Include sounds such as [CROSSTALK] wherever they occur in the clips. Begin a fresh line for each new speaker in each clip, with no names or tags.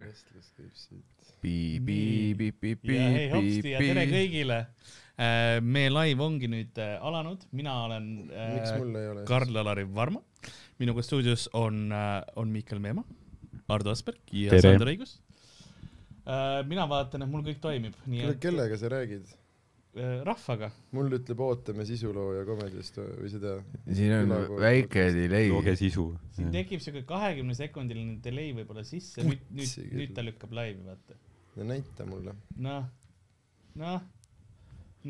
vestlus käib siit .
piip ,
Nii.
piip , piip , piip ,
ja hei hopsti ja tere
piip ,
kõigile . meie laiv ongi nüüd äh, alanud , mina olen äh,
miks mul ei ole ?
Karl-Alari Varma . minuga stuudios on , on Mihkel Meemaa , Ardo Asperg ja
Tere.
Sander Õigus . mina vaatan , et mul kõik toimib , nii
kelle ,
et
kellega sa räägid ?
äh, rahvaga .
mul ütleb ootame sisulooja komedist või seda .
siin on väike delay
looge . sisu .
siin tekib siuke kahekümne sekundiline delay võib-olla sisse , nüüd , nüüd ,
Putsi
nüüd
küll.
ta lükkab laivi , vaata .
no näita mulle .
noh , noh ,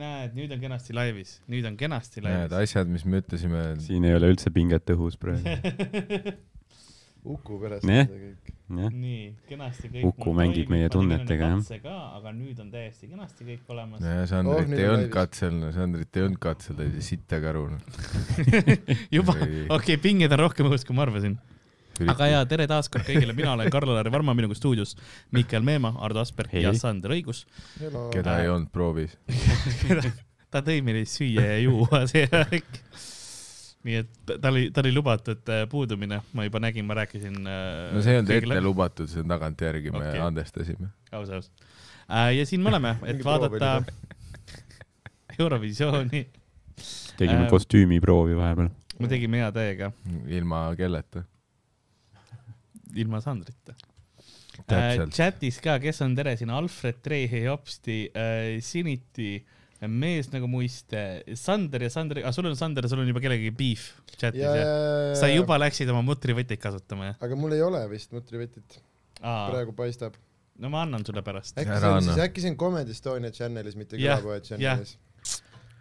näed , nüüd on kenasti laivis , nüüd on kenasti
Need
laivis .
asjad , mis me ütlesime ,
siin ei ole üldse pinget õhus praegu .
[LAUGHS]
[LAUGHS]
Uku perest
Nee.
on see kõik .
jah ,
nii , kenasti kõik .
Uku mängib meie tunnetega, jah.
jah . aga nüüd on täiesti kenasti kõik olemas .
Oh,
Sandrit
nüüd
ei
on
olnud
laivis.
katsel , Sandrit ei olnud katsel , ta oli sitta karu .
[LAUGHS]
noh.
juba ,
Ei.
okei okay, , pinged on rohkem õhus , kui ma arvasin . aga ja tere taas kord kõigile , mina olen Karl-Lari Varma , minuga stuudios Mihkel Meemaa , Ardo Asperg
Hei.
ja Sander Õigus .
keda ei olnud proovis .
ta tõi meile süüa ja juua see aeg . nii et ta- tal oli , tal oli lubatud äh, puudumine , ma juba nägin , ma rääkisin . äh,
no see ei olnud ette . lubatud , see on tagantjärgi , me
Okei.
andestasime .
aus , aus . ja siin me oleme , et
Mingi proov
vaadata
[LAUGHS]
Eurovisiooni .
Äh.
tegime
Ähm.
kostüümiproovi vahepeal .
me tegime hea täiega ,
ilma kelleta .
Äh, ilma Sandrita .
Täpselt.
chatis ka , kes on tere siin , Alfred Treihi , Hopsti , Siniti , mees nagu muiste , Sander ja Sander , aga sul on Sander , sul on juba kellegagi beef chatis
ja ,
jah ?
ja ,
sa
ja , ja ,
juba läksid oma mutrivõtteid kasutama jah ?
aga mul ei ole vist mutrivetit ,
aa ,
praegu paistab .
no ma annan sulle pärast .
äkki
Ära
see on
anna.
siis , äkki see on Comedy Estonia channel'is , mitte
Jah,
külapoe channel'is .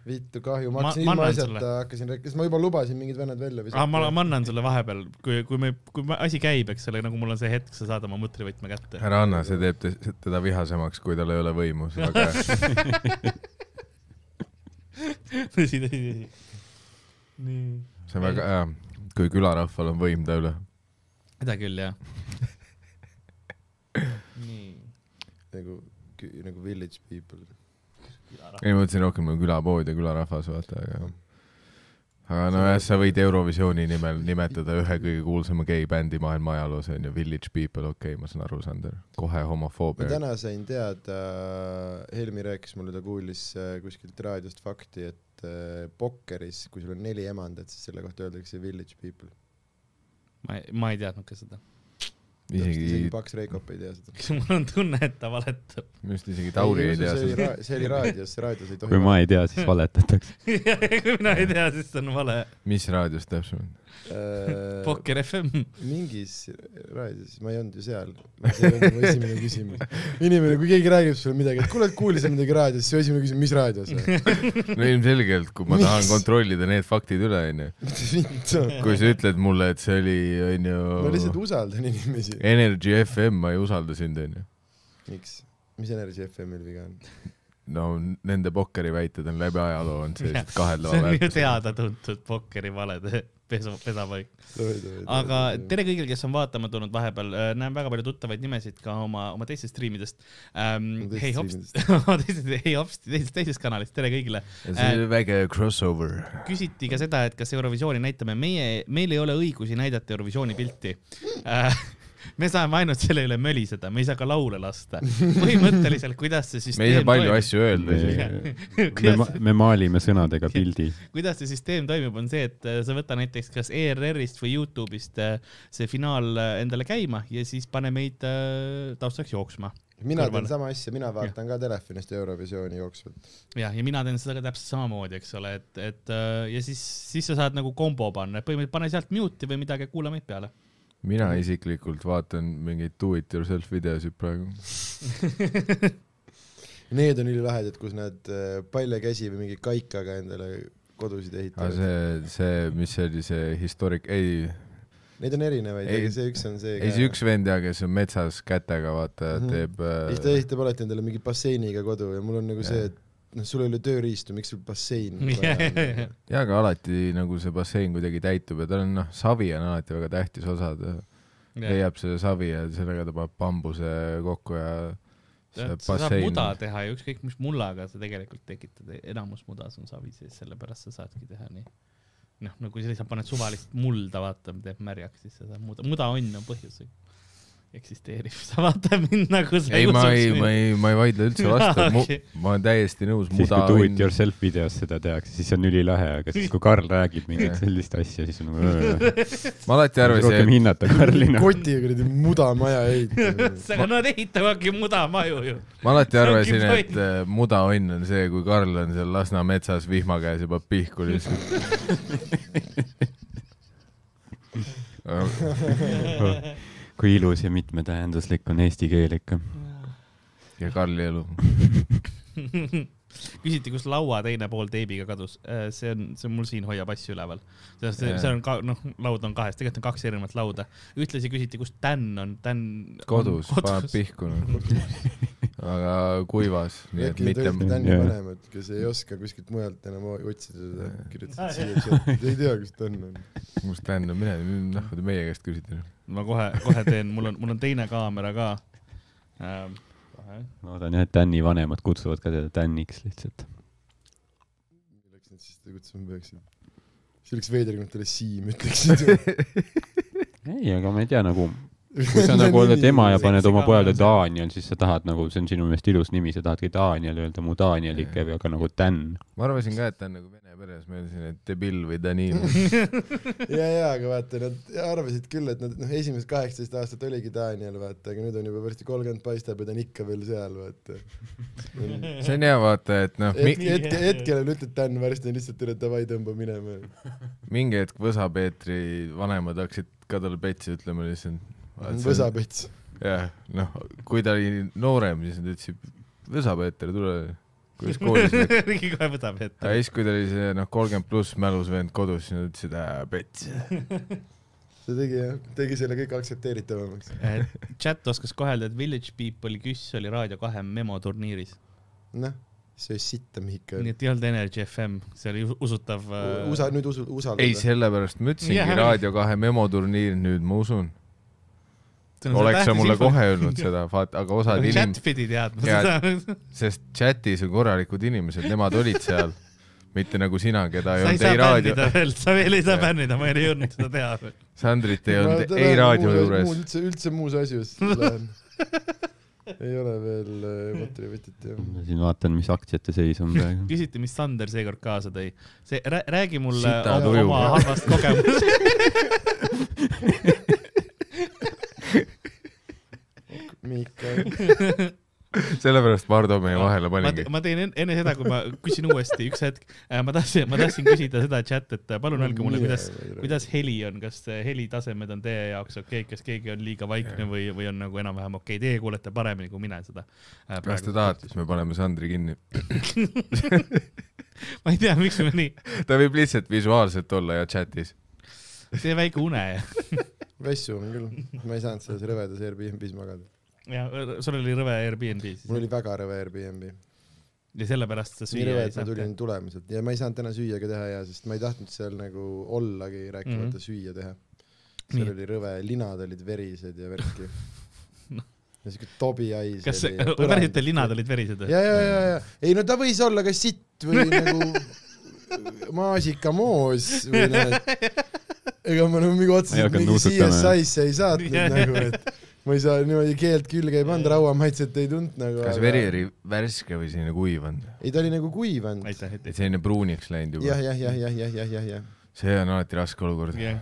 vittu kahju , ma
Ma-
hakkasin
ma
ilma
annan sulle.
asjata hakkasin rääkima , sest ma juba lubasin mingid vennad välja
aa , Ah, ma ,
visata .
ma annan sulle vahepeal , kui , kui me , kui me- asi käib , eks ole , nagu mul on see hetk , sa saad oma mutrivõtme [LAUGHS] kätte .
ära anna , see teeb te- teda vihasemaks , kui tal ei ole võimu , see on väga hea .
tõsi , tõsi , tõsi . nii .
see on väga hea , kui külarahval on võim ta üle .
seda küll jah . nii .
nagu , nagu village people .
ei , ma mõtlesin rohkem nagu külapood ja külarahvas , vaata , aga aga nojah , sa võid Eurovisiooni nimel nimetada ühe kõige kuulsama gei-bändi maailma ajaloos onju , Village People , okei okay, , ma saan aru , Sander , kohe
ma
homofoobia .
täna sain teada , Helmi rääkis mulle , ta kuulis äh, kuskilt raadiost fakti , et äh, pokkeris , kui sul on neli emandat , siis selle kohta öeldakse village people .
ma , ma ei teadnud ka seda .
isegi
isegi , Paks Reikop ei tea seda .
kas mul on tunne , et ta valetab ? [LAUGHS]
minu arust isegi Tauri ei tea seda ..
see oli raadios , raadios ei tohi .
kui ma ei tea , siis valetatakse .
kui mina ei tea , siis see on vale .
mis raadios täpsemalt ?
äh, .
Pokker FM .
mingis raadios , ma ei olnud ju seal . see ei olnud mu esimene küsimus . inimene , kui keegi räägib sulle midagi , et kuule , et kuulisin midagi raadios , siis su esimene küsimus , mis raadios [LAUGHS] või ?
no ilmselgelt , kui ma tahan
Miks?
kontrollida need faktid üle onju , kui sa ütled mulle , et see oli
ma lihtsalt
onju
usaldan inimesi .
Energy FM , ma ei usalda sind onju .
miks ? mis Energy FM-il viga on ?
no nende pokkeri väited on läbi ajaloo olnud sellised kaheldava
see on ju . teada-tuntud pokkeri valede pesu , pesapaik . aga tere kõigile , kes on vaatama tulnud vahepeal , näen väga palju tuttavaid nimesid ka oma , oma teistest striimidest ähm, .
Oma teistest
hei hops , [LAUGHS] hei hops , teisest , teisest kanalist , tere kõigile .
see oli väike crossover .
küsiti ka seda , et kas Eurovisiooni näitame meie , meil ei ole õigusi näidata Eurovisiooni pilti äh, . me saame ainult selle üle möliseda , me ei saa ka laule
[LAUGHS]
lasta . põhimõtteliselt , kuidas see
me ei saa
süsteem
palju
toimib ,
asju öelda isegi . [LAUGHS]
me , me maalime sõnadega pildi .
kuidas see süsteem toimib , on see , et äh, sa võta näiteks kas ERR-ist või Youtube'ist äh, see finaal äh, endale käima ja siis pane meid äh, taustaks jooksma .
mina
kõrvale.
teen sama asja , mina vaatan ka telefonist Eurovisiooni jooksvalt .
jah , ja mina teen seda ka täpselt samamoodi , eks ole , et , et äh, ja siis , siis sa saad nagu kombo panna , et põhimõtteliselt pane sealt mute'i või midagi , kuula meid peale .
mina isiklikult vaatan mingeid do it yourself videosid praegu .
Need on ülilahedad , kus nad äh, paljakäsi või mingi kaikaga endale kodusid
aga
ehitavad .
see , see , mis see oli , see historic , ei ,
Neid on erinevaid ,
Ei-
aga see üks on see .
ei see üks vend ja kes on metsas kätega , vaata
Mhm.
teeb
siis ta
äh, .
ehitab alati endale mingi basseiniga kodu ja mul on nagu see , et noh , sul ei ole tööriistu , miks sul
[LAUGHS]
bassein vaja on ?
ja aga alati nagu see bassein kuidagi täitub ja tal on noh , savi on alati väga tähtis osa , ta leiab selle savi ja sellega ta paneb bambuse kokku ja see
sa saad
bassein
muda teha ja ükskõik mis mullaga sa tegelikult tekitad , enamus mudas on savi sees , sellepärast sa saadki teha nii . noh , no kui sa lihtsalt paned suvalist mulda , vaata , teeb märjaks , siis sa saad muda , muda on , on põhjus . eksisteerib , [LAUGHS] sa vaatad mind nagu sa
ei , ma ei , ma ei , ma ei vaidle üldse vastu
Jaa, ,
mu
okei. ,
ma olen täiesti nõus ,
siis kui
muda
do
on
it , yourself videos seda tehakse , siis see on ülilahe , aga siis kui Karl räägib mingit
Jah.
sellist asja , siis on nagu
ma alati arvasin ,
rohkem
et
hinnata Karlina .
kotiga kuradi mudamaja
[LAUGHS]
ehitamine .
aga nad ehitavadki mudamaju ju .
ma alati
See ongi
arvasin ,
point.
et äh, muda onn on see , kui Karl on seal Lasna metsas vihma käes juba pihku lihtsalt
[LAUGHS] kui ilus ja mitmetähenduslik on eesti keel ikka .
ja Karli elu .
[LAUGHS] küsiti , kus laua teine pool teibiga kadus . see on , see on mul siin hoiab asju üleval . sest see,
Jaa.
see on ka , noh , laud on kahes , tegelikult on kaks erinevat lauda . ühtlasi küsiti , kus Dan on , Dan .
kodus , [LAUGHS] paneb . pihku . aga kuivas , nii et
äkki te olete
mitte .
Tänni
tõesti- Jah.
vanemad , kes ei oska kuskilt mujalt enam o- otsida seda , kirjutasid siia ,
[LAUGHS]
sealt , ei tea , kus ta on .
kus ta on , mine , noh , te meie käest küsite .
[LAUGHS] ma kohe , kohe teen , mul on , mul on teine kaamera ka ähm, . kohe.
loodan jah , et Tänni vanemad kutsuvad ka teda Tänniks lihtsalt .
milleks nad siis teda kutsuma peaksid ? see oleks veider , kui nad talle Siim ütleksid .
ei , aga ma ei tea nagu , kui [LAUGHS] sa nagu oled ema ja paned oma
see-
pojale
see-
Daniel , siis sa tahad nagu , see on sinu meelest ilus nimi , sa tahadki Daniel öelda , mu Daniel ikka , aga nagu Tän .
ma arvasin ka , et ta on nagu vene peres , ma ütlesin , et debill või Danil .
ja , ja , aga vaata , nad arvasid küll , et nad noh , esimesed kaheksateist aastat oligi Daniel , vaata , aga nüüd on juba varsti kolmkümmend paistab ja ta on ikka veel seal , vaata .
see on hea vaata , et noh mi,
hetk , hetk , hetkel on ütled Dan , varsti on lihtsalt üle davai , tõmba minema .
mingi hetk Võsa-Peetri vanemad hakkasid ka talle petsi ütlema lihtsalt .
võsapets .
jah , noh , kui ta oli noorem , siis nad ütlesid , Võsa-Peeter , tule , kuidas koolis
[LAUGHS]
läks .
riigi kohe võtab ette
aga . siis , kui ta oli see noh , kolmkümmend pluss mälus vend kodus , siis nad ütlesid , aa , pets .
see tegi jah , tegi selle kõik aktsepteeritavamaks .
Äh, chat oskas kohelda , et Village People küss oli Raadio kahe memoturniiris ,
noh , see sitta Mihkel
nii . et ei olnud Energy FM , see oli us- usutav äh,
usa , nüüd usu , usaldada .
ei , sellepärast ma
Jah.
ütlesingi Raadio kahe memoturniir nüüd , ma usun .
see on see
oleks sa
tähtis
mulle
info-
kohe öelnud seda , aga osad inim-
chat , pidi Nagu teadma
Jaa,
seda .
sest chatis on korralikud inimesed , nemad olid seal , mitte nagu sina , keda ei
sa ei
olnud
saa
ei raadio ,
bännida veel , sa veel ei saa
Jaa.
bännida , ma ei jõudnud seda teha
[LAUGHS]
veel .
Sandrit ei olnud ei raadio juures .
üldse , üldse muus asjus
[LAUGHS]
lähen . ei ole veel äh, materjalivõtit jah .
ma siin vaatan , mis aktsiate seis on [LAUGHS] praegu .
küsiti , mis Sander seekord kaasa tõi . see , räägi mulle
Sita
oma,
tuju.
oma halvast
[LAUGHS]
kogemusest .
Mihkel ,
sellepärast Vardo meie vahele
ma,
panigi .
ma teen en- enne seda , kui ma küsin uuesti , üks hetk , ma tahtsin , ma tahtsin küsida seda chat , et äh, [LAUGHS] palun öelge mulle , kuidas , kuidas heli on , kas äh, helitasemed on teie jaoks okei okay, , kas keegi on liiga vaikne või , või on nagu enam-vähem okei okay. , teie kuulete paremini kui mina seda . äh,
kas te tahate , siis me paneme Sandri kinni .
[LAUGHS] ma ei tea , miks me nii ,
ta võib lihtsalt visuaalselt olla ja chatis .
see väike une [LAUGHS] ja,
vässu on küll , ma ei saanud selles rõvedas Airbnb-s magada .
ja sul oli rõve Airbnb siis
mul oli väga rõve Airbnb .
ja sellepärast sa
nii
süüa
rõve ,
ei
et ma tulin tulema sealt ja ma ei saanud täna süüa ka teha ja , sest ma ei tahtnud seal nagu ollagi , rääkimata mm
Mhm.
-hmm. süüa teha .
Nii.
seal oli rõve , linad olid verised ja
[LAUGHS]
värki
Noh. .
ja siuke tobi hais .
kas päriselt linad olid verised või ?
ja , ja , ja , ja ei no ta võis olla ka sitt või nagu
[LAUGHS]
maasikamoos või noh , et ega ma nagu mingi
Ma ei
otseselt
hakanud
mingi
nuusutama.
CSI-sse ei saatnud
[LAUGHS]
Jah.
nagu , et ma ei saa niimoodi keelt külge ei pannud , rauamaitset ei tundnud nagu .
kas veri ? oli värske või selline kuivanud ?
ei , ta oli nagu kuivanud . jah ,
aitäh , et
et selline pruuniks läinud
jah
juba ?,
jah , jah , jah , jah , jah , jah .
see on alati raske olukord .
jah .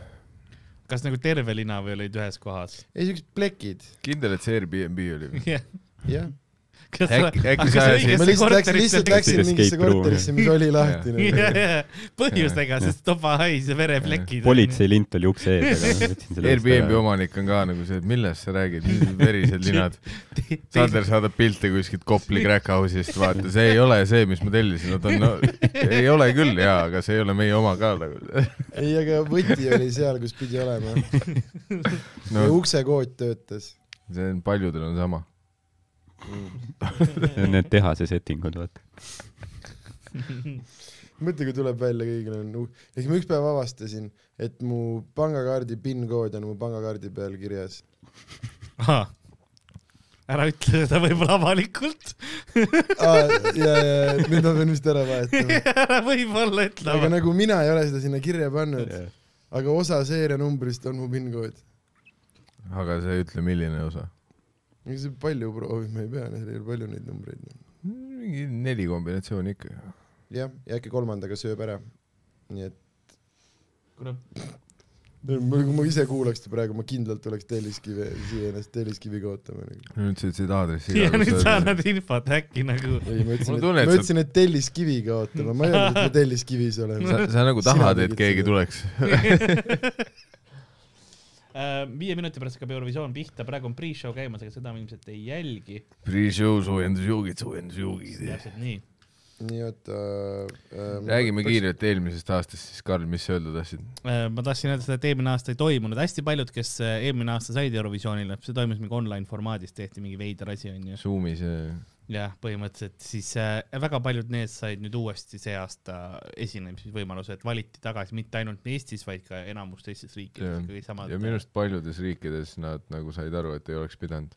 kas nagu terve lina või olid ühes kohas ? [LAUGHS]
ei , siuksed plekid ,
kindel , et see Airbnb oli ?
jah .
jah .
kas
Äkki- äkki sa ajasid-
ma lihtsalt läksin , lihtsalt
[LAUGHS]
läksin
Escape
mingisse
room, jah.
korterisse , mis oli
[LAUGHS]
lahti nagu .
põhjusega , sest toba hais ja vereplekid . [LAUGHS]
politseilint oli ukse ees , aga võtsin selle .
Airbnb . omanik on ka nagu see , et millest sa räägid , [LAUGHS] verised linad . Sander saadab pilte kuskilt Kopli Crack House'ist , vaata , see ei ole see , mis ma tellisin , nad on , no [LAUGHS] ei ole küll jaa , aga see ei ole meie oma ka nagu . [LAUGHS]
ei , aga võti oli seal , kus pidi
[LAUGHS]
olema .
no
uksekood töötas .
see on , paljudel on sama .
[LAUGHS] Need tehase settingud , vaata .
mõtle , kui tuleb välja , kõigil on uh... , eks ma ükspäev avastasin , et mu pangakaardi PIN-kood on mu pangakaardi peal [LAUGHS] kirjas .
ära ütle seda võib-olla avalikult . [LAUGHS]
Ah, ja , ja nüüd ma pean vist ära [LAUGHS] vahetama .
ära võib-olla ütle
aga
avalikult .
nagu mina ei ole seda sinna kirja pannud , aga osa seerianumbrist on mu PIN-kood .
aga sa ei ütle , milline osa ?
ega see palju proovima ei pea , neil ei ole palju neid numbreid .
mingi neli kombinatsiooni ikka .
jah , ja äkki kolmandaga sööb ära . nii et
kuule ,
ma- kui ma ise kuulaks seda praegu , ma kindlalt tuleks Telliskivi , siia ennast Telliskiviga ootama nagu. .
nüüd sa ütlesid aadressi .
ja nüüd sa annad infot äkki nagu .
ei , ma
Mul
ütlesin ,
tunne,
et
et
ma
sa-
ütlesin , et Telliskiviga ootama , ma ei öelnud , et me Telliskivis [LAUGHS] oleme .
sa , sa nagu
Sina
tahad , et
tegid
keegi
seda.
tuleks .
Äh, viie minuti pärast hakkab Eurovisioon pihta , praegu on pre-show käimas , aga seda me ilmselt ei jälgi .
Pre-show soojendusjuugid , soojendusjuugid .
täpselt nii .
nii , oota äh, .
räägime . kiirelt eelmisest aastast siis , Karl , mis sa öelda tahtsid ?
Äh, ma tahtsin öelda seda , et eelmine aasta ei toimunud , hästi paljud , kes äh, eelmine aasta said Eurovisioonile , see toimus mingi online formaadis , tehti mingi veider asi onju .
Zoomis ja
jah , põhimõtteliselt siis äh, väga paljud need said nüüd uuesti see aasta esinemisvõimaluse , et valiti tagasi mitte ainult Eestis , vaid ka enamus teistes riikides
Jah.
ikkagi samad .
ja minu arust paljudes riikides nad nagu said aru , et ei oleks
[LAUGHS]
pidanud .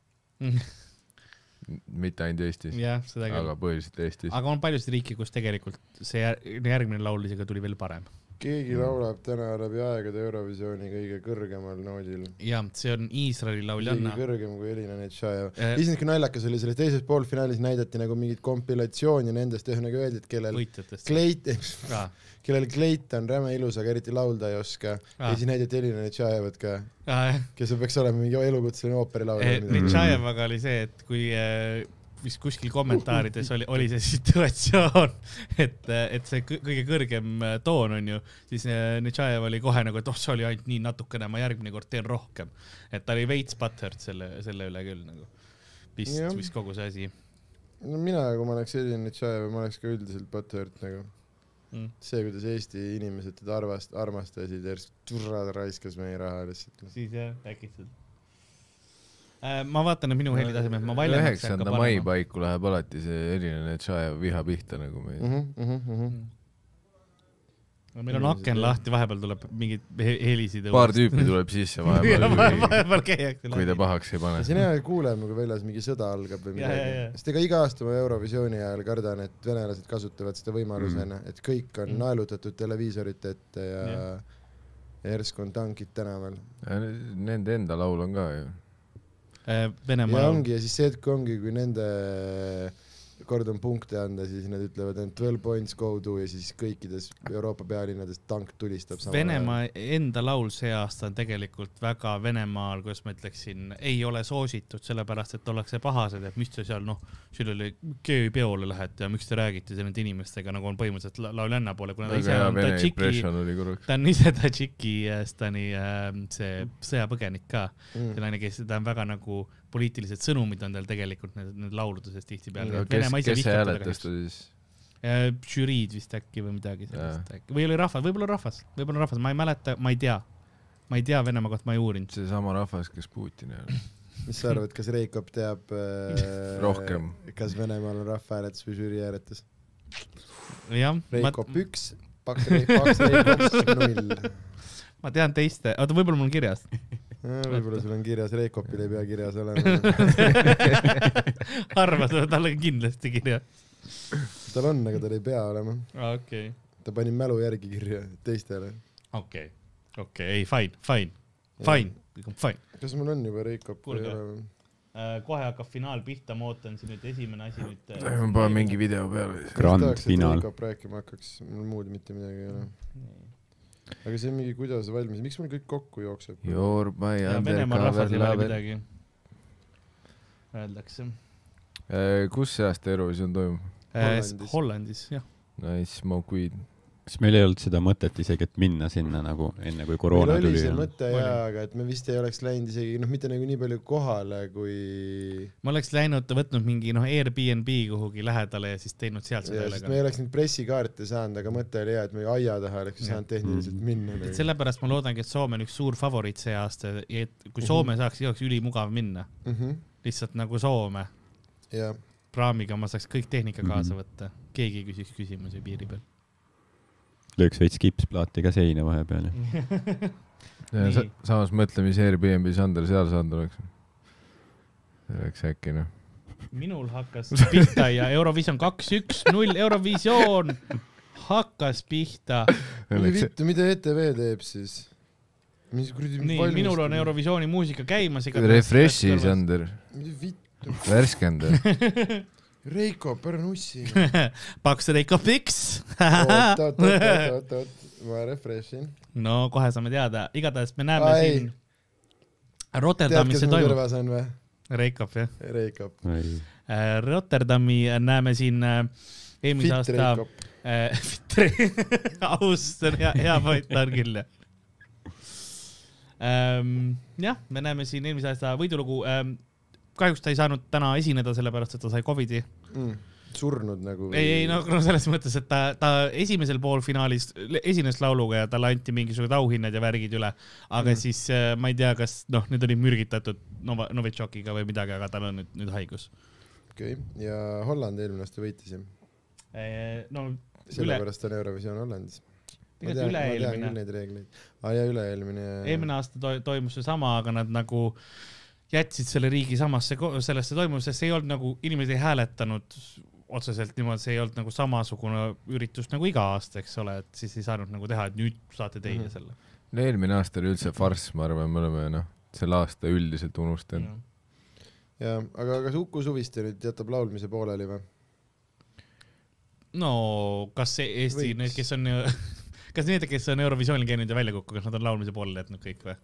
mitte ainult Eestis ,
jah , Ah, seda küll
aga . põhiliselt Eestis .
aga on paljusid riike , kus tegelikult see jär- järgmine laul isegi tuli veel parem .
keegi laulab täna läbi aegade Eurovisiooni kõige kõrgemal noodil .
jah , see on Iisraeli
isegi
lauljanna .
kõrgem kui Elina Netshajev
Eh. .
isegi kui naljakas oli , selles teises poolfinaalis näidati nagu mingit kompilatsiooni nendest , ühesõnaga öeldi , et kellel
võitjatest
kleit , [LAUGHS]
ka .
kellel kleit on räme ilus , aga eriti laulda ei oska . ja
Ah.
siis näidati Elina Netshajevat ka ,
eh,
kes veel peaks olema mingi elukutseline ooperilaulja või midagi .
Nitšajevaga oli see , et kui eh, vist kuskil kommentaarides oli , oli see [LAUGHS] situatsioon , et , et see kõ- kõige kõrgem eh, toon on ju , siis Nitšajev oli kohe nagu , et oh , see oli ainult nii natukene , ma järgmine kord teen rohkem . et ta oli veits butthurt selle , selle üle küll nagu . vist
Jah. ,
vist kogu see asi
no mina , kui ma oleks Elina Netshajev , ma oleks ka üldiselt butthurt nagu .
mm. .
see , kuidas Eesti inimesed teda arvast- , armastasid , järsku turra ta raiskas meie raha lihtsalt .
siis jah , äkitselt . ma vaatan , et minu helitasemed ma valjemaks ei hakka
üheksanda mai
panema .
paiku läheb alati see eriline Tšajev viha pihta nagu meil .
Mhm. Hmm.
mhm. Hmm. meil on aken lahti , vahepeal tuleb mingeid he- helisid .
paar tüüpi tuleb sisse
[LAUGHS]
vahepeal ,
vahepeal [LAUGHS] käiakse
kui ta . pahaks ei
siin
pane .
hea kuuleme , kui väljas mingi sõda algab või
Ja, ja,
midagi
ja. .
sest ega iga aasta ma Eurovisiooni ajal kardan , et venelased kasutavad seda võimalusena , et kõik on
Mm.
naelutatud televiisorite ette ja
Jah.
ja järsku on tankid tänaval .
Nende enda laul on ka ju .
Äh,
ja
Venemaal .
ongi ja siis see hetk ongi , kui nende kord on punkte anda , siis nad ütlevad end twelve points go to ja siis kõikides Euroopa pealinnades tank tulistab .
Venemaa enda laul see aasta on tegelikult väga Venemaal , kuidas ma ütleksin , ei ole soositud , sellepärast et ollakse pahased , et mis te seal noh , sellele kööpeole lähete ja miks te räägite siin nende inimestega nagu on põhimõtteliselt la- lauljanna poole , kuna ta
väga
ise
hea
on
vene
Tadžiki
impression oli korraks .
ta on ise Tadžikistani äh, see sõjapõgenik ka ,
Mm.
see naine , kes ta on väga nagu poliitilised sõnumid on tal tegelikult need, need lauludes tihtipeale .
kes , kes see hääletas ta siis ?
Äh, žüriid vist äkki või midagi sellist äkki või oli rahvas , võib-olla rahvas , võib-olla rahvas , ma ei mäleta , ma ei tea , ma ei tea Venemaa kohta , ma ei uurinud .
seesama rahvas , kes Putini hääletas .
mis sa arvad , kas Reikop teab äh,
Rohkem.
kas Venemaal on rahvahääletus või žüriihääletus ?
jah , ma,
Reikop üks , paks Reikops
[LAUGHS]
null .
ma tean teiste , oota , võib-olla mul on kirjas . [LAUGHS]
Äh, võib-olla sul on kirjas , Reikopil ei pea kirjas olema .
[LAUGHS] arvad , tal on kindlasti kirjas .
tal on , aga tal ei pea olema .
okei ,
ta pani mälu järgi kirja teistele .
okei , okei , ei fine , fine , fine , kõik on fine .
kas mul on juba Reikop või
Kuulge.
ei ole ?
Äh, kohe hakkab finaal pihta , ma ootan siin nüüd esimene asi nüüd . äh,
ma panen mingi . video peale .
Grand
tahaks , et
finaal.
Reikop rääkima hakkaks , mul muud mitte midagi ei ole . aga see on mingi kuidas valmis , miks mul kõik kokku jookseb ?
Your by
ja Venemaa rahvas
undercover
ei ole
lover .
midagi . Öeldakse .
Äh, kus see aasta Eurovisioon toimub ?
Hollandis.
Äh, Hollandis , jah .
Nice smoke weed .
siis meil ei olnud seda mõtet isegi , et minna sinna nagu enne kui
meil
koroona
oli
tuli
see . mõte
Oli.
jaa , aga et me vist ei oleks läinud isegi noh , mitte nagu nii palju kohale , kui
ma oleks läinud , võtnud mingi noh , Airbnb kuhugi lähedale ja siis teinud sealt seda
ja, sest
nagu.
me ei
ülekannet .
oleks neid pressikaarte saanud , aga mõte oli hea , et me aia taha oleks
Jah.
saanud tehniliselt
Mhm.
minna . nagu.
et sellepärast ma loodangi , et Soome on üks suur favoriit see aasta ja et
Mhm.
kui Soome saaks , siis oleks ülimugav minna . lihtsalt nagu Soome .
jah ,
praamiga ma saaks kõik tehnika kaasa
Mhm.
võtta . keegi ei küsiks küsimusi piiri
[LAUGHS]
peal .
lööks veits kipsplaati ka seina vahepeal ja
Nii.
Äh, Sa, samas mõtle , mis Airbnb Sander seal saanud oleks . see oleks äkki noh .
minul hakkas pihta ja Eurovision kaks , üks , null , Eurovisioon hakkas pihta .
E vittu , mida ETV teeb siis ? mis kuradi
nii , minul on . Eurovisiooni muusika käimas .
Refresh'i , Sander ,
mida vittu ,
värskenda .
[LAUGHS]
Reiko Pärnussi .
paks Reiko Fiks .
oot , oot , oot , oot , oot , ma refresh in .
[LAUGHS] no kohe saame teada , igatahes me näeme
Ai.
siin
tead ,
Rotterdamis
kes
see
mu
toimub ,
kõrvas on või ?
Reiko jah .
Reiko .
Äh, Rotterdami näeme siin äh, eelmise
Fit
aasta
Reiko .
äh, [LAUGHS] fit Re- [LAUGHS] aus , see on hea , hea point , ta on küll jah ähm, . jah , me näeme siin eelmise aasta võidulugu ähm, . kahjuks ta ei saanud täna esineda , sellepärast et ta sai Covidi .
Mm, surnud nagu .
ei , ei no, no selles mõttes , et ta , ta esimesel poolfinaalis le- esines lauluga ja talle anti mingisugused auhinnad ja värgid üle . aga mm. siis äh, ma ei tea , kas noh , need olid mürgitatud Nova , Novitšokiga või midagi , aga tal on nüüd , nüüd haigus .
okei , ja Holland eelmine aasta võitis ju .
Äh, no üle ,
sellepärast on Eurovisioon Hollandis . ma tean ,
tegelikult
ma tean küll ,
üle-eelmine
äh, neid reegleid . aa ja üle-eelmine .
eelmine aasta to toimus seesama , aga nad nagu jätsid selle riigi samasse , sellesse toimumisesse , see ei olnud nagu , inimesed ei hääletanud otseselt niimoodi , see ei olnud nagu samasugune üritus nagu iga aasta , eks ole , et siis ei saanud nagu teha , et nüüd saate teie
Mhm.
selle .
no eelmine aasta oli üldse farss , ma arvan , me oleme noh , selle aasta üldiselt unustanud .
jaa , aga kas Uku Suviste nüüd jätab laulmise pooleli või ?
no kas see Eesti ,
Võiks.
need , kes on , [LAUGHS] kas need , kes on Eurovisioonil käinud ja välja kukkunud , kas nad on laulmise pooleli jätnud kõik või ?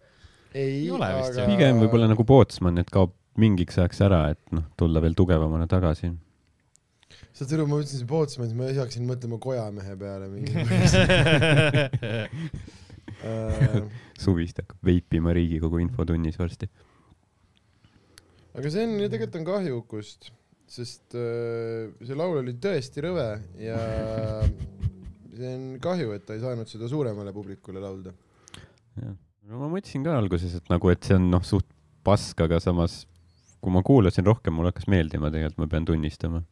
ei
Ei ole vist, jah.
pigem võib-olla . nagu Pootsman , et kaob mingiks ajaks ära , et noh , tulla veel tugevamana tagasi .
saad aru , ma ütlesin Pootsmanis , ma ise hakkasin mõtlema kojamehe peale
[LAUGHS]
mingi Äh,
suvist hakkab veipima Riigikogu infotunnis varsti .
aga see on ju tegelikult on kahju Ukust , sest äh, see laul oli tõesti rõve ja
[LAUGHS]
see on kahju , et ta ei saanud seda suuremale publikule laulda .
no ma mõtlesin ka alguses , et nagu , et see on noh , suht pask , aga samas kui ma kuulasin rohkem , mulle hakkas meeldima tegelikult , ma pean tunnistama .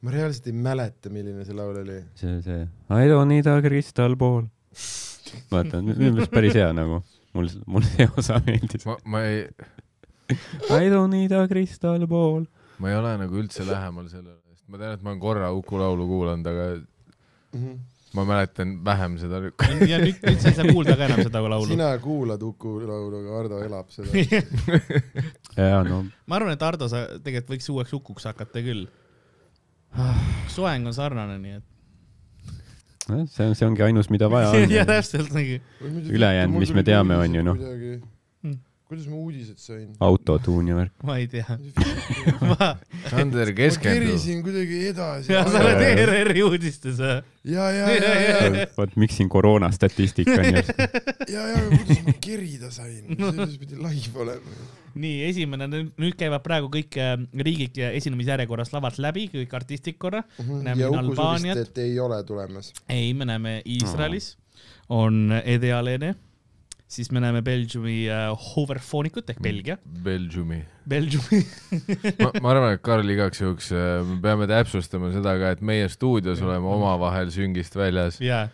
ma reaalselt ei mäleta , milline see laul oli .
see , see I don't need a crystal ball . vaata , minu meelest päris hea nagu . mul , mul see osa meeldis .
ma , ma ei ,
I don't need a crystal ball .
ma ei ole nagu [LAUGHS] üldse lähemal sellele , sest ma tean , et ma olen korra Uku laulu kuulanud , aga
Mhm.
ma mäletan vähem seda .
ja nüüd , nüüd sa ei saa kuulda ka enam seda laulu .
sina kuulad Uku laulu , aga Ardo elab seda .
jaa , no
[LAUGHS] ma arvan , et Ardo , sa tegelikult võiks uueks hukuks hakata küll . soeng on sarnane , nii et .
nojah, see on , see ongi ainus , mida vaja
[LAUGHS]
[LAUGHS]
ja
on .
täpselt nagu .
Ülejäänud, mis me teame, on ju, noh.
Mm.
kuidas ma uudised sain ?
autotuuni värk .
ma
[LAUGHS]
ei tea . ma ,
[LAUGHS] Sander ,
ma
keskendu .
kerisin kuidagi edasi .
ja sa oled E ERR-i uudistes või ?
ja , ja , ja , ja ,
vot miks siin koroona statistika on ja
ja , ja kuidas ma kerida
[LAUGHS]
sain , selles pidi live olema .
nii , esimene , nüüd käivad praegu kõik äh, riigid ja esinemisjärjekorras lavalt läbi , kõik artistid korra . Näeme
Mhm. ja Uku
Albaaniat.
Suvistet ei ole tulemas .
ei , me näeme Iisraelis on Ede Alene , siis me näeme Belgiumi äh, Hoverfoonikut ehk Belgia , [LAUGHS]
Belgiumi .
Belgiumi
ma , ma arvan , et Karl igaks juhuks , me peame täpsustama seda ka , et meie stuudios oleme omavahel süngist väljas .
ja ,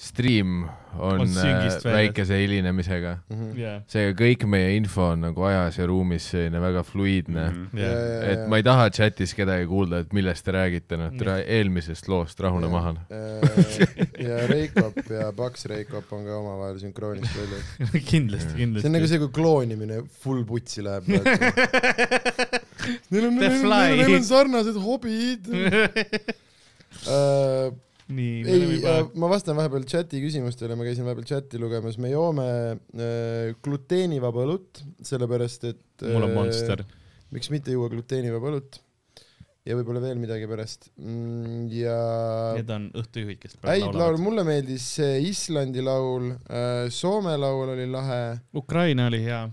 Stream on,
On
on
süngist väljas.
väikese hilinemisega ,
Mhm.
ja ,
seega kõik meie info on nagu ajas ja ruumis selline väga fluiidne mm .
ja
-hmm. et ma ei taha chatis kedagi kuulda , et millest te räägite ,
Mm.
noh , tere eelmisest loost rahune maha .
ja Reikop ja Paks Reikop on ka omavahel sünkroonist väljas .
[LAUGHS] kindlasti ,
see on nagu
[LAUGHS] kindlasti .
see , kui kloonimine full putsi
[LAUGHS]
läheb . Neil on ,
The
neil on ,
Fly.
neil
[LAUGHS]
on sarnased hobid äh, .
nii , me oleme
ei
juba ,,
ma vastan vahepeal chati küsimustele , ma käisin vahepeal chati lugemas , me joome äh, gluteenivaba õlut , sellepärast et äh,
mul on Monster .
miks mitte juua gluteenivaba õlut ja võib-olla veel midagi pärast mm, ja
Need on õhtujuhid , kes
häid
praegu
laule ,
laulavad .
mulle meeldis see Islandi laul , Soome laul oli lahe ,
Ukraina oli hea .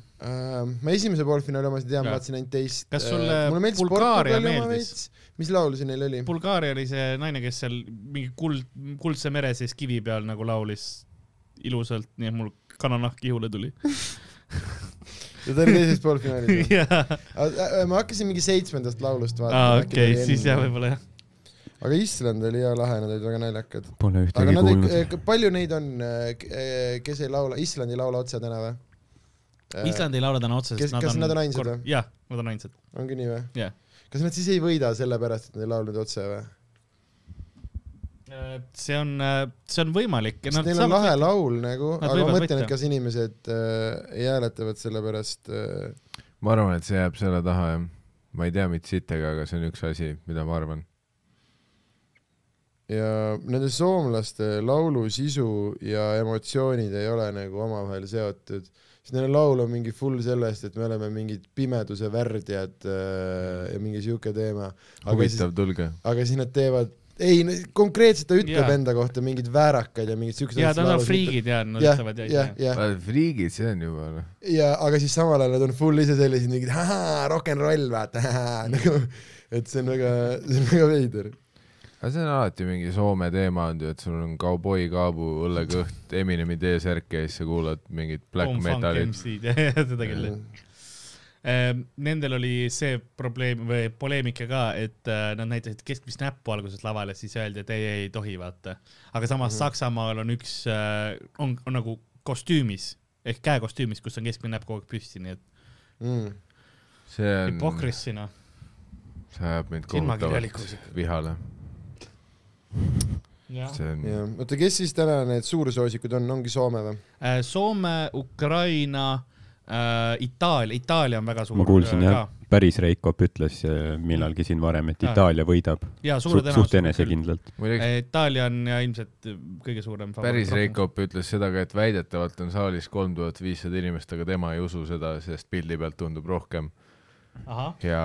ma esimese poolfinaali omasid ei teadnud ,
Jaa.
vaatasin ainult teist . Äh,
Kas sulle Bulgaaria meeldis? ?
mis laul see neil oli ?
Bulgaaria oli see naine , kes seal mingi kuld , kuldse mere sees kivi peal nagu laulis ilusalt , nii et mul kananahk ihule tuli .
ta oli teises poolfinaalis või ?
[LAUGHS] jaa ,
äh, ma hakkasin mingi seitsmendast laulust vaatama .
Ah, okei , siis jah ,. võib-olla jah .
aga Island oli hea lahe , nad olid väga naljakad .
Pole
aga
ühtegi
nad
kuulnud
ei ,. palju neid on , kes ei laula , Island ei laula otse täna või ? Eh,
Island ei laula täna otseselt .
Äh, Kes- kas nad on ainsad või?
jah , nad on ainsad .
ongi nii või
Jah. ?
kas nad siis ei võida sellepärast , et nad ei laulnud otse või ?
Äh, see on , see on võimalik .
sest neil on lahe laul nagu ,
Nad
aga ma
võivad
mõtlen , et
võita.
kas inimesed äh, ei hääletavad selle pärast äh,
ma arvan , et see jääb selle taha jah . ma ei tea mitte sittega , aga see on üks asi , mida ma arvan .
ja nende soomlaste laulu sisu ja emotsioonid ei ole nagu omavahel seotud , sest neil laul on mingi full sellest , et me oleme mingid pimeduse värdjad äh, ja mingi siuke teema . aga siis ,
huvitav , tulge .
aga siis nad teevad , ei , konkreetselt ta ütleb
Jaa.
enda kohta mingid väärakaid ja mingid siuksed
ja nad on . nagu friigid ja nad
jah ,
ütlevad ja
jah ,, jah ,
Äh, Friigid , see on juba noh .
ja aga siis samal ajal nad on full ise sellised mingid ahaa , rock n roll vaata , nagu , [LAUGHS] et see on väga , see on väga veider .
aga see on alati mingi Soome teema olnud ju , et sul on kauboikaabu , õllekõht , Eminemi T-särk ja siis sa kuulad mingit black
Home Funk
metalit .
[LAUGHS] MC-d ja , ja seda küll . Nendel oli see probleem või poleemika ka , et äh, nad näitasid keskmist näppu alguses laval ja siis öeldi , et ei , ei tohi vaata . aga samas
Mhm.
Saksamaal on üks , on on nagu kostüümis ehk käekostüümis , kus on keskmine näpp kogu aeg püsti , nii et
Mm.
see on ,
hipokrissi noh .
see ajab mind
Silmakirjalikkus
kohutavalt vihale .
Äh,
see on ,
jah , oota , kes siis täna need suursoosikud on , ongi Soome või ?
Äh, Soome , Ukraina äh, , Itaalia , Itaalia on väga suur . äh,
ma kuulsin jah , päris Reikop ütles äh, millalgi siin varem , et
Aa.
Itaalia võidab
ja suure
suht, suht
küll.
enesekindlalt .
muideks
Itaalia on ja ilmselt kõige suurem .
päris . Reikop ütles seda ka , et väidetavalt on saalis kolm tuhat viissada inimest , aga tema ei usu seda , sest pildi pealt tundub rohkem
ahah ,
ja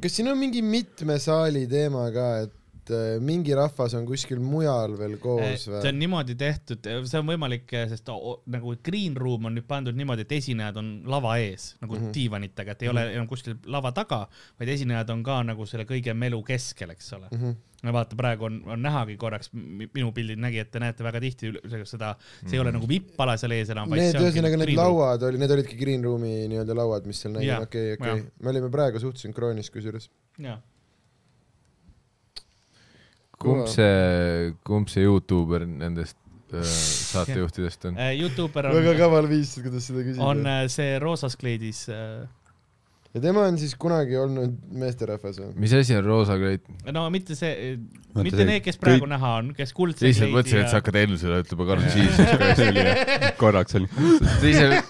kas siin on mingi mitme saali teema ka , et äh, mingi rahvas on kuskil mujal veel koos
Äh, see
või ?
on niimoodi tehtud , see on võimalik , sest o- nagu green room on nüüd pandud niimoodi , et esinejad on lava ees nagu mm
Mhm.
-hmm. diivanitega , et ei ole enam kuskil lava taga , vaid esinejad on ka nagu selle kõige melu keskel , eks ole .
Mhm.
no vaata , praegu on , on nähagi korraks , minu pildid nägi , et te näete väga tihti üle- seda , see ei ole nagu vippala seal ees enam , vaid
Mhm. Need
see
ühesõnaga
ongi nagu
need . lauad olid , need olidki Green Roomi nii-öelda lauad , mis seal nägid ,
Jah,
okei , okei
jah. .
me olime praegu suht sünkroonis kusjuures .
kumb
Kõva.
see , kumb see Youtuber nendest öö, saatejuhtidest on ?
Äh, Youtuber
väga
on ,
kaval viis , kuidas seda
on
küsida .
äh, see roosas kleidis äh,
ja tema on siis kunagi olnud meesterahvas või ?
mis asi on roosa kleit ?
no mitte see ,
Vaata
mitte
see
need , kes
kõik-
praegu näha on , kes kuldse
lihtsalt mõtlesin , et sa hakkad Ellusele ütlema , Karl , siis
korraks oli ,
sa ise ,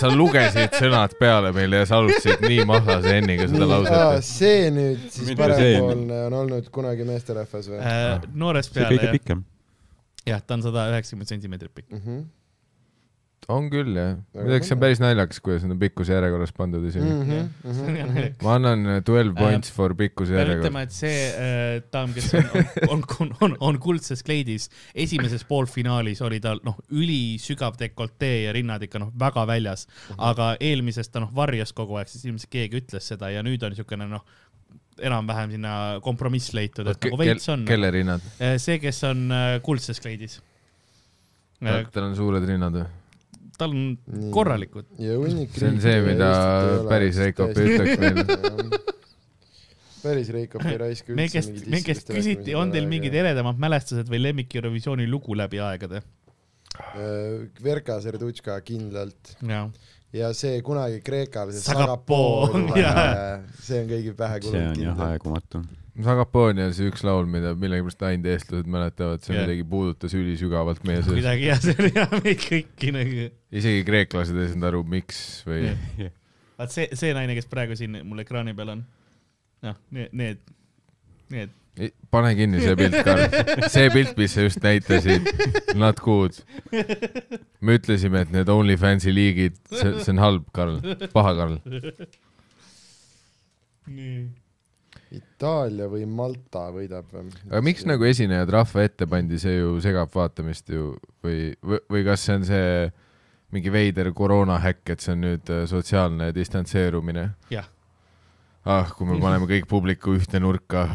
sa lugesid sõnad peale meile ja sa alustasid nii mahlase N-iga seda lauset .
see nüüd siis
Mitte see.
parempoolne on olnud kunagi meesterahvas või ?
äh, noorest
see kõige
peale jah ,
pikem .
jah , ta on sada üheksakümmend sentimeetrit pikk .
Mhm.
on küll jah , muideks see on päris naljakas , kuidas nad on pikkuse järjekorras pandud
Mm.
isegi .
Mhm,
[LAUGHS]
ma annan äh, twelve points for pikkuse
pean
järjekord .
Äh, ütlema , et see äh, daam , kes on , on , on , on kuldses kleidis , esimeses poolfinaalis oli tal noh , ülisügav dekoltee ja rinnad ikka noh , väga väljas , aga eelmises ta noh varjas kogu aeg , siis ilmselt keegi ütles seda ja nüüd on niisugune noh , enam-vähem sinna kompromiss leitud , et nagu veits on .
kelle rinnad ?
see , kes on äh, kuldses kleidis . Äh.
tal on suured rinnad või ?
tal on korralikud ,
ja hunnik .
see on see , mida päris Reikop
[LAUGHS]
ütleks meile . [LAUGHS]
meile . päris Reikop ei raiska üldse .
meie käest , meie käest küsiti , on teil mingid ? eredamad mälestused või lemmik Eurovisiooni lugu läbi aegade ? e-
Äh, Verka Serdutška kindlalt
jaa ,
ja see kunagi Kreekal , see
Sagapoo, [LAUGHS]
Sagapoo ,
jaa.
see on kõigi pähe
see
kulunud
on jah
kindlalt .
aegumatu .
Sagapooni on see üks laul , mida millegipärast ainult eestlased mäletavad , see
Jah.
midagi puudutas ülisügavalt meie sees .
kuidagi jah , see oli jah meid kõiki nagu .
isegi kreeklased ei saanud aru , miks või
Jah. vaat see , see naine , kes praegu siin mul ekraani peal on , noh , need , need , need ,
Ei, pane kinni see pilt , Karl . see pilt , mis sa just näitasid , not good . me ütlesime , et need OnlyFansi liigid , see , see on halb , Karl , paha , Karl .
nii .
Itaalia või Malta võidab või ?
aga miks nagu esinejad rahva ette pandi , see ju segab vaatamist ju või , või , või kas see on see mingi veider koroona häkk , et see on nüüd äh, sotsiaalne distantseerumine ?
Jah. .
ah , kui me paneme kõik publiku ühte nurka ,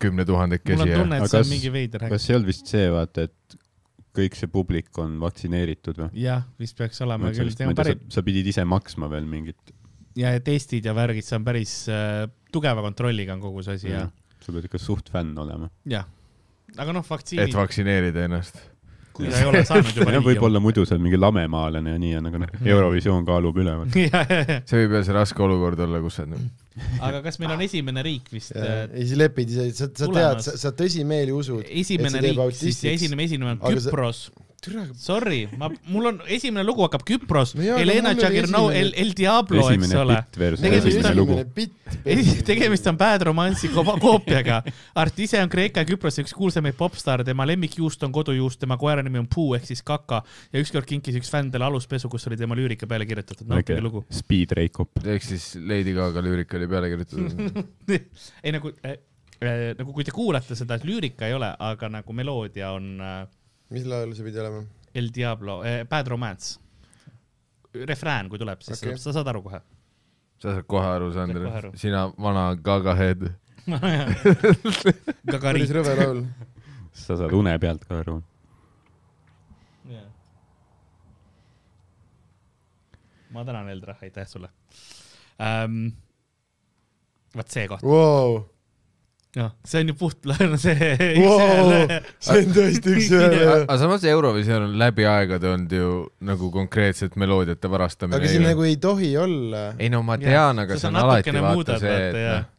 kümne
mul
tuhandekesi
on
ja
tunne , et
Aga
see on
kas-
mingi veider häkk .
kas ei olnud vist see , vaata , et kõik see publik on vaktsineeritud või ?
jah , vist peaks
ma
olema
ei
küll , see
tea ,
on päris ,
sa pidid ise maksma veel mingit .
ja testid ja värgid , see on päris äh, tugeva kontrolliga on kogu see asi ja ,
sa pead ikka suht fänn olema .
jah . aga noh ,
et
vaktsiinid ,
vaktsineerida ennast .
kui sa ei ole saanud
[LAUGHS]
juba
jah , Noh, võib-olla muidu seal mingi lamemaalane ja nii on , aga
Mm.
noh , Eurovisioon kaalub üleval .
võib-olla .
see võib jälle see raske olukord olla , kus sa
aga kas meil on esimene riik vist ? äh,
ei , siis lepid ise , sa , sa tead ,
Tulemas.
sa , sa tõsimeeli usud .
esimene
et see teeb
riik , siis
autistiks.
esimene esimene on
Aga sa-
Küpros .
türa ,
Sorry , ma , mul on , esimene lugu hakkab Küpros
No jaa, , aga
Helena
mul oli
Jagirnau , El
esimene- ,
El Diablo , eks
esimene
ole .
bitt versus
Tegelikult
esimene
on-
lugu .
tegemist on Bad Romance'i ko- koopiaga . arst ise on Kreeka ja Küprose üks kuulsamaid popstaare , tema lemmikjuust on kodujuust , tema koera nimi on Puu ehk siis Kaka ja ükskord kinkis üks fänn talle aluspesu , kus oli tema lüürika peale kirjutatud , nautige lugu . [LAUGHS]
Speed Reikop .
ehk siis Lady Gaga lüürika oli peale kirjutatud .
[LAUGHS] ei nagu äh, , äh, nagu kui te kuulate seda , lüürika ei ole , aga nagu meloodia on äh,
mis laul see pidi olema ?
El Diablo äh, , Bad Romance . refrään , kui tuleb , siis
Okei.
okay. sa saad aru kohe .
sa saad kohe aru , Sander
Saad kohe aru. ,
sina vana Gaga head .
päris
Gagarin .
rõve laul .
sa saad une pealt ka aru .
ma tänan , Eldra , aitäh sulle ähm, . vot see koht ,
Wow.
noh , see on ju puht , [LAUGHS] see
Wow. . see on tõesti üks-ühele .
aga samas Eurovisioon on läbi aegade olnud ju nagu konkreetselt meloodiate varastamine .
aga siin nagu ei tohi olla .
ei no ma
Jah,
tean , aga
sa-
see
sa
on alati
natukene
vaata
muudad,
see ,
vaata,
et
jah.
noh,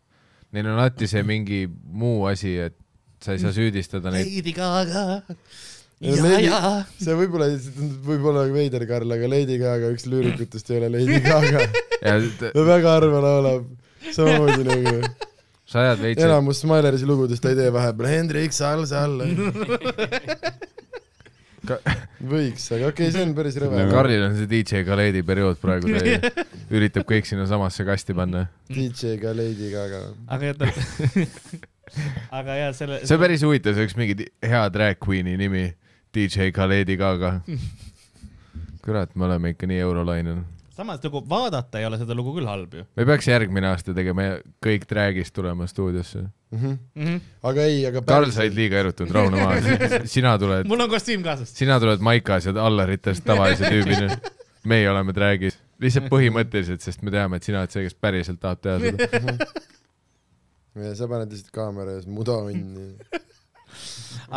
neil on alati see mingi muu asi , et sa ei saa süüdistada
[LAUGHS]
neid .
Lady Gaga .
Ja
ja ,
Lady-
ja .
see võib-olla , see tundub võib-olla veider , Karl , aga Lady Gaga , üks lüürikutest ei ole Lady Gaga .
[LAUGHS]
ta väga harva laulab . samamoodi nagu
sa ajad veits ,
enamus Smilersi lugudest ta ei tee vahepeal Hendrik Sals alla .
Ka-
võiks , aga okei okay, , see on päris rõve
Nagu- .
Karlil on see DJ Khaledi periood praegu ,
[LAUGHS]
ta üritab kõik sinnasamasse kasti panna .
DJ-ga Lady Gaga .
aga jätab . [LAUGHS] aga ja selle .
see on päris huvitav , see oleks mingi di- hea drag queen'i nimi , DJ Khaledi
[LAUGHS]
Gaga . kurat , me oleme ikka nii eurolainel .
samas nagu vaadata ei ole seda lugu küll halb ju
me peaks järgmine aasta tegema kõik drag'ist tulema stuudiosse .
mm . -hmm.
Mhm. aga ei , aga
Karl , sa oled liiga erutanud , rahune
[LAUGHS]
maha , sina tuled ,
mul on kostüüm kaasas .
sina tuled Maikas ja Allaritest tavalise tüübina . meie oleme drag'is , lihtsalt põhimõtteliselt , sest me teame , et sina oled see , kes päriselt tahab teha seda .
ja sa paned lihtsalt kaamera ees muda onni .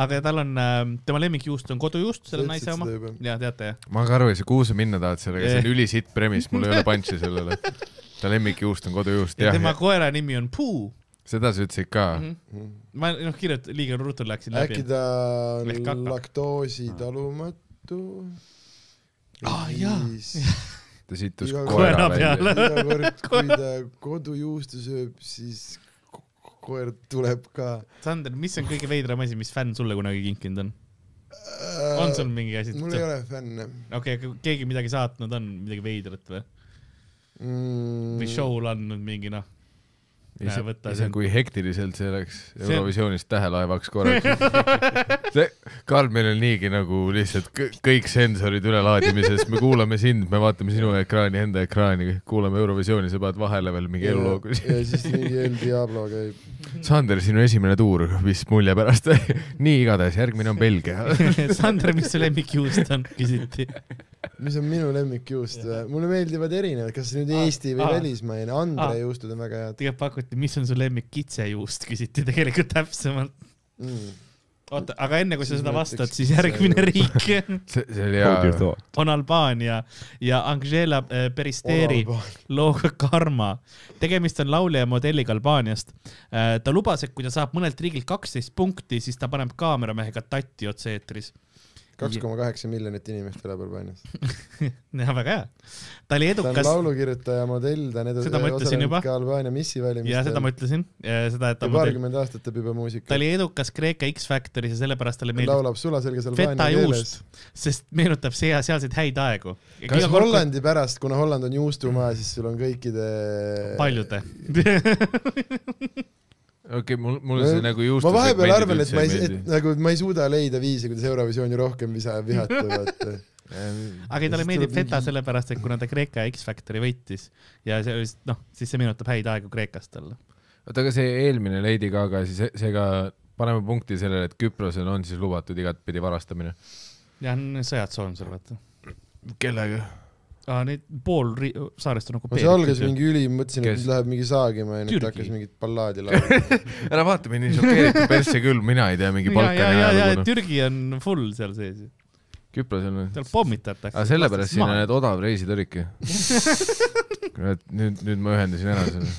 aga tal on äh, , tema lemmikjuust on kodujuust , selle
Sa
naise
ütlesid
oma
seda juba. .
ja teate jah .
ma ka aru ei saa , kuhu sa minna tahad sellega , see on ülisitt premise , mul ei ole punch'i sellele . ta lemmikjuust on kodujuust ,
ja
jah ,
tema Mhm. koera nimi on Puu .
seda sa ütlesid ka .
Mhm.
ma noh , kirjut- , liiga ruttu läksin läbi
äkki . ta
Ehk
on
kaka.
laktoositalumatu ?
Ah, jaa.
ta sittus
Iga
koera
koera
välja .
peale.
iga kord ,
[LAUGHS]
kui ta kodujuustu sööb , siis ko- ko- koer tuleb ka .
Sander , mis on kõige veidram asi , mis fänn sulle kunagi kinkinud on ? on sul ? mingi asi ?
Äh, mul ei ole fänne
okei , aga keegi midagi saatnud on , midagi veidrat või ?
mm,
või show'l andnud mingi
[LAUGHS]
noh , näe võta
ise
see on-
kui hektiliselt see läks
on-
Eurovisioonist tähelaevaks korraks . see , Karl , meil on niigi nagu lihtsalt kõ- kõik sensorid ülelaadimises , me kuulame sind , me vaatame sinu ekraani , enda ekraani , kuulame Eurovisiooni , sa paned vahele veel mingi eluloogu .
ja ja siis mingi El Diablo käib .
Sander , sinu esimene tuur , mis mulje pärast ? [LAUGHS] nii , igatahes järgmine on Belgia .
[LAUGHS] Sander , mis su lemmikjuust on , küsiti .
mis on minu lemmikjuust
Jah. ? Ah,
mulle meeldivad erinevad , kas nüüd
Aa,
Eesti või
aa.
välismaine , Andre
Aa.
juustud on väga head
tegelikult pakuti , mis on su lemmik kitsejuust , küsiti tegelikult täpsemalt .
mm. .
oota , aga enne kui sa
Siis
seda
ma
vastad ,
ütleks
siis järgmine riik [LAUGHS]
see , see oli
Hold your
hea .
thought .
on Albaania ja Angela äh, Peristeri . looga Karma . tegemist on laulja ja modelliga Albaaniast . ta lubas , et kui ta saab mõnelt riigilt kaksteist punkti , siis ta paneb kaameramehega tatti otse-eetris . [LAUGHS]
kaks koma kaheksa miljonit inimest elab Albaanias .
jah , väga hea . ta oli
ta on
edukas
laulukirjutaja , modell , ta on edu-
Seda ma ütlesin
osalenud
juba.
ka Albaania missi
ja seda
valimistel .
ma ütlesin , seda , et
ja
ta modell ,
paarkümmend aastat teeb juba muusikat
ta . oli edukas Kreeka X-Factoris ja sellepärast talle meeldib
laulab sulaselges
feta
albaania keeles .
juust , sest meenutab see , sealseid häid aegu .
kas Hollandi pärast , kuna Holland on juustumaa , siis sul on kõikide [LAUGHS]
paljude .
okei okay, , mul , mulle see nagu juustu .
Äh, ma vahepeal arvan , et ma ei , et nagu ma ei suuda leida viisi , kuidas Eurovisiooni rohkem visa ,
[LAUGHS]
vihata , vaata . noh,
aga ei,
Siis
talle meeldib
tuleb mingi-
feta sellepärast , et kuna ta Kreeka X-Factori võitis ja see , noh , siis see meenutab häid aegu Kreekast talle .
oota , aga see eelmine Lady Gaga , siis seega paneme punkti sellele , et Küprosel on siis lubatud igatpidi varastamine .
jah , on sõjatsoon seal , vaata .
kellega ?
aa , neid pool ri- saarest on
no see algas . mingi üli , mõtlesin , et
Kes?
nüüd läheb mingi saagima ja nüüd
Türgi.
ta hakkas mingit ballaadi
[LAUGHS]
laulma .
ära [LAUGHS] vaata mind nii šokeeritud persse küll , mina ei tea mingi
ja , ja ,
Balkani
ja , ja
ajalugu .
Türgi on full seal sees ju .
Küprosel on .
seal pommitatakse .
aga sellepärast siin on need odav [LAUGHS] reisitõrike . kurat , nüüd , nüüd ma ühendasin ära selle .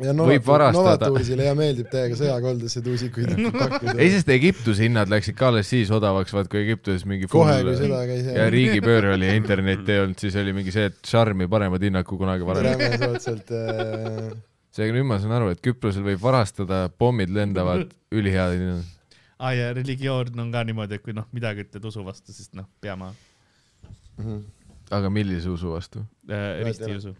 ja
Võib varastada.
Novatuurisile ja meeldib täiega sõjakoldesse tuusikuid
[LAUGHS]
ei ,
pakkuda .
sest Egiptuse hinnad läksid ka alles siis odavaks , vaat kui Egiptuses mingi
kohe ,
full-
kui sõda käis
ja riigipööre oli ja internetti ei olnud , siis oli mingi see , et Charmi paremad hinnad kui kunagi varem .
Räme soodsalt äh, .
seega nüüd ma saan aru , et Küprosel võib varastada , pommid lendavad , ülihead hinnad .
[LAUGHS] aa ja religioon on ka niimoodi , et kui noh , midagi ütled usu vastu , siis noh , peame
mhm.
aga millise usu vastu ?
äh, ristiusu .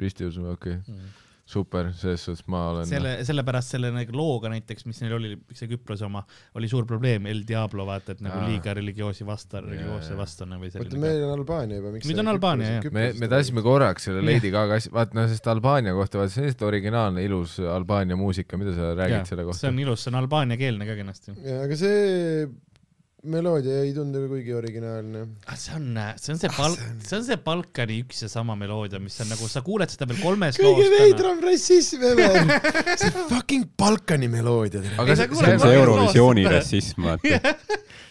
ristiusu , okei okay. , super , selles suhtes ma olen
selle , sellepärast selle nagu looga näiteks , mis neil oli , see Küprose oma , oli suur probleem , El Diablo vaata , et nagu
Aa.
liiga religioosse vasta ,
Jaa,
religioosse
jaa.
vastane või
oota ,
selline .
meil on Albaania juba , miks
Nüüd on Albaania, jah.
me , me tahtsime korraks selle
Jah.
Lady Gaga asja , vaat noh , sest Albaania kohta , vaat see on lihtsalt originaalne ilus Albaania muusika , mida sa räägid selle
see
kohta ?
on ilus , see on albaaniakeelne ka kenasti .
ja aga see meloodia ei tundu ka kuigi originaalne .
Ah, see on , see
Ah,
on see Bal- , see on see Balkani üks ja sama meloodia , mis on nagu , sa kuuled seda veel kolmes
kõige
loos .
veidram rassism ever . [LAUGHS] see fucking Balkani meloodia .
aga
Ei, sa
see ,
see
kuuled
see
on
on ,
see
Valges
Eurovisiooni
loos.
rassism ,
[LAUGHS]
vaata .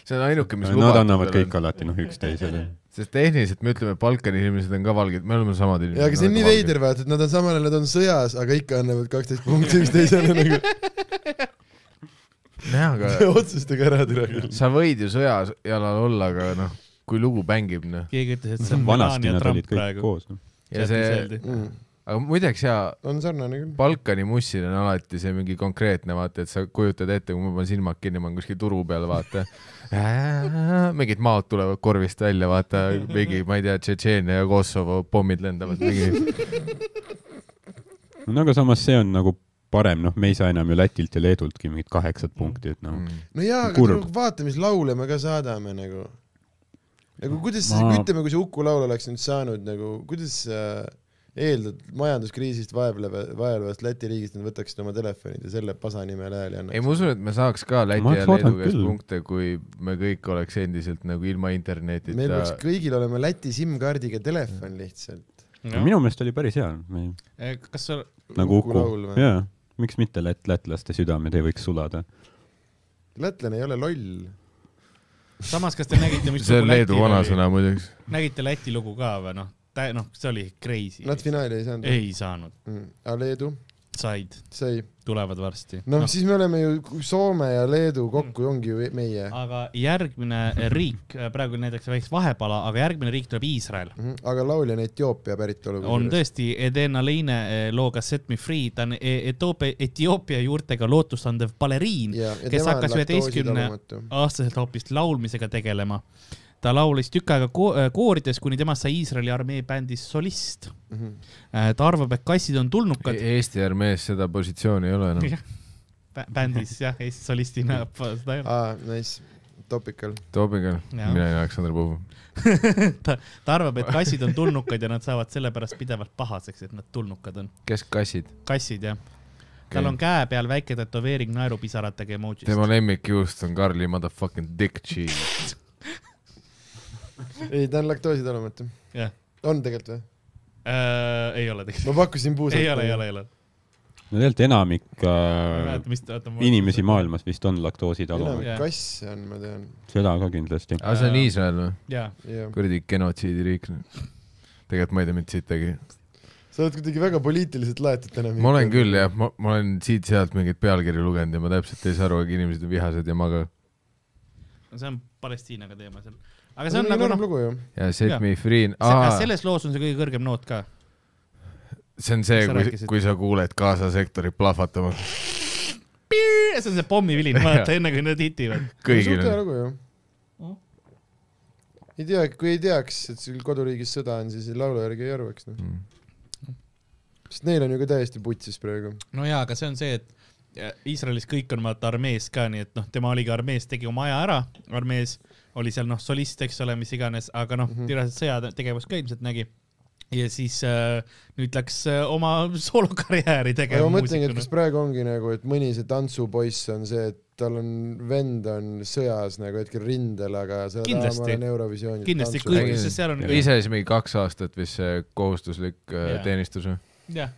see on ainuke , mis
Nad annavad kõik
lubatud on .
alati noh üksteisele .
sest tehniliselt me ütleme , et Balkani inimesed on ka valged , me oleme samad inimesed .
ja aga see on nii veider , vaata , et nad on samal ajal , nad on sõjas , aga ikka annavad kaksteist punkti üksteisele nagu
jah ,
[LAUGHS]
aga
otsustage ära tule küll .
sa võid ju sõjajalal olla , aga noh , kui lugu mängib , noh .
keegi ütles , et see on
vanasti
Melania
nad
Trump
olid kõik
praegu .
koos . noh.
ja see , aga muideks jaa ,
Mm. on sarnane küll .
Balkani mussil on alati see mingi konkreetne , vaata , et sa kujutad ette , kui ma panen silmad kinni , ma olen kuskil turu peal , vaata . mingid maod tulevad korvist välja , vaata , mingi , ma ei tea , Tšetšeenia ja Kosovo pommid
[LAUGHS]
lendavad mingi .
no aga samas see on nagu parem , noh , me ei saa enam ju Lätilt ja Leedultki mingit kaheksat
Mm.
punkti , et
Mm.
noh .
no jaa , aga
Kurb.
tuleb vaata , mis laule me ka saadame nagu . nagu kuidas sa
Ma-
Ma... , ütleme , kui see Uku laul oleks nüüd saanud nagu , kuidas sa eeldad majanduskriisist vaevleva , vaevlevast Läti riigist , nad võtaksid oma telefonid ja selle pasa nimel hääli
ei ,
annaks .
ma usun , et me saaks ka
Ma
Läti ja
oleks
Leedu
oodanud
käest
küll.
punkte , kui me kõik oleks endiselt nagu ilma internetita .
meil peaks kõigil olema Läti SIM-kaardiga telefon lihtsalt .
minu meelest oli päris hea .
Äh, kas sa ,
Nagu Uku.
laul või ?
jaa , miks mitte lätt- , lätlaste südamed ei võiks sulada .
lätlane ei ole loll .
samas , kas te nägite , mis
see on
lugu Läti
Leedu
oli?
vanasõna muideks .
nägite Läti lugu ka või noh , noh , see oli crazy .
Nad finaali ei saanud .
ei saanud ,
aga Leedu
said ,
sai .
tulevad varsti
noh no. , siis me oleme ju Soome ja Leedu kokku ongi ju meie .
aga järgmine riik , praegu näiteks väikest vahepala , aga järgmine riik tuleb Iisrael .
Mhm. aga laulja on Etioopia päritolu .
Nagu
on . tõesti Edena Leine eh, looga Set me free , ta on eh, Etoopia , Etioopia juurtega lootustandev baleriin ,
ja , ja
kes
tema on
hakkas üheteistkümne
laktoositalumatu .
aastaselt hoopis laulmisega tegelema . ta laulis tükk aega ko eh, koorides , kuni temast sai Iisraeli armee bändis solist .
Mhm.
ta arvab , et kassid on tulnukad .
E-, Eesti armees seda positsiooni ei ole
[LAUGHS]
enam .
bändis jah , Eesti solistina [LAUGHS] seda
Ah.
ei ole .
aa , Ah, nice , topical .
Toobiga ,
Jaa.
mina olin Aleksandr Puhu .
ta , ta arvab , et kassid on tulnukad ja nad saavad sellepärast pidevalt pahaseks , et nad tulnukad on .
kes kassid ?
kassid jah . tal on käe peal väike tätoveering naerupisaratega emotsioonist
tema . lemmikjuust on Karli motherfucking dick cheese .
ei , ta on laktoositalumatu .
jah ,
on tegelikult või ?
Eh, ei ole tegelikult .
ma pakkusin puusalt .
ei ole , ei ole , ei ole .
no tegelikult enamik
ma ei
äh,
mäleta , mis ta , oota .
inimesi . maailmas vist on laktoositalu ,
enamik
Jaa.
kasse on , ma tean .
seda ka kindlasti .
aga see on Iisrael või ?
jaa ,
jah .
kuradi genotsiidiriik . tegelikult ma ei tea mitte sittagi .
sa oled kuidagi väga poliitiliselt laetud täna .
ma olen . küll jah , ma , ma olen siit-sealt mingeid pealkirju lugenud ja ma täpselt ei saa aru , aga inimesed on vihased ja ma ka .
see on Palestiinaga teema seal . aga
see
see on nagu noh ,
lugu ju .
ja Set
Jaa.
me free , see
selles loos on see kõige kõrgem noot ka .
on see
sa ,
kui
rääkisid. ,
kui sa kuuled Gaza sektorit plahvatamas .
see on see pommivilin , [LAUGHS] vaata enne kui nad hitivad .
kõigil
suht hea
on .
lugu ju
Mm. .
ei tea , kui ei teaks , et sul koduriigis sõda on , siis laulu järgi ei arvaks , noh .
Mm.
sest neil on ju ka täiesti putsis praegu .
no jaa , aga see on see , et ja Iisraelis kõik on vaata armees ka , nii et noh , tema oligi armees , tegi oma aja ära armees , oli seal noh , solist , eks ole , mis iganes , aga noh mm
Mhm.
-hmm. , tiraselt sõjategevust ka ilmselt nägi . ja siis äh, nüüd läks äh, oma soolokarjääri
aga
tegema
ma mõtlengi , et
muusikuna.
kas praegu ongi nagu , et mõni see tantsupoiss on see , et tal on , vend on sõjas nagu hetkel rindel , aga sa tahad ,
Kindlasti.
ma olen Eurovisioonis .
kindlasti kõik ,
tantsumängija.
sest seal on kõik ,
ise siis mingi kaks aastat vist see kohustuslik äh,
Jaa.
teenistus või ?
jah .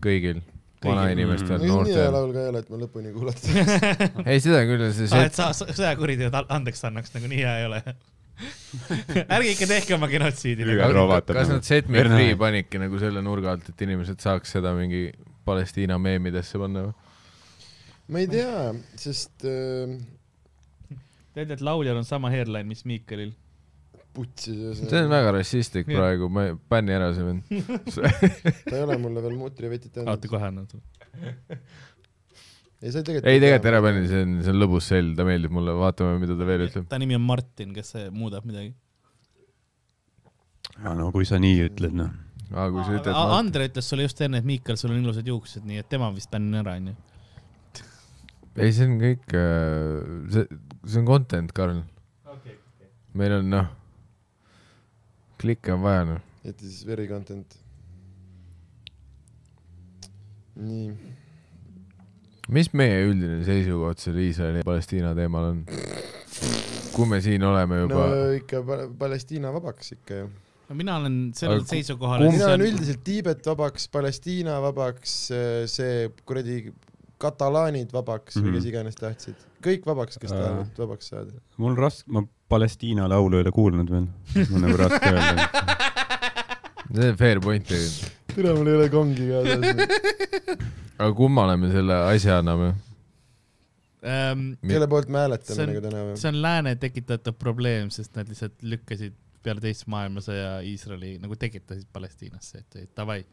kõigil ,
Kõigil. Mm.
vanainimestel ,
no, . nii hea
noortel .
laul ka ei ole , et ma lõpuni
[LAUGHS]
kuulata .
ei , seda küll , see
Ah,
Set
et sa sa- sõjakuriteod al- andeks annaks , nagu nii hea ei ole . [LAUGHS] ärge ikka tehke oma genotsiidi .
Lüga- ÜRO vaatab
kas
nagu-
nad Set Me
Verna-
Free panidki nagu selle nurga alt , et inimesed saaks seda mingi Palestiina meemidesse panna või ?
ma ei tea , sest äh,
Teate , nagu- et lauljal on sama hairline , mis Miikalil .
putsi sees ,
see on väga rassistlik
Jah.
praegu , ma ei , bänni ära see vend .
ta ei ole mulle veel mutrivetit
oota ,
andnud .
kohe annan sulle .
ei , sa tegelikult
ei , tegelikult ära bänni , see on , see on lõbus sell , ta meeldib mulle , vaatame , mida ta veel ütleb .
ta nimi on Martin , kas see muudab midagi ?
no kui sa nii ütled , noh .
aa , kui sa ütled ,
Andre ütles sulle just enne , et Miikal , sul on ilusad juuksed , nii et tema vist bännin ära , onju .
ei , see on kõik , see , see on content , Karl . meil on noh , klikke on vaja noh .
It is very content . nii ,
mis meie üldine seisukoht selle Iisraeli ja Palestiina teemal on ? kui me siin oleme
no
juba no, ,
ikka Pal- Palestiina vabaks ikka ju .
no mina olen sellel
Aga ku-
seisukohal ,
kumb-
et
mina
see
olen
on ,
üldiselt Tiibet vabaks , Palestiina vabaks , see kuradi katalaanid vabaks mm -hmm.
Mhm.
või kes iganes tahtsid , kõik vabaks , kes
Aa.
tahavad vabaks saada .
mul raske , ma Palestiina laulu ei ole kuulnud veel . mul nagu raske
[LAUGHS]
öelda .
see on fair point tegelikult .
tere , mul ei ole kongi kaasas .
aga kummale me selle asja anname ?
ähm,
[LAUGHS] kelle poolt me
See on-
hääletame nagu täna või ?
see on lääne tekitatav probleem , sest nad lihtsalt lükkasid peale teist maailmasõja Iisraeli nagu tekitasid Palestiinasse , et et davai ,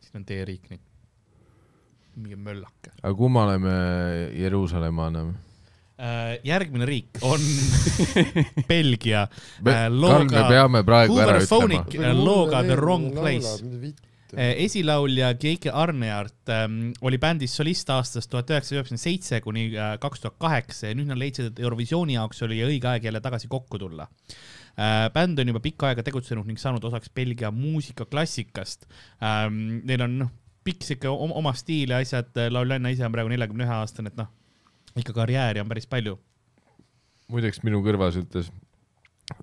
siin on teie riik nüüd . mingi möllake
aga kummale me Jeruusalemma anname ?
äh, . järgmine riik on Belgia äh,
Karl , me
looga ,
peame praegu ära ütlema .
Hooverphonic- äh, looga The Wrong Place. . äh, esilaulja Keike Arneart ähm, oli bändis solist aastast tuhat üheksasada üheksakümmend seitse kuni äh, kaks tuhat kaheksa ja nüüd nad leidsid , et Eurovisiooni jaoks oli õige aeg jälle tagasi kokku tulla äh, . bänd on juba pikka aega tegutsenud ning saanud osaks Belgia muusikaklassikast ähm, . Neil on noh , pikk sihuke om- oma stiil ja asjad , lauljanna ise on praegu neljakümne ühe aastane , et noh , ikka karjääri on päris palju .
muideks minu kõrvas ütles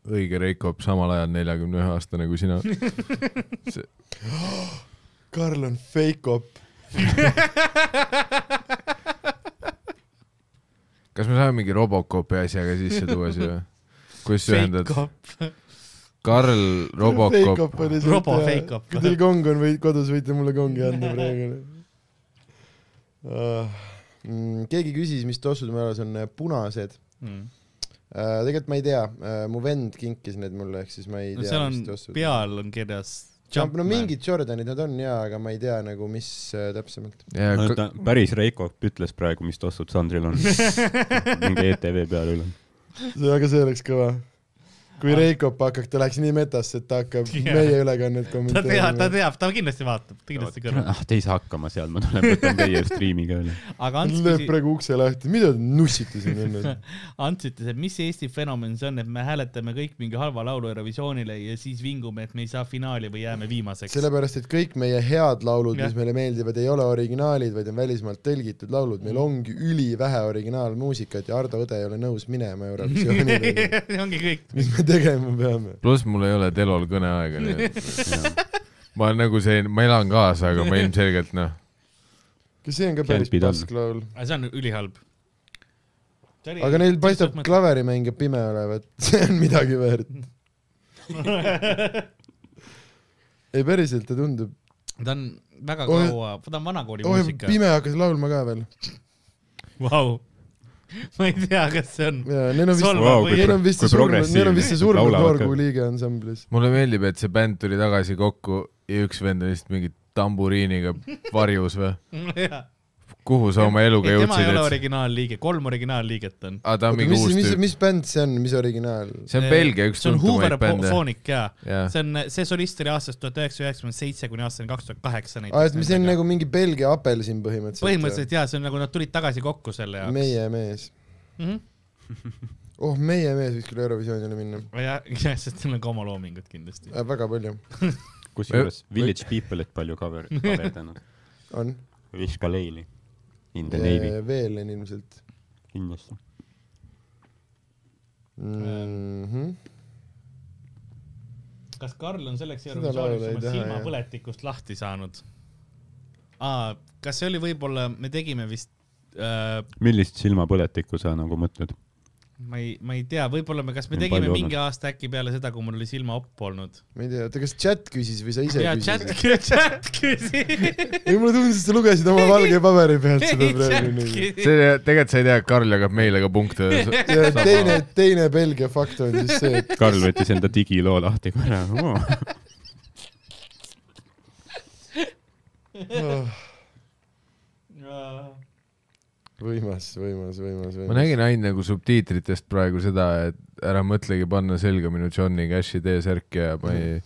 õige Reikop samal ajal neljakümne ühe aastane kui
[LAUGHS]
sina .
Karl on fake-op .
kas me saame mingi Robocopi asjaga sisse tuua
[LAUGHS]
siia ? kuidas sa ühendad ? Karl Robocop ,
Fake-op oli äh,
Robo fake-op.
kui teil kong on või kodus , võite mulle kongi anda praegu
[LAUGHS]
uh, . keegi küsis , mis tossud minu arust on äh, punased
Mm.
uh, . tegelikult ma ei tea uh, , mu vend kinkis need mulle , ehk siis ma ei
no
tea ,
seal on
mis tossud .,
peal on kirjas .
no mingid Jordanid nad on jaa , aga ma ei tea nagu , mis uh, täpsemalt .
ta päris Reiko ütles praegu , mis tossud Sandril
[LAUGHS]
on . mingi ETV peal üle .
aga see oleks kõva . kui Reikop hakkaks , ta läheks nii metasse , et ta hakkab
Ah. Jaa.
yeah. meie ülekannet
ta teab , ta
kommenteerima .
teab , ta kindlasti vaatab , ta kindlasti [LAUGHS] kõrvab .
ah , te ei saa hakkama seal , ma tulen võtan
[LAUGHS]
teie striimi ka üle .
aga Ants
ta lööb
küsis ,
praegu ukse lahti , mida te nussite siin
[LAUGHS]
enne ?
Ants ütles , et mis Eesti fenomen see on , et me hääletame kõik mingi halva laulu Eurovisioonile ja siis vingume , et me ei saa finaali või jääme viimaseks .
sellepärast , et kõik meie head laulud ,
Jah.
mis meile meeldivad , ei ole originaalid , vaid on välismaalt tõlgitud laulud ,
Mm.
meil ongi ülivähe originaalmuusikat ja Ardo Õde ei ole nõus minema
[LAUGHS]
Eurovisioonile .
ongi kõik .
mis me tegema peame ?
pluss mul ei ole Telol kõneaega , nii et
[LAUGHS]
ma olen nagu see , ma elan kaasa , aga ma ilmselgelt noh ,
kas see on ka päris
Can't be done.
pask laul ?
aga see on ülihalb .
aga neil paistab klaverimängija pime olevat , [LAUGHS] see on midagi väärt . ei päriselt , ta tundub ,
[LAUGHS] ta on väga
Oi-
kaua , ta on vanakooli
oi
muusika .
pime hakkas laulma ka veel .
vau . [LAUGHS] ma ei tea , kas see on .
jaa , neil on vist ,
Solvav
Vau,
või-
kui
neil on vist see
Kui
surnud , neil on
progressiivne,
vist see
et
surnud
laulavad ka.
noorkuu liige ansamblis .
mulle meeldib , et see bänd tuli tagasi kokku ja üks vend oli lihtsalt mingi tamburiiniga varjus või ?
[LAUGHS] jaa .
kuhu sa oma eluga
ei , tema ei
jõudsid ,
ole
et
originaalliige , kolm originaalliiget on .
aa , ta on mingi
mis ,
uus
mis ,
tüüp .
mis bänd see on , mis originaal ?
see on Belgia üks tuntumaid bände .
Hooverphonic jaa ,
jaa ,
see on , see solist oli aastast tuhat üheksasada üheksakümmend seitse kuni aastani kaks tuhat kaheksa
aa , et see on . nagu mingi Belgia apelsin põhimõtteliselt .
põhimõtteliselt jaa , see on nagu nad tulid tagasi kokku selle jaoks .
meie mees .
mm .
oh , meie mees võiks küll Eurovisioonile minna .
-hmm. [LAUGHS] ja , ja sest neil on ka oma loomingut kindlasti .
väga palju
kusjuures Village People'it palju
[LAUGHS]
cover , coverdanud .
on .
Viska Leili . In the Navy ,
veel on ilmselt
kindlasti .
mm . -hmm.
kas Karl on selleks
Seda laulu ei
Eurovisiooniks oma
taha, jah.
silmapõletikust lahti saanud ? aa , kas see oli võib-olla , me tegime vist äh,
millist silmapõletikku sa nagu mõtled ?
ma ei , ma ei tea , võib-olla me , kas me
Nii
tegime
palju
mingi aasta äkki peale seda , kui mul oli silma opp olnud .
ma ei tea , oota kas chat küsis või sa ise
ja chat [LAUGHS]
küsisid ?,
chat küsis .
ei , mulle tundus , et sa lugesid oma valge paberi pealt seda praegu nii .
küsis .
see , tegelikult sa ei tea , Karl jagab meile ka
[LAUGHS]
punkte .
ja teine , teine Belgia fakt on siis see , et
Karl võttis enda digiloo lahti korra oh. .
oh, võimas , võimas , võimas ,
ma
võimas .
nägin ainult nagu subtiitritest praegu seda , et ära mõtlegi panna selga minu Johnny Cashi T-särk ja ma ei ,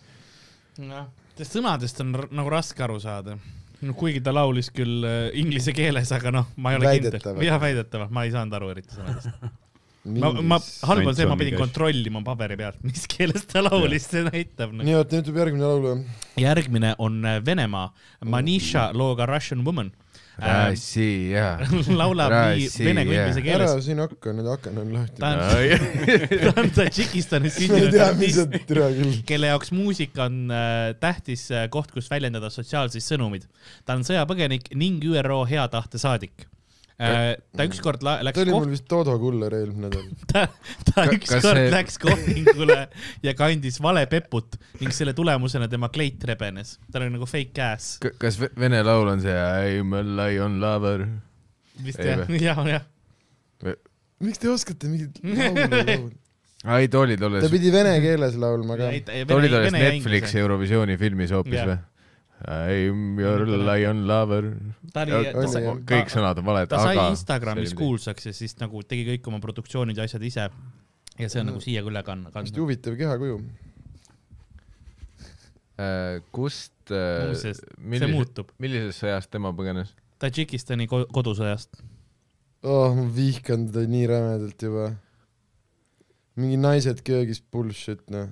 [LAUGHS] noh , sõnadest on r- nagu raske aru saada . no kuigi ta laulis küll äh, inglise keeles , aga noh , ma ei ole kindel
Väidetavalt. .
jah , väidetavalt , ma ei saanud aru eriti sõnadest . ma , ma , halb on see , ma
Johnny
pidin
Cash.
kontrollima paberi pealt , mis keeles ta laulis , see näitab nagu .
nii , oota , nüüd tuleb järgmine laul või ?
järgmine on äh, Venemaa , Manisha looga Russian Woman . Äh.
rassi ja .
[LAUGHS] laulab nii
Rassi,
vene kui
jah.
inglise
ära
keeles .
siin hakka , nüüd aken on lahti
ta . on , [LAUGHS] ta on
[LAUGHS] ma
Tadžikistani
ei
sündinud
tea , mis
artist
sa , türa küll .
kelle jaoks muusika on äh, tähtis äh, koht , kus väljendada sotsiaalseid sõnumeid . ta on sõjapõgenik ning ÜRO hea tahte saadik . ta ükskord la- läks
ta oli
kohtu
mul , vist Todo Kuller eelmine nädal .
ta, ta
Ka- kas
ükskord
see-
läks kohtingule ja kandis vale peput ning selle tulemusena tema kleit rebenes . tal oli nagu fake ass .
kas ve- vene laul on see I m a lion lover ?
vist
Ei
jah , jah , jah .
miks te oskate
[LAUGHS]
mingit laulu laulda ?
ai , too oli tolles
ta , pidi vene keeles laulma ka .
too oli tolles Netflixi Eurovisiooni filmis hoopis
Jah.
või ? I m your lion lover .
ta
Oli,
oli ,
jah.
kõik sõnad on valed ,
ta sai
aga .
Instagramis . kuulsaks ja siis nagu tegi kõik oma produktsioonid ja asjad ise . ja see on nagu siia ka üle kann-
hästi
kandnud .
huvitav kehakuju .
Äh, kust ?
Muuseas, see muutub .
millisest sõjast tema põgenes ?
Tadžikistani ko- kodusõjast .
oh , ma vihkan teda nii rämedalt juba . mingi naised köögis bullshit noh .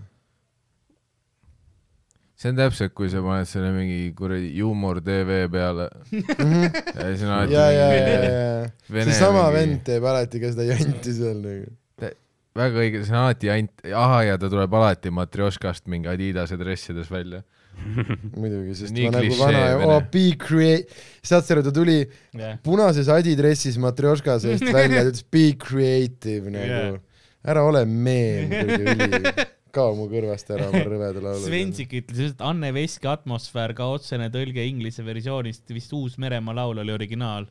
see on täpselt , kui sa paned selle mingi kuradi juumor tv peale ja siis on
ja ,
alati
ja , ja , ja ,
mingi
ja ,
[LAUGHS] vene
seesama
mingi-
vend teeb alati ka seda janti seal nagu .
väga õige , see on alati ainult , ahah , ja ta tuleb alati Matrjoškast mingi Adidase dressides välja .
muidugi , sest
Nii
ma nagu
klišee
vana
vene. ,
oh be create- , saad sa aru , ta tuli punases adidressis Matrjoška
[LAUGHS]
seest välja , ta ütles be creative nagu . ära ole meem , kuradi
[LAUGHS]
üli . kao mu kõrvast ära oma rõveda laulu .
Svensik ütles just , et Anne Veski atmosfäär ka otsene tõlge inglise versioonist , vist Uus-Meremaa laul oli originaal .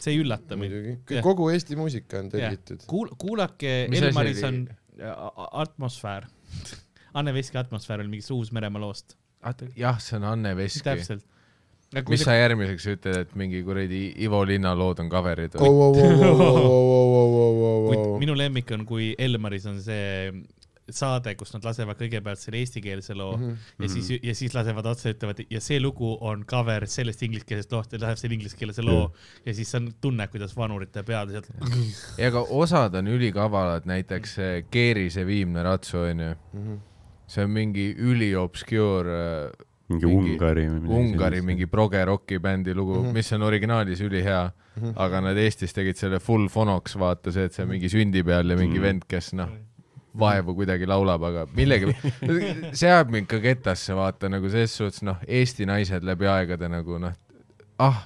see ei üllata mind .
muidugi
Jah. ,
kogu Eesti muusika on tõlgitud .
kuul- , kuulake
Mis asi
Elmaris
oli?
on a- a- atmosfäär . [LAUGHS] Anne Veski atmosfäär oli mingist Uus-Meremaa loost .
jah , see on Anne Veski .
täpselt .
mis sa järgmiseks ütled , et mingi kuradi Ivo Linna lood on cover'id
oh, . oh, oh, oh, oh, oh,
kuid
oh, oh.
minu lemmik on , kui Elmaris on see saade , kus nad lasevad kõigepealt selle eestikeelse loo
Mhm.
mm -hmm. ja
Mhm.
siis , ja siis lasevad otsa , ütlevad ja see lugu on cover sellest ingliskeelsest loost ja läheb selle ingliskeelse loo ja siis on tunne , kuidas vanurite pead
[LAUGHS]
sealt
ja ka osad on ülikavalad , näiteks eh, see Keerise viimne ratsu onju .
mhm.
see on mingi üliobscure äh,
mingi Ungari või midagi
Ungari . mingi progeroki bändi lugu mm , -hmm. mis on originaalis ülihea mm , -hmm. aga nad Eestis tegid selle full fonoks , vaata see , et see on mingi sündi peal ja mingi vend , kes noh , vaevu kuidagi laulab , aga millegi , see ajab mind ka ketasse , vaata nagu selles suhtes noh , Eesti naised läbi aegade nagu noh , ah ,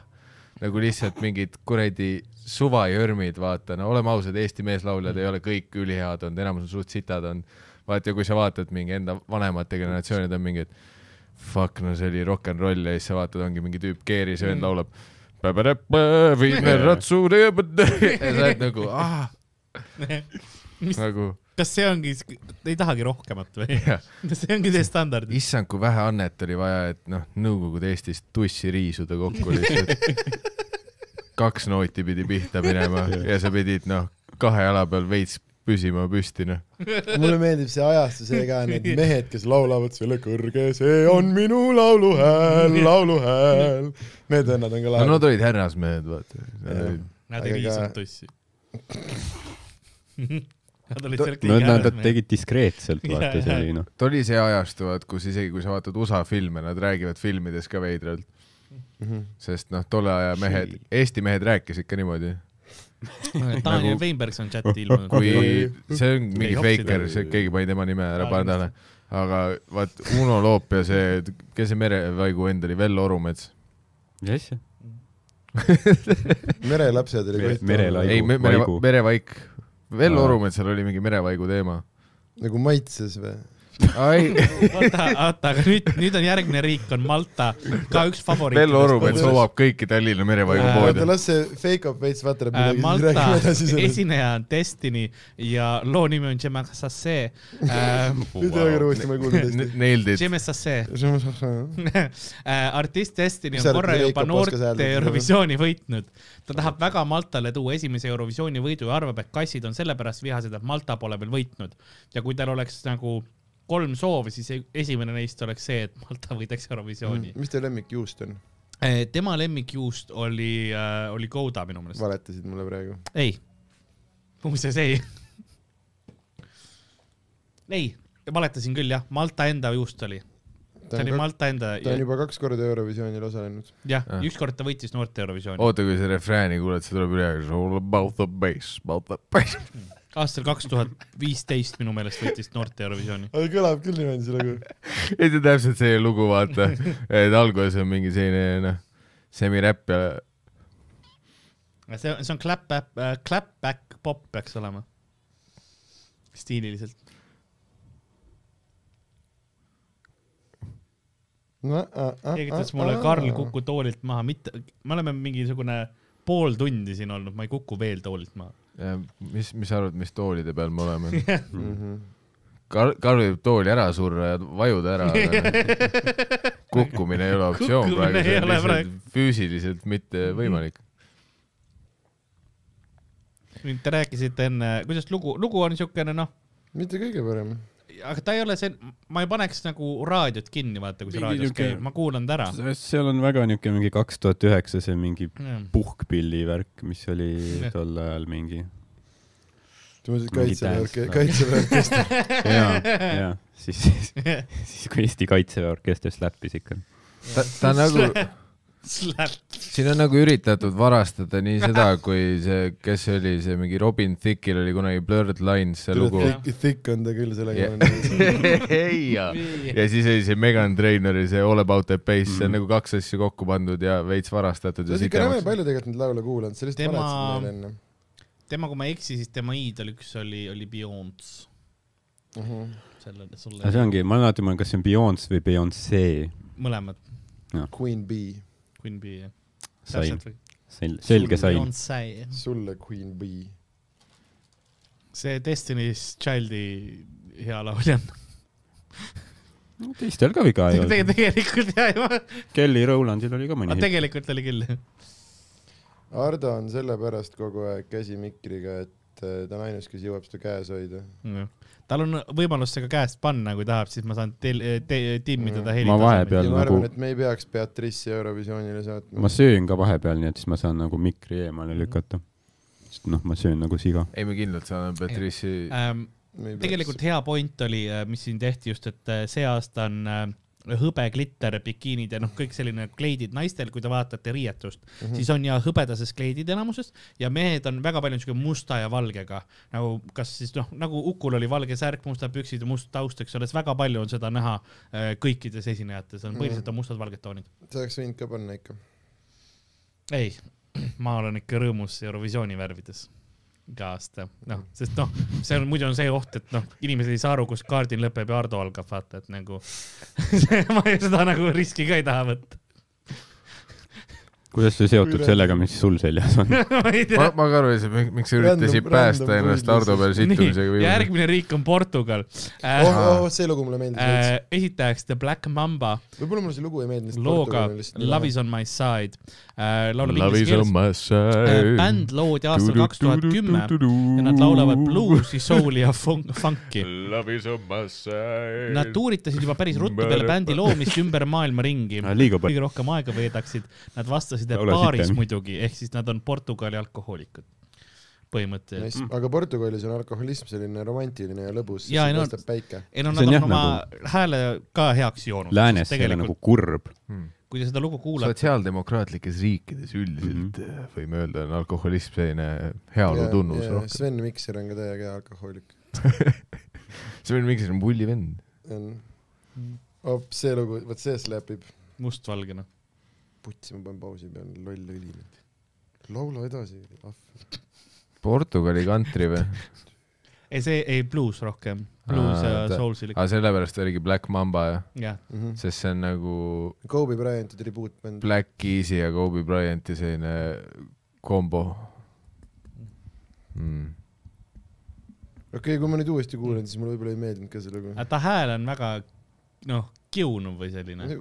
nagu lihtsalt mingid kuradi suvajörmid , vaata , no oleme ausad , Eesti meeslauljad ei ole kõik ülihead olnud , enamus on suht sitad olnud . vaata , kui sa vaatad mingi enda vanemate generatsioonid on mingid fuck , no see oli rock n roll ja siis sa vaatad , ongi mingi tüüp keeris ja vend laulab . viime ratsu . ja sa oled nagu , ah , nagu
kas see ongi , ei tahagi rohkemat või ?
jah.
[LAUGHS] see ongi see standard .
issand , kui vähe annet oli vaja , et noh , Nõukogude Eestis tussi riisuda kokku lihtsalt . kaks nooti pidi pihta minema ja sa pidid noh , kahe jala peal veits püsima püsti noh .
mulle meeldib see ajastus ja ka
[LAUGHS]
need mehed , kes laulavad selle kõrge , see on minu lauluhääl , lauluhääl . Need vennad on ka
no nad
lahedad .
olid härrasmehed , vaata .
Nad ei
Aga-
riisunud tussi [LAUGHS] Nad olid seal
no
kõige
nad nad
äärmes mehed.
tegid
[LAUGHS]
diskreetselt ,
Jaa,
vaata , see
jaa.
oli noh .
ta oli see ajastu , et kus isegi kui sa vaatad USA filme , nad räägivad filmides ka veidralt ,
Mhm.
sest noh , tolle aja mehed , Eesti mehed rääkisid ka niimoodi ,
nagu-
Daniel Weinberg on chati
[LAUGHS]
ilmunud .
kui see on mingi
Ei, hoopis
feiker , see keegi pani tema nime ära , pane tähele . aga vaat Uno Loop ja see , kes see merevaigu vend oli , Vello Orumets .
mis asja ?
merelapsed oli
Mere- merelaigu.
ei , mere ,
Vaigu.
merevaik , Vello Orumetsal oli mingi merevaigu teema .
nagu maitses või ?
ai ,
oota , oota , aga nüüd , nüüd on järgmine riik on Malta , ka üks favoriit .
[LAUGHS] Vello Orumets omab kõiki Tallinna
Äh,
oota ,
merevaigu
las see fake up veits vatrab
Äh,
midagi , siis
Malta
räägime edasi sellest .
esineja on Destiny ja loo nimi on Jemasasse äh, .
nüüd ei ole ka uuesti , ma ei kuulnud
[LAUGHS]
Mhm.
poodi . Nailed it .
Jemasasse .
hästi .
Äh, artist Destiny
Mis
on
sa
korra
arvad, et
juba
Reiko oskas
noorte
hääldada?
Eurovisiooni võitnud . ta tahab väga Maltale tuua esimese Eurovisiooni võidu ja arvab , et kassid on sellepärast vihased , et Malta pole veel võitnud . ja kui tal oleks nagu kolm soovi , siis e- esimene neist oleks see , et Malta võidaks Eurovisiooni mm. .
mis teie lemmikjuust on ?
tema lemmikjuust oli , oli Gouda minu meelest .
valetasid mulle praegu .
ei , muuseas ei . ei , valetasin küll jah , Malta enda juust oli , see oli Malta enda ,
ta on juba kaks korda Eurovisioonil osalenud .
jah
Ah. ,
ükskord ta võitis noorte Eurovisiooni .
Oh.
oota , kui see refrääni kuuled , see tuleb üle , all about the bass , about the bass . [LAUGHS]
aastal kaks tuhat viisteist minu meelest võitis noorte Eurovisiooni .
aga kõlab küll niimoodi see lugu .
ei , see on täpselt see lugu , vaata , et alguses on mingi selline noh , semiräpp ja
see , see on clap back äh, , clap back pop peaks olema . stiililiselt .
Ah,
keegi ütles mulle , Karl , kuku toolilt maha , mitte , me oleme mingisugune pool tundi siin olnud , ma ei kuku veel toolilt maha .
Ja Äh, mis , mis sa arvad , mis toolide peal me oleme ?
Mhm.
Karl , Karl võib tooli ära surra ja vajuda ära , [LAUGHS] aga noh, kukkumine ei ole optsioon
Kukkumine
praegu ,
ei
see on
ole
lihtsalt füüsiliselt mitte võimalik .
nüüd te rääkisite enne , kuidas lugu , lugu on siukene noh ,
mitte kõige parem .
aga ta ei ole see , ma ei paneks nagu raadiot kinni , vaata , kui see
Mingi
raadios
niuke-
käib , ma kuulan ta ära .
seal on väga niuke mingi kaks tuhat üheksa , see mingi puhkpilli värk , mis oli
Jah.
tol ajal mingi .
sa mõtlesid
Mingi
kaitseväe orke- ,
dance, no. [LAUGHS]
kaitseväe orkester .
[LAUGHS]
ja , ja siis , siis , siis kui Eesti Kaitseväe orkester slappis ikka .
ta , ta nagu ,
Slap .
siin on nagu üritatud varastada nii seda , kui see , kes see oli , see mingi Robin Thicke'il oli kunagi Blurred Lines see lugu .
Thick on ta küll , sellega
[LAUGHS]
Ja-
ma olen nõus .
[LAUGHS] ei , ja siis oli see Megan Trainori see All about the bass , see on nagu kaks asja kokku pandud ja veits varastatud
sa
ja
oled ikka räme
sitemaks .
palju tegelikult neid laule kuulanud , sa lihtsalt
Tema-
valetasid meile enne
tema , kui ma ei eksi , siis tema iidol üks oli , oli Beyonce ,
uh . -huh.
selle ,
aga see
sulle
ongi , ma alati mõtlen , kas see on Beyonce või Beyonce .
mõlemad ,
Queen B ,
Queen Bee jah .
sain , sain , selge sain .
sai .
sulle Queen B .
see Destiny's Childi hea laulja on .
teistel ka
[LAUGHS]
viga ei olnud .
tegelikult jah ,
Kelly Rowlandil oli ka mõni hitt .
tegelikult oli küll .
Ardo on sellepärast kogu aeg käsi mikriga , et äh, ta on ainus , kes jõuab seda käes hoida .
tal on võimalus see ka käest panna , kui tahab , siis ma saan teil , te- , timmida ta heli .
Ma
ja
vahepeal- Peal
ma arvan
nagu- ,
et me ei peaks Beatrice'i Eurovisioonile saatma
ma . söön ka vahepeal , nii et siis ma saan nagu mikri eemale lükata . sest noh , ma söön nagu siga .
ei , me kindlalt saame Patrice'i
ähm, . tegelikult hea point oli , mis siin tehti just , et äh, see aasta on äh, hõbe , glitter , bikiinid ja noh , kõik selline kleidid naistel , kui te vaatate riietust mm , -hmm. siis on ja hõbedases kleidid enamuses ja mehed on väga palju niisugune musta ja valgega nagu kas siis noh , nagu Ukul oli valge särk , mustad püksid ja must taust , eks ole , siis väga palju on seda näha äh, kõikides esinejates on põhiliselt on mustad-valged toonid .
sa oleks võinud ka panna ikka .
ei , [CLEARS THROAT] ma olen ikka rõõmus Eurovisiooni värvides iga aasta , noh , sest noh , see on muidu on see oht , et noh , inimesed ei saa aru , kus kaardin lõpeb ja Ardo algab , vaata , et nagu [LAUGHS] ma ju seda nagu riski ka ei taha võtta . [LAUGHS]
kuidas see seotud sellega , mis sul seljas on ?
ma ei
ma
tea ,.
ma ka aru ei saa , miks sa
Random-
üritasid
random
päästa ennast
võrdlus
Ardo peal
nii ,
sittumisega
ja
viimane .
järgmine riik on Portugal äh,
oh
oh, .
oh , see lugu mulle meeldis
Äh,
veits .
esitajaks The Black Mamba
võib-olla mulle see lugu ei meeldinud .
Äh, looga Love is on my side äh, , laulab
Love
inglise
is on
keeles .
my side .
bänd loodi aastal kaks tuhat [LAUGHS] kümme ja nad
Mm.
laulavad . bluusi , souli ja
[LAUGHS]
funk , funk'i .
Love is on my side .
Nad tuuritasid juba päris ruttu peale bändi loomist ümber maailma ringi ,
Ah, liiga palju .
kõige rohkem aega veedaksid . Nad vastasid , et
Laulasid
baaris
tänu.
muidugi , ehk siis nad on Portugali alkohoolikud põhimõtteliselt .
aga Portugalis on alkoholism selline romantiline ja lõbus ,
Jaa, ei
siis
no-
paistab päike .
ei no
See
nad
on
on
jah, nagu-
oma hääle ka heaks joonud .
[LAUGHS] Läänes ei ole
tegelikult ,
nagu kurb .
Hmm.
kui sa seda lugu kuulad , Mhm.
sotsiaaldemokraatlikes riikides üldiselt mm -hmm. võime öelda , on alkoholism selline heaolu tunnus noh. rohkem .
Sven Mikser on ka täiega hea alkohoolik .
see on mingisugune mulli vend .
on . op , see lugu , vot see slapib .
mustvalgena .
putsi , ma panen pausi peale , loll õli . laula edasi .
Portugali kantri
[LAUGHS]
või ?
ei , see , ei blues rohkem ,
Ah,
blues
Aa,
ja
ta-
soulsilik ,
aga sellepärast oligi Black Mamba ,
jah .
-hmm.
sest see on nagu
Kobe Bryanti tribuutbänd .
Black Keesi ja Kobe Bryanti selline kombo mm. .
okei okay, , kui ma nüüd uuesti kuulen , siis mulle võib-olla ei meeldinud ka see lugu .
aga ta hääl on väga , noh , kiunuv või [LAUGHS] selline .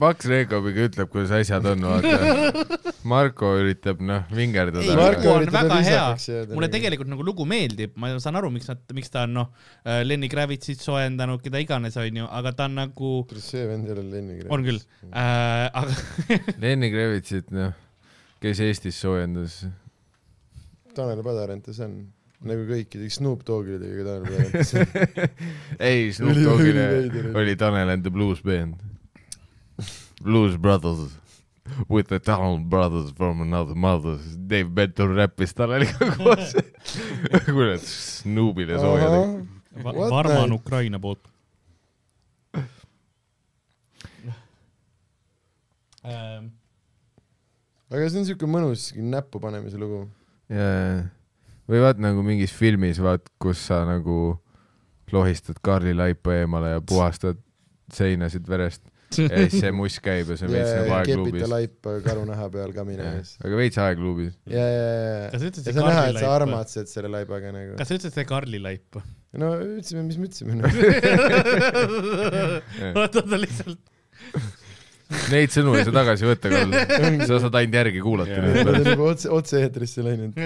Max Reikoviga ütleb , kuidas asjad on , vaata .
[LAUGHS]
Marko üritab , noh , vingerdada .
Marko-
Marko...
on väga mulle . tegelikult nagu lugu meeldib , ma saan aru , miks nad , miks ta on noh , Lenny Kravitzit soojendanud , keda iganes , onju , aga ta on nagu ,
see vend ei ole Lenni .
on küll , aga [LAUGHS]
Lenny Kravitsit , noh , kes Eestis soojendas .
Tanel Padar antas on , nagu kõikidega Snoop Doggile tegi ka Tanel Padar antas
[LAUGHS]
on .
ei , Snoop
Üli-
Doggile
üliveider oli.
oli Tanel and the Blues Band . Blues Brothers with the Town Brothers from another mother . Dave Benton räppis Taneliga koos . kurat , Snoopile soojendada .
Va-
What
Varma on
the-
Ukraina poolt . Ähm,
aga see on siuke mõnus siuke näppu panemise lugu .
jaa , või vaat nagu mingis filmis , vaat kus sa nagu lohistad kaarlilaipa eemale ja puhastad seinasid verest ja siis see muss käib ja see on veits nagu
kepita
aegluubis .
laipa karu naha peal kamina ees .
aga veits aegluubis .
ja , ja , ja , ja
kas sa ütlesid
ja sa näha , et sa
karlilaip ?
armatsed selle laibaga nagu .
kas sa ütlesid see karlilaip ?
[LAUGHS] no ütlesime , mis me ütlesime no. .
[LAUGHS] oota , ta lihtsalt ,
Neid sõnu ei saa tagasi võtta , Karl .
[LAUGHS]
sa saad ainult järgi kuulata
Need
nüüd .
on juba otse , otse-eetrisse läinud .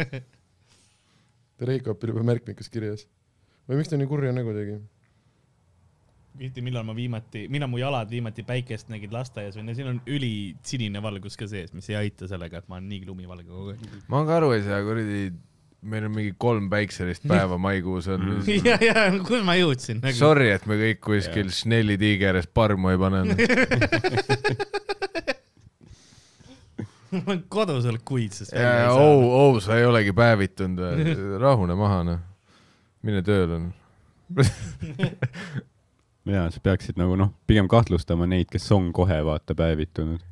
Reikopil juba märkmikus kirjas . või miks ta nii kurja nägu tegi ?
küsiti , millal ma viimati , millal mu jalad viimati päikest nägid lasteaias või no siin on ülisinine valgus ka sees , mis ei aita sellega , et ma olen nii lumivalge kogu aeg .
ma ka aru ei saa , kuradi , meil on mingi kolm päikselist päeva maikuus
[LAUGHS]
on .
ja , ja kus ma jõudsin nagu. ?
Sorry , et me kõik kuskil Schnelli tiigi ääres parmu ei pane .
[LAUGHS]
noh.
[LAUGHS] ma olen kodus olnud kuid , sest välja ei
jaa ,
saa.
ou , ou , sa ei olegi
[LAUGHS]
päevitunud või ? rahune maha , noh . mine tööle , noh .
jaa , sa peaksid nagu noh , pigem kahtlustama neid , kes on kohe vaata päevitunud .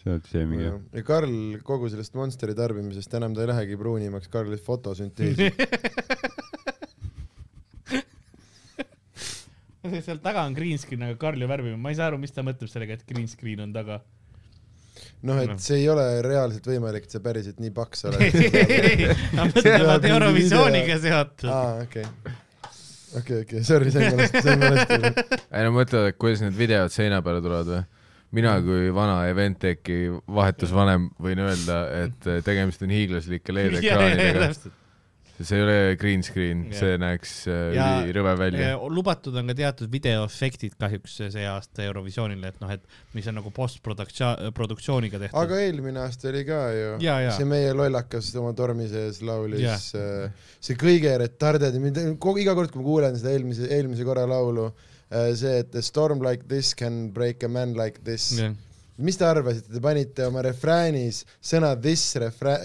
see on see mingi ,
ja Karl kogu sellest Monsteri tarbimisest enam ta ei lähegi pruunimaks , Karl lihtsalt
[LAUGHS]
fotosünteesib .
See- [LAUGHS] seal taga on green screen , aga Karl ju värvib , ma ei saa aru , mis ta mõtleb sellega , et green screen on
[LAUGHS]
taga .
noh ,
Noh.
et see ei ole reaalselt võimalik , et sa päriselt nii
[LAUGHS]
paks oled .
ma mõtlen , et Eurovisiooniga seotud . [LAUGHS]
aa , okei . okei , okei , sorry , sain valesti , sain valesti .
ei no mõtle , et kuidas need videod seina peale tulevad või ? mina kui vana Eventeki vahetusvanem võin öelda , et tegemist on hiiglaslike
[LAUGHS]
LED-ekraanidega . see ei ole green screen ,
Jah.
see näeks äh,
Ja-
üli rõve välja .
Äh, lubatud on ka teatud videoefektid kahjuks see aasta Eurovisioonile , et noh , et mis on nagu postproduktsioon , produktsiooniga tehtud .
aga eelmine aasta oli ka ju .
ja , ja
see meie lollakas oma tormi sees laulis
Jah.
yeah. see kõige retarded , kogu iga kord , kui ma kuulen seda eelmise , eelmise korra laulu , see , et a storm like this can break a man like this yeah. .
jah.
mis te arvasite , te panite oma refräänis sõna this refrä- ,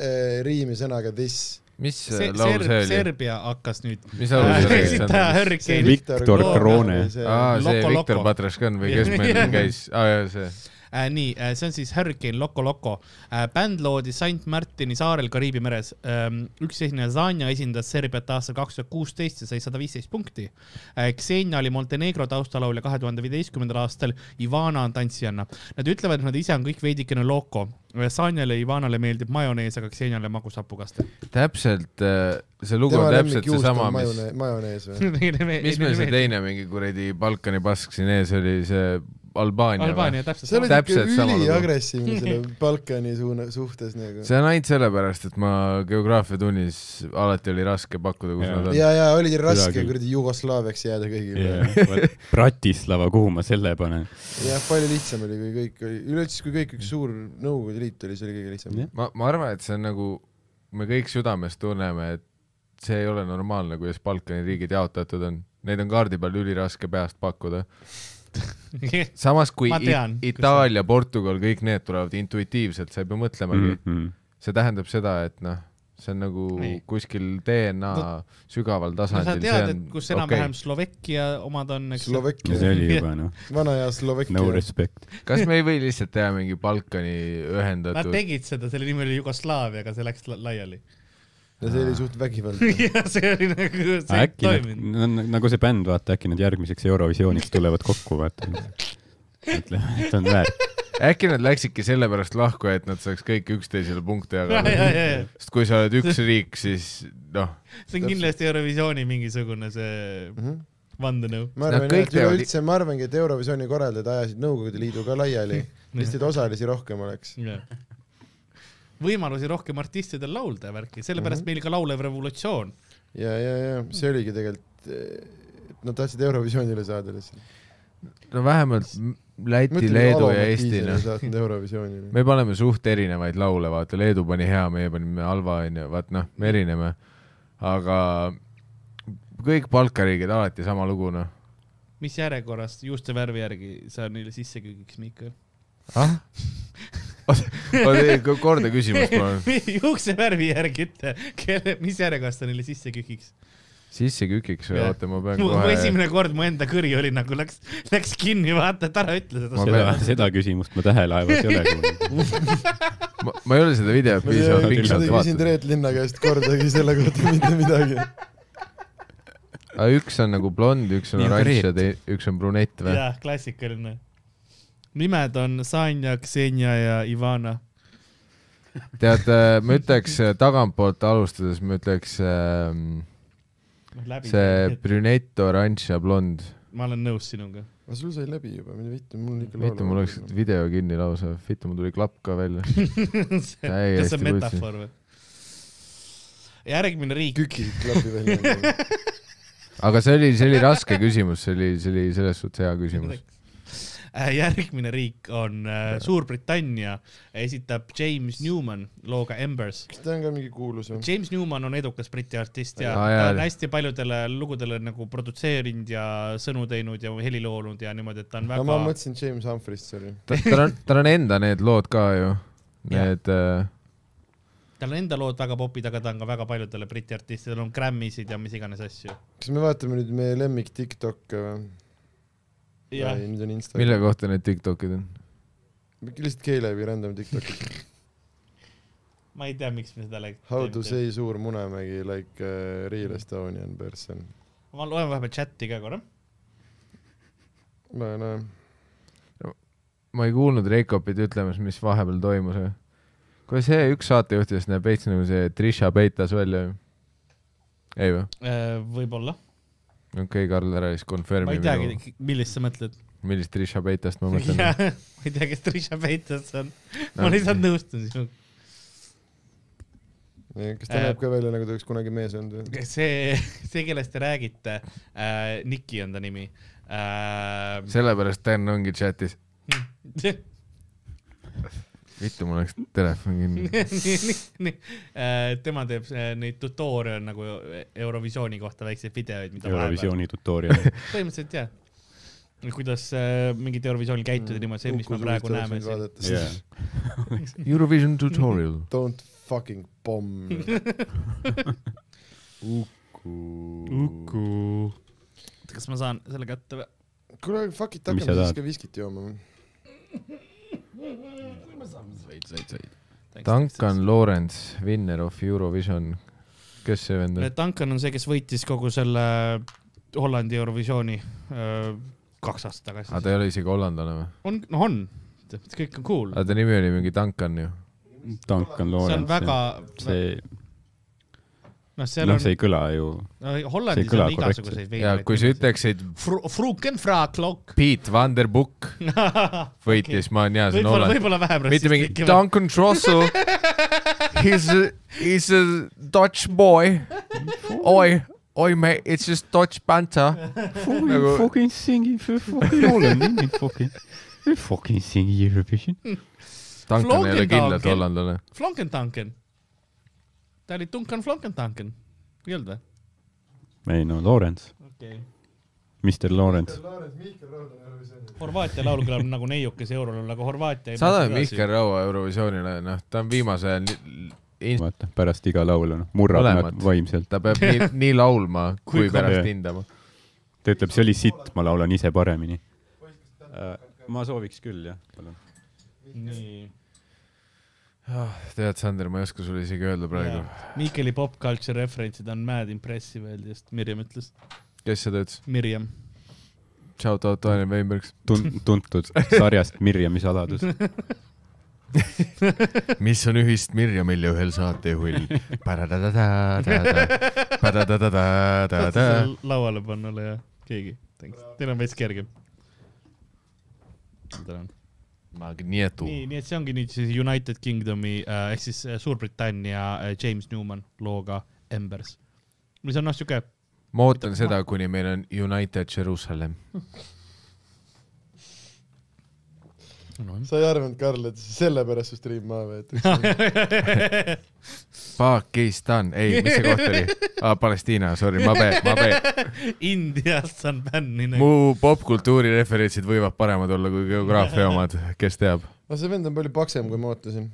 riimi sõnaga this ?
mis see,
see
laul see
Serb-
oli ?
Serbia hakkas nüüd .
mis laul see
[LAUGHS]
oli ? see
esitaja
on ,
Hurricane
Viktor Kroone.
aa , see
Loco
Viktor
Loco.
Patraškan või kes
Jah.
meil käis , aa jaa , see .
äh, . nii äh, , see on siis Hurricane Loco Loco äh, . bänd loodi St Martini saarel Kariibi meres ähm, . üks esineja Zanja esindas Serbiat aastal kaks tuhat kuusteist ja sai sada viisteist punkti äh, . Xenia oli Montenegro taustalaulja kahe tuhande viieteistkümnendal aastal , Ivana on tantsijanna . Nad ütlevad , et nad ise on kõik veidikene loko . Zanjale ja Ivanale meeldib majonees , aga Xeniale magusapukaste .
täpselt , see lugu on täpselt seesama , mis ,
majonees
[LAUGHS]
või ?
[LAUGHS]
mis meil see ? teine mingi kuradi Balkani pask siin ees oli , see Albaania või ?
Albaania , täpselt
see
sama [LAUGHS]
oli .
Täpselt
siuke
sama lugu.
üliagressiivne selle Balkani suuna , suhtes nagu .
see on ainult sellepärast , et ma geograafiatunnis alati oli raske pakkuda , kus
Jaa.
nad on .
ja , ja oli raske
küll.
kuradi Jugoslaaviaks jääda kõigile yeah. .
Bratislava , kuhu ma selle panen ?
jah , palju lihtsam oli , kui kõik oli , üleüldse , kui kõik üks suur Nõukogude Liit oli , see oli kõige lihtsam
Jah.
yeah. .
ma , ma arvan , et see on nagu , me kõik südames tunneme , et see ei ole normaalne , kuidas Balkani riigid jaotatud on . Neid on kaardi peal üliraske peast pakkuda . samas kui
Ma
It-
tean, kus
Itaalia ,
Mhm.
Portugal , kõik need tulevad intuitiivselt , sa ei pea mõtlemagi mm. . see tähendab seda , et noh , see on nagu
Nii.
kuskil DNA sügaval
no sa
tasandil , see
tead , et
on
kus enam-vähem . Slovakkia omad on , eks .
Slovakkia
[LAUGHS]
no see oli juba noh ,
vana hea Slovakkia
no respect .
kas me ei või lihtsalt teha mingi Balkani
Nad
ühendatud ,
tegid seda , selle nimi oli Jugoslaavia , aga see läks la- laiali .
ja see oli suht
[LAUGHS]
vägivaldne .
ja see oli nagu , see ei
äkki
toiminud .
nad , nagu see bänd , vaata äkki nad järgmiseks Eurovisiooniks tulevad kokku , vaata . ütleme , et on väärt .
äkki nad läksidki sellepärast lahku , et nad saaks kõik üksteisele punkte
[LAUGHS] [LAUGHS] ja , ja ,
jagada ?
ja , ja
sest kui sa oled üks riik , siis noh ,
see on kindlasti Eurovisiooni mingisugune see vandenõu .
Mhm. ma
Nad
arvan
kõik
jah , et
teevad-
üleüldse , ma arvangi , et Eurovisiooni korraldajad ajasid Nõukogude Liidu ka laiali , siis neid osalisi rohkem oleks .
võimalusi rohkem artistidel laulda ja värki , sellepärast
Mhm.
meil ka laulev revolutsioon .
ja , ja , ja see oligi tegelikult , et nad tahtsid Eurovisioonile saada lihtsalt .
no vähemalt Läti , Leedu ja Eesti , noh .
saatnud Eurovisioonile .
me paneme suht erinevaid laule , vaata Leedu pani hea , meie panime halva , onju , vaat noh , me erineme . aga kõik Balka riigid alati sama lugu , noh .
mis järjekorras juuste värvi järgi sa neile sisse kükiks , Miikal ?
ah ? [LAUGHS] oota , ei , korda küsimust
[LAUGHS]
palun .
juukse värvi järgi ütle , kelle , mis järjekorras sa neile sisse kükiks ?
sisse kükiks või
Jah.
oota , ma pean
mu mu
kohe ,
esimene kord mu enda kõri oli nagu läks , läks kinni , vaata , et ära ütle seda
Ma
sulle .
seda , seda küsimust ma tähelaevas ei ole .
ma ei ole seda videot
ma ei
piisavalt
tea,
pikalt
kuidagi küsin
vaadanud .
Reet Linna käest kordagi selle kohta mitte midagi .
aga üks on nagu blond , üks on
Nii, aga
oranž ja
Reet.
tei- üks on brunett või ?
jah , klassikaline . nimed on Sanja , Ksenija ja Ivana .
tead , ma ütleks äh, tagantpoolt alustades , ma ütleks ähm,
Noh,
see . brünett , oranž ja blond
ma olen nõus sinuga . [LAUGHS]
aga sul sai läbi juba , mine vittu , mul ikka
vittu , mul läks video kinni lausa , vittu , mul tuli klapp ka välja .
kas see on metafoor või ? järgmine riik ,
kükisid klapi välja . nagu.
aga see oli , see oli raske küsimus , see oli , see oli selles suhtes hea küsimus .
Äh, järgmine riik on äh, Suurbritannia , esitab James Newman looga Embers .
kas ta on ka mingi kuulusam ?
James Newman on edukas Briti artist ja
Aa,
ta
jaa.
on hästi paljudele lugudele nagu produtseerinud ja sõnu teinud ja heli loonud ja niimoodi , et ta on
aga ma
väga ,
mõtlesin James Humphreys , sorry .
tal on , tal on enda need lood ka ju , need äh,
tal on enda lood väga popid , aga ta on ka väga paljudele Briti artistidele , on Grammy'sid ja mis iganes asju .
kas me vaatame nüüd meie lemmik Tiktok'e või ?
jah ,
nüüd on Instagram .
mille kohta need Tiktokid on ?
lihtsalt keelebi random Tiktok'is .
ma ei tea , miks me seda läks- .
How to say suur Munemägi like uh, real Estonian person .
ma loen vahepeal chati ka korra .
no , no ,
ma ei kuulnud Reikopit ütlemas , mis vahepeal toimus . kuule , see üks saatejuhtidest näeb veits nagu see Trisha Peitas välja ju . ei või ?
võib-olla ,
okei okay, , Karl , ära siis
ma
confirm'i
ei
minu ,
teagi , millist sa mõtled .
millist Trisha
[LAUGHS]
Peitast ma mõtlen .
ma ei tea , kes Trisha Peitas on . ma lihtsalt nõustun sinuga .
kas ta
Äh.
näeb ka välja nagu ta oleks kunagi mees olnud või ?
see , see , kellest te räägite äh, , Niki on ta nimi äh, . hm.
sellepärast Dan ongi chatis .
[LAUGHS]
vittu , mul läks telefon kinni .
[LAUGHS] tema teeb äh, neid tutorial nagu Eurovisiooni kohta väikseid videoid , mida vahepeal ,
Eurovisiooni tutorial .
põhimõtteliselt jah . kuidas äh, mingit Eurovisiooni käituda mm. niimoodi , see , mis me praegu näeme siin .
siin .
Eurovision tutorial .
Don't fucking pomm .
[LAUGHS]
Uku .
Uku . kas ma saan selle kätte või ?
kuule , fuck it ,
Mis
hakkame
sa
siis
tahad?
ka viskit jooma .
Duncan Lawrence , winner of Eurovision . kes see vend on ?
Duncan on see , kes võitis kogu selle Hollandi Eurovisiooni öö, kaks aastat
aga
tagasi .
Ah, ta ei ole isegi hollandlane või ?
on , noh on , kõik on cool ,
aga ta nimi oli mingi Duncan ju .
Duncan
see on
Lawrence .
väga ,
see ,
noh , seal
noh ,
on
see , ei kõla ju . see ei
Hollandis
kõla
on igasuguseid
ja kui sa . ütleksid
Frukenfraklokk .
Pete Van Der Buk
[LAUGHS]
võitis , ma olen hea , see on
võib-olla ,
Holland .
võib-olla vähem
mitte mingi . Duncan
[LAUGHS]
Trussell . He's a , he's a Dutch boy . oi , oi me , it's just Dutch banter . Nagu-
Fucking fucking singing for fucking Holland , fucking , fucking singing Eurovision .
Duncan ei ole kindlalt
Flogendanken.
hollandlane .
Flonkentanken . ta oli Duncan Flonkentanken , ei olnud või ?
ei no Lawrence ,
okei okay. .
Mr Lawrence .
Horvaatia laul kõlab nagu neiukas eurolaul , aga Horvaatia ei .
saadame Mihkel Raua Eurovisioonile , noh , ta on viimase ajal nii- inst- ,
vaata , pärast iga laulu , noh , murrab
Mõlemat.
nad vaimselt .
ta peab nii, nii laulma kui,
Kui
kui pärast
ka-
hindama .
ta ütleb , see oli sitt , ma laulan ise paremini . ma sooviks küll , jah , palun .
nii .
tead , Sander , ma ei oska sulle isegi öelda praegu ,
Miikeli pop culture referentsid on mad impressive , just Mirjam ütles .
kes seda ütles .
Mirjam .
Shout out Daniel Weinbergs .
Tun- , tuntud sarjast Mirjami saladus .
mis on ühist Mirjamil ja ühel saatejuhil ? Pararada-da-da-da-da-da-da-da-da.
lauale pannule ja keegi . Teil on veits kergem . tänan .
Magnetu .
nii , nii et see ongi nüüd siis United Kingdomi äh, ehk siis äh, Suurbritannia äh, James Newman looga Embers , mis on noh , siuke
ma ootan seda , kuni meil on United Jerusalem .
no, .
Mm. sa ei arvanud , Karl , et sellepärast su stream maha võetakse ?
Pakistan , ei , mis see koht
[LAUGHS]
oli ah, ? Palestiina , sorry , ma pean , ma pean .
Indiast on bänni nagu .
mu popkultuuri referentsid võivad paremad olla kui geograafia omad , kes teab .
no see vend on palju paksem , kui ma ootasin .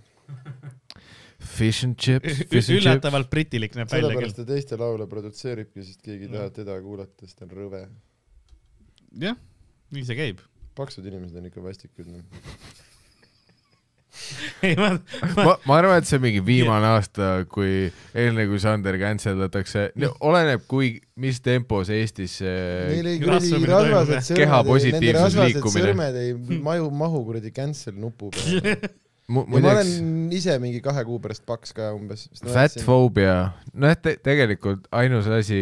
Fish and chips , fish and chips .
üllatavalt britilik näeb välja küll .
sellepärast ta teiste laule produtseeribki , sest keegi ei taha teda kuulata , sest ta on rõve .
jah , nii see käib . [LAUGHS]
paksud inimesed on ikka vastikud , noh .
ei ma ,
ma ,
[LAUGHS]
ma arvan , et see on mingi viimane aasta , kui enne kui Sander cancel datakse , oleneb , kui , mis tempos Eestis äh, see
Neil ei kuradi
Rasvumine toimub,
rasvased
jah.
Keha
sõrmed , nende
positiivsus,
rasvased
liikumine.
sõrmed ei maju , mahu kuradi cancel nupu peale .
mu,
ja ma
muideks
olen ise mingi kahe kuu pärast paks ka umbes .
fatphobia , nojah Noh, te, , tegelikult ainus asi ,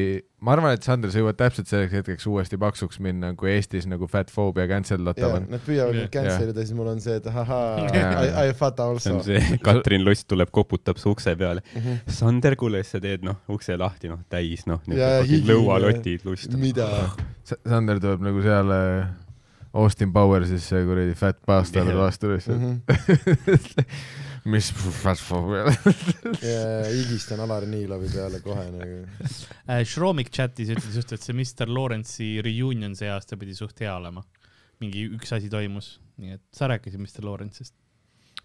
ma arvan , et Sander , sa jõuad täpselt selleks hetkeks uuesti paksuks minna , kui Eestis nagu fatphobia cancel datav
jaa ,
on .
nad püüavad
Jah.
mind cancel ida , siis mul on see , et ahahaa
Jaa. ,
I , I fata
see
also
on . see , Katrin Lust tuleb , koputab su ukse peale .
Mhm.
Sander , kuule , sa teed , noh , ukse lahti , noh , täis , noh ,
Jaa,
niisugused
higi-
lõualotid lust .
mida ?
Sander tuleb nagu seal äh, Austin Powersisse kuradi fat bastard
Jah.
vastu
Mhm.
lihtsalt , [LAUGHS] mis fatphobia
higistan Alar Niilavi peale kohe nagu .
Shromik Äh, chatis ütles just , et see Mr Lawrence'i reunion see aasta pidi suht hea olema . mingi üks asi toimus , nii et sa rääkisid Mr Lawrence'ist .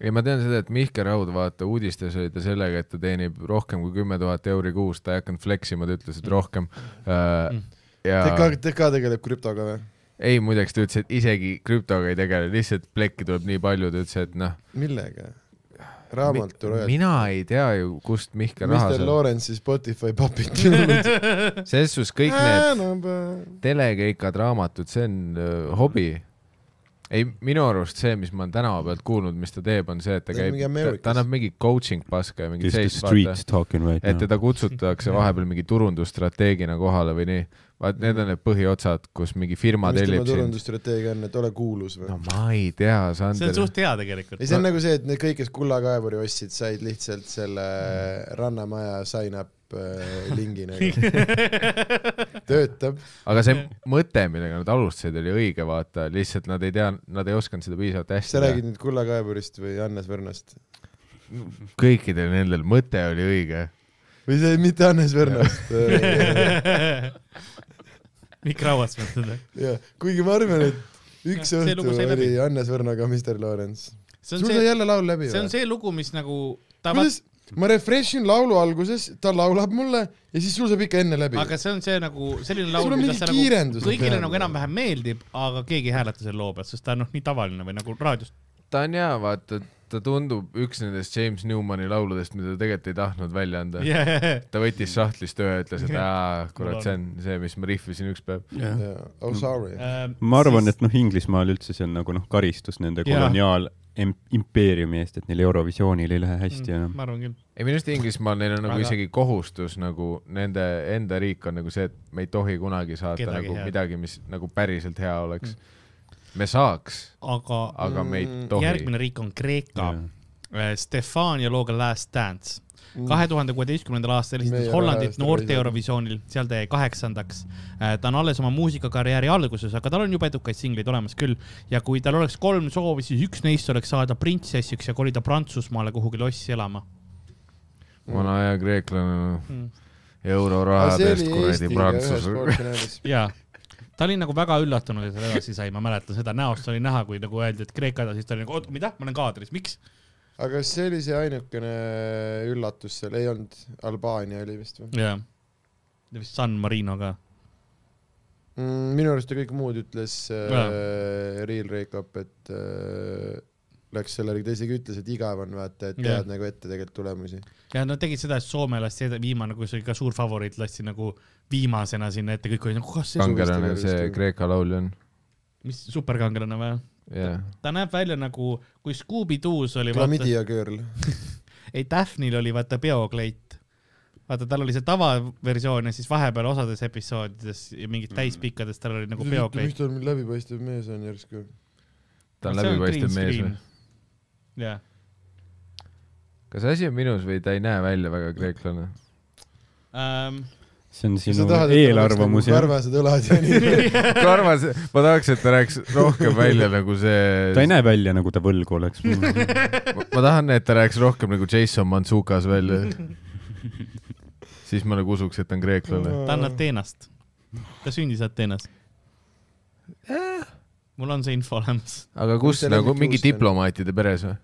ei , ma tean seda , et Mihkel Raud , vaata , uudistes oli ta sellega , et ta teenib rohkem kui kümme tuhat euri kuus , ta ei hakanud fleksima , ta ütles , et rohkem äh,
Mm. .
ja
TK , TK tegeleb krüptoga või ?
ei , muideks ta ütles , et isegi krüptoga ei tegele , lihtsalt plekki tuleb nii palju , ta ütles , et noh .
millega ? raamatu rojalt .
mina ei tea ju , kust Mihkel raha
Mr
saab .
Lawrence'i Spotify
[LAUGHS]
papid tulnud .
selles suhtes kõik need telekeikad , raamatud , see on öö, hobi . ei , minu arust see , mis ma olen tänava pealt kuulnud , mis ta teeb , on see , et
Ta
ta
on
käib
mingi , Ameerikas.
ta annab mingi coaching paska ja mingi
This is
sellist
the , streets talking right
et
now .
teda kutsutakse vahepeal mingi turundusstrateegina kohale või nii . vaat need on need põhiotsad , kus mingi firma
mis tema
tellib sind .
turundusstrateegia on , et ole kuulus või
no ? ma ei tea ,
see on
Sander .
suht hea tegelikult
ei ,. see on nagu see , et need kõik , kes kullakaevuri ostsid , said lihtsalt selle Rannamaja sign up äh, lingi
[LAUGHS]
nagu . töötab .
aga see mõte , millega nad alustasid , oli õige , vaata , lihtsalt nad ei tea , nad ei osanud seda piisavalt hästi
sa räägid nüüd kullakaevurist või Hannes Võrnast ?
teha . kõikidel nendel mõte oli õige .
või see mitte Hannes äh, Võrnast .
[LAUGHS]
[LAUGHS]
Mikk Rauas mõtled või ?
jah , kuigi ma arvan , et üks
Jah, see
õhtu
lugu sai
oli
läbi.
Hannes Võrnaga Mr Lawrence .
see on
sul sai
see ,
jälle laul läbi
see on
või ?
see lugu , mis nagu tavat- ,
kuidas ? ma refresh in laulu alguses , ta laulab mulle ja siis sul saab ikka enne läbi .
aga see on see nagu selline laul ,
Sul on mingi
mida sa nagu
kiirendus
kõigile
peal.
nagu enam-vähem meeldib , aga keegi ei hääleta selle loo pealt , sest ta on noh , nii tavaline või nagu raadiost .
ta on hea , vaata , ta tundub üks nendest James Newmani lauludest , mida ta tegelikult ei tahtnud välja anda yeah. .
[LAUGHS]
ta võttis sahtlist ühe ja ütles , et aa , kurat , see on see , mis ma rihvisin üks päev .
Yeah. Oh sorry .
Ehm,
ma arvan , et noh , Inglismaal üldse see on nagu noh , karistus nende
Jaa.
koloniaalimpeeriumi eest , et neil Eurovisioonil ei lähe hästi enam .
Mm, ma arvan küll .
ei , minu arust Inglismaal neil on nagu
Aga-
aga... isegi kohustus nagu nende enda riik on nagu see , et me ei tohi kunagi saata Kedagi
Kedagi
nagu
head.
head. midagi , mis nagu päriselt hea oleks mm. . me saaks ,
aga
aga me ei
Mm,
tohi .
järgmine riik on Kreeka . Stefania looga Last Dance . kahe tuhande kuueteistkümnendal aastal esitas
Mm. Meie
Hollandit
rahaeest
noorte
Eurovisioonil.
Eurovisioonil , seal ta jäi kaheksandaks . ta on alles oma muusikakarjääri alguses , aga tal on juba edukaid singleid olemas küll ja kui tal oleks kolm soovi , siis üks neist oleks saada printsessiks ja kolida Prantsusmaale kuhugile ossi elama .
vana hea kreeklane
Mm.
eurorahadest kuradi prantsuse .
jaa , ta oli nagu väga üllatunud , et ta edasi sai , ma mäletan seda näost oli näha , kui nagu öeldi , et Kreeka edasi , siis ta oli nagu , oot , mida , ma olen kaadris , miks ?
aga see oli see ainukene üllatus seal , ei olnud , Albaania oli vist või ?
jaa . ja vist San Marino ka .
Mm, minu arust ja kõik muud ütles äh,
Jaa.
Real Recap , et äh, läks sellele , ta isegi ütles , et igav on vaata , et
Jah.
tead nagu ette tegelikult tulemusi .
ja nad tegid seda , et Soome lasti eda- viimane , kui see oli ka suur favoriit , lasti nagu viimasena sinna ette , kõik olid nagu , kas see ,
kangelane , see Kreeka laulja on .
mis superkangelane või ?
jah ,
ta näeb välja nagu , kui Scooby-Doo's oli vaata ,
Glamidia Girl .
ei Daphnil oli vaata peokleit . vaata , tal oli see tavaversioon ja siis vahepeal osades episoodides ja mingid täispikkades tal oli nagu peokleit
miks . ta nii läbipaistev mees on järsku ?
ta on läbipaistev mees või ??
jah ,
kas asi on minus või ta ei näe välja väga [LAUGHS] kreeklane ?
see on
sa
sinu
tahad , et tal oleks nagu
eelarvamus jah .
karvased õlad ja
[LAUGHS]
nii ?
Karvas , ma tahaks , et ta rääkiks rohkem välja nagu see .
ta ei näe välja nagu ta
[LAUGHS]
võlgu oleks .
ma ma tahan , et ta rääks rohkem nagu Jason Mantsukas välja . siis ma nagu usuks , et ta on kreeklane .
ta on . Ateenast . ta sündis Ateenas . mul on see info olemas .
aga kus
Mis ta
nagu
lemmikjuust
mingi
on?
diplomaatide peres või ?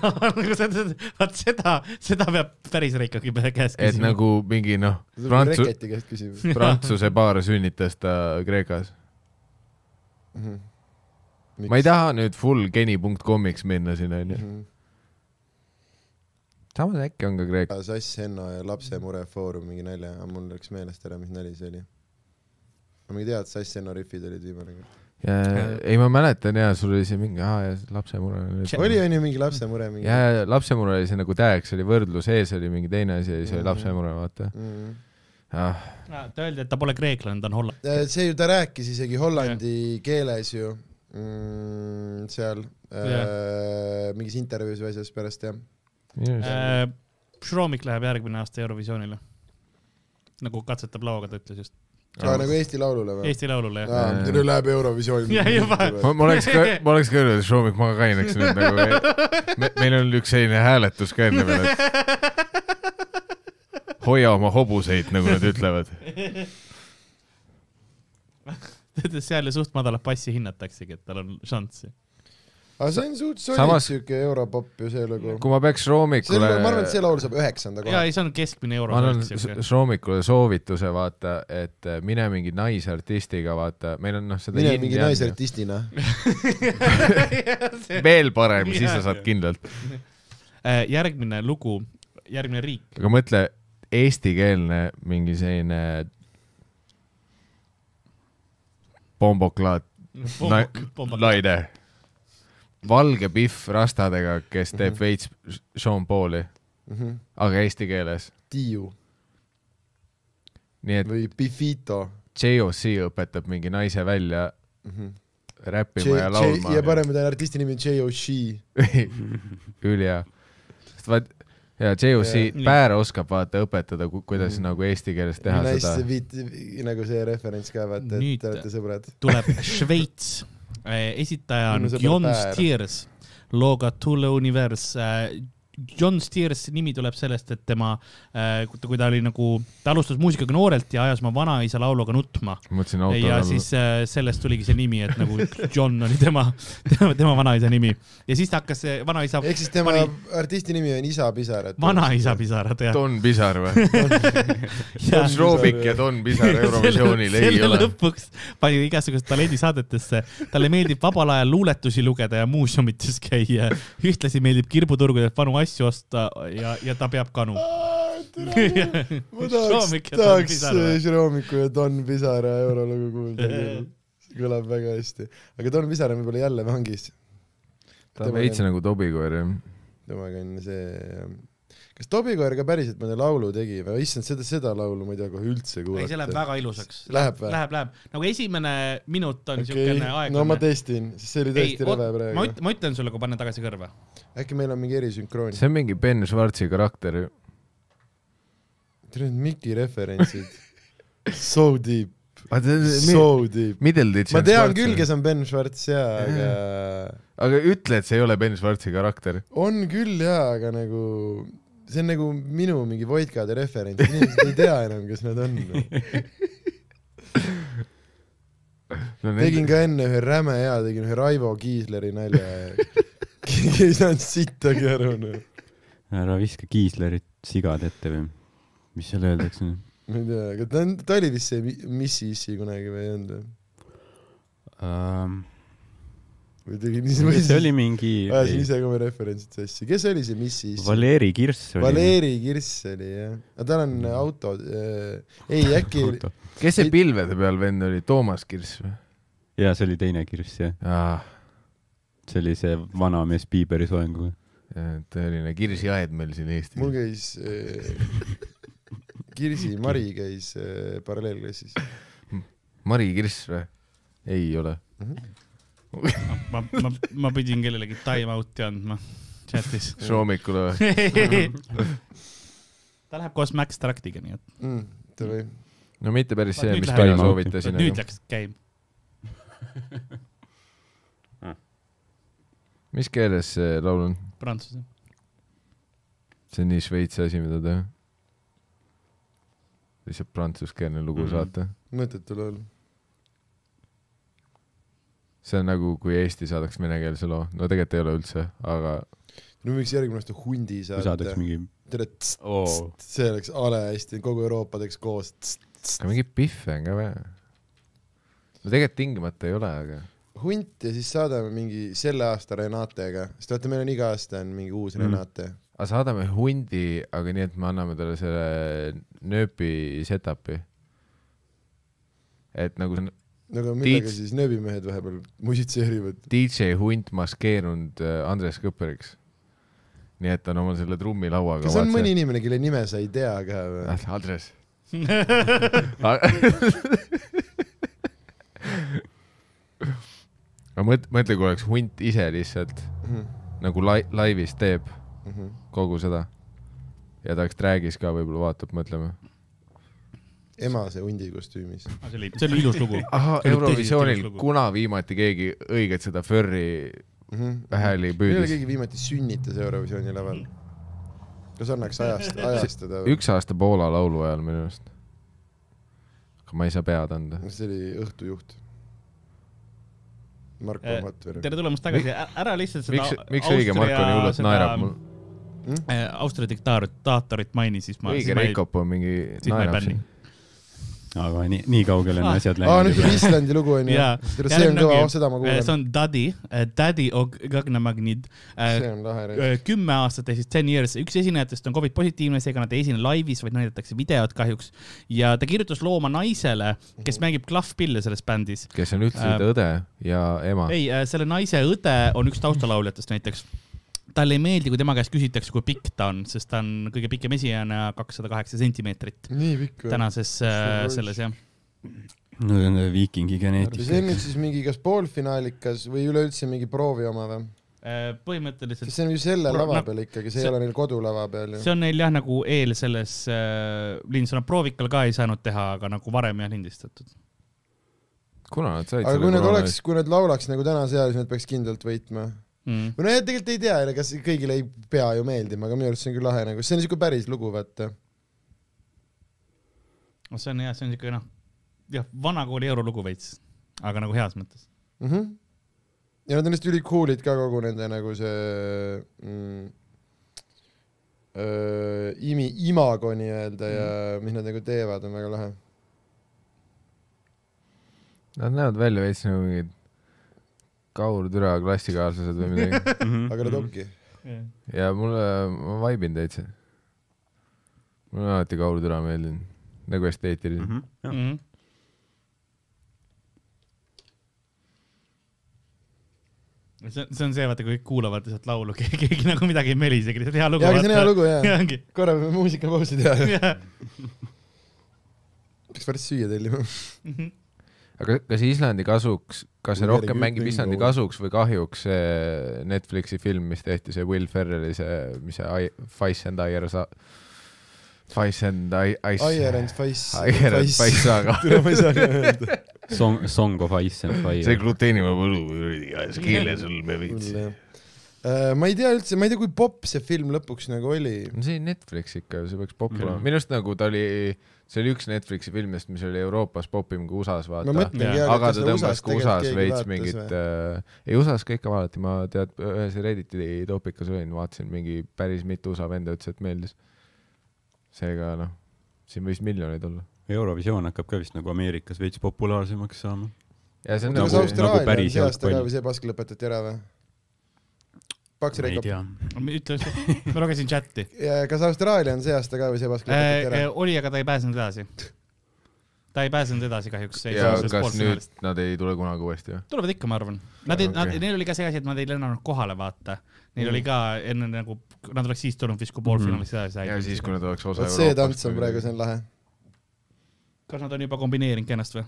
vaat seda , seda peab päris Reikogi pe- käest
et
küsima .
nagu mingi noh ,
Prantsu- .
prantsu- ,
reketi käest küsib .
prantsuse paar sünnitas ta Kreekas .
Mhm.
ma ei taha nüüd full geni.com'iks minna siin onju .
Mhm.
samas äkki on ka kreek- .
Sass Henno ja lapse murefoorum mingi nalja , aga mul läks meelest ära , mis nali see oli . ma mingi tean , et Sass Henno rifid olid viimane kord .
ei , ma mäletan ja sul oli see mingi , aa ja lapsemure
Tše-
oli onju mingi lapse mure mingi
ja , ja lapsemure oli see nagu täheks oli võrdlus , ees oli mingi teine asi ja siis oli
Mhm.
lapsemure , vaata
Mhm.
ah, .
ta öeldi , et ta pole kreeklane , ta on hollandi .
Ja see ju , ta rääkis isegi hollandi keeles ju mm, seal äh, mingis intervjuus või asjas pärast jah .
Šromik Äh, läheb järgmine aasta Eurovisioonile . nagu katsetab lauaga , ta ütles just .
aga nagu Eesti Laulule või ?
Eesti Laulule , jah .
aa , nüüd läheb Eurovisiooni .
Jah, juba.
ma , ma oleks ka , ma oleks ka öelnud , et Šomik , ma ka kaineks nüüd nagu , meil on üks selline hääletus ka enne veel , et hoia oma hobuseid , nagu nad ütlevad .
ta ütles seal ju suht madalat passi hinnataksegi , et tal on šanssi .
aga see on suht solid
Samas-
siuke europopp ju see lugu .
kui ma peaks
see ,
Šomikule
ma , arvan , et see laul saab üheksanda
ja
koha .
ei , see on keskmine euro .
ma annan
[LAUGHS]
S- Šomikule soovituse , vaata , et äh, mine mingi naisartistiga , vaata , meil on noh , seda
mine
yin
mingi
ja yang ju.
naisartistina .
veel parem , siis sa
Jah.
saad kindlalt .
Äh, järgmine lugu , järgmine riik .
aga mõtle , eestikeelne mingi selline pomboklaat , naine , valge pihv rastadega , kes teeb
Mhm.
veits Sean Pauli , aga eesti keeles .
Tiiu
nii et
või Pifito .
JOC õpetab mingi naise välja räppima ja
Mhm. ja
laulma .
paneme ta artisti nimi J.O.C .
ülihea . sest vaat , ja JOC
Jah. ,
Päär oskab vaata õpetada , kuidas
Mhm.
nagu eesti keeles teha
nice
seda .
viit , nagu see referents ka vaata , et
Nüüd-
te olete sõbrad .
tuleb Šveits . esitaja on
Minu sõber
John
Päär.
Stiers , looga Tule Univers . John Stiers nimi tuleb sellest , et tema , kui ta oli nagu , ta alustas muusikaga noorelt ja ajas oma vanaisa lauluga nutma .
mõtlesin
ja
autole
siis äh, sellest tuligi see nimi , et nagu John oli tema, tema , tema vanaisa nimi ja siis ta hakkas , vanaisa ,
ehk siis tema
pani-
artisti nimi on Isa Pisar . [LAUGHS]
vanaisa . pisarad jah .
Don Pisar või ?
[LAUGHS]
Don Šrobik ja Don Pisar Eurovisioonil ei ole .
selle lõpuks pani igasugust talendisaadetesse , talle meeldib vabal ajal luuletusi lugeda ja muuseumites käia , ühtlasi meeldib kirbuturgudelt vanu asju osta ja , ja ta peab kanu . [LAUGHS]
ma
Šroomik
tahaks ,
ja Don
tahaks
Pisar või?
Šromiku ja Don Pisara eurolugu kuulda küll . see kõlab väga hästi . aga Don Pisar on võib-olla jälle vangis .
ta on veits nagu Tobikoer jah .
temaga on see , kas Tobi Koer ka päriselt mõne laulu tegi või ? issand , seda , seda laulu ma ei tea kohe üldse
ei , see läheb
kuulata .
väga ilusaks .
Läheb või ?
Läheb , läheb , nagu esimene minut on
okei
siukene ,
no ma
aeglane .
testin , sest see oli tõesti rõve
ma
praegu .
üt- , ma ütlen sulle , kui panna tagasi kõrva .
äkki meil on mingi erisünkroon ?
see on mingi Ben Schwartzi karakter ju .
Teil on Miki referentsid .
[LAUGHS]
So deep , so deep .
Middleditch
ma
on
tean küll ,. kes on Ben Schwartz jaa , aga
aga ütle , et see ei ole Ben Schwartzi karakter .
on küll jaa , aga nagu see on nagu minu mingi Voidkade referent , inimesed ei tea enam , kes nad on . noh.
No,
[LAUGHS]
tegin ka enne ühe räme hea , tegin ühe Raivo Kiisleri nalja . keegi [LAUGHS] ei saanud sittagi aru , noh .
ära viska kiislerit sigad ette või mis seal öeldakse ?
ma ei tea , aga ta on , ta oli vist see mi- Mississi kunagi või ei olnud või ? Ähm, või tegi niisama
see oli mingi
ajasin ise ka oma referentsid sassi . kes oli see Missis ?
Valeri Kirss oli . Mm.
Valeri Kirss oli jah . aga tal on auto äh, , ei äkki ,
kes see pilvede peal vend oli , Toomas Kirss või ?
ja see oli teine Kirss jah , see oli see vanamees Piiberi soenguga .
tõeline kirsiaed meil siin Eestis
mul . käis äh, ,
[LAUGHS]
Kirsi Mari käis äh, paralleelklassis .
Mari Kirss või ? ei ole .
ma , ma , ma pidin kellelegi time out'i andma
[LAUGHS]
chatis .
kas hommikul või ?
ta läheb koos Max Tractiga , nii et .
Mm, davai ,
no mitte päris
Vaat
see ,
nüüd
mis
läheb
mina
time out'i.
soovitasin ,
nüüd
aga
läks käima .
mis keeles see laul on ?
Prantsuse .
see on nii Šveitsi asi , mida teha . lihtsalt prantsuskeelne lugu
Mhm.
mm. saata .
mõttetu laul .
see on nagu , kui Eesti saadaks venekeelse loo . no tegelikult ei ole üldse , aga
no võiks järgmine aasta hundi
kui saadaks
saata .
mingi
tere ,
oh. ,
see oleks a la hästi , kogu Euroopa teeks koos .
aga mingi pihve on ka vaja . no tegelikult tingimata ei ole , aga
hunt ja siis saadame mingi selle aasta Renatega , sest vaata , meil on iga aasta on mingi uus
Mm.
mm. Renate .
aga saadame hundi , aga nii , et me anname talle selle nööpi setup'i . et nagu see on
no aga millega
Tiit-
Tiits. siis nööbimehed vahepeal musitseerivad ?
DJ Hunt maskeerunud äh, Andres Kõpperiks . nii et ta on oma selle trummilauaga .
kas on mõni ? inimene , kelle nime sa ei tea ka või ?
Äh. Ah,
[LAUGHS]
Andres .
Ah,
Ah. aga mõt- , mõtle , kui oleks hunt ise lihtsalt
Mhm,
nagu lai- , laivis teeb kogu seda . ja ta oleks track'is ka võib-olla vaatab , mõtleme .
emase hundi kostüümis .
see oli , see oli ilus lugu .
ahah ,
See oli
Eurovisioonil
teisiti lugu.
kuna viimati keegi õiget seda furry
Mhm,
hääli
millal
püüdis ?
keegi viimati sünnitas Eurovisiooni laval ? kas annaks ajast , ajastada ?
üks aasta Poola laulu ajal minu arust . aga ma ei saa pead anda .
see oli Õhtujuht . Marko
Eh,
Matvere .
tere tulemast tagasi , ära lihtsalt seda
miks , miks õige Marko nii hullult naerab mul ??
Mhm.
äh, Austria diktaatorit maini , siis ma .
õige Reikop on mingi
siis ma ei
naerab
bänni.
siin .
aga nii , nii kaugele on
Ah.
asjad
aa , nüüd
läinud .
tuli Islandi lugu onju .
Jaa.
tere , see on kõva , seda ma
Äh, see
kuulan .
on Daddy , Daddy og Gagnamagnid .
see on lahe reis .
kümme aastat ehk siis ten years , üks esinejatest on Covid positiivne , seega nad ei esine laivis , vaid näidatakse videot kahjuks . ja ta kirjutas loo oma naisele , kes mängib klahvpille selles bändis .
kes on üldse õde ja ema .
ei , selle naise õde on üks taustalauljatest näiteks talle ei meeldi , kui tema käest küsitakse , kui pikk ta on , sest ta on kõige pikem esijana kakssada kaheksa sentimeetrit
nii pikk või ?
tänases äh, selles jah .
no see on see
see
viikingi
on
geneetika .
nüüd siis mingi kas poolfinaalikas või üleüldse mingi proovi oma või ?
Äh, põhimõtteliselt
sest see on ju selle
Pro-
lava
no-
peal ikkagi , see ei
see-
ole neil kodulava peal ju .
see on neil jah nagu eel selles äh, lindis , nad proovikal ka ei saanud teha , aga nagu varem jah lindistatud .
kuna nad said
aga kui nad oleks , kui nad laulaks nagu täna seal , siis nad peaks kindlalt võitma .
Mm.
või nojah , tegelikult ei tea jälle , kas kõigile ei pea ju meeldima , aga minu arust see on küll lahe nagu , see on niisugune päris lugu , vaata .
no see on jah , see on siuke noh , jah , vanakooli eurolugu veits , aga nagu heas mõttes .
Mhm. ja nad on hästi ülikoolid ka kogu nende nagu see mm, öö, imi , imago nii-öelda ja mis nad nagu teevad , on väga lahe .
Nad näevad välja veits nagu mingid kaurtüra klassikaaslased või
[LAUGHS]
midagi
aga
Mhm.
nad ongi .
ja mulle , ma vaibin täitsa . mulle on alati kaurtüra meeldinud , nagu
Mhm.
Mhm.
esteetiline .
Mm. see , see on see , vaata , kui kõik kuulavad lihtsalt laulu , [LAUGHS] keegi nagu midagi ei melisegi , lihtsalt hea lugu .
jaa , aga see on hea
[LAUGHS]
lugu jaa .
ongi .
[LAUGHS] korra peame muusikapausi teha . peaks päris süüa tellima .
aga kas Islandi kasuks , kas see
Või
rohkem
järgi
mängib
Ühtegi
Islandi
kaua.
kasuks või kahjuks see Netflixi film , mis tehti , see Will Ferrelli see , mis see I- Fice and Iyer sa- , Fice and I- Ice ,
Ayer
[LAUGHS]
and Spice .
Iyer and Fice . saaga .
tule , ma ei saa nii öelda .
Song , Song of Ice
[LAUGHS]
and
see
Fire .
gluteeni ma põlu kuradi ajas keeles on me viitsi .
Äh, ma ei tea üldse , ma ei tea , kui popp see film lõpuks nagu oli .
no see oli Netflix ikka , see peaks popp
Jah.
olema . minu arust nagu ta oli , see oli üks Netflixi filmidest , mis oli Euroopas popim kui USA-s ,
ma
vaata .
Jaa.
mõtlengi ,
aga
kas
ta
seda
tõmbas ka
tegelikult
USA-s
keegi
veits
vaatas
mingit äh,
või? ,
ei USA-s ka ikka vaadati , ma tead , ühes Redditi topikas olin , vaatasin mingi päris mitu USA venda ütles , et meeldis . seega noh , siin võis miljoneid olla .
Eurovisioon hakkab ka vist nagu Ameerikas veits populaarsemaks saama .
ja see on
kas
Nagu-
nagu ,
Austraalia on
päris
see aasta ka
jalgpall.
või see pask lõpetati ära või ? paks
ma ei
rekab .
tea .
ütle , ma lugesin
[LAUGHS]
chati .
kas Austraalia on see aasta ka või see pask lõpetati ära ?
oli , aga ta Äh, ei pääsenud edasi . ta ei pääsenud edasi kahjuks .
ja kas nüüd nad ei tule kunagi uuesti või ?
tulevad ikka , ma arvan . Nad ei
Okei.
okay. , neil oli ka see asi , et nad ei lennanud kohale , vaata .
Mm.
Neil mm. oli ka enne nagu , nad oleks siis tulnud vist , kui poolfinaalis edasi said .
ja Mm. siis , kui nad oleks osa
vot see tants on praegu , see on lahe .
kas nad on juba kombineerinud ennast või ?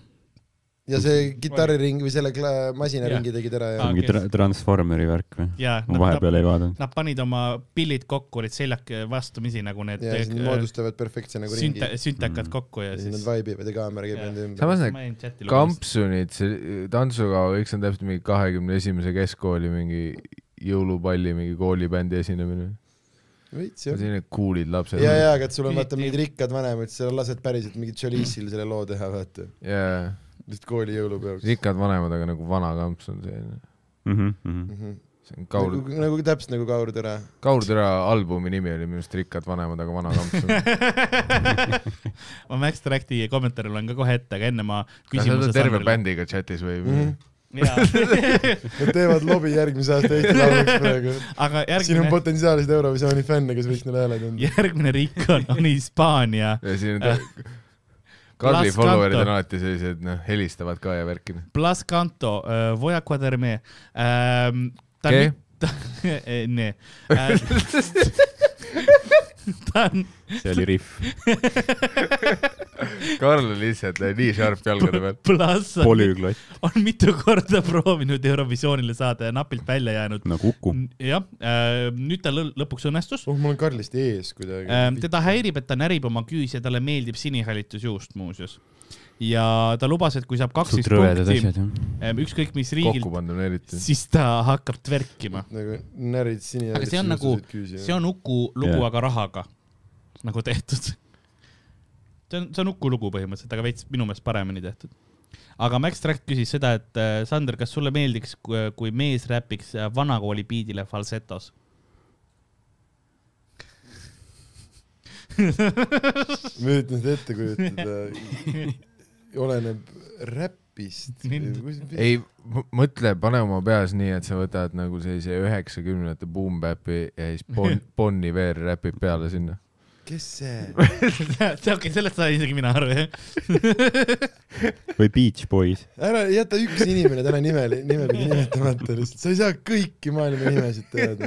ja see kitarriring või selle kla- masinaringi tegid ära ja
Aa.
mingi
okei.
tra- , Transformeri värk või ?
jaa .
ma vahepeal ei vaadanud .
Nad panid oma pillid kokku , olid seljak vastamisi nagu need
ja siis nad moodustavad perfektse nagu ringi
sünta- , süntakad kokku ja
ja siis
siis
nad . vibe ivad ja kaamera käib
Jaa.
nende ümber .
samas Mm. need kampsunid , see tantsukaua , eks see on täpselt mingi kahekümne esimese keskkooli mingi jõulupalli mingi koolibändi esinemine .
veits jah .
selline cool'id lapsed .
ja , ja , aga et sul on vaata
Küsiti-
mingid rikkad vanemad , siis sa lased päriselt mingit Jolisil selle loo teha , vaata .
jaa ,
lihtsalt kooli jõulupeoks .
rikkad vanemad , aga nagu vana kamps on selline .
Mm-hmm.
Mhm.
see on Kaur
nagu ,, nagu täpselt nagu Kaur Tõra .
Kaur Türa albumi nimi oli minu arust Rikkad vanemad , aga vana
[LAUGHS]
kamps on .
[LAUGHS] ma Max Tracti kommentaare loen ka kohe ette , aga enne ma
kas sa
küsimuse
oled terve . bändiga chatis või mm ?
Mhm.
-hmm. [LAUGHS]
Nad teevad lobi järgmise aasta Eesti Lauluks praegu .
aga
siin on
[LAUGHS] järgmine ,
potentsiaalseid Eurovisiooni fänne , kes võiks neile hääled anda .
järgmine riik on , on Hispaania .
ja siin on
Äh.
Karli
Las
follower'id
Canto.
on alati sellised , noh , helistavad ka ja värki . noh.
Blas Canto , äh, Voya Quaderme . ähm, ta [LAUGHS]
Okei.
on , nee . Äh,
[LAUGHS]
ta on ,
see oli riff .
[LAUGHS] Karl on lihtsalt äh, nii sharp jalgade peal .
Blas on
polüglott
on mitu korda proovinud Eurovisioonile saada ja napilt välja jäänud .
nagu Uku .
jah , nüüd tal lõ- lõpuks õnnestus .
oh , ma olen Karlist ees kuidagi .
teda häirib , et ta närib oma küüs ja talle meeldib sinihallitus juust muuseas . ja ta lubas , et kui saab kaksteist
suht rõvedad
punkti ,
asjad jah .
ükskõik mis riigilt
kokku , pandud on eriti .
siis ta hakkab tverkima .
nagu närid sini .
Aga see on nagu- see on Uku lugu
Jah.
yeah. , aga rahaga nagu tehtud . see on , see on Uku lugu põhimõtteliselt , aga veits minu meelest paremini tehtud . aga Max Track küsis seda , et äh, Sander , kas sulle meeldiks , kui mees räpiks äh, vanakooli biidile falsetos ?
ma
[LAUGHS]
üritan seda ette kujutada . [LAUGHS] oleneb räpist .
Mind-
ei , mõtle , pane oma peas nii , et sa võtad nagu sellise üheksakümnendate boom bap'i ja siis
[LAUGHS]
Bon , Bon Iver räpib peale sinna .
kes see ?
okei , sellest sain isegi mina aru , jah .
või Beach Boys .
ära jäta üks inimene täna nimele ,
[LAUGHS]
nimepidi nimetamata lihtsalt , sa ei saa kõiki maailma nimesid teada .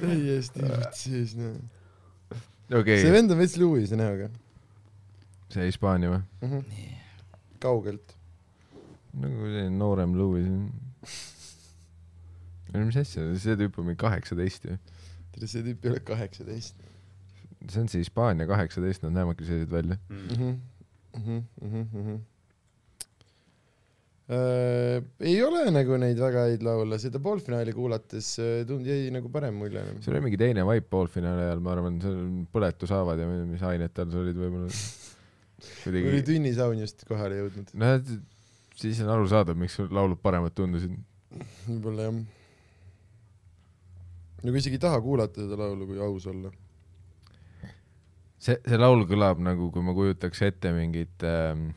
täiesti
Äh.
jutt sees , noh .
okei
see
okay, ,
vend on veits Lewis'e näoga
see Hispaania või ?
mm . -hmm. kaugelt .
nagu selline noorem Louis . mis asja , see tüüp on mingi kaheksateist ju .
tead , see tüüp ei ole kaheksateist
see on see Hispaania kaheksateist , nad näevadki sellised välja .
mm . -hmm.
Mhm.
Mm -hmm. mm -hmm. Äh, ei ole nagu neid väga häid laule , seda poolfinaali kuulates äh, tund- , jäi nagu parem mulje .
see oli mingi teine vibe poolfinaali ajal , ma arvan , seal põletushaavad ja mis ained tal seal olid võib-olla .
oli
kuidagi ,
tünnisaun just kohale jõudnud ,
noh , siis on arusaadav , miks sul laulud paremad tundusid .
võib-olla jah . nagu isegi ei taha kuulata seda laulu , kui aus olla .
see , see laul kõlab nagu , kui ma kujutaks ette mingit ähm, ,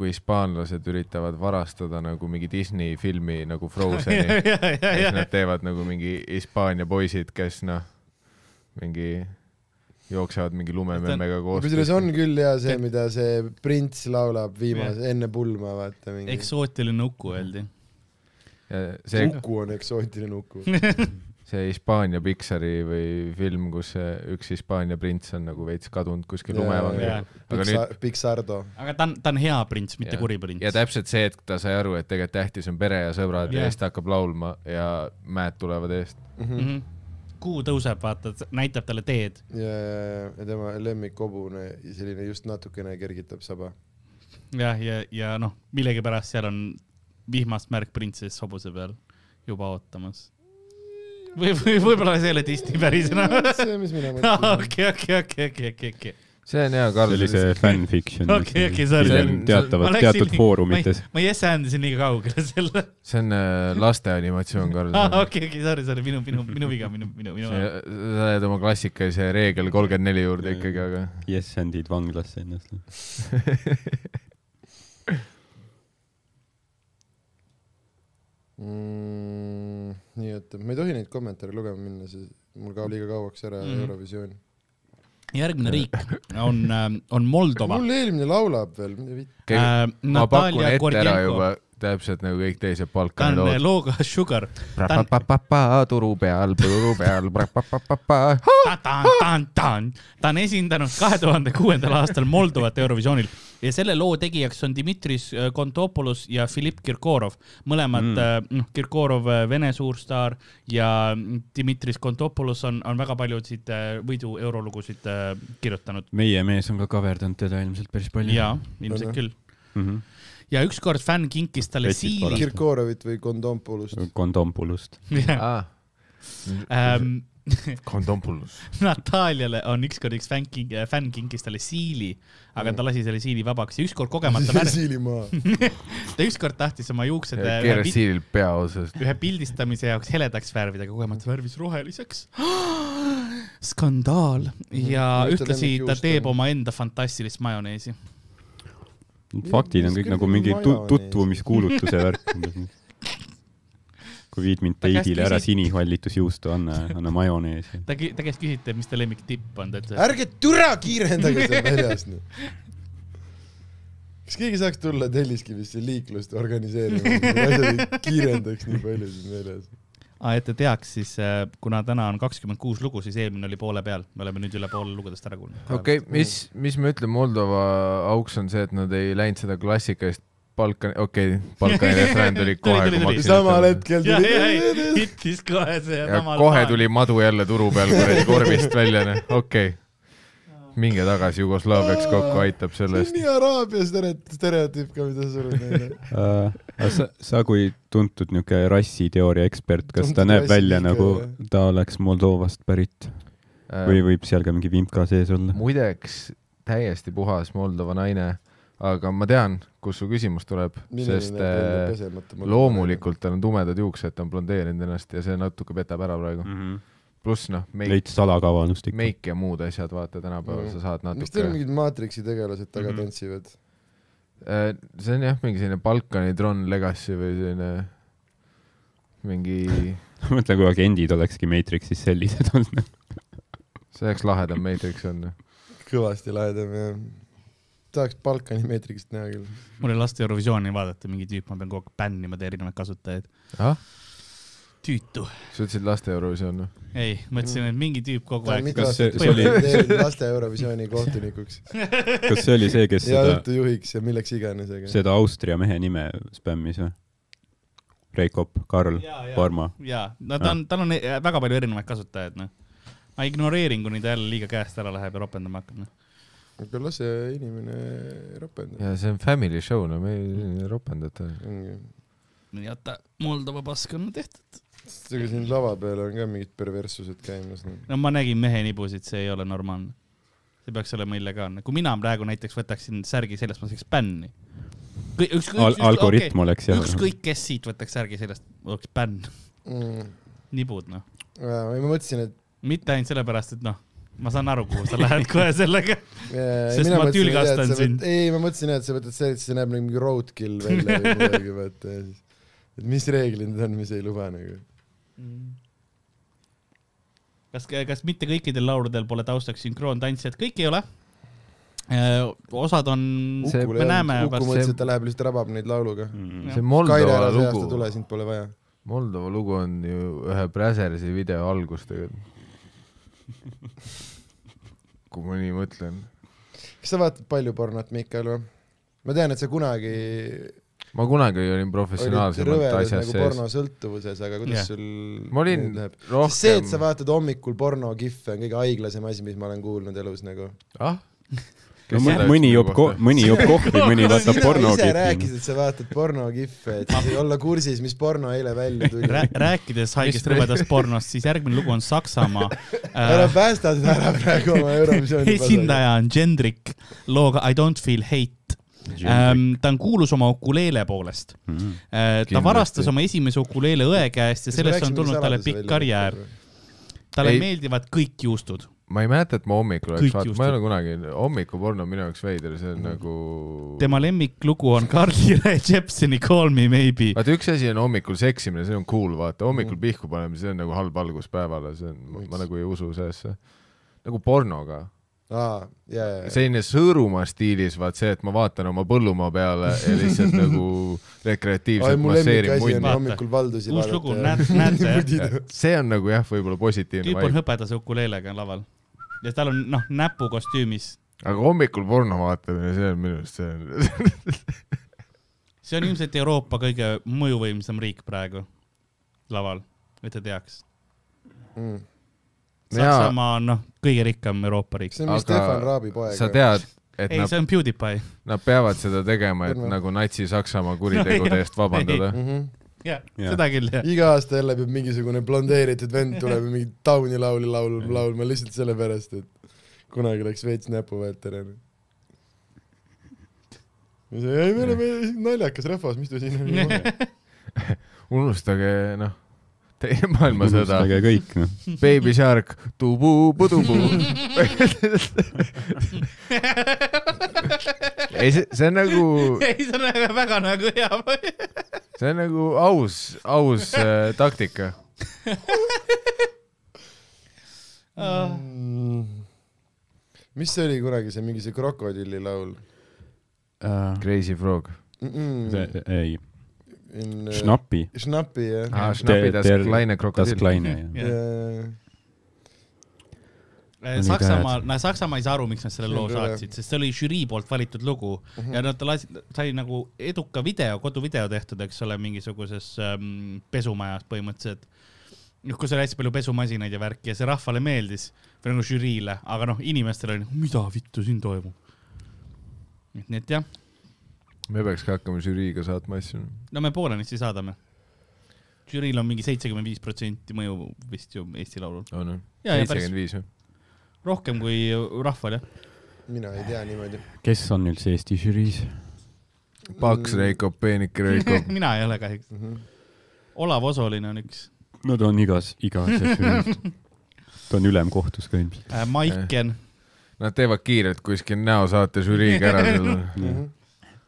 kui hispaanlased üritavad varastada nagu mingi Disney filmi nagu
[LAUGHS]
Frozeni . [LAUGHS] ja siis nad teevad nagu mingi Hispaania poisid , kes noh , mingi jooksevad mingi lumememmega koos .
kusjuures on küll hea see , mida see prints laulab viimase , enne pulma , vaata mingi .
eksootiline Uku öeldi .
Mhm. see , Hmm.
Uku on eksootiline Uku .
see Hispaania Pixari või film , kus see üks Hispaania prints on nagu veits kadunud kuskil
Jaa,
lumevangis .
aga
aga nüüd
Pixar , Pixardo .
ta on , ta on hea prints , mitte
Jah.
kuri prints .
ja täpselt see , et ta sai aru , et tegelikult tähtis on pere ja sõbrad yeah.
Jah.
ja siis ta hakkab laulma ja mäed tulevad eest .
Mhm.
mm . -hmm. kuu tõuseb , vaata , näitab talle teed .
ja , ja , ja , ja tema lemmikhobune , selline just natukene kergitab saba .
jah , ja , ja noh , millegipärast seal on vihmast märk printsess hobuse peal juba ootamas . või , või [LAUGHS] võib-olla see ei ole Disney
[LAUGHS]
pärisena .
Mm,
[LAUGHS]
see , mis mina mõtlesin .
okei , okei , okei , okei , okei , okei .
see on hea , Karl .
see oli see fanfiction .
Okei, okei, sorry. Ma
teatavad ,
läksin
teatud
nii-
foorumites .
ma ei äsjandasin liiga kaugele selle . [LAUGHS]
see on äh, laste animatsioon , Karl .
Ah, okei , okei , sorry , sorry , minu , minu , minu viga , minu , minu , minu
sa . sa jääd oma klassikalise reegel kolmkümmend neli juurde ikkagi , aga
Yes Andid vanglasse ennast .
mm, . nii et ma ei tohi neid kommentaare lugema minna , see mul kaob liiga kauaks ära
Mhm.
mm. Eurovisioon .
järgmine riik on , on Moldova .
mul eelmine laulab veel , mida vitt .
Keegi-
Äh,
ma pakun ette ära juba , täpselt nagu kõik teised
ta
Balkani
on äh,
lood . [LAUGHS]
looga Sugar . ta on-
turu peal , turu peal ,
ta , ta , ta , ta on , ta on esindanud kahe tuhande kuuendal aastal Moldovat Eurovisioonil ja selle loo tegijaks on Dimitris äh, Kontopoulos ja Filipp Kirkorov , mõlemad mm. , noh , Kirkorov , Vene suurstaar ja mm, Dimitris Kontopoulos on , on väga paljusid äh, võidu eurolugusid äh, kirjutanud .
meie mees on ka kaverdanud teda ilmselt päris palju .
ja ilmselt küll .
Mhm.
ja ükskord fänn kinkis talle
Petsid pole.
[LAUGHS] siili .
Kirkorovit või Kondompolust .
kondompulust .
Äh. Ähm,
kondompulus .
[LAUGHS] Nataliale on ükskord üks fänn king- , fänn kinkis talle siili ,
Mm.
aga ta lasi selle siili vabaks ja ükskord
[LAUGHS]
kogemata värv- ,
[LAUGHS]
[LAUGHS]
Siilimaa .
ta ükskord tahtis oma juuksed äh, ühe,
keeras
pi-
siilil pea otsast .
ühe pildistamise jaoks heledaks värvida , aga kogemata värvis
[GASPS]
roheliseks . skandaal
Mm.
ja
Mhm.
ühtlasi
Ühte
ta
lemmikjuust
teeb
on.
omaenda fantastilist majoneesi .
faktid on kõik nagu mingi tu- tutvumiskuulutuse
[LAUGHS]
värk . kui viid mind
Ta käest
teidile ära
küsis-
sinihallitusjuustu , anna , anna majoneesi .
ta , ta käis küsiti , et mis ta lemmiktipp on , ta ütles ,
ärge türa kiirendage seal väljas nüüd . kas keegi saaks tulla Telliskivisse liiklust organiseerima , et need asjad ei kiirendaks nii palju siin väljas ?
et ta teaks siis , kuna täna on kakskümmend kuus lugu , siis eelmine oli poole peal , me oleme nüüd üle poole lugudest ära kuulnud .
okei okay, , mis , mis ma ütlen , Moldova auks on see , et nad ei läinud seda klassikalist Balkani , okei okay, , Balkani refrään
[LAUGHS]
tuli
Tuli,
kohe , kui ma
tuli, tuli.
hakkasin
samal . hetkel
[LAUGHS] ja , ja , ja
[LAUGHS]
tuli .
hittis kohe see .
ja kohe . tuli madu jälle turu peal kuradi korvist välja , noh , okei
[LAUGHS]
okay. . minge tagasi Jugoslaaviaks kokku , aitab
see on
sellest .
nii araabia stere- stereotüüp ka , mida sa sured neile .
[LAUGHS] sa , sa kui tuntud niuke rassiteooria ekspert , kas ta
Tuntud
näeb välja
rassiliige,
nagu
jah.
ta oleks Moldovast pärit
Äh,
või võib seal ka mingi vimka sees olla ?
muideks täiesti puhas Moldova naine , aga ma tean , kust su küsimus tuleb , sest äh, loomulikult tal on tumedad juuksed , ta on blondeerinud ennast ja see natuke petab ära praegu .
Mm.
pluss noh , meik ,
veits salakavalustik .
meik ja muud asjad , vaata tänapäeval sa saad
miks Mm. teil
natuke .
mingid maatriksi tegelased taga
Mhm.
tantsivad ?
Äh, see on jah , mingi selline Balkani Tron Legacy või selline mingi ,
mõtle , kui agendid olekski Matrixis sellised olnud .
see oleks lahedam Matrix on . noh.
kõvasti lahedam ja tahaks Balkani meetrikist näha küll .
mul ei lasta Eurovisiooni vaadata , mingi tüüp , ma pean kogu aeg bännima ta erinevaid kasutajaid .
ah ,
tüütu .
sa ütlesid laste Eurovisioon noh. või ?
ei , ma ütlesin , et mingi tüüp kogu aeg .
kas see-
mitmeaastaseks
see oli-
pretendeerin laste Eurovisiooni kohtunikuks
kas see oli see , kes
ja
seda ,
õhtujuhiks ja milleks iganes , aga
seda Austria mehe nime spämmis või ? Reikop , Karl , Parma .
jaa , no ta
Ah.
on , tal on e- väga palju erinevaid kasutajaid , noh . ma ignoreerin , kuni ta jälle liiga käest ära läheb ja ropendama hakkab , noh .
aga las see inimene ropendab .
ja see on family show , no me ei ropendata .
nii , oota , Moldova pask on tehtud .
ega siin lava peal on ka mingid perverssused käimas noh. no. .
no ma nägin mehe nibusid , see ei ole normaalne . see peaks olema illegaalne . kui mina praegu näiteks võtaksin särgi seljast , ma saaks bänni .
Al- , algoritm okay. oleks jah .
ükskõik , kes siit võtaks särgi seljast , oleks bänn . [LAUGHS]
Mm.
nibud , noh .
Äh, ei ma mõtlesin , et
mitte ainult sellepärast , et noh , ma saan aru , kuhu sa lähed kohe sellega .
äh,
Sest
mina
ma
mõtlesin, et
tülgastan
tead, sa võt-
sind.
ei , ma mõtlesin , et sa võtad see , et see näeb nagu mingi roadkill
[LAUGHS]
välja või midagi , vaata ja siis . et mis reeglid need on , mis ei luba nagu .
kas , kas mitte kõikidel lauludel pole taustaks sünkroontantsijad , kõik ei ole . osad on ,
See-
Ukule
me
ei
näeme
olnud.
pärast-
Uku mõtles , et ta läheb lihtsalt rabab neid lauluga .
Mm.
see
Kaire ära see
Moldova
aasta
lugu
tule , sind pole vaja .
Moldova lugu on ju ühe Bräsersi video algus tegelikult . kui ma nii mõtlen .
kas sa vaatad palju pornot , Mihkel või ? ma tean , et sa kunagi
ma kunagi olin
olid
professionaalsemalt
rõvedas
asjas
nagu
sees .
pornosõltuvuses , aga kuidas
Jah.
yeah. sul
ma olin
nüüd läheb ?
rohkem .
see , et sa vaatad hommikul pornokihve on kõige haiglasem asi , mis ma olen kuulnud elus nagu .
ah? .
no mõni, mõni joob ko- , mõni joob kohvi , mõni vaatab
ise
pornokihti .
rääkisid , et sa vaatad pornokihve , et siis olla kursis , mis porno eile välja tuli .
Rää- rääkides haigest rõvedast pornost , siis järgmine lugu on Saksamaa
[LAUGHS] ära
äh, .
päästa seda ära praegu oma Eurovisiooni .
esindaja on Gendrik looga I don't feel hate . Ähm, ta on kuulus oma ukuleele poolest äh, . ta
Kindlasti.
varastas oma esimese ukuleele õe käest ja sellest on tulnud talle pikk karjäär . talle
Ei.
Ei. meeldivad kõik juustud .
ma ei mäleta , et ma hommikul oleks
Kõik
vaadanud ,
just-
ma ei ole kunagi , hommikuporno on minu jaoks veider , see on nagu
tema lemmiklugu on Carly Rae Jepsoni Call me maybe .
vaata , üks asi on hommikul seksimine , see on cool , vaata , hommikul
Mm.
pihku panemine , see on nagu halb algus päevale , see on , ma
Võiks.
nagu ei usu sellesse . nagu pornoga ,
aa , jaa , jaa ,
selline Sõõrumaa stiilis , vaat see , et ma vaatan oma põllumaa peale ja
[LAUGHS]
lihtsalt nagu
jaa .
rekreatiivselt
mu lemmik
masseerin
asi on
munni .
vaata.
hommikul Valdusi
uus lugu , näed ,
[LAUGHS]
näete ,
see on nagu jah , võib-olla positiivne
tüüp on
vaim ,
hõbedase ukuleelega laval ja tal on noh , näpukostüümis
aga hommikul porno vaatamine , see on minu arust , see on ,
see on ilmselt Euroopa kõige mõjuvõimsam riik praegu laval , et te teaks .
Mm,
No jaa.
Saksamaa on noh , kõige rikkam Euroopa riik .
see on
Aga
vist Stefan Raabi poeg .
[LAUGHS] sa tead , et
ei ,
nad ,
see on PewDiePie .
nad peavad seda tegema , et
Porno.
nagu
[LAUGHS]
natsi-Saksamaa kuritegude eest vabandada .
tead ?
jah
Jaa.
ja. , seda küll jah .
iga aasta jälle peab mingisugune blondeeritud vend tuleb ja mingit tauni lauli laul- , laulma lihtsalt sellepärast , et kunagi läks veits näpu vahelt ära . ja see , ei me oleme naljakas rahvas , mis te siin
[LAUGHS]
olete .
unustage , noh , teie maailmasõda
unustage kõik , noh .
Baby Shark ,
[LAUGHS]
tubu-pudubu . ei , see , see on nagu ,
ei , see on väga- väga nagu hea .
see on nagu aus , aus äh, taktika .
Mm. mis see oli kunagi , see mingi see krokodilli laul
Crazy Frog .
mm ? -mm.
ei ,
In, äh,
Schnappi ,
Schnappi jah
Ah, Schnappi
Der-
das
der-
kleine
Das
krokodill .
Kleine , jah .
ja, . ja,
nii
Äh, Saksamaal , no Saksamaa ei saa aru , miks nad selle
See on
loo
rõve.
saatsid , sest see oli žürii poolt valitud lugu
Mhm.
ja nad lasid , sai nagu eduka video , koduvideo tehtud , eks ole , mingisuguses ähm, pesumajas põhimõtteliselt . noh , kus oli hästi palju pesumasinaid ja värki ja see rahvale meeldis , või nagu žüriile , aga noh , inimestele oli , mida vittu siin toimub . nii et jah ,
me peakski hakkama žüriiga saatma asju .
no me Poolanisse saadame . žüriil on mingi seitsekümmend viis protsenti mõju vist ju Eesti Laulul .
on ju ?
Jaa, jaa, päris.
seitsekümmend viis või ?
rohkem kui rahval jah .
ja. mina ei tea niimoodi .
kes on üldse Eesti žüriis ? Mm.
paks Reikop , peenike
[LAUGHS]
Reikop .
[LAUGHS] mina ei ole kahjuks . Olav Osoline on üks
no ta on igas , iga asjas žüriis . ta on ülemkohtus ka ilmselt .
äh, , Maiken ,
Nad teevad kiirelt kuskil näosaate žüriiga ära
[LAUGHS]
selle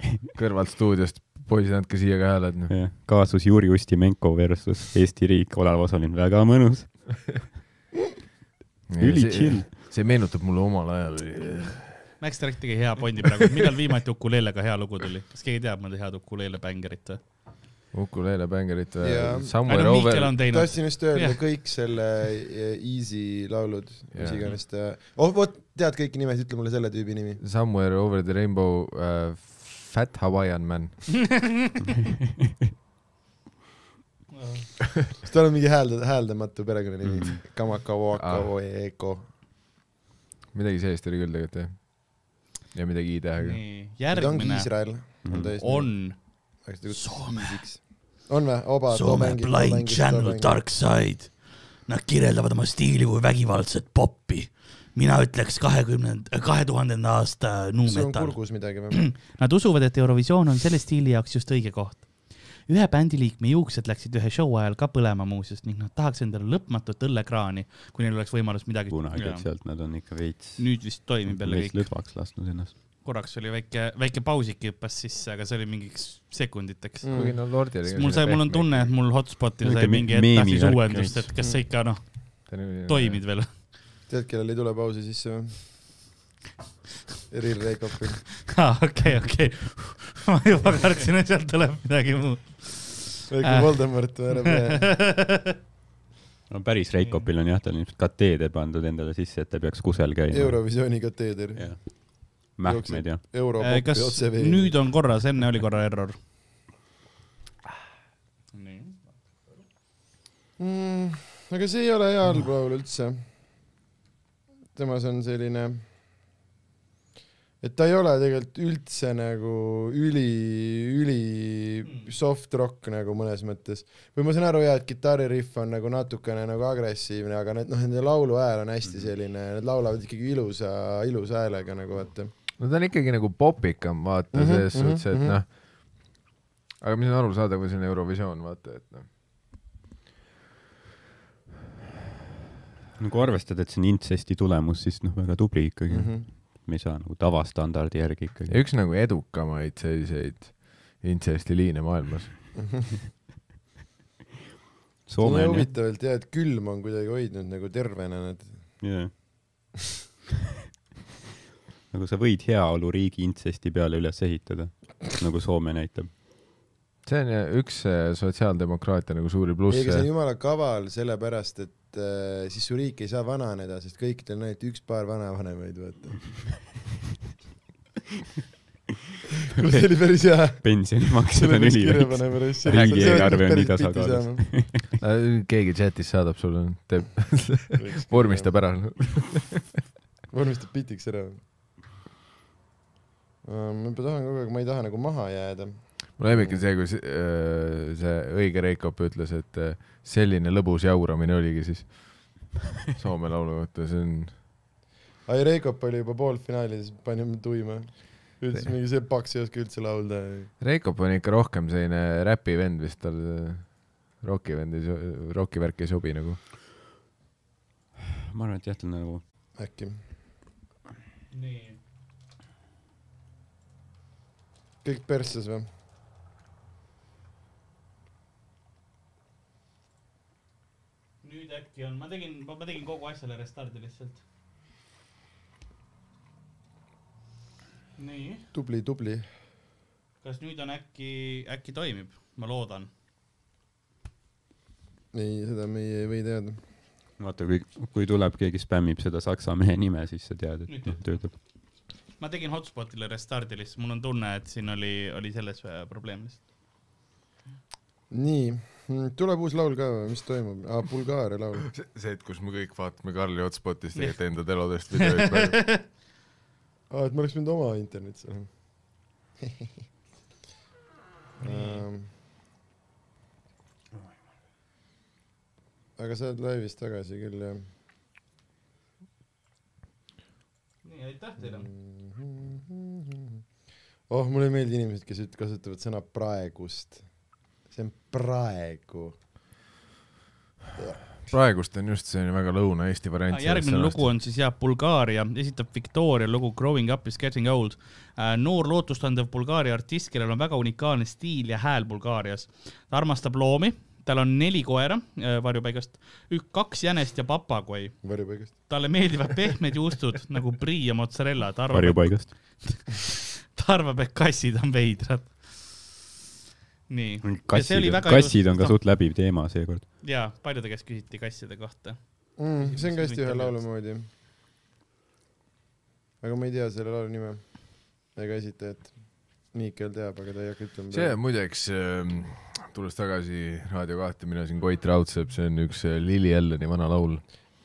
Mhm.
kõrvalt stuudiost . poisid , andke siia ka hääled . noh.
jah , kaasus Juri Ustimenko versus Eesti riik , Olav Osalin , väga mõnus , üli chill .
[LAUGHS] see meenutab mulle omal ajal eh,
Max Direct tegi hea pointi praegu , millal viimati ukuleelega hea lugu tuli , kas keegi teab mõnda head ukuleele bängarit või ?
ukuleele bängarit või
Jaa.
eh, Somewhere
ainult Mihkel
over
on teinud ,
tahtsin just öelda
Jah.
yeah. kõik selle eh, Easy laulud , mis
Jah.
iganes ta , oh vot , tead kõiki nimesid , ütle mulle selle tüübi nimi .
Somewhere over the rainbow uh, Fat Hawaiian man
kas tal on mingi häälde , hääldamatu perekonnanimi mm. ? Kamaka , Waka
Ah. ,
Eko .
midagi sellist oli küll tegelikult jah ja midagi i-tähega
ta ongi
järgmine
Iisrael .
on
Soome . on või ? oba .
Soome Blind Channel . Dark Side . Nad kirjeldavad oma stiili kui vägivaldset popi . mina ütleks kahekümnenda , kahe tuhandenda aasta nu
kas sul on
metal .
kurgus midagi või ? [CLEARS THROAT]
Nad usuvad , et Eurovisioon on selle stiili jaoks just õige koht . ühe bändi liikme juuksed läksid ühe show ajal ka põlema muuseas ning nad tahaks endale lõpmatut õllekraani , kui neil oleks võimalus midagi .
kunagi , et sealt nad on ikka veits ,
nüüd vist toimib jälle
veits
kõik .
lõdvaks lasknud ennast .
korraks oli väike , väike pausik hüppas sisse , aga see oli mingiks sekunditeks
Mm.
kuigi no Lordil
Sest mul sai , mul on tunne , et mul hotspotil
Niisugune
sai
me-
mingi ettetähtis
meemivärk
uuendust ,
käis.
et kas sa ikka noh ,
et
toimid veel . [LAUGHS]
tead , kellel ei tule pausi sisse või ? Eril Reikopil .
okei , okei . [LAUGHS] ma juba kartsin , et sealt tuleb midagi muud .
väike
Äh.
Voldemort või
[LAUGHS]
ära pea .
no päris Reikopil on jah , tal on ilmselt kateeder pandud endale sisse , et ta peaks kusagil käima .
Eurovisiooni kateeder .
mähkmed ja .
Europopi
Äh, Eh, kas
otse-veebi .
nüüd on korras , enne oli korra error ?
mm, . aga see ei ole hea halb laul üldse . temas on selline et ta ei ole tegelikult üldse nagu üli , üli soft rock nagu mõnes mõttes . või ma saan aru jaa , et kitarririff on nagu natukene nagu agressiivne , aga need noh , nende laulu hääl on hästi selline , nad laulavad ikkagi ilusa , ilusa häälega nagu vaata .
no ta on ikkagi nagu popikam , vaata mm
Mhm,
-hmm, selles
mhm,
suhtes , et mm
mhm.
-hmm. noh , aga mis on arusaadav , kui see on Eurovisioon , vaata , et noh ,
nagu arvestad , et see on intsesti tulemus , siis noh , väga tubli ikkagi
Mhm.
mm . -hmm.
-hmm.
me ei saa nagu tavastandardi järgi ikkagi .
üks nagu edukamaid selliseid intsestiliine maailmas .
see on
Soome on jah
huvitavalt jaa , et külm on kuidagi hoidnud nagu tervena nad .
yeah. . [LAUGHS] nagu sa võid heaoluriigi intsesti peale üles ehitada , nagu Soome
[LAUGHS]
näitab .
see on ja üks äh, sotsiaaldemokraatia nagu suuri
ei , aga
plusse
see on . jumala kaval , sellepärast et äh, siis su riik ei saa vananeda , sest kõikidel on ainult üks paar vanavanemaid ,
[LAUGHS]
vaata . kuule , see oli päris hea .
pensionimaksed
selle
on
peaks kirja
üliväiksed .
panema üles .
Riigieelarve on nii tasakaalus. .
Äh, keegi chatis saadab sulle , teeb ,
[LAUGHS]
vormistab ära .
vormistab bitiks ära . ma juba tahan kogu aeg , ma ei taha nagu maha jääda .
mu lemmik on see , kui see, äh, see õige Reikop ütles , et äh, selline lõbus jauramine oligi siis Soome laulu kohta , see on ,
ai , Reikop oli juba poolfinaalis , panime tuima . ütles mingi see paks ei oska üldse laulda .
Reikop on ikka rohkem selline räpivend vist , tal äh, rokivend ei , rokivärk ei sobi nagu .
ma arvan , et jah , ta on nagu
äkki .
nii .
kõik persses või ?
nüüd äkki on , ma tegin , ma tegin kogu asjale restardi lihtsalt . nii ,
tubli , tubli .
kas nüüd on äkki , äkki toimib ? ma loodan .
ei , seda me ei või teada .
vaata , kui , kui tuleb keegi spämmib seda saksa mehe nime , siis sa tead , et noh , töötab .
ma tegin hotspotile restardi lihtsalt , mul on tunne , et siin oli , oli selles äh, probleem lihtsalt .
nii , tuleb uus laul ka või , mis toimub ah, ? Bulgaaria laul .
see hetk , kus me kõik vaatame Karli hotspotist tegelikult enda telodest videoid praegu .
aa , Ah, et ma oleks pidanud oma internetis [LAUGHS] olema Ähm, aga sa oled laivis tagasi küll jah
nii , aitäh teile .
mm. . oh , mulle ei meeldi inimesed , kes üt- kasutavad sõna praegust . see on praegu .
[LAUGHS] praegust on just selline väga Lõuna-Eesti variant .
järgmine lugu on siis jah , Bulgaaria esitab Victoria lugu Growing up is getting old . noor lootustandev Bulgaaria artist , kellel on väga unikaalne stiil ja hääl Bulgaarias . ta armastab loomi , tal on neli koera äh, varjupaigast , kaks jänest ja papagoi .
varjupaigast .
talle meeldivad pehmed juustud [LAUGHS] nagu prii ja mozzarella . ta arvab ,
varjupaigast .
ta arvab , et kassid on veidrad . nii .
kassid , kassid on ka . suht läbiv teema seekord .
jaa , paljude käest küsiti kasside kohta .
mm, . see on ka hästi ühe
Mitte
laulu
midagi.
moodi . aga ma ei tea selle laulu nime ega esitajat . Miikel teab , aga ta ei hakka
see
ütlema .
muideks , tulles tagasi Raadio kahte , mina siin Koit Raudsepp , see on üks äh, Lili Alleni vana laul .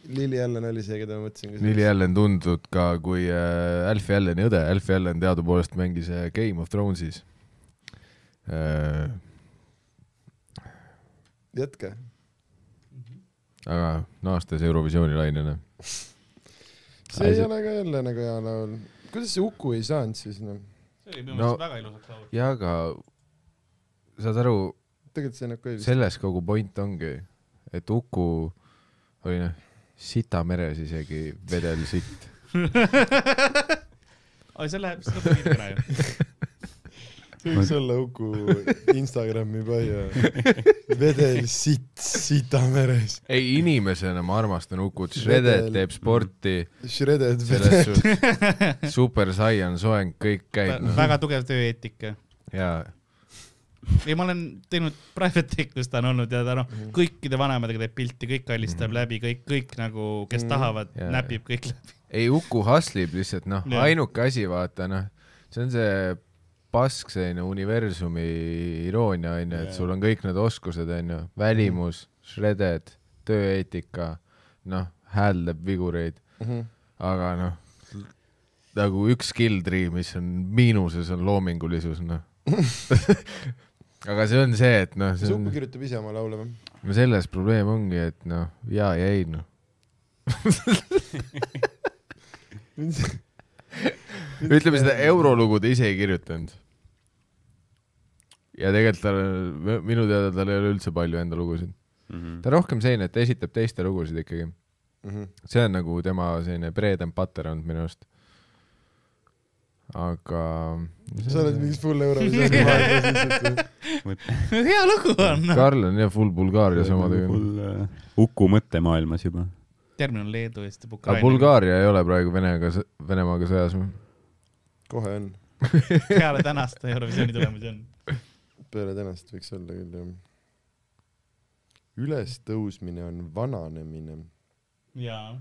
Lili Allan oli see , keda ma mõtlesin .
Lili Allen tuntud ka kui äh, Alfie Alleni õde , Alfie Allen teadupoolest mängis äh, Game of Thronesis äh, .
jätka .
Mhm.
aga naastes Eurovisiooni lainele .
see ei ole ka jälle nagu hea laul . kuidas see Uku ei saanud siis noh ?
see oli minu
No-
meelest väga ilusaks laul .
jaa , aga saad aru ,
tegelikult see on okei vist .
selles kogu point ongi , et Uku oli noh , sita meres isegi vedel sitt .
[LAUGHS] oi , see läheb , see lõpeb nii ära ju .
see võiks olla Uku Instagrami
[LAUGHS]
bio . vedel sitt sitameres .
ei , inimesena ma armastan Ukut , Shredet
Vedel.
teeb sporti ,
Shredded
selles
vedel .
suhtes super saian soeng , kõik käib noh.
Vä- . väga tugev tööeetika .
jaa ,
ei , ma olen teinud private take , kus ta on olnud ja ta noh ,
Mhm.
kõikide vanematega teeb pilti , kõik kallistab läbi , kõik , kõik nagu , kes
Mhm.
tahavad
Jaa, ,
näpib kõik läbi .
ei Uku haslib lihtsalt noh ,
Jah.
ainuke asi , vaata noh , see on see pask selline universumi iroonia onju , et
Jaa.
sul on kõik need oskused onju , välimus , shredded ,
Mhm.
tööeetika , noh , hääldab vigureid , aga noh , nagu üks skilltree , mis on miinuses , on loomingulisus , noh . [LAUGHS] aga see on see , et noh , see on
Suppu , kirjutab ise oma laule või ?
no selles probleem ongi , et noh , jaa ja ei noh . ütleme seda . eurolugu ta ise ei kirjutanud . ja tegelikult tal , minu teada tal ei ole üldse palju enda lugusid .
Mhm.
ta rohkem selline , et ta esitab teiste lugusid ikkagi .
Mhm.
see on nagu tema selline preedem patter olnud minu arust . aga .
sa oled mingis full Eurovisiooni maailmas lihtsalt .
[LAUGHS] hea lugu on . noh.
Karl on jah full Bulgaarias omadega .
Uku äh, mõttemaailmas juba .
järgmine on Leedu ja siis tuleb
aga
Ukraina .
Bulgaaria ei ole praegu Venega , Venemaaga sõjas või ?
kohe on ,
[LAUGHS] peale tänast Eurovisiooni tulemusi on .
peale tänast võiks olla küll jah . ülestõusmine on vananemine .
jaa .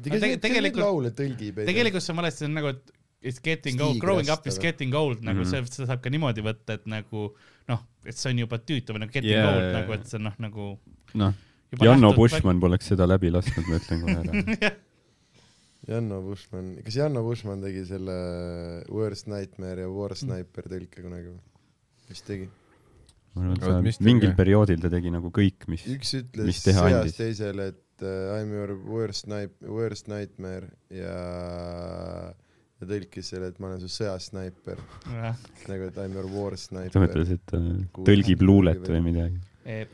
tegelikult ,
tegelikult-
tegelikult laule tõlgib .
tegelikult see on valesti , see on nagu , et it's getting
Stiili
old , growing up is
asjadega.
getting old nagu
Mhm.
see , seda saab ka niimoodi võtta , et nagu noh , et see on juba tüütu või nagu getting
Jaa,
old
jaa,
nagu ,
jaa.
et see on noh , nagu .
noh , Janno . Bushman poleks seda läbi lasknud , ma ütlen kohe
[LAUGHS]
ära .
Janno Bushman , kas Janno Bushman tegi selle äh, Worst Nightmare ja
Mm.
War Sniper tõlke kunagi või ? vist tegi .
ma arvan , et
Oot, mis
seal
tegi?
mingil perioodil ta tegi nagu kõik , mis
üks ütles
Mis teha
sõjas
andis?
teisele , et uh, I m your worst night- , worst nightmare ja ja tõlkis selle , et ma olen su sõjasnaiper , nagu et I m your war
ta
sniper .
mõtles , et ta tõlgib luulet või midagi .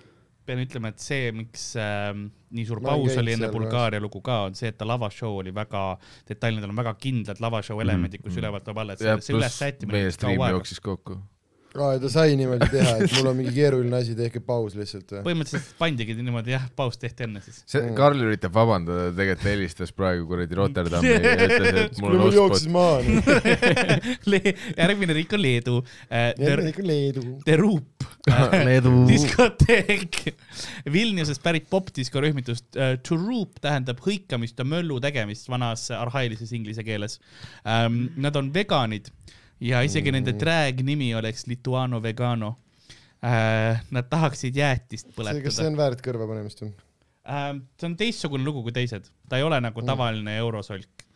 pean ütlema , et see , miks ähm, nii suur
Ma olen
paus
käinud
oli enne
seal
Bulgaaria lugu ka , on see , et ta lavashow oli väga detailne , tal on väga kindlad lavashow elemendid , kus ülevalt tuleb alla , et
ja
see, see
pluss
ülessättimine
meie
võttis
striim
kaua aega.
jooksis kokku .
aa , ja ta sai niimoodi teha , et mul on mingi keeruline asi , tehke paus lihtsalt või ?
põhimõtteliselt pandigi niimoodi jah , paus tehti enne
[LAUGHS]
siis . [LAUGHS]
see
Mm.
Karl üritab vabandada , tegelikult ta helistas praegu kuradi Rotterdami ja ütles , [LAUGHS] et mul
kuule ,
on
mul
ostpot
jooksis .
[LAUGHS]
maha .
Le- järgmine riik on Leedu äh, .
jälle ikka Leedu .
Teruup
[LAUGHS]
äh, ,
Leedu .
Mm.
diskoteek . Vilniusest pärit popdiskorühmitust äh, Teruup tähendab hõikamist ja möllu tegemist vanas arhailises inglise keeles ähm, . Nad on veganid ja isegi nende
Mm.
drag nimi oleks Lituano Vegano äh, . Nad tahaksid jäätist
kas see
põletada .
on väärt kõrvapanemist või ?
Ähm, see on teistsugune lugu kui teised , ta ei ole nagu
Mm.
tavaline eurosolk ,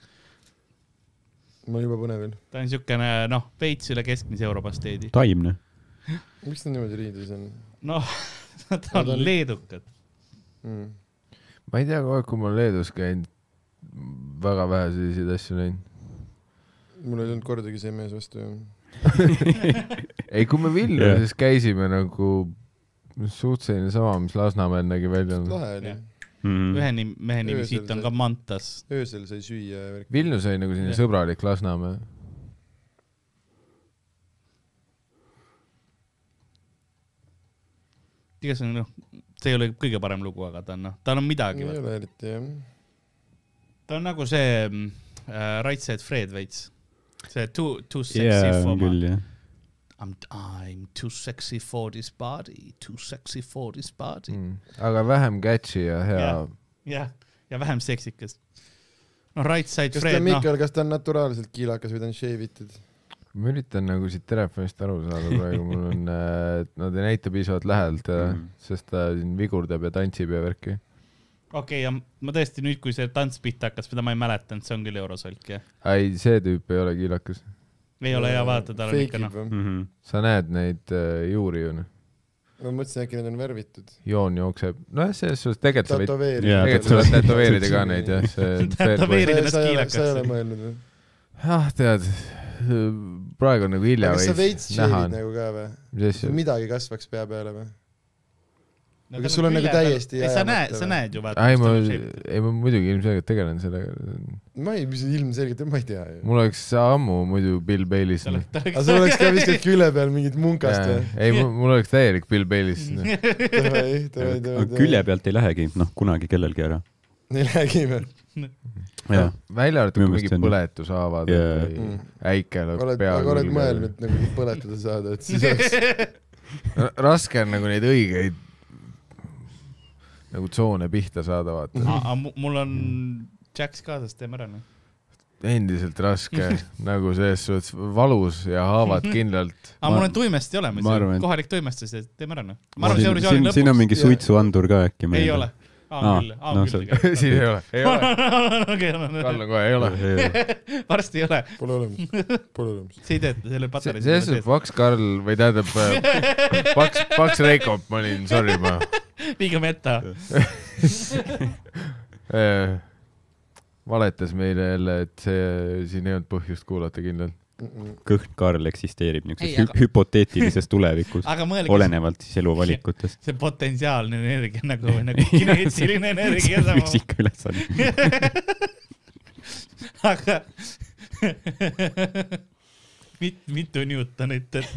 ma juba põnevil .
ta on siukene noh , veits üle keskmise europasteedi .
taimne .
miks ta niimoodi riides on
noh , [LAUGHS] nad on
on-
leedukad .
mm. ?
ma ei tea , kogu aeg , kui ma olen Leedus käinud , väga vähe selliseid asju näinud .
mul ei olnud kordagi see mees vastu ju .
ei , kui me Vilniuses käisime nagu suht selline sama , mis Lasnamäel nägi välja .
lahe oli
Jah. .
Mm. Mhm.
ühe nim- mehe nimi
Öösel
siit on
see-
ka Mantas .
öösel sai süüa ja värk .
Vilnius oli nagu selline
Jah.
sõbralik Lasnamäe .
igasugune noh , see ei ole kõige parem lugu , aga ta on noh , tal on midagi
ei . ole eriti jah .
ta on nagu see mm, äh, Right Said Fred veits . see too , too sexy
jaa ,
for
on
my
küll jah .
I m , I m too sexy for this body , too sexy for this body .
Mm.
aga vähem catchy ja hea
Jah. . jah , ja vähem seksikas . noh , Right Said
kas ta
Fred , noh ,
Mikal , kas ta on naturaalselt kiilakas või ta on shavitud ?
ma üritan nagu siit telefonist aru saada praegu , mul on , nad ei näita piisavalt lähedalt ja
Mhm.
sest ta siin vigurdab ja tantsib ja värki .
okei , ja ma tõesti nüüd , kui see tants pihta hakkas , mida ma ei mäletanud , see on küll eurosolk , jah .
ei , see tüüp ei ole kiilakas .
ei ole hea vaadata , tal on ikka noh ,.
Mhm.
sa näed neid äh, juuri ju noh ,
ma mõtlesin , äkki need on värvitud .
joon jookseb , nojah , selles suhtes tegelikult sa võid ,
Jaa,
tegelikult sa võid tätoveerida
[LAUGHS]
ka neid jah , see on see ,
Tätoveerida ennast
sa ei ole
kiilakaks.
mõelnud või ?
ah tead , praegu on nagu hilja
aga kas sa veits
veits näha
shavid
on ,
nagu ka või ?
mis asja ,
midagi kasvaks pea peale või ?
no,
Aga
tal
sul on nagu
külje peal-
täiesti
ei, sa
jäämata
näed , sa
või?
näed ju vaata . nagu
ei ma , ei ma muidugi ilmselgelt tegelen sellega ,
ma ei , mis ilmselgelt , ma ei tea ju .
mul oleks ammu muidu Bill Baylis
tal oleks , tal
aga sul oleks ka viskad külje peal mingit munkast või ?
ei , mul oleks täielik Bill Baylis
Mhm.
[LAUGHS]
[LAUGHS] davai , davai , davai .
külje . pealt ei lähegi , noh , kunagi kellelgi ära .
ei lähegi või ?
jah ,
välja arvatud , kui mingid
Minu meelest see on-
põletushaavad
Jaa.
või
Mm.
äike lööb
oled ,
pea
aga oled mõelnud nagu põletada saada , et siis oleks
R- raske on nagu neid õigeid nagu tsoone pihta saada ,
Mm-hmm.
vaata .
aga Ah, mul on Jacks kaasas , teeme ära noh .
endiselt raske ,
[LAUGHS]
nagu selles suhtes valus ja haavad
[LAUGHS]
kindlalt .
aga
Ma-
Ah, mul on tuimest ei ole ,
ma arvan, et-
kohalik tuimestus , teeme ära noh . ma arvan , see
siin ,
Eurovisiooni
siin on
lõpuks
mingi
Jah.
suitsuandur ka äkki meil .
ei ole . aa küll , aa
no see-
küll tegelikult .
[LAUGHS]
siin ei ole , ei ole .
[LAUGHS] okei , no ,
Karl
no ,
on kohe , ei ole . [LAUGHS]
varsti ei ole ,
Pole olemas , pole olemas .
sa ei tea , et selle
see ,
patareis
see on paks Karl või tähendab äh, paks , paks Reiko , ma olin , sorry , ma
liiga meta .
äh, valetas meile jälle , et see , siin ei olnud põhjust kuulata kindlalt .
kõhn Karl eksisteerib
Ei,
niisuguses
aga-
hü- hüpoteetilises tulevikus ,
aga mõelge ,
olenevalt siis eluvalikutest .
see potentsiaalne energia nagu ,
[LAUGHS]
nagu kineetiline energia sama .
füüsikaülesanne .
aga [LAUGHS] mit, mitu Newtonit , et ,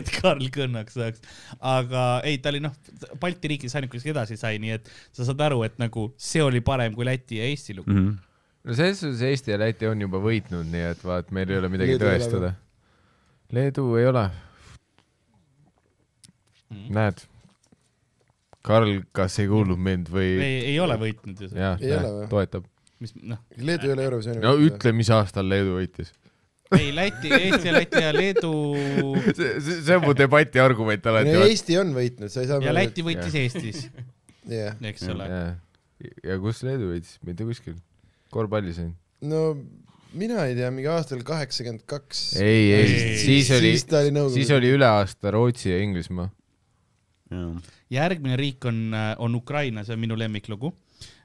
et Karl kõnnaks saaks , aga ei , ta oli noh , Balti riikides ainuke , kes edasi sai , nii et sa saad aru , et nagu see oli parem kui Läti ja Eesti lugu .
Mhm.
no selles suhtes Eesti ja Läti on juba võitnud , nii et vaat meil ei ole midagi
Leedu ei ole
tõestada . Leedu ei ole .
Mm.
näed , Karl , kas ei kuulnud mind või ?
ei , ei ole võitnud ju see ,
jah
Ei ole või? ,
toetab .
mis noh ,
Leedu ei ole Eurovisiooni
no . ütle , mis aastal Leedu võitis .
ei Läti , Eesti , Läti ja Leedu
[LAUGHS] see , see see on mu debati argument alati
no . Eesti on võitnud , sa ei saa .
ja Läti võitis Eestis ,
jah ,
eks ole .
ja kus Leedu võitis ? mitte kuskil . korvpallis ainult .
no mina ei tea , mingi aastal kaheksakümmend kaks .
ei , ei ,
Ei,
siis oli ,
siis ta oli nõukogude
siis . oli üle aasta Rootsi ja Inglismaa .
järgmine riik on , on Ukraina , see on minu lemmiklugu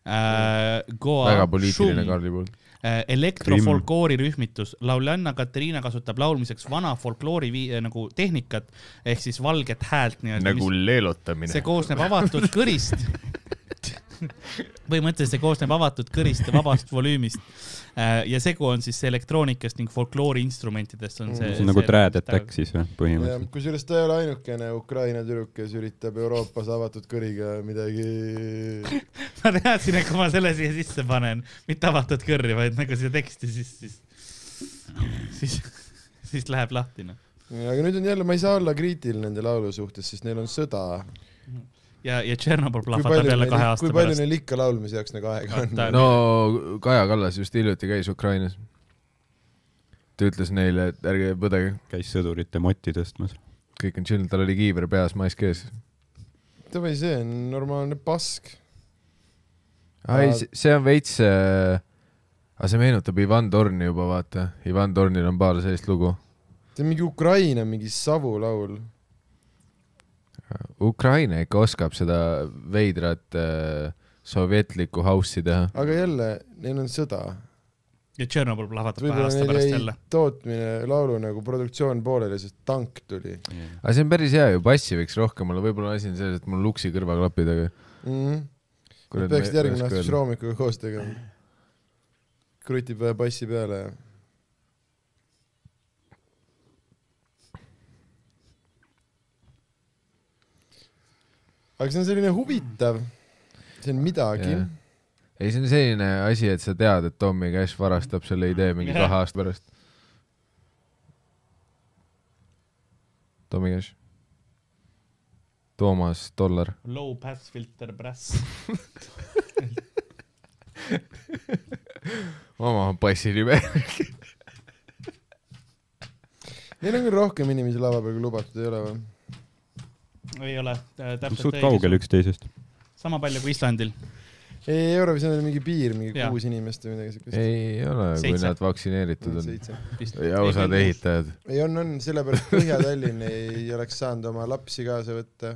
äh, .
väga poliitiline Karli poolt .
Äh, elektrofolkoorirühmitus , lauljanna Katariina kasutab laulmiseks vana folkloori vii- , nagu tehnikat ehk siis valget häält nii-öelda .
Nagu
see
leelotamine .
koosneb avatud
[LAUGHS]
kõrist . põhimõtteliselt see koosneb avatud kõrist ja vabast volüümist äh, ja segu on siis elektroonikast ning folklooriinstrumentidest on see .
see on nagu Trad Attack . siis või , põhimõtteliselt ?
kusjuures ta ei ole ainukene Ukraina tüdruk , kes üritab Euroopas avatud kõriga midagi .
ma teadsin , et kui ma selle siia sisse panen , mitte avatud kõrri , vaid nagu siia teksti , siis , siis , siis , siis läheb lahti noh .
aga nüüd on jälle , ma ei saa olla kriitiline nende laulu suhtes , sest neil on sõda .
ja , ja Tšernobõl
kui
plahvatab
palju
jälle kahe
neil ,
aasta
kui palju
pärast .
neil ikka laulmise jaoks nagu aega on ?
Vaata.
no Kaja Kallas just hiljuti käis Ukrainas . ta ütles neile , et ärge põdege ,
käis sõdurite motti tõstmas .
kõik on chill , tal oli kiiver peas , mask ees .
[LAUGHS] Davai , see on normaalne pask .
ei , see on veits äh... , aga see meenutab Ivan Torni juba , vaata . Ivan Tornil on paar sellist lugu .
see on mingi Ukraina mingi savu laul .
Ukraina ikka oskab seda veidrat äh, sovjetlikku house'i teha .
aga jälle , neil on sõda .
ja Tšernobõl plahvatab kahe
võib-olla
aasta
neil
pärast
jäi
jälle .
tootmine , laulu nagu produktsioon pooleli , sest tank tuli
aga see on päris hea ju , bassi võiks rohkem olla , võib-olla asi on selles , et mul luksi kõrvaklapid , aga .
mm . -hmm. Nad peaksid järgmine aasta Šroomikuga koos tegema . krutib vähe bassi peale ja . aga see on selline huvitav , see on midagi
Jah. ei , see on selline asi , et sa tead , et Tommy Cash varastab selle idee mingi
Jah.
kahe aasta pärast . Tommy Cash . Toomas Dollar .
Low pass filter brass .
oma passi nime .
Neil on küll rohkem inimesi lava peal , kui lubatud ei ole või ?
ei ole äh, täpselt
Noh, suht kaugel . üksteisest .
sama palju kui Islandil .
ei , Eurovisionil on mingi piir , mingi
Jaa.
kuus inimest või midagi siukest .
ei ole , kui
Seitse.
nad vaktsineeritud on .
seitse .
ja osad . ehitajad .
ei on , on , sellepärast Põhja-Tallinn ei oleks saanud oma lapsi kaasa võtta .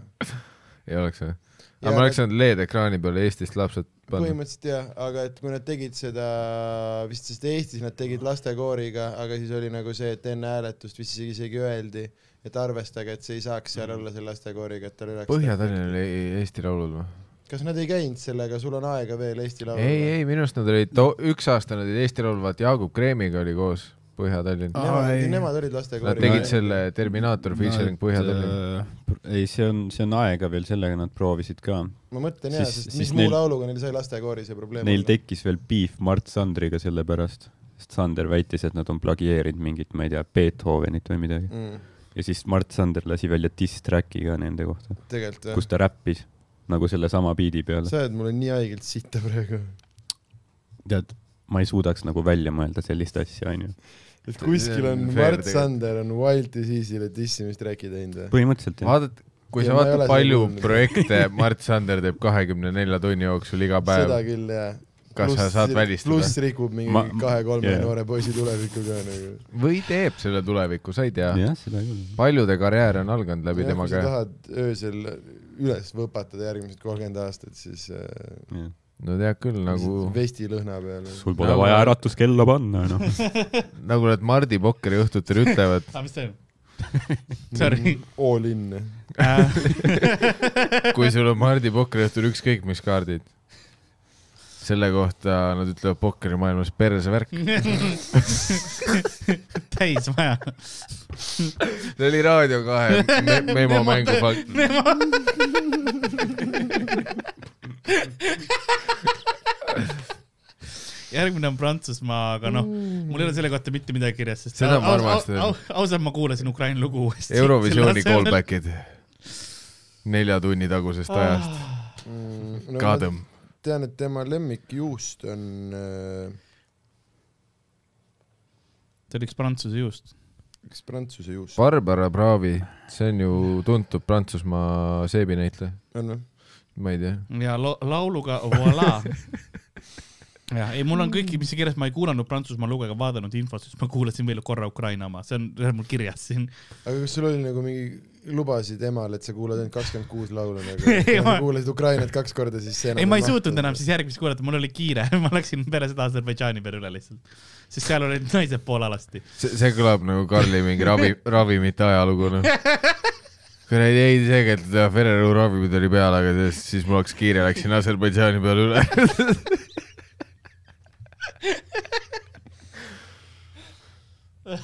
ei oleks või ?
Ja
aga ma oleks
nad-
saanud LED-ekraani peale Eestist lapsed panna .
põhimõtteliselt jah , aga et kui nad tegid seda , vist sest Eestis nad tegid lastekooriga , aga siis oli nagu see , et enne hääletust vist isegi- isegi öeldi , et arvestage , et see ei saaks seal
Mm.
olla see lastekooriga , et tal ei oleks .
Põhja-Tallinn oli E- Eesti Laulul või ?
kas nad ei käinud sellega , sul on aega veel Eesti Laulul ?
ei , ei minu arust nad olid , üks aasta nad olid Eesti Laulul , vaat Jaagup Kreemiga oli koos Põhja-Tallinn .
Nemad,
Ai.
nemad olid
Nad
lastekooriga .
tegid selle Terminaator featuring Põhja-Tallinn .
äh, ei , see on , see on aega veel , sellega nad proovisid ka .
ma mõtlen jaa ,
siis-
sest
siis
mis muu
neil-
lauluga neil sai lastekoori see probleem
Neil . tekkis veel beef Mart Sandriga selle pärast , sest Sander väitis , et nad on plagieerinud mingit , ma ei tea , Beethovenit või midagi .
Mm,
ja siis Mart Sander lasi välja diss track'i ka nende kohta ,
tegelikult
kus
jah ,
ta räppis nagu sellesama biidi peale .
sa oled mulle nii haigelt sitta praegu .
tead , ma ei suudaks nagu välja mõelda sellist asja , onju .
et kuskil on
See on fair
Mart
tegelikult.
Sander on Wild Disease'ile dissimist rääkida teinud või ?
põhimõtteliselt jah .
vaadata , kui
Ja
sa
ma ei
vaatad
ole , seda
palju
kuulnud.
projekte Mart Sander teeb kahekümne nelja tunni jooksul iga päev
seda , küll jah .
kas sa saad välistada ?
pluss rikub mingi
Ma-
kahe-kolme
jah.
noore poisi tulevikku ka nagu .
või teeb selle tuleviku , sa ei tea .
jah , seda küll .
paljude karjäär on alganud läbi tema
kui sa
käe .
tahad öösel üles võpatada järgmised kolmkümmend aastat , siis äh,
no tead küll , nagu ,
vesti lõhna peal .
sul pole vaja äratuskella panna noh.
[LAUGHS]
enam .
nagu need Mardi Pokkeri õhtutel ütlevad ,
aga Ah, mis toimub ? Sorry. .
Mm, All in .
kui sul on Mardi Pokkeri õhtul ükskõik mis kaardid , selle kohta nad ütlevad pokkerimaailmas persevärk .
[LAUGHS] täis maja .
see oli Raadio
[LAUGHS]
kahe me memo mängufakt .
järgmine on Prantsusmaa , aga noh ,
Mm.
mul ei ole selle kohta mitte midagi kirjas , sest
Seda ma
aus-
armastan.
au- au- ausalt , ma kuulasin Ukraina lugu uuesti . [LAUGHS]
Eurovisiooni . callback'id nelja tunni tagusest
Ah.
ajast . Kadõm .
Mm, tean , et tema lemmikjuust on äh,
see oli üks prantsuse juust .
üks prantsuse juust .
Barbara Bravi , see on ju tuntud Prantsusmaa seebinäitleja ,
on või ?
ma ei tea .
ja lo- lauluga [LAUGHS] Voila . jah , ei , mul on kõiki , mis kirjas , ma ei kuulanud Prantsusmaa lugu ega vaadanud infot , siis ma kuulasin veel korra Ukraina oma , see on , see on mul kirjas siin .
aga kas sul oli nagu mingi , lubasid emale , et sa kuulad ainult kakskümmend kuus laulu
[LAUGHS]
nagu ?
Ei,
kui sa
ma-
kuulasid Ukrainat kaks korda , siis see nagu
ei , ma ei suutnud enam siis järgmist kuulata , mul oli kiire , [LAUGHS] ma läksin peale seda Aserbaidžaani peale üle lihtsalt . sest seal olid naised pool alasti .
see , see kõlab nagu Karli mingi ravi ,
[LAUGHS]
ravimite ajalugu , noh . kuradi ei , seega , et ta Ferreru ravimid oli peal , aga siis- siis mul hakkas kiire , läksin Aserbaidžaani peale üle .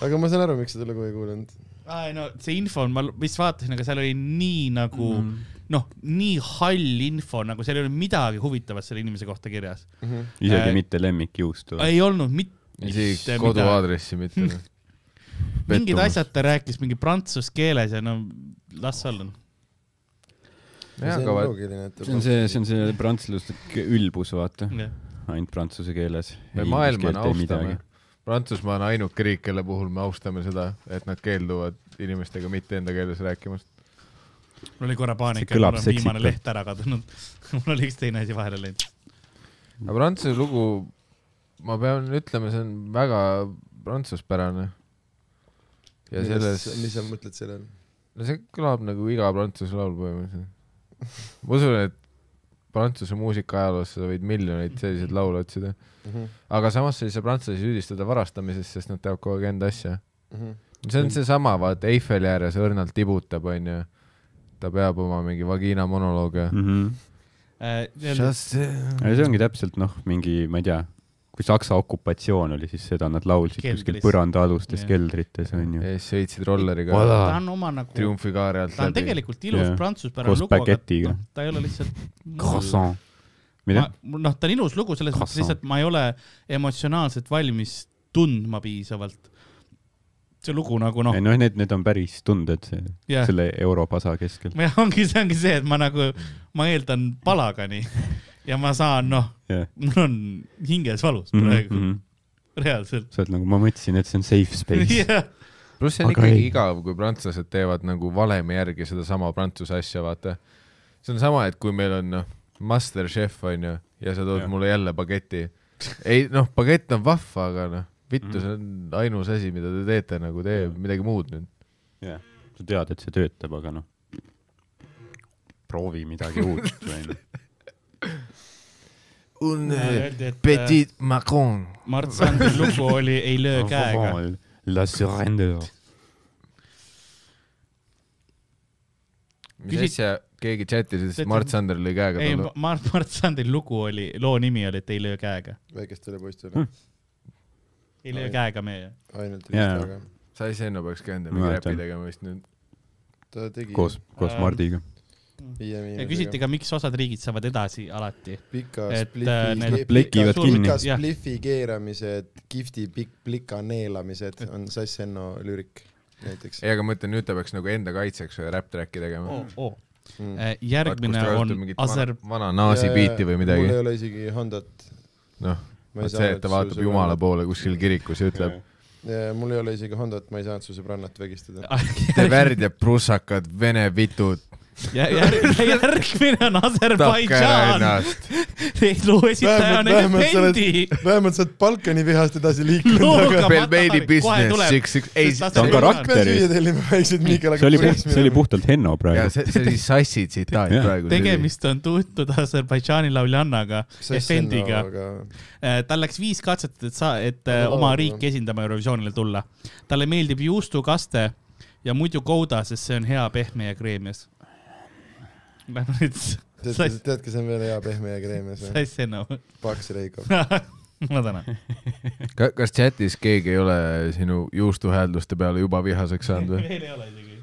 aga ma saan aru , miks seda lugu ei kuulanud .
aa , ei no see info on , ma l- vist vaatasin , aga seal oli nii nagu mm -hmm. noh , nii hall info , nagu seal ei olnud midagi huvitavat selle inimese kohta kirjas .
Mhm.
isegi
Äh,
mitte lemmikjuustu .
ei olnud mitte
isegi
midagi.
koduaadressi mitte . noh.
mingid . asjad ta rääkis mingi prantsuse keeles ja no las olla .
jah , aga vaat-
see on see , see on see prantslaslik ülbus , vaata , ainult prantsuse keeles .
me maailma me austame . Prantsusmaa on ainuke riik , kelle puhul me austame seda , et nad keelduvad inimestega mitte enda keeles rääkimast .
mul oli korra paanika ,
See
et
kõlab
mul on viimane
seksikalt.
leht ära kadunud . [LAUGHS] mul oli üks teine asi vahele läinud .
aga prantsuse lugu , ma pean ütlema , see on väga prantsuspärane . ja selles ,
mis sa mõtled selle all ?
no see kõlab nagu iga prantsuse laul põhimõtteliselt . [LAUGHS] ma usun , et prantsuse muusika ajaloos sa võid miljoneid selliseid laule otsida ,
Mhm,
aga samas sa ei saa prantslasi süüdistada varastamises , sest nad teavad kogu aeg enda asja .
mhm.
see on seesama , vaata Eiffeli ääres õrnalt tibutab , onju . ta peab oma mingi vagiina monoloogi
Mhm.
mm .
Äh,
Mm. ja see ongi täpselt noh , mingi , ma ei tea , kui Saksa okupatsioon oli , siis seda nad laulsid kuskil
Keldris.
põrandaalustes
Jah.
keldrites onju .
ja siis sõitsid rolleriga
Vala.
ta on oma nagu ,
triumfikaare alt
ta on
läbi .
tegelikult ilus
Jah.
prantsuspärane
Koos
lugu , aga
baguette'iga.
noh, ta ei ole lihtsalt .
croissant . mida ?
ma , noh , ta on ilus lugu selles mõttes
Croissant.
lihtsalt ma ei ole emotsionaalselt valmis tundma piisavalt . see lugu nagu noh
ei , noh , need , need on päris tunded see,
jah ,
selle europasa keskel .
jah , ongi , see ongi see , et ma nagu , ma eeldan palagani ja ma saan , noh ,
jah .
mul on hinges valus
Mhm,
praegu mm -hmm. reaalselt .
sa oled nagu , ma mõtlesin , et see on safe space .
[LAUGHS] jah ,
pluss see on
Aga
ikkagi
ei.
igav , kui prantslased teevad nagu valemi järgi sedasama prantsuse asja , vaata . see on sama , et kui meil on noh , Masterchef onju ja sa tood
Jah.
mulle jälle bageti . ei noh , bagett on vahva , aga noh ,
Mm.
vittu , see on ainus asi , mida te teete nagu , tee midagi muud nüüd .
jah , sa tead , et see töötab , aga noh , proovi midagi uut [LAUGHS] onju .
Un
öeldi , et äh,
macron .
Mart Sandri lugu oli Ei löö käega .
La surrender .
mis
Küsi-
asja , keegi chatis ,
See-
et Mart Sander lõi käega
ei ,
talle .
Mart , Mart Sandri lugu oli , loo nimi oli , et Ei löö käega .
väikestele poistele
Hmm.
Hm.
ei löö
Ai.
käega meie .
ainult
Jaa.
riistaga .
sa ise enne peaks ka enda
Ma
mingi räpi
mäletan.
tegema vist nüüd .
ta tegi
koos , koos
Ähm,
Mardiga .
viie
ja küsiti
miinusega .
ka , miks osad riigid saavad edasi alati .
pika
et, äh, need-
spliffi ,
plekivad kinni.
pika
Jah.
spliffi keeramised , kihvti pikk plika neelamised on Sass Enno lüürik näiteks .
ei , aga ma ütlen , nüüd ta peaks nagu enda kaitseks ühe räpp-tracki tegema
oo , oo .
Mm.
Oh. äh, järgmine on Aser- ,
vana Äh, naasi biiti või midagi
mul ei , ole isegi Hondat .
noh , vot see , et ta vaatab jumala . poole kuskil kirikus ja ütleb ,
mul
Äh.
[LAUGHS]
ei ole isegi Hondat , ma ei saanud su sõbrannat vägistada .
te värdjad prussakad , vene vitud ,
järgmine on
tapke ära
Aserbaidžaan . [LAUGHS]
ennast .
loo esitaja on
vähemalt sa oled
Elemendi .,
vähemalt sa oled Balkani vihast edasi liikunud ,
Looga-
aga
Pelmeeni
Kohe
business
tuleb.
six , six , ei ,
Sest
ta on
Aserbaidžaan-
karakter.
pead süüa tellima väikseid Miikalaga .
see oli puht , see oli . puhtalt Henno
ja
praegu .
see , see oli sassi tsitaat
Jah.
praegu .
tegemist on tuntud Aserbaidžaani lauljannaga , Efendiga . Äh, tal läks viis katset , et sa , et äh, oma
Laulja.
riiki esindama Eurovisioonile tulla . talle meeldib juustukaste ja muidu kouda , sest see on hea pehme ja kreemias . Lähme
[LAUGHS]
nüüd
tead ,
sass-
tead , kes on veel hea pehme ja kreemias või ?
sassi enam . [LAUGHS]
Paks Reikov .
ma tänan .
kas chatis keegi ei ole sinu juustuhäälduste peale juba vihaseks saanud või ?
veel ei ole [LAUGHS] isegi .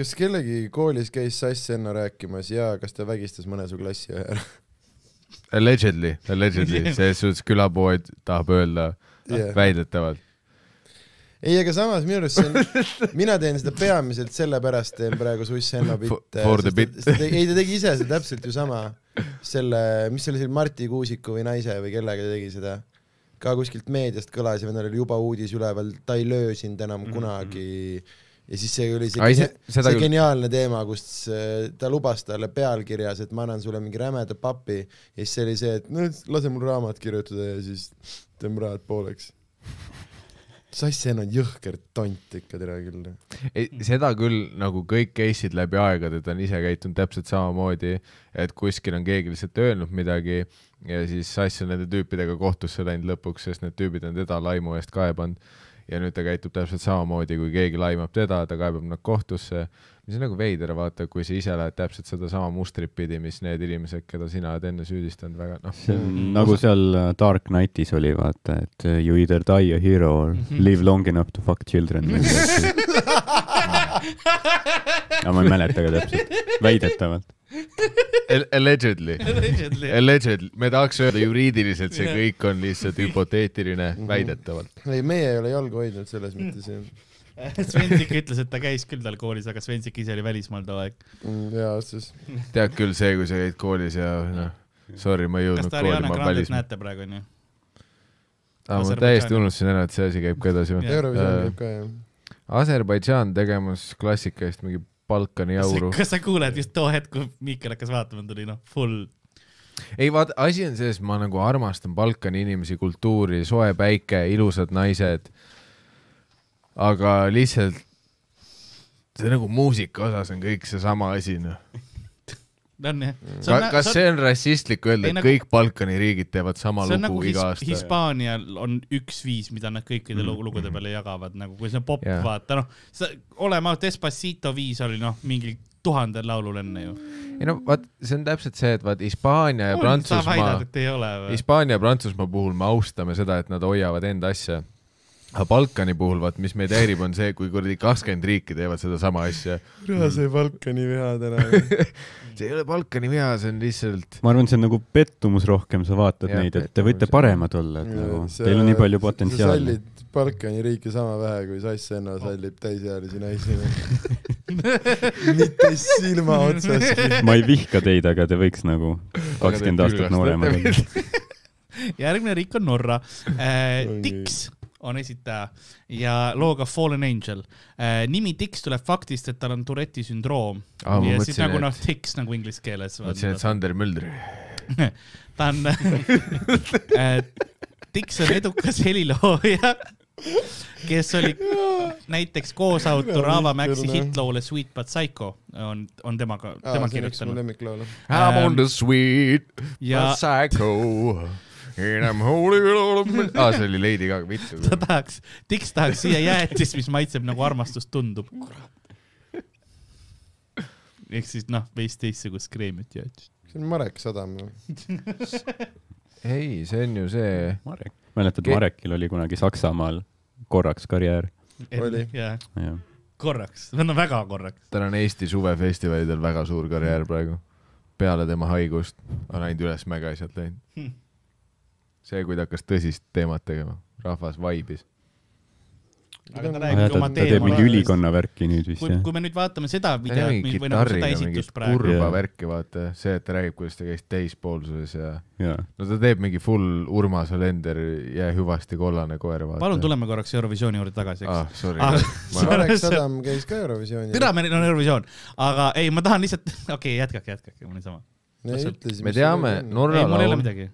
kas kellegi koolis käis Sass Enno rääkimas ja kas ta vägistas mõne su klassi ühe
[LAUGHS]
ära ?
Allegedly , allegedly , selles suhtes külapood tahab öelda
Jah.
väidetavalt .
ei , aga samas minu arust see on , mina teen seda peamiselt sellepärast teen praegu Suss Enno bitte .
For the bit.
ei , ta tegi ise seda täpselt ju sama , selle , mis see oli , see Marti Kuusiku või naise või kellega ta tegi seda ? ka kuskilt meediast kõlas ja vendal oli juba uudis üleval , ta ei löö sind enam kunagi . ja siis see oli see,
Ai,
see,
see- seda
see
küll.
geniaalne teema , kus äh, ta lubas talle pealkirjas , et ma annan sulle mingi rämeda papi ja siis see oli see , et no lase mul raamat kirjutada ja siis teeme rajad pooleks . Sassen on jõhker tont ikka , tere küll .
ei , seda küll nagu kõik case'id läbi aegade , ta on ise käitunud täpselt samamoodi , et kuskil on keegi lihtsalt öelnud midagi ja siis Sass on nende tüüpidega kohtusse läinud lõpuks , sest need tüübid on teda laimu eest kaebanud ja nüüd ta käitub täpselt samamoodi , kui keegi laimab teda , ta kaebab nad kohtusse , mis on nagu veider , vaata , kui sa ise lähed täpselt sedasama mustrit pidi , mis need inimesed , keda sina oled enne süüdistanud , väga [LAUGHS] noh ,
see on nagu seal Dark Knightis oli , vaata , et äh, you either die a hero or live long enough to fuck children . aga ma ei mäleta ka täpselt , väidetavalt .
allegedly
Allegedly .
Allegedly , me tahaks
[LAUGHS]
öelda juriidiliselt , see kõik on lihtsalt hüpoteetiline ,
Mhm.
väidetavalt .
ei , meie ei ole jalgu hoidnud selles mõttes jah .
Svensik ütles , et ta käis küll tal koolis , aga Svensik ise oli välismaal too aeg .
Mm, jaa , siis
tead küll see , kui sa käid koolis ja noh , sorry , ma ei
kas
jõudnud
te
kooli ,
Ariana
ma
Grandet
välis- .
näete praegu onju ?
Ah, ma
Aserbaidžaani?
täiesti unustasin ära , et see asi käib ka edasi või ?
Jah.
Eurovisioon
Äh,
käib ka jah .
Aserbaidžaan tegemas klassika eest mingi Balkani jauru .
kas sa kuuled just too hetk , kui Miikel hakkas vaatama , tuli noh , full .
ei vaata , asi on selles , ma nagu armastan Balkani inimesi , kultuuri , soe päike , ilusad naised . aga lihtsalt see nagu muusika osas on kõik seesama asi , noh .
on jah .
Mm. Ka, kas see on rassistlik öelda ,
ei,
et
nagu-
nagu, kõik Balkani riigid teevad sama lugu
see on
iga
nagu his,
aasta ?
Hispaanial on üks viis , mida nad kõikide mm. lugude peale jagavad , nagu kui see on pop yeah.
Jah. ,
vaata noh , olema Despacito viis oli noh , mingi tuhandel laulul enne ju .
ei no vaat , see on täpselt see , et vaat Hispaania ja
sa
Prantsusmaa
väidad ,, et ei ole või ?
Hispaania ja Prantsusmaa puhul me austame seda , et nad hoiavad enda asja . aga Balkani puhul , vaat mis meid häirib , on see , kui kuradi kakskümmend riiki teevad sedasama asja .
kurat , sai Balkani viha täna .
see ei ole Balkani viha , see on lihtsalt ,
ma arvan , see on nagu pettumus rohkem , sa vaatad
Jah,
neid , et te
pettumus,
võite
jah.
paremad olla , et nagu teil on nii palju potentsiaali .
sallid Balkani riike sama vähe kui Sass Enno sallib täisealisi naisi . mitte silma otsaski .
ma ei vihka teid , aga te võiks nagu kakskümmend aastat
külgast
nooremad
võtta
olla .
järgmine riik on Norra äh,
Oi. .
Dix on esitaja ja looga Fallen Angel äh, . nimi Dix tuleb faktist , et tal on Tourette'i sündroom
Aa, ma
ja siis
mõtlesin,
nagu
et-
noh , Ehm, Dix nagu inglise keeles .
ma ütlesin , et Sander Mölder .
ta on [LAUGHS] äh, , Dix on edukas helilooja , kes oli näiteks koosautor Ava Maxi
Kurna.
hittloole Sweet But Psycho on , on temaga ,
see on
tema
üks mu
kirjutanud .
lemmiklaule .
I
Ähm,
am on the sweet ja...
ja-
psycho and I m holding on . aa , see oli Lady Gaga , vittu .
ta tahaks , Dix tahaks siia jäätist , mis maitseb nagu armastus tundub . ehk siis noh , veits teistsugust kreemit jäätist .
see on Marek Sadam .
ei , see on ju see ,
Marek , mäletad ,
Ke-
Marekil oli kunagi Saksamaal korraks karjäär .
Oli.
jaa ,
jah ,
korraks , no väga korraks .
tal on Eesti suvefestivalidel väga suur karjäär praegu . peale tema haigust on ainult ülesmäge asjad läinud .
Hmm.
see , kui ta hakkas tõsist teemat tegema , rahvas vaibis .
aga ta
Ah, jah,
räägib
ta,
oma
ta teeb mingi
teemal .
ülikonna värki nüüd vist
kui ,
jah .
kui me nüüd vaatame seda
ta teeb
videot
mingi
või nagu seda
kitarriga mingit
esitust praegu ,
kurba
Jaa.
värki , vaata , see , et ta räägib , kuidas ta käis täispoolsuses ja
jaa ,
no ta teeb mingi full Urmas Olender jää hüvasti kollane koer , vaata .
palun tuleme korraks Eurovisiooni juurde tagasi , eks
ah, . sorry
Ah,
ah, . Ma...
Marek Sadam käis ka Eurovisioonil .
türa , meil on Eurovisioon , aga ei , ma tahan lihtsalt , [LAUGHS] okei okay, , jätkake , jätkake , mul on sama .
me ütlesime .
me teame , Norra
ei , mul ei ole
laul ,
midagi ,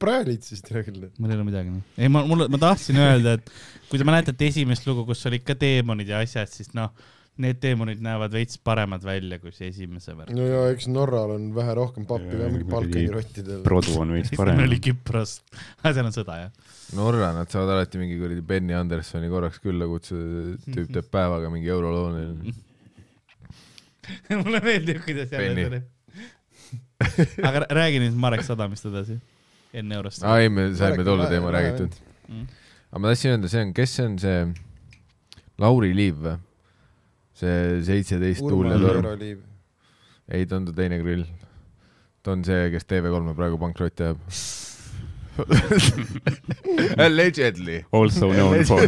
praelid siis teha küll .
mul ei ole midagi . ei , ma , mul , ma tahtsin öelda , et kui te mäletate esimest lugu , kus olid ka teemonid ja asjad , siis noh , need teemonid näevad veits paremad välja kui see esimese värk .
no ja eks Norral on vähe rohkem pappi
Jaa,
ka mingi
muidugi.
Balkani rottidel .
produ on
[LAUGHS]
veits parem
esimene . oli Küpros , aga seal on sõda jah . [LAUGHS]
Norra , nad saavad alati mingi kuradi Benny Andersoni korraks külla kutsuda ,
Mhm.
tüüp teeb päevaga mingi euroloo neile .
mulle meeldib , kuidas jälle
Penny.
tuleb . aga rää- räägi nüüd Marek Sadamist edasi , enne eurost .
aa ei , me saime
Marek on
tolle
lahe-
teema
lahe
räägitud .
Mm.
aga ma tahtsin öelda , see on , kes see on see Lauri Liiv või ? see seitseteist tuul ja torm .
Euroliiv .
ei , ta on ta teine grill . ta on see , kes TV3-e praegu pankrotti ajab . Allegedly .
Also known for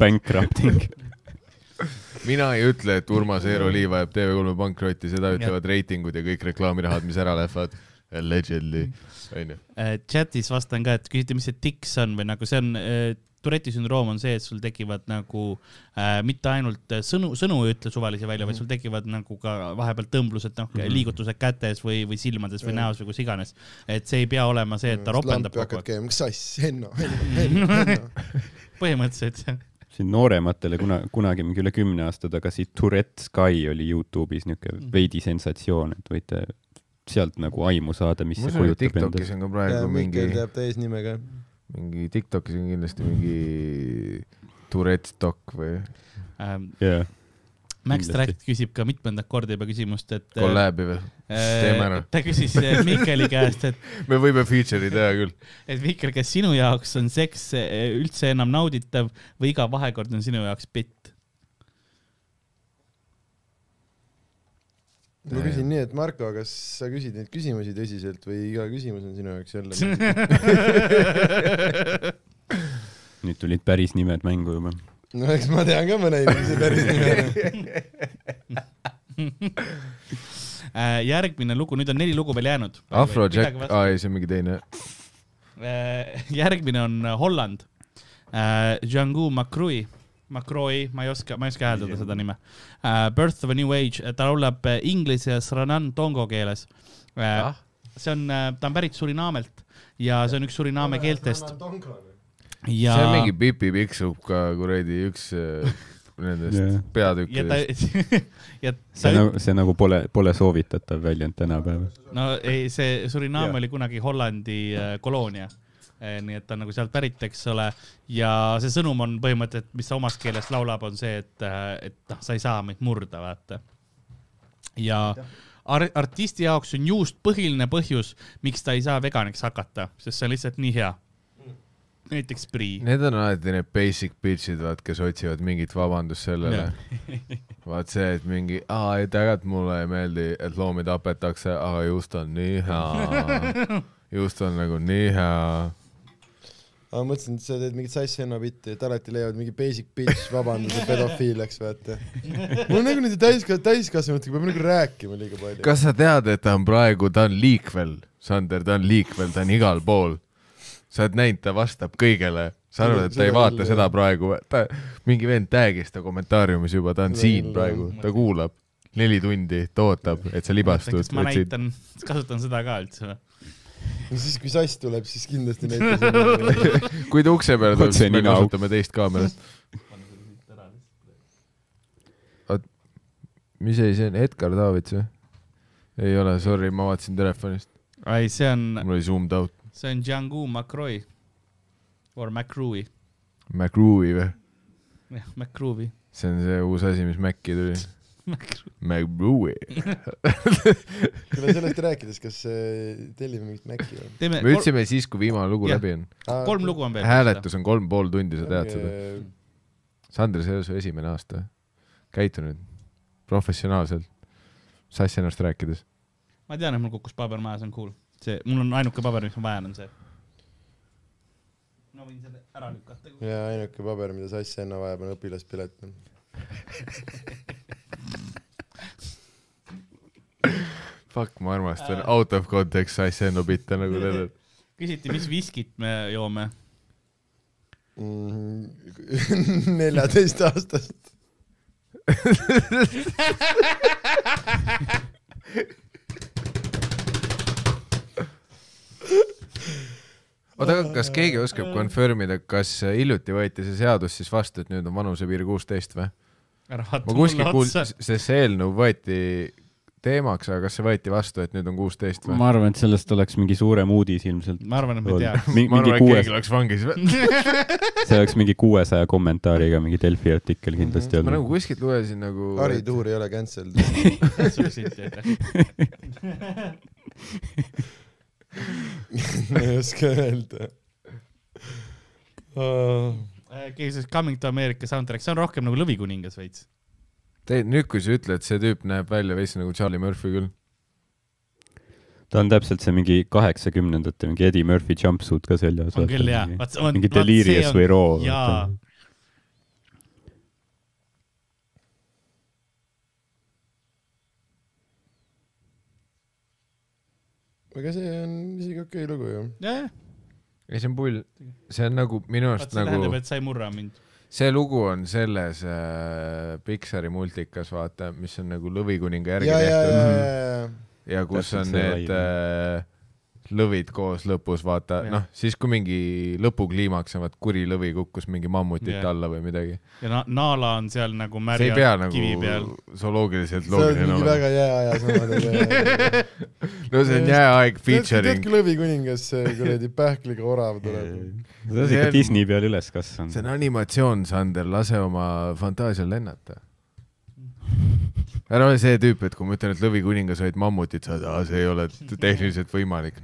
bankrupting .
mina ei ütle , et Urmas Eeroliiv ajab TV3-e pankrotti , seda ütlevad reitingud ja kõik reklaamirahad , mis ära lähevad . Allegedly , onju .
Äh, chatis vastan ka , et küsite , mis see tiks on või nagu see on , Tourette'i sündroom on see , et sul tekivad nagu äh, mitte ainult äh, sõnu , sõnu ei ütle suvalisi välja ,
Mhm.
vaid sul tekivad nagu ka vahepeal tõmblused , noh , liigutused kätes või , või silmades või näos või kus iganes . et see ei pea olema see , et ta ropendab
kogu
kogu
aeg . käima , mis asja , Henno , Henno ,
[LAUGHS]
Henno .
aeg , põhimõtteliselt jah .
siin noorematele kuna , kunagi mingi üle kümne aasta tagasi Tourette Sky oli Youtube'is niuke veidi sensatsioon , et võite sealt nagu aimu saada , mis
ma
see
usun , et
kujutab
Tiktokis
endast .
on ka praegu mingi
Mikkel teab ta eesnimega .
mingi Tiktokis on kindlasti mingi Tourette Stock või
Ähm,
jaa ,
Max
Kindlasti.
Tract küsib ka mitmendat korda juba küsimust , et äh,
kolläbi või ? teeme ära.
äh, ta küsis äh, Mihkeli käest , et ,
me võime feature'i teha küll .
et Mihkel , kas sinu jaoks on seks äh, üldse enam nauditav või iga vahekord on sinu jaoks pitt ?
ma küsin nii , et Marko , kas sa küsid neid küsimusi tõsiselt või iga küsimus on sinu jaoks
[LAUGHS]
jälle ?
nüüd tulid päris nimed mängu juba .
no eks ma tean ka mõne inimese päris nime .
Äh, järgmine lugu , nüüd on neli lugu veel jäänud .
Afrojack , aa ei , see on mingi teine .
Äh, järgmine on Holland . Django Macroi , Macroi , ma ei oska , ma ei oska hääldada seda nime . Birth of a New Age , ta laulab äh, inglise ja sranan tongo keeles . see on , ta on pärit Surinaamelt ja see on üks Surinaame keeltest ja
see on mingi Pipi Pikksup ka kuradi üks äh,
Jah.
nendest
ja ta
[LAUGHS]
[LAUGHS]
peatükkidest .
ja
see
ta
nagu , see nagu pole , pole soovitatav väljend tänapäeval .
no ei , see Surinaam
Jah.
oli kunagi Hollandi äh, koloonia . nii et ta on nagu sealt pärit , eks ole , ja see sõnum on põhimõtteliselt , mis ta omas keeles laulab , on see , et , et noh , sa ei saa meid murda , vaata . ja ar artisti jaoks on juust põhiline põhjus , miks ta ei saa veganiks hakata , sest see on lihtsalt nii hea . näiteks prii .
Need on alati need basic bitch'id , vaat , kes otsivad mingit vabandust sellele . [LAUGHS] vaat see , et mingi , aa , ei tegelikult mulle ei meeldi , et loomi tapetakse , aga just on nii [LAUGHS] hea . just on nagu nii hea
ma mõtlesin , et sa teed mingit sass Henno bitti , et alati leiavad mingi basic bitch vabanduse pedofiiliaks , vaata . mul on nagu nende täiskasvanud , täiskasvanutega peab nagu rääkima liiga palju .
kas sa tead , et ta on praegu , ta on liikvel , Sander , ta on liikvel , ta on igal pool . sa oled näinud , ta vastab kõigele , sa arvad , et ta ei
Seda
vaata
küll,
seda
jah.
praegu , ta , mingi vend tag'is ta kommentaariumis juba , ta on
Seda
siin
küll,
praegu , ta kuulab neli tundi , ta ootab , et sa libastud
kas . ma näitan , kasutan seda ka üldse või ?
no siis , kui sass tuleb , siis kindlasti näitas .
kui ta ukse peale tuleb ,
Otse
siis me
nina auk.
kasutame teist kaamerat . mis asi see on , Edgar Davids või ? ei ole , sorry , ma vaatasin telefonist ,
ei , see on ,
mul oli zoomed out .
see on Django Macroi . Or Macroi ,
MacRuvi või ?
jah , Macroi .
see on see uus asi , mis Maci
[LAUGHS]
tuli . MacBrewi .
kuule , sellest rääkides , kas äh, tellime mingit Maci või ?
teeme
me ütlesime siis , kui viimane lugu
Jah.
läbi on .
kolm, kolm lugu on veel .
hääletus on kolm pool tundi , sa tead seda ..
äh,
Sander , see ei ole su esimene aasta . käitu nüüd professionaalselt , sassi ennast rääkides .
ma tean , et mul kukkus paber maha , see on cool . see , mul on ainuke paber , mis ma vajan , on see . ma võin selle ära lükata .
ja ainuke paber , mida sassi enne vajab , on õpilaspilet .
Fuck , ma
Äh.
armastan out of context asjana bitte nagu tead , et
küsiti , mis viskit me joome .
Mhm. [LAUGHS] neljateistaastast .
oota , aga kas keegi
Äh.
oskab confirm ida , kas hiljuti võeti see seadus siis vastu , et nüüd on vanusepiir kuusteist või ?
ära vaata
ma kuskil
mulle otsa .
kuulsin , sest see eelnõu võeti teemaks , aga kas see võeti vastu , et nüüd on kuusteist või ?
ma arvan , et sellest oleks mingi suurem uudis ilmselt .
ma arvan , et ma ei [LAUGHS] tea .
ma
mingi
arvan , et
kuues
keegi , oleks vangis .
see oleks mingi kuuesaja kommentaariga mingi Delfi artikkel kindlasti
Mm-hmm.
ma nagu
olnud .
kuskilt lugesin nagu .
Harri Tuur ei ole cancelled .
suksiti , aitäh .
ma ei oska öelda .
keegi ütles Coming to America soundtrack , see on rohkem nagu Lõvikuningas veits .
Tead , nüüd kui sa ütled , see tüüp näeb välja veits nagu Charlie Murphy küll .
nagu-
ta on täpselt see mingi kaheksakümnendate mingi Eddie Murphy jumpsuit ka seljas .
on küll jaa .
mingi Delirious või Raw .
jaa ,
aga see on isegi okei lugu ju .
jah ,
ei , see on pull . see on nagu minu
vaat
arust
see nagu... tähendab ,
nagu ,
et sa ei murra mind .
see lugu on selles äh, Pixari multikas , vaata , mis on nagu Lõvikuninga järgi
ja , ja , ja ,
tehtud
ja ,
ja,
ja ,
ja kus
Täpselt
on
see
need äh, lõvid koos lõpus , vaata ,
Jah.
noh , siis kui mingi lõpukliimaks on , vaat kuri lõvi kukkus mingi mammutit
Jah.
alla või midagi .
ja na- , Naala on seal nagu
see ei pea
märja
nagu
kivi peal .
zooloogiliselt
see on
loogiline
mingi
olema .
väga jääaja
[LAUGHS]
sõnadega .
no see on jääaeg featuring
teadki . Lõvikuningas see kuradi pähkliga orav tuleb .
ta on ikka Disney peal üles kasvanud
see . on animatsioon , Sander , lase oma fantaasial lennata . ära ole see tüüp , et kui ma ütlen , et Lõvikuningas olid mammutit , sa oled , see ei ole t- tehniliselt
[LAUGHS]
võimalik .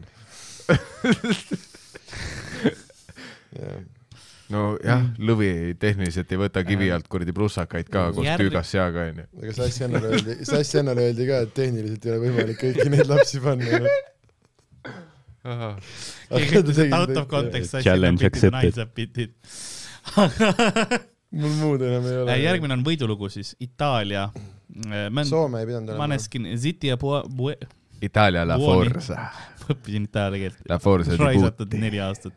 nojah , lõvi ei- tehniliselt ei võta kivi alt kuradi prussakaid ka koos
Järg-
tüügas seaga onju .
aga Sass Jannale öeldi , Sass Jannale öeldi ka , et tehniliselt ei ole võimalik kõiki neid lapsi panna .
keegi ütles , et out of context . nagu
Challenge accepted.
[LAUGHS] accepted .
mul muud enam ei ole .
Äh, järgmine on võidulugu siis , Itaalia .
Soome ei pidanud olema .
Maneskin , Ziti ja Pua- , Pue- ,
Itaalia la
Buoni.
forza ,
[LAUGHS] õppisin itaalia keelt .
la forza di putt .
raisatud neli aastat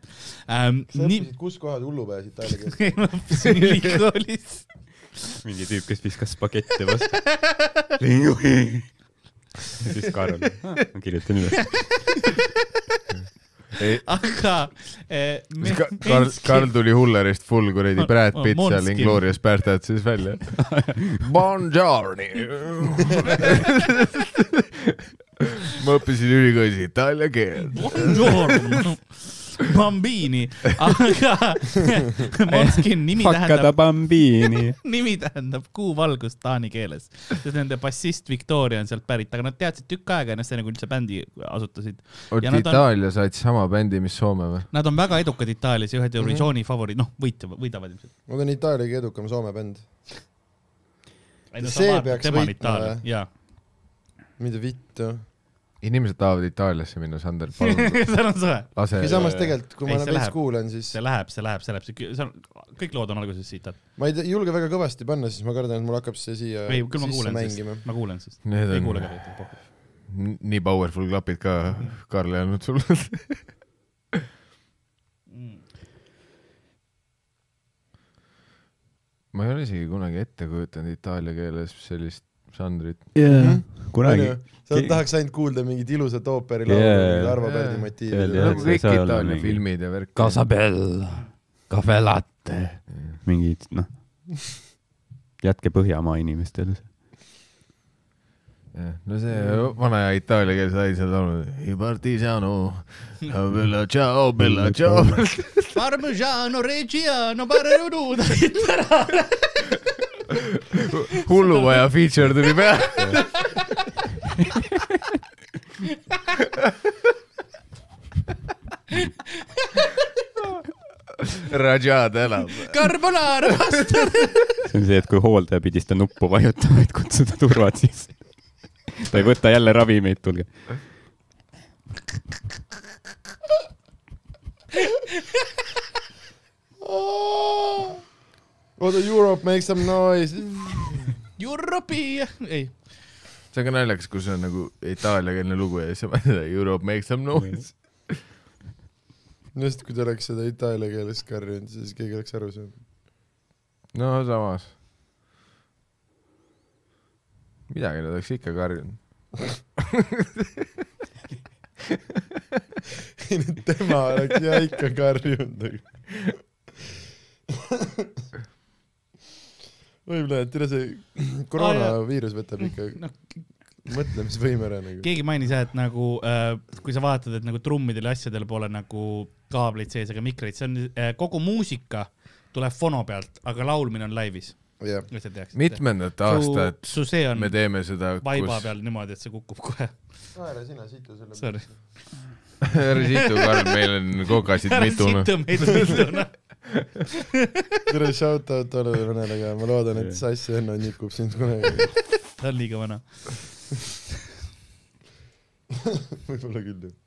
ähm, .
sa
nii , [LAUGHS]
õppisid , kus kohas hullupäjas itaalia keeles ? [LAUGHS]
ma õppisin ülikoolis .
mingi tüüp , kes viskas pakette
[LAUGHS]
vastu linguhi . ja siis
[LAUGHS]
Karl , ma kirjutan üles .
aga eh, me,
Karl , Karl tuli Hullerist full kuradi
Ma-
Brad
ma-
Pitt seal
Måneskin.
Inglorious Bastard siis välja . Bonjourni . ma õppisin ülikoolis itaalia keelt .
Buongiorno , bambini , aga [LAUGHS] Monskin nimi
Fakada
tähendab ,
bambini .
[LAUGHS] nimi tähendab kuu valgust taani keeles . sest nende bassist Victoria on sealt pärit , aga nad teadsid tükk aega ennast enne , kui üldse bändi asutasid . Ja
oota ,
nad on-
Itaalia said sama bändi , mis Soome või ?
Nad on väga edukad Itaalias ja ühed Eurovisiooni favoriid , noh , võitjavad , võidavad ilmselt .
Nad on Itaaliagi edukam Soome bänd . See peaks võitma, või?
jaa .
mida vittu .
inimesed tahavad Itaaliasse minna , Sander ,
[LAUGHS]
palun
seal on soe .
lase
või . samas tegelikult , kui
ei,
ma
see
enam veits
läheb.
kuulan , siis
see läheb , see läheb , see läheb , see , see on , kõik lood on alguses sitad .
ma ei tea- julge väga kõvasti panna , siis ma kardan , et mul hakkab see siia
ei , küll ma
sisse
kuulen siis
mängima .,
ma kuulen siis .
Need
ei
on
kuule ka tegelikult .
n- nii powerful klapid ka , Karl ei andnud sulle . ma ei ole isegi kunagi ette kujutanud itaalia keeles sellist žanrit .
kunagi .
sa
Keegi-
tahaks ainult kuulda mingit ilusat ooperilaulu
Jaa, jaa,
yeah, , Arvo
jaa.
yeah, Pärdi
Seal,
motiivi
jah.
yeah. .
nagu
see ei
kõik
saa olla
Itaalia
mingi-
filmid ja värk .
Casabel , Cafe Latte , mingid noh , jätke Põhjamaa inimestele .
Jah, no see vana aja itaalia keeles sai seal olnud Partigiano , bella ciao , bella ciao .
Parmigiano Reggiano Barrerudu täitsa ära .
hullumaja feature tuli peale . Rajad elab .
[LAUGHS] Carbonara vastu .
see on see , et kui hooldaja pidi seda nuppu vajutama , et kutsuda turvad sisse . ta ei võta jälle ravimeid , tulge .
oota , Europe make some noise .
Europe'i , ei ,
see on ka naljakas , kui see on nagu itaaliakeelne lugu ja siis sa paned Europe make some noise .
just , kui ta oleks seda itaalia keeles karjunud , siis keegi oleks aru saanud . [LAUGHS]
no samas . midagi nad oleks ikka karjunud .
tema oleks ja ikka karjunud . võib-olla , et üle
Ah,
see koroonaviirus võtab ikka
noh ,
mõtlemisvõime ära nagu .
keegi mainis jah , et nagu äh, kui sa vaatad , et nagu trummidel ja asjadel pole nagu kaableid sees ega mikreid , see on äh, kogu muusika tuleb fono pealt , aga laulmine on laivis ,
jah ,
et sa teaksid .
mitmendat aastat
su see on
me teeme seda , [LAUGHS]
vaiba
kus
peal niimoodi , et see kukub kohe .
naera sina situ selle
Sorry. .
härra Situ Karl , meil on kokasid mitu .
tere , shout out tollele venele ka , ma loodan , et Sass Henno nikub sind
[LAUGHS]
kunagi .
ta on liiga vana .
võib-olla küll jah .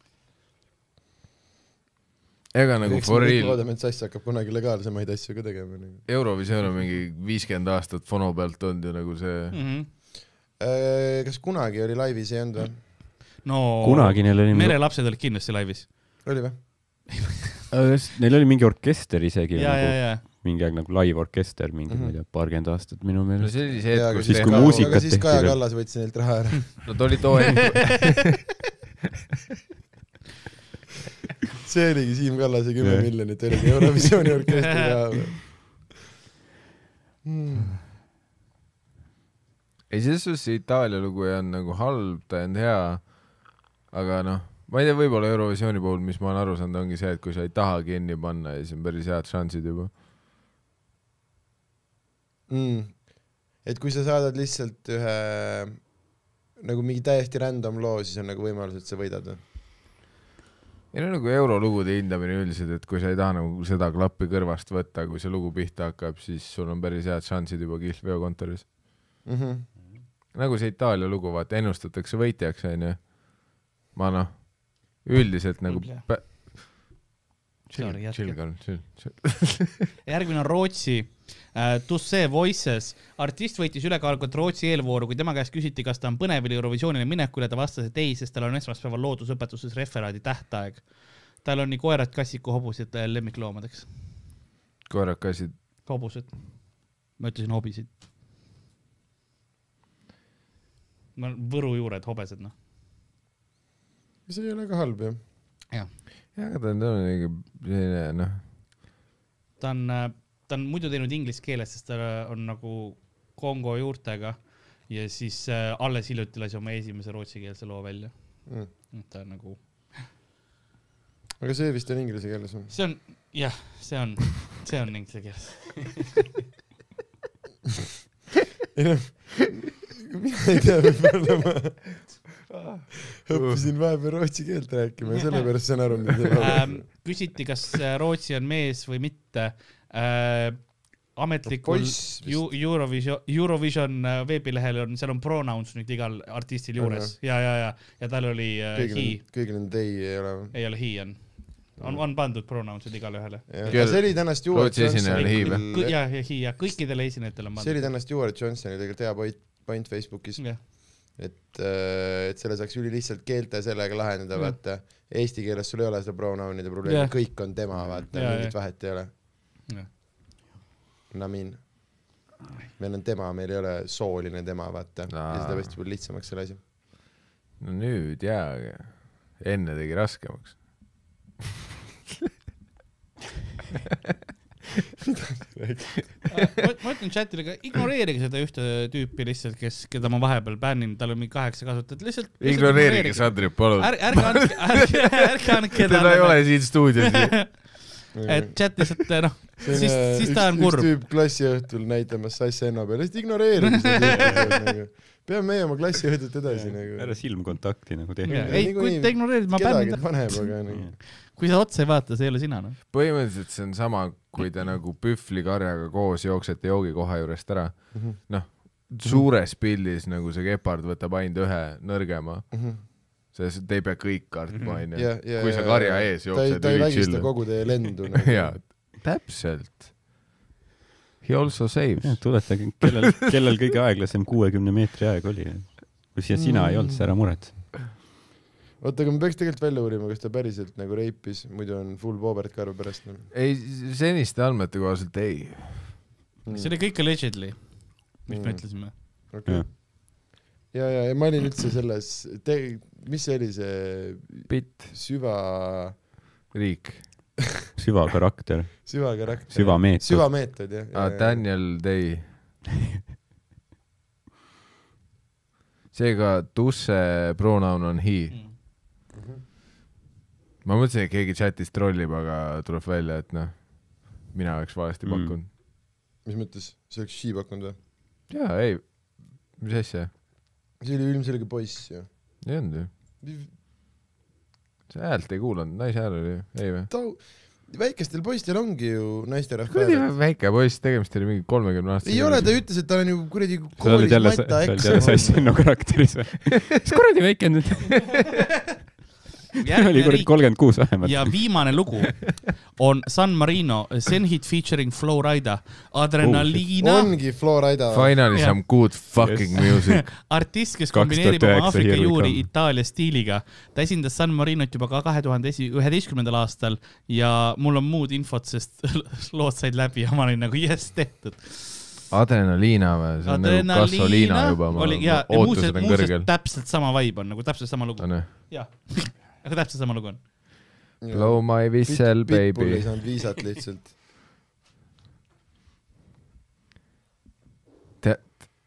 ega nagu
eks me
for
kõik
real ,
loodame , et Sass hakkab kunagi legaalsemaid asju ka tegema nagu .
Eurovisioon on mingi viiskümmend aastat fono pealt olnud ju nagu see .
Mhm.
Äh, kas kunagi oli laivis , ei olnud või ?
no
kunagi neil oli ,
merelapsed olid kindlasti laivis .
oli või ?
Äh, neil oli mingi orkester isegi
ja , ja ,
nagu ,
ja ,
mingi aeg nagu live orkester , mingi
Mhm.
ma ei tea , paarkümmend aastat minu
no
meelest .
see oli see hetk , kus
siis,
tehti-
kui muusikat
aga siis
tehti
Kaja
veel.
Kallas võttis neilt raha
[LAUGHS]
ära .
Nad olid too hetk ,
see oligi Siim Kallase kümme
Jah.
miljonit oligi Eurovisiooni orkestri
[LAUGHS]
raha . Hmm.
ei selles suhtes see Itaalia lugu ei olnud nagu halb , ta ei olnud hea , aga noh , ma ei tea , võib-olla Eurovisiooni puhul , mis ma olen aru saanud , ongi see , et kui sa ei taha kinni panna , siis on päris head šansid juba .
mm. . et kui sa saadad lihtsalt ühe nagu mingi täiesti random loo , siis on nagu võimalus , et sa võidad või ?
ei no nagu eurolugude hindamine üldiselt , et kui sa ei taha nagu seda klappi kõrvast võtta , kui see lugu pihta hakkab , siis sul on päris head šansid juba kihlveokontoris .
Mm -hmm.
nagu see Itaalia lugu , vaata , ennustatakse võitjaks , onju . ma noh , üldiselt nagu
Kuulge.
pä-
Sorry,
chill ,
jätka.
chill , Karl , chill , chill .
järgmine on Rootsi uh, . Tusse Voices , artist võitis ülekaalukalt Rootsi eelvooru , kui tema käest küsiti , kas ta on põnevil Eurovisioonile minekul ja ta vastas , et ei , sest tal on esmaspäeval loodusõpetuses referaadi tähtaeg . tal on nii koerad , kassiku , hobused eh, lemmikloomadeks ,
koerakasid ,
hobused . ma ütlesin hobisid . ma olen Võru juured , hobesed noh .
see ei ole ka halb ju .
jah , ta on tõenäoliselt mingi selline noh ,
ta on , ta on muidu teinud inglise keeles , sest ta on nagu Kongo juurtega ja siis äh, alles hiljuti lasi oma esimese rootsikeelse loo välja .
Mm.
ta on nagu ,
aga see vist on inglise keeles [LAUGHS] või ?
see on jah , see on , see on
[LAUGHS]
inglise keeles .
ei noh , mina ei tea , võib-olla ma
[LAUGHS]
õppisin vahepeal rootsi keelt rääkima ja sellepärast saan aru , mida see
Ähm,
on .
küsiti , kas äh, Rootsi on mees või mitte äh, . ametlikul
Poiss vist.
ju, Eurovision , Eurovision äh, veebilehel on , seal on pronouns nüüd igal artistil
On,
juures ja , ja , ja , ja tal oli äh,
kõigil
he ,
on , kõigil on they ei ole või ?
ei ole he on , on , on pandud pronouns'id igale ühele .
aga see oli tänast Stewart
Rootsi esineja oli hi või?
Kõ-
Johnsoni ,
ja , ja , ja kõikidele esinejatel on
see oli tänast Stewart Johnsoni tegelikult hea point , point Facebookis ,
jah ,
et , et selle saaks ülilihtsalt keelte sellega lahendada ,
Jah.
vaata . Eesti keeles sul ei ole seda pronounide probleemi
Jah. ,
kõik on tema , vaata ,
Jaa,
mingit
jah.
vahet ei ole .
jah .
Namin . meil on tema , meil ei ole sooline tema , vaata . ja
Aa.
seda vist võib-olla lihtsamaks selle asja .
no nüüd jaa , aga enne tegi raskemaks .
ma ma ütlen chatile ka , ignoreerige seda ühte tüüpi lihtsalt , kes , keda ma vahepeal bännin , tal on mingi kaheksa kasutajat , lihtsalt .
ignoreerige Sandrit , palun .
ärge , ärge
[LAUGHS]
andke , ärge , ärge andke
teda ei ole siin stuudios ju .
et chat lihtsalt noh , siis , siis ta on kurb .
eh, üks tüüp klassiõhtul näitamas sass Enno peale , lihtsalt ignoreerige
[LAUGHS]
seda . peame meie oma klassiõhtut edasi
ära
nagu .
silmkontakti nagu tehke .
ei , kui te ignoreerite , ma
kedagi
bännin ta ,
paneb , aga nagu .
kui sa otsa ei vaata , see ei ole sina noh .
põhimõtteliselt see on sama , kui te nagu pühvlikarjaga koos jooksete joogikoha juurest ära .
Mhm.
noh , suures pildis nagu see kepard võtab ainult ühe nõrgema , sest te ei
Mhm.
pea kõik kartma , onju .
Mhm. ja , ja .
kui sa karja ees
ta ei ,
jooksed ,
ta ei
üli
vägista
chill .
kogu teie lendu . nagu.
[LAUGHS] jaa , täpselt . He also saves .
tuleta , kellel , kellel kõige aeglasem kuuekümne meetri aeg oli . kui siia sina ei olnud , siis ära muretse .
oota , aga me peaks tegelikult välja uurima , kas ta päriselt nagu reipis , muidu on full Bobert Karv pärast . nagu.
ei , seniste andmete kohaselt ei .
see oli kõik allegedly , mis
Mm.
me ütlesime .
okay. . ja , ja , ja ma olin üldse selles , te , mis see oli see
Bitt ,
süva ,
riik .
süvakarakter ,
süvakarakter ?
süvameetod .
süvameetod jah
Ah, . Daniel Day . seega tusse pronoun on
Mm.
he .
Mm.
ma mõtlesin , et keegi chatis trollib , aga tuleb välja , et noh , mina oleks valesti
Mm.
pakkunud .
mis mõttes , see oleks šiib hakanud või ?
jaa , ei , mis asja ,
see oli ilmselge poiss ju .
ei olnud ju . sa häält ei kuulanud , naise hääl oli ju , ei või ?
ta , väikestel poistel ongi ju naisterahva
kuradi
hääled .
väike poiss , tegemist oli mingi kolmekümne aastasega .
ei ole , ta ütles , et tal on ju kuradi
sa oled
koolis
jälle , sa
matta
oled jälle
eksam .
Sassino karakteris või ? mis kuradi väike nüüd [LAUGHS] oli ,
järgmine
kuradi
riik
kolmkümmend kuus vähemalt .
ja viimane lugu on San Marino , Senhit featuring Flowrida ,
Oh,
Adrenaliina oh, ,
ongi Florida .
Finally
Jah.
some good fucking
Yes.
music .
artist , kes
2009
kombineerib oma Aafrika
Here We
juuri
Come.
Itaalia stiiliga . ta esindas San Marinot juba ka kahe tuhande esi- , üheteistkümnendal aastal ja mul on muud infot , sest [LAUGHS] lood said läbi ja ma olin nagu jess tehtud .
[LAUGHS] adrenaliina või , see on nagu kasoliina juba , ma
oli ja , ja muuseas
ootused , on
muuseas
kõrgel .
täpselt sama vibe on nagu täpselt sama lugu ,
on ju ?
jah . [LAUGHS] aga täpselt sama lugu on .
Blow my whistle ,
Pitbull
baby
ei . saanud viisat
[LAUGHS]
lihtsalt .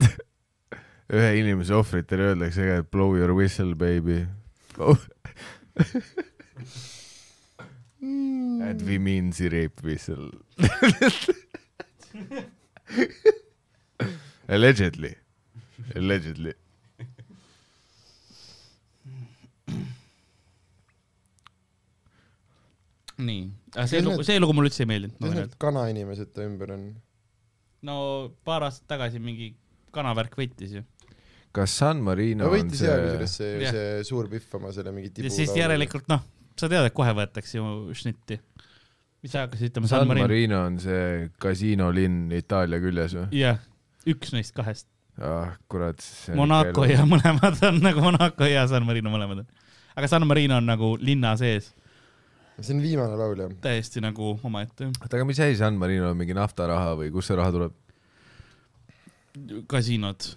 [LAUGHS] ühe inimese ohvritele öeldakse ka , et blow your whistle , baby . [LAUGHS] That we mean the rape [LAUGHS] whistle . Allegedly , allegedly .
nii , aga see
Kes
lugu ,
need-
see lugu mulle üldse ei meeldinud , ma
mis
võin
need
öelda .
kanainimesed ta ümber on ?
no paar aastat tagasi mingi kanavärk võitis ju .
kas San Marino
no
on
võitis jaa ,
see
kusjuures , see ,
Jah.
see suur pihv oma selle mingi tibu .
ja siis järelikult noh , sa tead , et kohe võetakse ju šnitti . mis sa hakkasid ütlema ,
San Marino on see kasiinolinn Itaalia küljes või ?
jah , üks neist kahest .
ah kurat .
Monaco . ja mõlemad on nagu Monaco ja San Marino mõlemad on . aga San Marino on nagu linna sees ,
see on viimane laul jah ?
täiesti nagu omaette
oota , aga mis asi San Marino on , mingi naftaraha või kust see raha tuleb ?
kasiinod .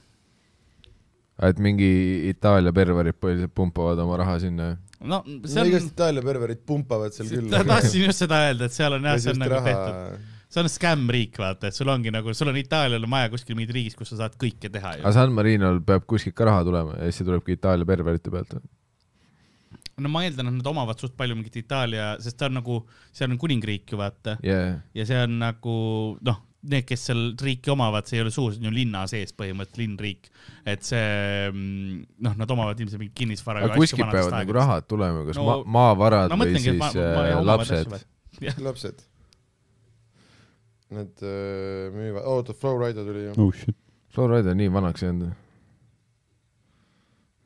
et mingi Itaalia perverid põhiliselt pumpavad oma raha sinna .
no
no
see
igast
on ,
Itaalia perverid pumpavad seal
[LAUGHS]
küll .
tahtsin just seda öelda , et seal on jah , see on nagu raha... tehtud ,. see on skämmriik , vaata , et sul ongi nagu , sul on Itaalial on maja kuskil mingis riigis , kus sa saad kõike teha ju
aga . San Marinol peab kuskilt ka raha tulema ja siis see tulebki Itaalia perverite pealt .
no ma eeldan , et nad omavad suht palju mingit Itaalia , sest ta on nagu , seal on kuningriik ju vaata
jajah .
ja see on nagu noh , need , kes seal riiki omavad , see ei ole suur , see on ju linna sees põhimõtteliselt linnriik , et see mm, noh , nad omavad ilmselt mingit kinnisvara .
aga kuskilt peavad nagu . rahad tulema , kas
No-
ma- , maavarad
no
või
mõtlengi ,
siis
et ma , ma
äh,
ei oma
lapsed .
lapsed . Nad öö, müüvad , oota , Flowrider tuli ju .
oh shit ,
Florida on nii vanaks jäänud .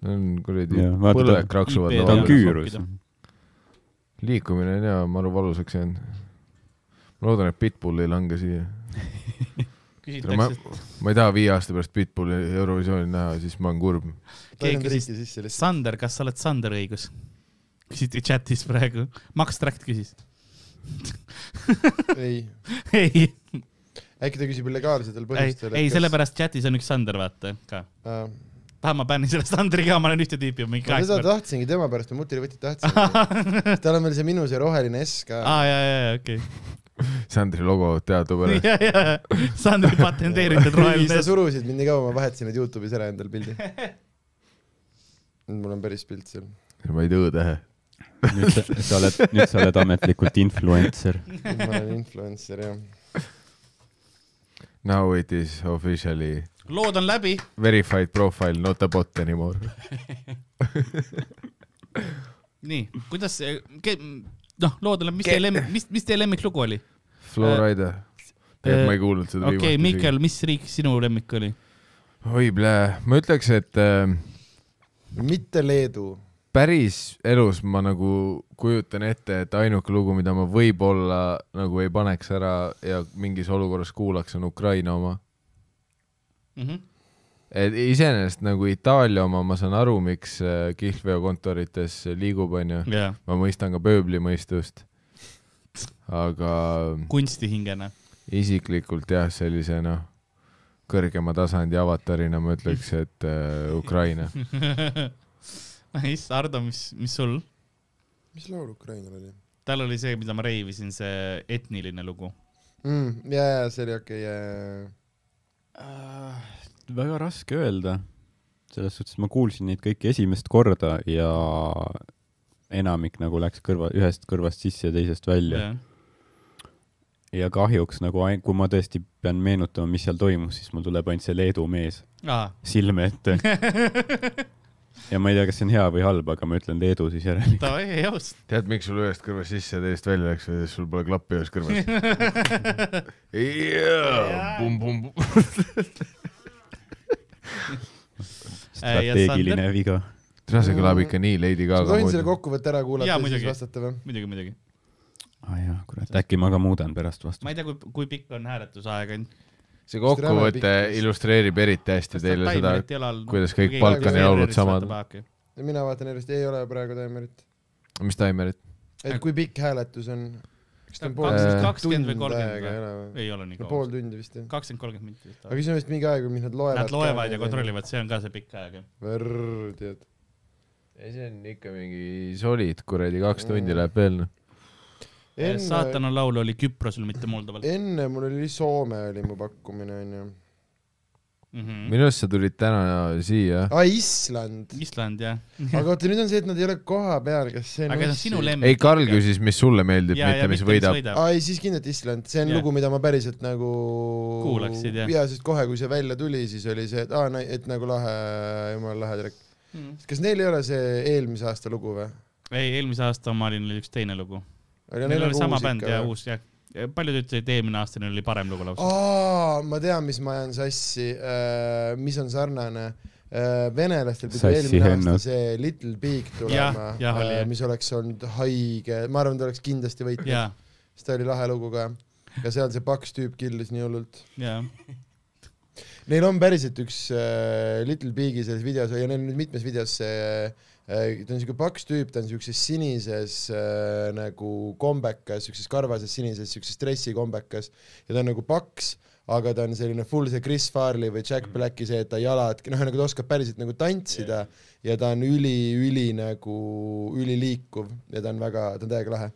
on kuradi
Jah, vaata, ta-
põlved kraksuvad
IP
ta on
Tavaliselt
laval .
küürus .
sokkida.
liikumine on jaa , maru valusaks jäänud . ma loodan , et Pitbull ei lange siia . Ma-
asju .
ma ei taha viie aasta pärast Pitbulli Eurovisioonil näha , siis ma olen kurb .
ta ei
keegi
saanud
küsis ,
riiki sisse lihtsalt .
Sander , kas sa oled Sander õigus ? küsiti chatis praegu , Max Tract küsis . [LAUGHS]
ei ,
ei ,
äkki ta küsib illegaalsetel
ei ,
põhjustel .
ei sellepärast chatis on üks Sander , vaata ka .
äh, .
tahan ma bännin selle Sandri ka , ma olen ühte tüüpi mingi
ma seda
kaheksa .
tahtsingi tema pärast , ma mutile võtit tahtsingi .
[LAUGHS]
tal on veel see minu see roheline S ka .
aa , ja , ja , ja , okei .
Sandri logo
[LAUGHS]
teadupärast .
ja , ja , ja , Sandri patenteeritud roheline
sa . surusid mind nii kaua , ma vahetasin nüüd Youtube'is ära endal pildi . nüüd mul on päris pilt seal .
ma ei tea õõtähe .
nüüd sa , sa oled , nüüd sa oled ametlikult influencer .
ma olen influencer jah .
Now it is officially
lood on läbi .
verified profile not a bot anymore .
nii , kuidas , noh , lood on läbi , mis teie lemmik , mis , mis teie lemmiklugu oli ?
Florida . tegelikult ma ei kuulnud seda
okei okay, ,
viimast isegi.
Miikael , mis riik sinu lemmik oli ?
oi plee , ma ütleks , et äh,
mitte Leedu ,
päris elus ma nagu kujutan ette, et ainuke lugu, mida ma võib-olla nagu ei paneks ära ja mingis olukorras kuulaks , on Ukraina oma .
Mhm.
et iseenesest nagu Itaalia oma ma saan aru , miks äh, kihlveokontorites liigub , onju .
jaa ,
ma mõistan ka pööbli mõistust . aga
kunstihingena .
isiklikult jah , sellise noh , kõrgema tasandi avatarina ma ütleks , et äh, Ukraina .
[LAUGHS] Nice , Ardo , mis , mis sul ?
mis laul Ukrainal oli
tal oli see , mida ma reivisin , see etniline lugu .
mm, ? ja , ja see oli okei okay, ,
Äh, väga raske öelda . selles suhtes ma kuulsin neid kõiki esimest korda ja enamik nagu läks kõrva , ühest kõrvast sisse ja teisest välja . ja kahjuks nagu , kui ma tõesti pean meenutama , mis seal toimus , siis mul tuleb ainult see Leedu mees
aa ,
[LAUGHS]
silme ette ja ma ei tea , kas see on hea või halb , aga ma ütlen Leedu siis järele .
davai , heaust .
tead , miks sul ühest kõrvast sisse ja teisest välja läks , sest sul pole klappi ühes
[LAUGHS]
kõrvas . jaa ,
Äh,
strateegiline viga .
see kõlab ikka nii Lady
kas ma
Gaga
tohin selle . kokkuvõtte ära kuulata
Jaa,
ja siis
muidugi.
vastata või ?
[LAUGHS] muidugi , muidugi .
aa Ah, jaa , kurat , äkki ma ka muudan pärast
ma
vastust .
ei tea , kui , kui pikk on hääletusaeg , on .
see kokkuvõte illustreerib eriti hästi teile seda , kuidas kõik
Balkani
laulud samad-
mina vaatan järjest , ei ole praegu taimerit .
mis taimerit .
et kui pikk hääletus on ? kas ta on pool
kakskümmend-
Äh. kakskümmend või
tund
kolmkümmend
aega ei
või ?
ole või ?
ei ole nii kaua
pool . tundi vist jah .
kakskümmend , kolmkümmend minutit
aga . siis on vist mingi aeg , mis nad loevad .
Nad loevad ja . kontrollivad , see on ka see pikk aeg .
Võrr , tead .
ei , see on ikka mingi solid kuradi , kaks tundi läheb veel noh .
saatana laul oli Küprosel , mitte Moldoval .
enne mul oli Soome oli mu pakkumine onju .
Mhm.
minu arust sa tulid täna siia .
aa , [LAUGHS] Island .
Island , jah .
aga oota , nüüd on see , et nad ei ole koha peal , kas see on
aga see Ah. on sinu lemmik .
ei , Karl . küsis , mis sulle meeldib ,
ja ,
mitte
ja
mis võidab .
aa ei , siis kindlalt Island , see on
Jah.
yeah. lugu , mida ma päriselt nagu
Kuulaksid, jah.
jaa , sest kohe , kui see välja tuli , siis oli see , et aa , et nagu lahe , jumala lahe track .
Mm.
kas neil ei ole see eelmise aasta lugu või ?
ei , eelmise aasta oma oli neil üks teine lugu .
aga
Neil oli
nagu
sama
uus
bänd
ikka
ja
või?
uus jah . Ah. paljud ütlesid , et eelmine aasta neil oli parem lugu lausa .
aa , ma tean , mis ma ajan sassi , mis on sarnane . venelastel pidi
Sassi
eelmine aasta
hennad.
see Little Big tulema äh,
Jah, jah, , oli, jah.
mis oleks olnud haige , ma arvan , ta oleks kindlasti võitnud ,
ja ,
sest ta oli lahe lugu ka . ja seal see paks tüüp killis nii hullult .
ja ,
Neil on päriselt üks äh, Little Big'i selles videos ja neil on nüüd mitmes videos see äh, ta on siuke paks tüüp , ta on siukses sinises äh, nagu kombekas , siukses karvases sinises , siukses dressikombekas ja ta on nagu paks , aga ta on selline full see Chris Farley või Jack Blacki see , et ta jalad , noh , nagu ta oskab päriselt nagu tantsida ja ta on üli-üli nagu üliliikuv ja ta on väga , ta on täiega lahe .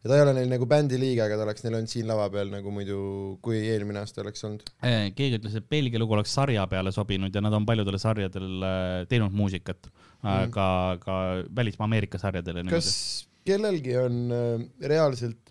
ja ta ei ole neil nagu bändi liige , aga ta oleks neil olnud siin lava peal nagu muidu , kui eelmine aasta oleks olnud .
Äh, keegi ütles , et Belgia lugu oleks sarja peale sobinud ja nad on paljudele sarjadele äh, teinud muusikat mm. , ka , ka välismaa Ameerika sarjadele .
kas kellelgi on äh, reaalselt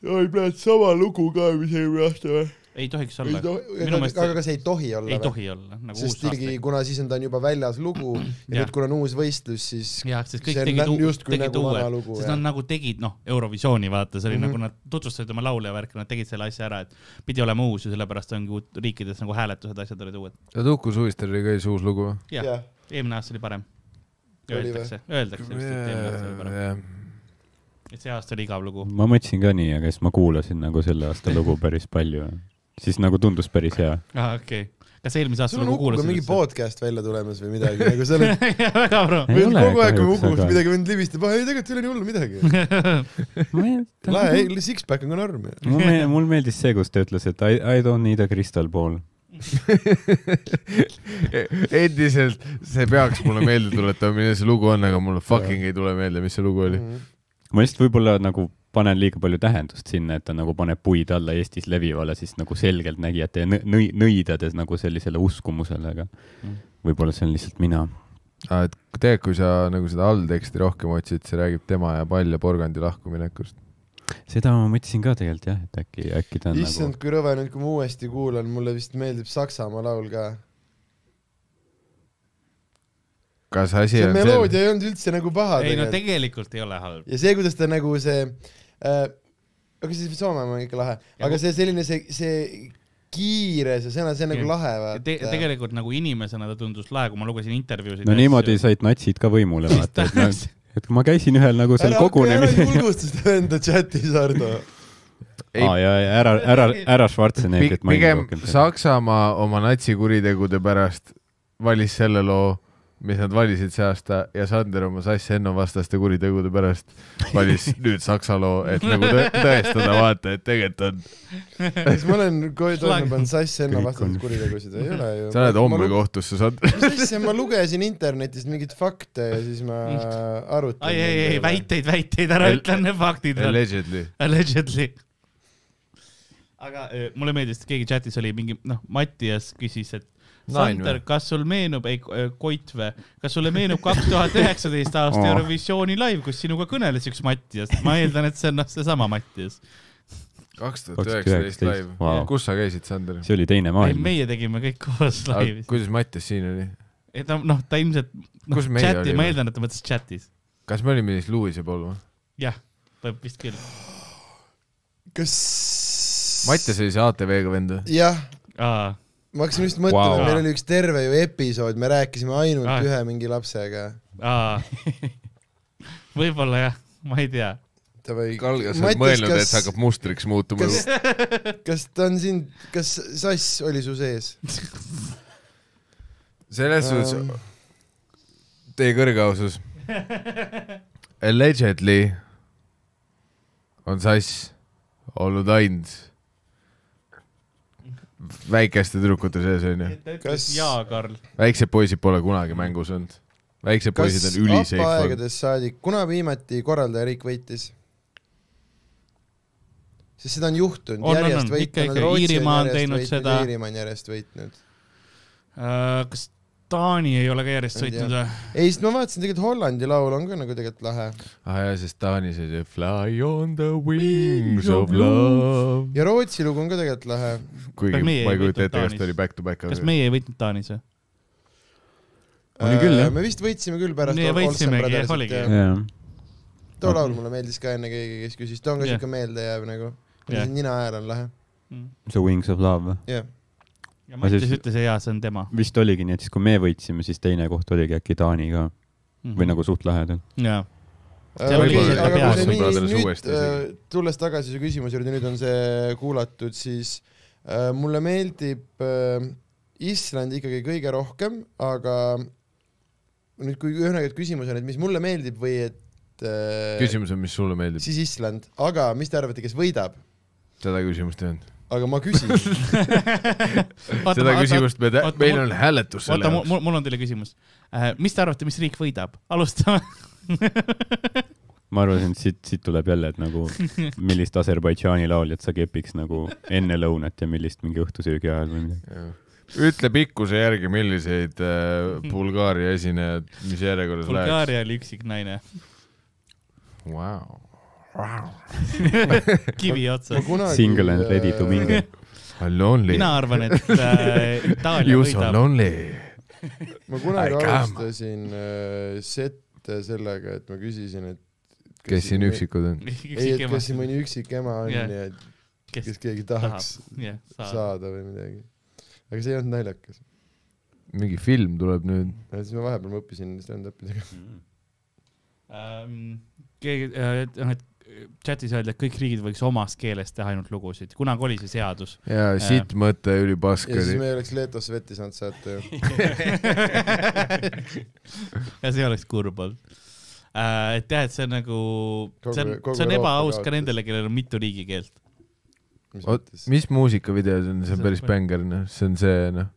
oi , näed sama lugu ka , mis eelmine aasta või ?
ei tohiks olla . minu
aga
meelest
aga kas ei tohi olla
ei tohi olla , nagu uus
sest ikkagi ,
aasta .
kuna siis on ta on juba väljas lugu ja
Jah.
nüüd , kuna on uus võistlus , siis
jah , sest kõik
see on
tegid,
nä-
uu-
justkui
tegid
nagu vana
uue ,
lugu,
sest
jah.
nad nagu tegid , noh , Eurovisiooni vaata , see oli mm
Mhm.
-hmm. nagu nad tutvustasid oma laulja värki , nad tegid selle asja ära , et pidi olema uus ja sellepärast ongi uut riikides nagu hääletused , asjad olid uued .
oota , Uku Suvistel oli ka siis uus lugu või ?
jah yeah. , eelmine aasta oli parem .
Oli
Öeldakse , öeldakse vist , et eelmine aasta oli parem . et see aasta oli igav lugu .
ma mõtlesin ka nii , aga siis ma kuulasin nagu selle aasta lugu päris palju . siis nagu tundus päris hea .
aa , Ah, okei okay. . kas eelmise aasta
sul on
lugu
Ukuga
kuulasid
mingi ? podcast välja tulemas või midagi , nagu
[LAUGHS]
sa oled
väga pro .
Ei ole
kogu aeg , kui me
kahjuks,
Ukust
aga-
midagi mind libistab , ei tegelikult ei ole nii hullu
[LAUGHS]
midagi . lahe , ei , six-pack on ka norm .
mul me- , mul meeldis see , kus ta ütles , et I , I don't need a crystal ball .
endiselt , see peaks mulle meelde tuletama , milline see lugu on , aga mulle fucking ei tule meelde , mis see lugu oli .
Mhm.
ma lihtsalt võib-olla nagu panen liiga palju tähendust sinna , et ta nagu paneb puid alla Eestis levivale siis nagu selgeltnägijate ja nõ- nõi- nõidades nagu sellisele uskumusele , aga
Mm.
võib-olla see on lihtsalt mina .
et tegelikult , kui sa nagu seda allteksti rohkem otsid , see räägib tema ja pall ja porgandi lahkuminekust .
seda ma mõtlesin ka tegelikult jah , et äkki , äkki
nagu-
ta on nagu-
issand , kui rõve nüüd , kui ma uuesti kuulan , mulle vist meeldib Saksamaa laul ka .
kas asi
see
on
meloodia ei olnud üldse nagu paha .
ei no tegelikult ei ole halb .
ja see , kuidas ta nagu see äh, , aga siis Soomemaa on ikka lahe , aga see selline , see , see kiire see sõna , see on nagu lahe
Te
vaata .
tegelikult nagu inimesena ta tundus lahe , kui ma lugesin intervjuusid .
no niimoodi said natsid ka võimule , vaata , et nad , et kui ma käisin ühel nagu seal
ära hakka , ära
kogunemisel .
julgusta seda enda chatis , Ardo .
Ei-
[LAUGHS] aa ja , ja ära , ära , ära Schwarzeneggerit maini
pigem
rohkem .
Saksamaa oma natsikuritegude pärast valis selle loo , mis nad valisid see aasta ja Sander oma Sass Enno vastaste kuritegude pärast valis nüüd saksa loo , et nagu tõ tõestada , vaata , et tegelikult on ,
kas ma olen kohe toime
Slag-
pannud Sass Enno
Kõik on-
vastaseid kuritegusid , ei ole ju .
sa oled homme . kohtusse , Sander .
mis asja , ma lugesin internetist mingeid fakte ja siis ma arutasin .
ai , ei , ei , väiteid , väiteid , ära
Al-
ütle need faktid .
[LAUGHS] Allegedly .
Allegedly . aga eh, mulle meeldis , keegi chatis oli mingi , noh , Mattias küsis , et
Nain
Sander
või? ,
kas sul meenub , ei , Koit või , kas sulle meenub kaks tuhat üheksateist aasta
Aa.
Eurovisiooni live , kus sinuga kõneles üks Mattias , ma eeldan , et see on noh , seesama Mattias .
kaks tuhat
2019
üheksateist live
Vau. .
kus sa käisid , Sander ?
see oli teine maailm .
meie tegime kõik koos laivis .
kuidas Mattias siin oli ?
et ta noh , ta ilmselt noh,
Kus meie
chati ,
olime?
ma eeldan , et ta mõtles chatis .
kas me olime siis Luise pool või ?
jah , võib vist küll .
kas ?
Mattias oli see ATV-ga vend või ?
jah ,
aa ,
ma hakkasin just mõtlema
Wow.
wow. , meil oli üks terve ju episood , me rääkisime ainult
Ah.
ah. ühe mingi lapsega .
[LAUGHS]
aa . võib-olla jah , ma ei tea .
Davai ,
Kalga , sa oled mõelnud , et sa hakkad mustriks muutuma
kas , kas ta on siin , kas Sass oli su sees ?
selles suhtes
Ähm.
teie kõrgeausus allegedly on Sass olnud ainult väikeste tüdrukute sees onju ,
Kas-
jaa , Karl .
väiksed poisid pole kunagi mängus olnud , väiksed
kas
poisid on
appa
üliseif olnud ,
aegadest saadik , kuna viimati korraldajariik võitis ? sest seda on juhtunud ,
On, on,
järjest
on. Ikka,
võitnud ,
ikka.
Rootsi on
Iirimaa on
järjest
teinud
võitnud
seda. ,
Iirimaa on järjest võitnud .
Äh, kas Taani ei ole ka järjest
Ma ei tea.
sõitnud või ?
ei , sest ma vaatasin tegelikult Hollandi laul on ka nagu tegelikult lahe
aa jaa , sest Taanis oli see fly on the wings of love ,
ja Rootsi lugu on ka tegelikult lahe .
kuigi
Kas meie
ma
ei
ei kujuta
võitnud
ette , kas
Taanis?
ta oli back to back ,
kas
aga
meie ei võitnud Taanis või ?
Oli küll, jah.
Äh, me vist võitsime küll pärast
Nii,
Ol-
võitsimegi,
Olsen
jah,
Brothersit,
oligi.
jah.
jah ,
too laul mulle meeldis ka enne keegi , kes küsis , ta on ka
Jah.
siuke meeldejääv nagu ,
Jah. Mm.
nina hääl on lahe ,
see Wings of Love .
jah .
ja
Ma siis-
Mattias ütles , jaa , see on tema .
vist oligi nii , et siis kui me võitsime , siis teine koht oligi äkki Taani ka või . nagu suht lähedal .
Mm. jaa , See
aga
oli
kui
lihtsalt
Äh, aga kui
Olsen
see nii
Brothers
nüüd äh,
uuesti isegi. ,
tulles tagasi su küsimuse juurde , nüüd on see kuulatud , siis äh, mulle meeldib äh, Island ikkagi kõige rohkem , aga nüüd , kui ühesõnaga , et küsimus on , et mis mulle meeldib või et äh,
küsimus on , mis sulle meeldib ,
siis Island , aga mis te arvate , kes võidab ?
seda küsimust ei olnud .
aga ma
[LAUGHS]
küsin ,
seda küsimust me tä-
oota, ,
meil
mul-
on hääletus selle
oota ,
jaoks .
mul , mul on teile küsimus . mis te arvate , mis riik võidab ? alustame .
ma arvasin , et siit , siit tuleb jälle , et
[LAUGHS]
nagu millist Aserbaidžaani lauljat sa kepiks nagu enne lõunat ja millist mingi õhtusöögi ajal või midagi .
ütle pikkuse järgi , milliseid äh,
[LAUGHS]
Bulgaaria esinejad , mis järjekorras läheks .
Bulgaaria oli üksik naine ,
Wow.
kivi
ma
otsas .
kunagi
Single and ready to
äh,
mingle .
Lonely .
mina arvan , et äh, Itaalia
You so
võidab .
lonely .
äh, ma kunagi
Ai, come.
alustasin äh, sette sellega , et ma küsisin , et
kes siin ? üksikud on ?
ei , et kes siin mõni üksik ema on
Jah.
ja et
kes
kes keegi tahaks
jah , saab .
saada või midagi . aga see ei olnud naljakas .
mingi film tuleb nüüd .
siis ma vahepeal ma õppisin stand-up'i tegema .
Ähm, keegi , noh , et chatis öeldi , et kõik riigid võiks omas keeles teha ainult lugusid , kunagi oli see
[LAUGHS]
seadus .
ja sitt mõte üli pask
ja siis
oli .
me ei oleks Leetosse vetti saanud saata
[LAUGHS]
ju .
ja see oleks kurb olnud . et jah , et see on nagu ,
Kogu-
see on ,
kogu
see on
Euroopa
ebaaus ka
kaotas.
nendele , kellel on mitu riigikeelt .
mis
Oot,
mõttes ?
mis muusikavideo see on , see on päris bängar , noh , see on see , noh .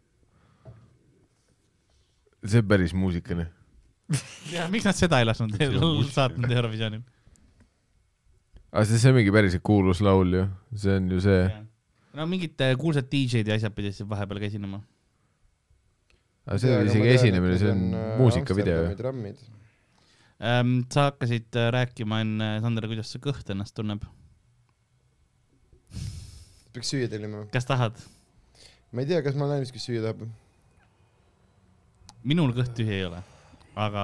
see on päris muusika , noh .
ja miks nad seda ei lasknud [LAUGHS] saatnud Eurovisioonil ?
aga see , see on mingi päris kuulus laul ju , see on ju see .
no mingid äh, kuulsad DJ-d ja asjad pidid siin vahepeal ka esinema .
aga see ei ole isegi esinemine , see on
äh,
muusikavideo ju .
trammid .
Ehm, sa hakkasid äh, rääkima enne , Sander , kuidas su kõht ennast tunneb ,
peaks süüa tellima .
kas tahad ?
ma ei tea , kas ma olen ainus , kes süüa tahab .
minul kõht tühi ei ole . aga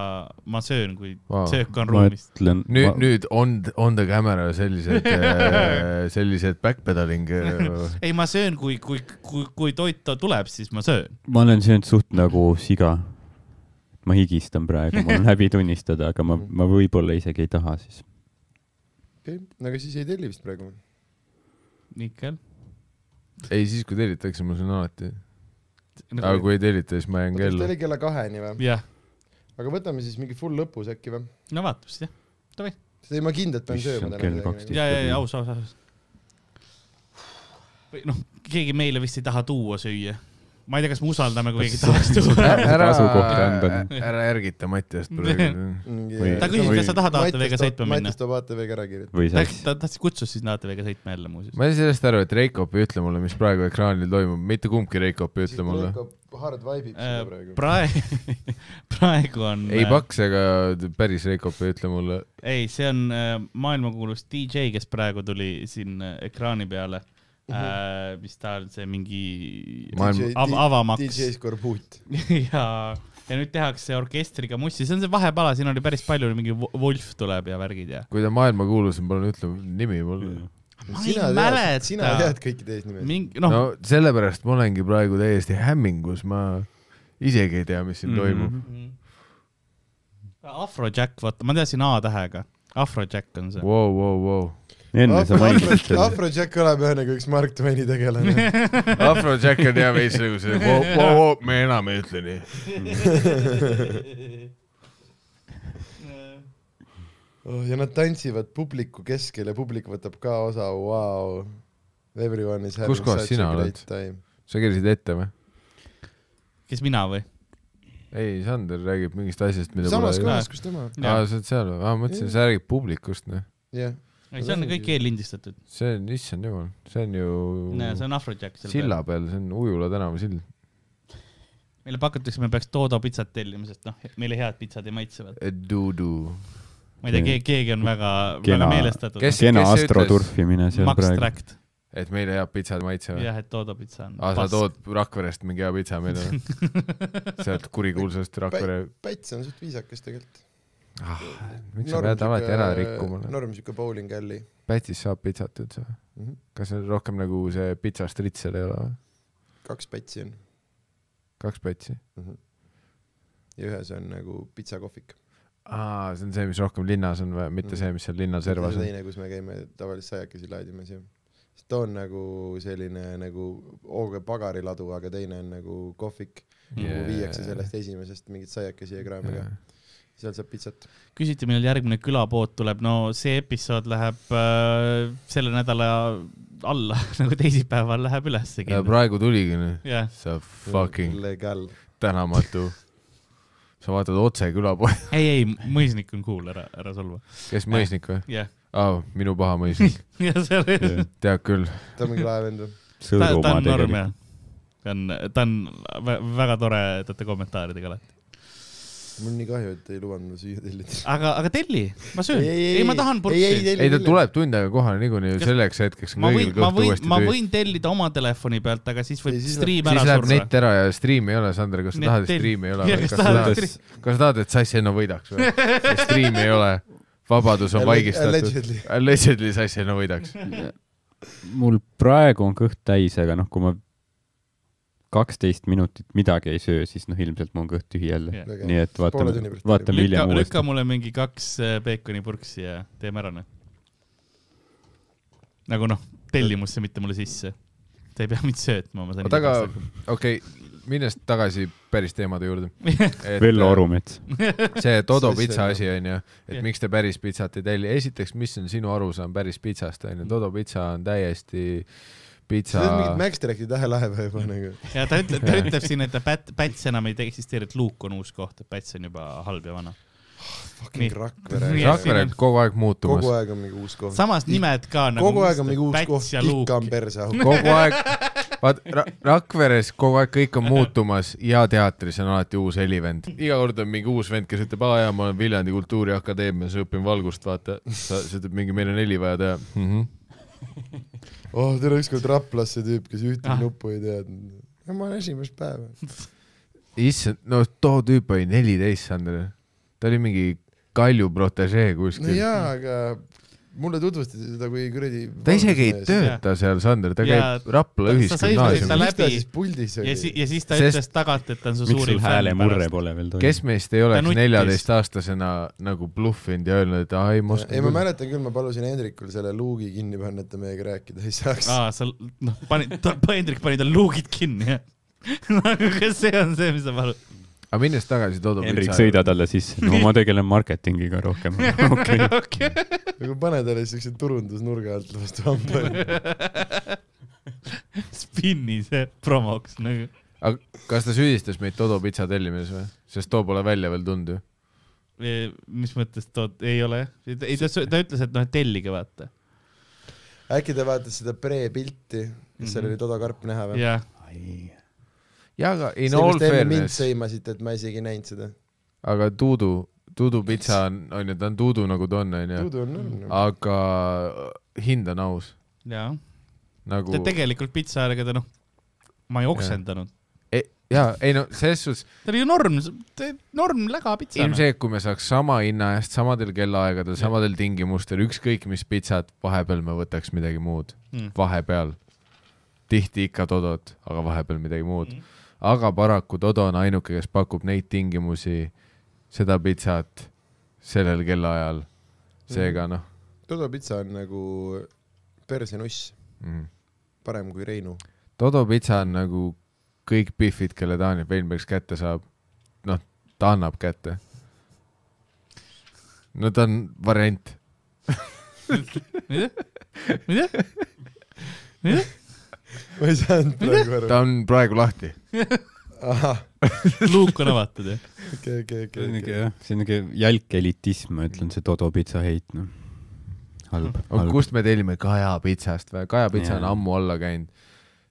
ma söön , kui
Vau.
söök on
ma
ruumist .
ütlen ,
nüüd , nüüd on , on ta camera sellised , sellised backpedaling . äh,
[LAUGHS] ei , ma söön , kui , kui , kui , kui toit to- tuleb , siis ma söön .
ma olen söönud suht nagu siga . ma higistan praegu ,
[LAUGHS]
mul on häbi tunnistada , aga ma , ma võib-olla isegi ei taha siis .
okei , aga siis ei telli vist praegu .
Nikkel .
ei , siis kui tellitakse , ma söön alati . aga
nagu-
kui ei tellita , siis ma jään
kas ta
kellu .
oli kella kaheni või ?
jah ,
aga võtame siis mingi full lõpus äkki või ?
no vaata vist jah .
sest ei , ma kindlalt pean
Issand,
sööma
kell
täna midagi .
ja , ja , ja aus , aus , aus . või noh , keegi meile vist ei taha tuua süüa . ma ei tea , kas me usaldame , kui keegi
[LAUGHS]
tahaks tuua .
ära
asukohta anda. ,
ära ärgita Mattiast praegu .
ta küsis , kas sa tahad ATV-ga sõitma minna
Mattis . toob ATV-ga ära kirjutada .
või
ta
saaks ,
ta tahtis , kutsus siis ATV-ga sõitma jälle muuseas .
ma ei saa sellest aru , et Reikop ei ütle mulle , mis praegu ekraanil toimub , mitte kumbki Reikop ei ütle mulle .
hard vibe'ib seda praegu .
praegu , Äh, [LAUGHS] praegu on .
ei paks ega päris Reikop ei ütle mulle .
ei , see on äh, maailmakuulus DJ , kes praegu tuli siin äh, ekraani peale mm . -hmm. Äh, mis ta on , see mingi
Maailma-
av avamaks [LAUGHS]
DJ Scorbut .
ja , ja nüüd tehakse orkestriga mussi , see on see vahepala , siin oli päris palju , mingi Wo- Wolf tuleb ja värgid ja .
kui ta maailmakuulus on , palun ütle nimi mulle .
Ma ei mäleta.
sina tead kõikide eesnimesid .
mingi
no,
noh no. ,
no sellepärast ma olengi praegu täiesti hämmingus , ma isegi ei tea , mis
Mhm.
siin mm -hmm.
Mhm. Afrojack , vaata , ma teadsin A tähega , Afrojack on see
toimub . Wow, wow, wow.
enne sa mainisid seda .
Afrojack oleb jah nagu üks Mark Twaini
[LAUGHS]
tegelane .
Afrojack on hea veits nagu see wow, , wow, wow, me enam ei ütle nii .
Oh, ja nad tantsivad publiku keskel ja publik võtab ka osa , vau . Everyone is having
Kus kohas
such
sina
a
oled?
great time .
sa käisid ette või ?
kes mina või ?
ei , Sander räägib mingist asjast , mida
samas
pole .
kohas , kus tema .
aa , sa oled seal või ? aa , ma mõtlesin , sa räägid publikust , noh .
jah ,
ei , see on kõik eellindistatud ,
see on , issand jumal , see on ju
see on Afrojack seal
silla peal , see on Ujula tänava sild .
meile pakutakse , me peaks Dodo pitsat tellima , sest noh , meile head pitsad ei maitsevad .
Dudu .
ma ei tea , keegi , keegi on väga , väga
Kena-
meelestatud .
kes-
kena
ütles?
astroturfimine seal
Max
praegu .
Tract ,
et meile head pitsad maitsevad .
jah , et Dodo pitsa on .
aa , Ah, sa tood Rakverest mingi hea pitsa meile
[LAUGHS]
või ? sealt kurikuulsast Rakvere .
Päts on suht viisakas tegelikult .
ah , miks sa pead alati ära rikkuma ?
norm siuke bowling alley .
Pätsis saab pitsat üldse või ?
Mhm.
kas see on rohkem nagu see pitsast rits seal ei ole või ?
kaks pätsi on
kaks pätsi ?
ja ühes on nagu pitsakohvik .
aa , see on see , mis rohkem linnas on või , mitte see , mis seal linna servas on ?
teine , kus me käime tavaliselt saiakesi laadimas ja siis too on nagu selline nagu hooga pagariladu , aga teine on nagu kohvik yeah. , viiakse sellest esimesest mingeid saiakesi ja kraamiga yeah. , seal saab pitsat .
küsiti , millal järgmine külapood tuleb , no see episood läheb äh, selle nädala alla , [LAUGHS] nagu teisipäeval läheb ülesse
ja
kindlasti .
Äh, praegu tuligi nüüd ,
jah ,
sa fucking
legal .
tänamatu . sa vaatad otse külapoodi ,
ei , ei , mõisnik on cool , ära , ära solva .
kes mõisnik või ?
jah , [LAUGHS]
aa , minu paha mõisnik ,
ja see oli ,
tead küll .
ta on mingi laev enda .
ta ta
sõõrumaa
on norm
tegelikult .
jah . ta on , ta on vä- väga toredate kommentaaridega alati .
mul on nii kahju , et ei lubanud mulle süüa tellida .
aga , aga telli , ma söön . ei , ma tahan purksi .
ei , ta . tuleb tund aega kohale niikuinii ,
Kas-
selleks hetkeks on
ma võin
kõigil ,
ma
kõht
võin ,
uuesti
ma
tühi .
võin tellida oma telefoni pealt , aga siis võib
Ei, siis
striim ära
siis läheb
surra .
net ära ja striimi ei ole , Sander , kas sa
Net
tahad , et
tell-
striimi ei ole
[LAUGHS] Jah,
või ?
kas
kas sa
tahad, et
tahad , kas sa tahad , et Sass Enno võidaks või ?
[LAUGHS]
striimi ei ole , vabadus on vaigistatud .
Allegedly .
Allegedly Sass Enno võidaks .
mul praegu on kõht täis , aga noh , kui ma kaksteist minutit midagi ei söö , siis noh , ilmselt mul on kõht tühi jälle . nii et
Poole
vaatame
tunni pärast ,
vaatame
lükka ,
hiljem
lükka
uuesti .
mulle mingi kaks äh, peekonipurksi ja teeme ära need . nagu noh , tellimusse , mitte mulle sisse . Te ei pea mind söötma , ma sain .
oota , aga okei okay, , minnes tagasi päris teemade juurde .
Vello . Orumets .
see Todo
Siis
pitsa
see-
asi onju , et
Jah.
miks te päris pitsat ei telli , esiteks , mis on sinu arusaam päris pitsast onju , Todo pitsa on täiesti
sa
pitsa
teed mingit Max Tracti tähelaeva juba nagu .
ja ta ütleb , ta ütleb siin , et ta Pätt , Päts enam ei eksisteeri , et Luuk on uus koht , et Päts on juba halb ja vana . Nii.
Fucking Rakvere .
Nii,
Rakvere on kogu aeg muutumas
kogu . aeg on mingi uus koht .
samas nimed ka nagu .
kogu aeg on mingi uus koht ,
ja Luuk
ikka . on perseauk .
kogu aeg , vaat ra Rakveres kogu aeg kõik on muutumas ja teatris on alati uus helivend . iga kord on mingi uus vend , kes ütleb , aa jaa , ma olen Viljandi Kultuuriakadeemias , õpin valgust , vaata . sa , sa ütled mingi , meil on heli vaja teha mm . -hmm.
oh , tule ükskord Raplas see tüüp , kes ühtegi
Ah.
ah. nuppu ei teadnud . ma olen esimest päeva .
issand , no too tüüp oli neliteist , Sander . ta oli mingi Kalju protežee
no
kuskil no, .
jaa , aga mulle tutvustati seda kui kuradi .
ta isegi ei . tööta seal , Sander , ta
Jaa.
käib Rapla
Ta- ta sai
mis
ta
ühisgümnaasiumis .
läbi-
ta siis puldis
ja siis ,
oli ?
ja siis ta
Sest-
Sest... ütles tagant , et ta on su
miks
suurim
sul häälemurre
pärast.
pole veel
kes
toimunud ?
meist ei oleks
nuttis.
neljateistaastasena nagu bluffinud ja öelnud , et aa ei , ma
ei , ma
oskan .
mäletan küll , ma palusin Hendrikul selle luugi kinni panna , et ta meiega rääkida ei saaks .
aa , sa noh , panid , Hendrik pani tal luugid kinni , jah . aga kas see on see , mis sa palud ?
aga minnes tagasi Todo
Henrik , sõida . talle sisse . no ma tegelen marketingiga rohkem . okei .
nagu pane talle siukse turundusnurga alt vastu
[LAUGHS]
hambale .
spinni see promoks nagu .
aga kas ta süüdistas meid Todo pitsa tellimises või ? sest too pole välja veel tulnud ju .
e, mis mõttes tood , ei ole jah ? ei , ta , ta ütles , et noh , et tellige vaata .
äkki ta vaatas seda pre-pilti , kas seal
Mhm.
oli Toda Karp näha või ?
jah ,
jaa , aga in
see ,
all
kus te enne mind
fairness ,
sõimasite , et ma isegi ei näinud seda .
aga Tuudu , Tuudu pitsa on , onju , ta on Tuudu nagu ta on , onju ,
Tuudu on
Mhm.
olnud .
aga hind on aus .
jaa .
nagu
ta tegelikult pitsaarega ta noh , ma ei oksendanud .
e, , jaa , ei no selles suhtes
ta oli ju norm , norm läga pitsa .
ilmselt , kui me saaks sama hinna eest samadel kellaaegadel ,
Jah.
samadel tingimustel , ükskõik mis pitsat , vahepeal me võtaks midagi muud ,
Mm.
vahepeal . tihti ikka Todot , aga vahepeal midagi muud . aga paraku Todo on ainuke , kes pakub neid tingimusi , seda pitsat sellel kellaajal . seega noh
Toda pitsa on nagu persenuss ,
mm. ,
parem kui Reinu .
Todo pitsa on nagu kõik Biffid , kelle Daniel Veinbergs kätte saab , noh , ta annab kätte . no ta on variant .
mida ? mida ? mida ?
ma ei saanud praegu aru .
ta on praegu lahti .
ahah ,
luuk on avatud jah ?
okei , okei ,
see on niuke
okei .
jah , see on niuke jälk elitism , ma ütlen , see Todo pitsa heit , noh . halb ,
aga
halb .
kust me tellime Kaja pitsast või ? Kaja pitsa on
Jaa.
ammu alla käinud .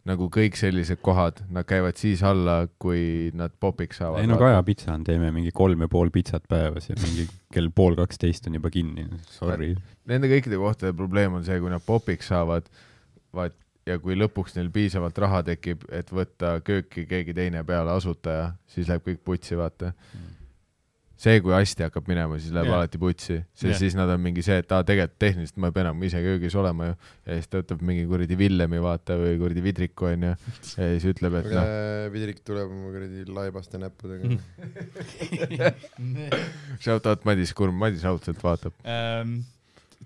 nagu kõik sellised kohad , nad käivad siis alla , kui nad popiks saavad .
ei no Kaja pitsa on , teeme mingi kolm ja pool pitsat päevas ja mingi kell pool kaksteist on juba kinni , sorry .
Nende kõikide kohtade probleem on see , kui nad popiks saavad , vaat , ja kui lõpuks neil piisavalt raha tekib , et võtta kööki keegi teine peale asutaja , siis läheb kõik putsi , vaata . see , kui hästi hakkab minema , siis läheb
Jah.
yeah. alati putsi , sest
Jah.
yeah. siis nad on mingi see , et aa , tegelikult tehniliselt ma ei pea enam ise köögis olema ju , ja siis ta võtab mingi kuradi Villemi , vaata , või kuradi Vidriku , onju , ja siis ütleb , et
aga
noh , Mm,
Vidrik tuleb oma kuradi laibaste näppudega .
shout out Madis Kurm , Madis raudselt vaatab .
ähm, .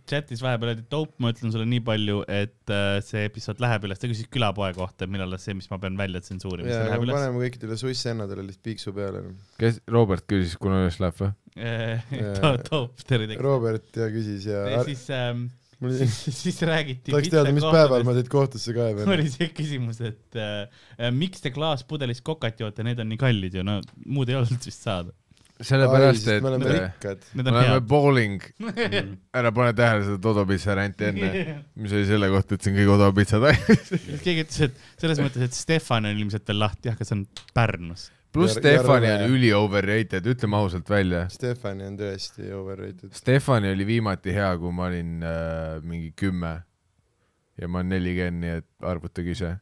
chatis vahepeal öeldi , et dope , ma ütlen sulle nii palju , et äh, see episood läheb üles , ta küsis külapoe kohta , et millal see , mis ma pean välja tsensuurima , see
jaa , aga
läheb
me
üles .
paneme kõikidele suissennadele lihtsalt piiksu peale . noh.
kes , Robert küsis , kuna üles läheb või ?
[LAUGHS] Äh, dope , tere teile .
Robert ja küsis ja,
ja siis ähm, ,
mul oli ,
siis, siis
[LAUGHS]
räägiti .
tahaks teada , mis päeval ma teid kohtusse kaevan .
oli see küsimus , et äh, miks te klaaspudelist kokat joote , need on nii kallid ju , no muud ei olnud vist saada .
sellepärast ,
me oleme
et
rikkad .
Need
me
on
oleme
head .
bowling ära pane tähele seda todopitsa varianti
[LAUGHS]
enne , mis oli selle kohta , et see on kõige odavam pitsa taim .
keegi ütles , et selles mõttes , et Stefan on ilmselt veel lahti , jah , kes on Pärnus .
[LAUGHS] pluss
Jär-
Stefani
järve-
on üli overrated , ütleme ausalt välja .
Stefani on tõesti overrated .
Stefani oli viimati hea , kui ma olin äh, mingi kümme ja ma olen nelikümmend , nii et arvutage ise .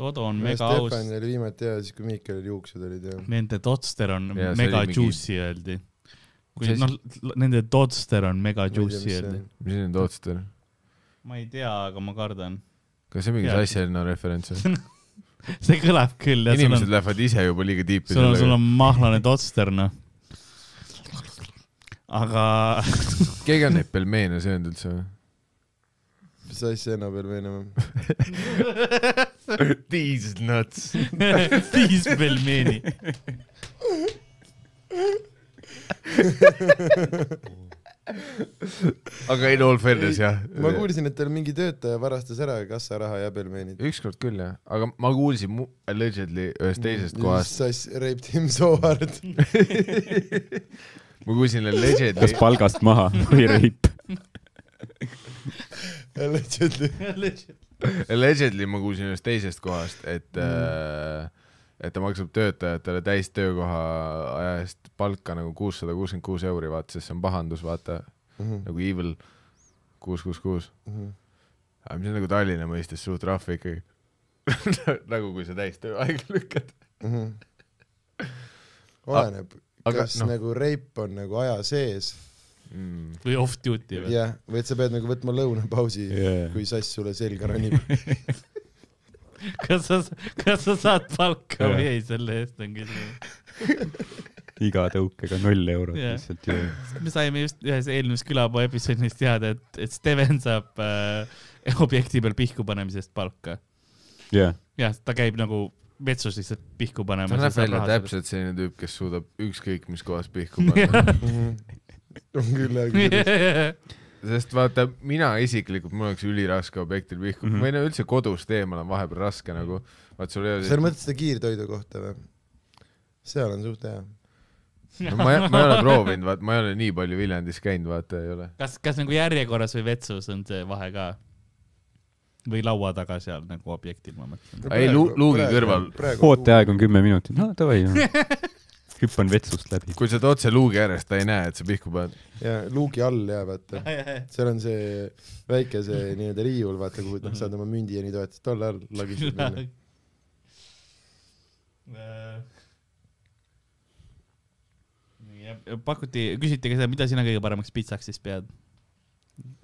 Todo on mega aus .
Stefani oli viimati hea siis , kui Miikalil juuksed olid ja .
Nende Dodster on
Jaa, see
mega
oli mingi-
juicy öeldi . kui
See-
noh , nende Dodster on mega juicy öeldi .
mis need otsed on ?
ma ei tea , aga ma kardan . [LAUGHS]
kas see on mingi
Jaa.
asjaline referents
[LAUGHS]
või ?
see kõlab küll jah , sul
inimesed
on ,
lähevad ise juba liiga tiipi
sul on , sul
sellega .
on mahlane Dodster noh . aga [LAUGHS]
keegi on neid pelmeene söönud üldse või ?
mis asja enam veel
[LAUGHS]
meenub ?
These nuts .
viis pelmeeni .
aga in all fairness jah .
ma kuulsin , et tal mingi töötaja varastas ära kassaraha ja pelmeenid .
ükskord küll jah , aga ma kuulsin mu- allegedly ühest teisest
Mm,
kohast ,
sass raped him so hard .
ma kuulsin
kas
allegedly ,
palgast maha või reip ?
Allegedly .
allegedly ma kuulsin ühest teisest kohast , et mm. et ta maksab töötajatele täistöökoha aja eest palka nagu kuussada kuuskümmend kuus euri , vaata , sest see on pahandus , vaata , nagu evil kuus , kuus , kuus . aga mis on nagu Tallinna mõistes suht rahv ikkagi . [LAUGHS] nagu kui sa täistööaega lükkad .
oleneb ,
aga
kas
noh ,
nagu reip on nagu aja sees
või off-duty või ?
jah , või et sa pead nagu võtma lõunapausi , kui sass sulle selga ronib . [LAUGHS]
kas sa , kas sa saad palka või ei , selle eest on küsimus .
iga tõukega null eurot
Jah.
lihtsalt ju .
me saime just ühes eelmises külapoe episoodis teada , et , et Steven saab äh, objekti peal pihku panemise eest palka .
jah ,
jah , ta käib nagu vetsus lihtsalt pihku
ta
panemas .
näeb välja . täpselt selline tüüp , kes suudab ükskõik mis kohas pihku panna . [LAUGHS]
on küll jah , kuidas .
jah ,
sest vaata , mina isiklikult , mul oleks üliraske objektil pihku mm ,
Mhm.
-hmm. või no üldse kodust eemal on vahepeal raske nagu , vaat sul ei ole
sa mõtled seda kiirtoidu kohta või ? seal on suht hea .
no, ma, ei- ma ei ole proovinud , vaat ma ei ole nii palju Viljandis käinud , vaata ei ole .
[LAUGHS] kas , kas nagu järjekorras või vetsus on see vahe ka ? või laua taga seal nagu objektil , ma mõtlen .
Ei, lu- luugi kõrval. .
ooteaeg on kümme minutit , no davai , hüppan vetsust läbi .
kui sa oled otse luugi äärest , ta ei näe , et sa pihku paned .
ja luugi all ja vaata , seal on see väike see nii-öelda riiul , vaata , kuhu noh, saad oma mündi ja nii toetad , tolle all
[LAUGHS]
lagistad minna .
Äh. pakuti , küsiti ka seda , mida sina kõige paremaks pitsaks siis pead ?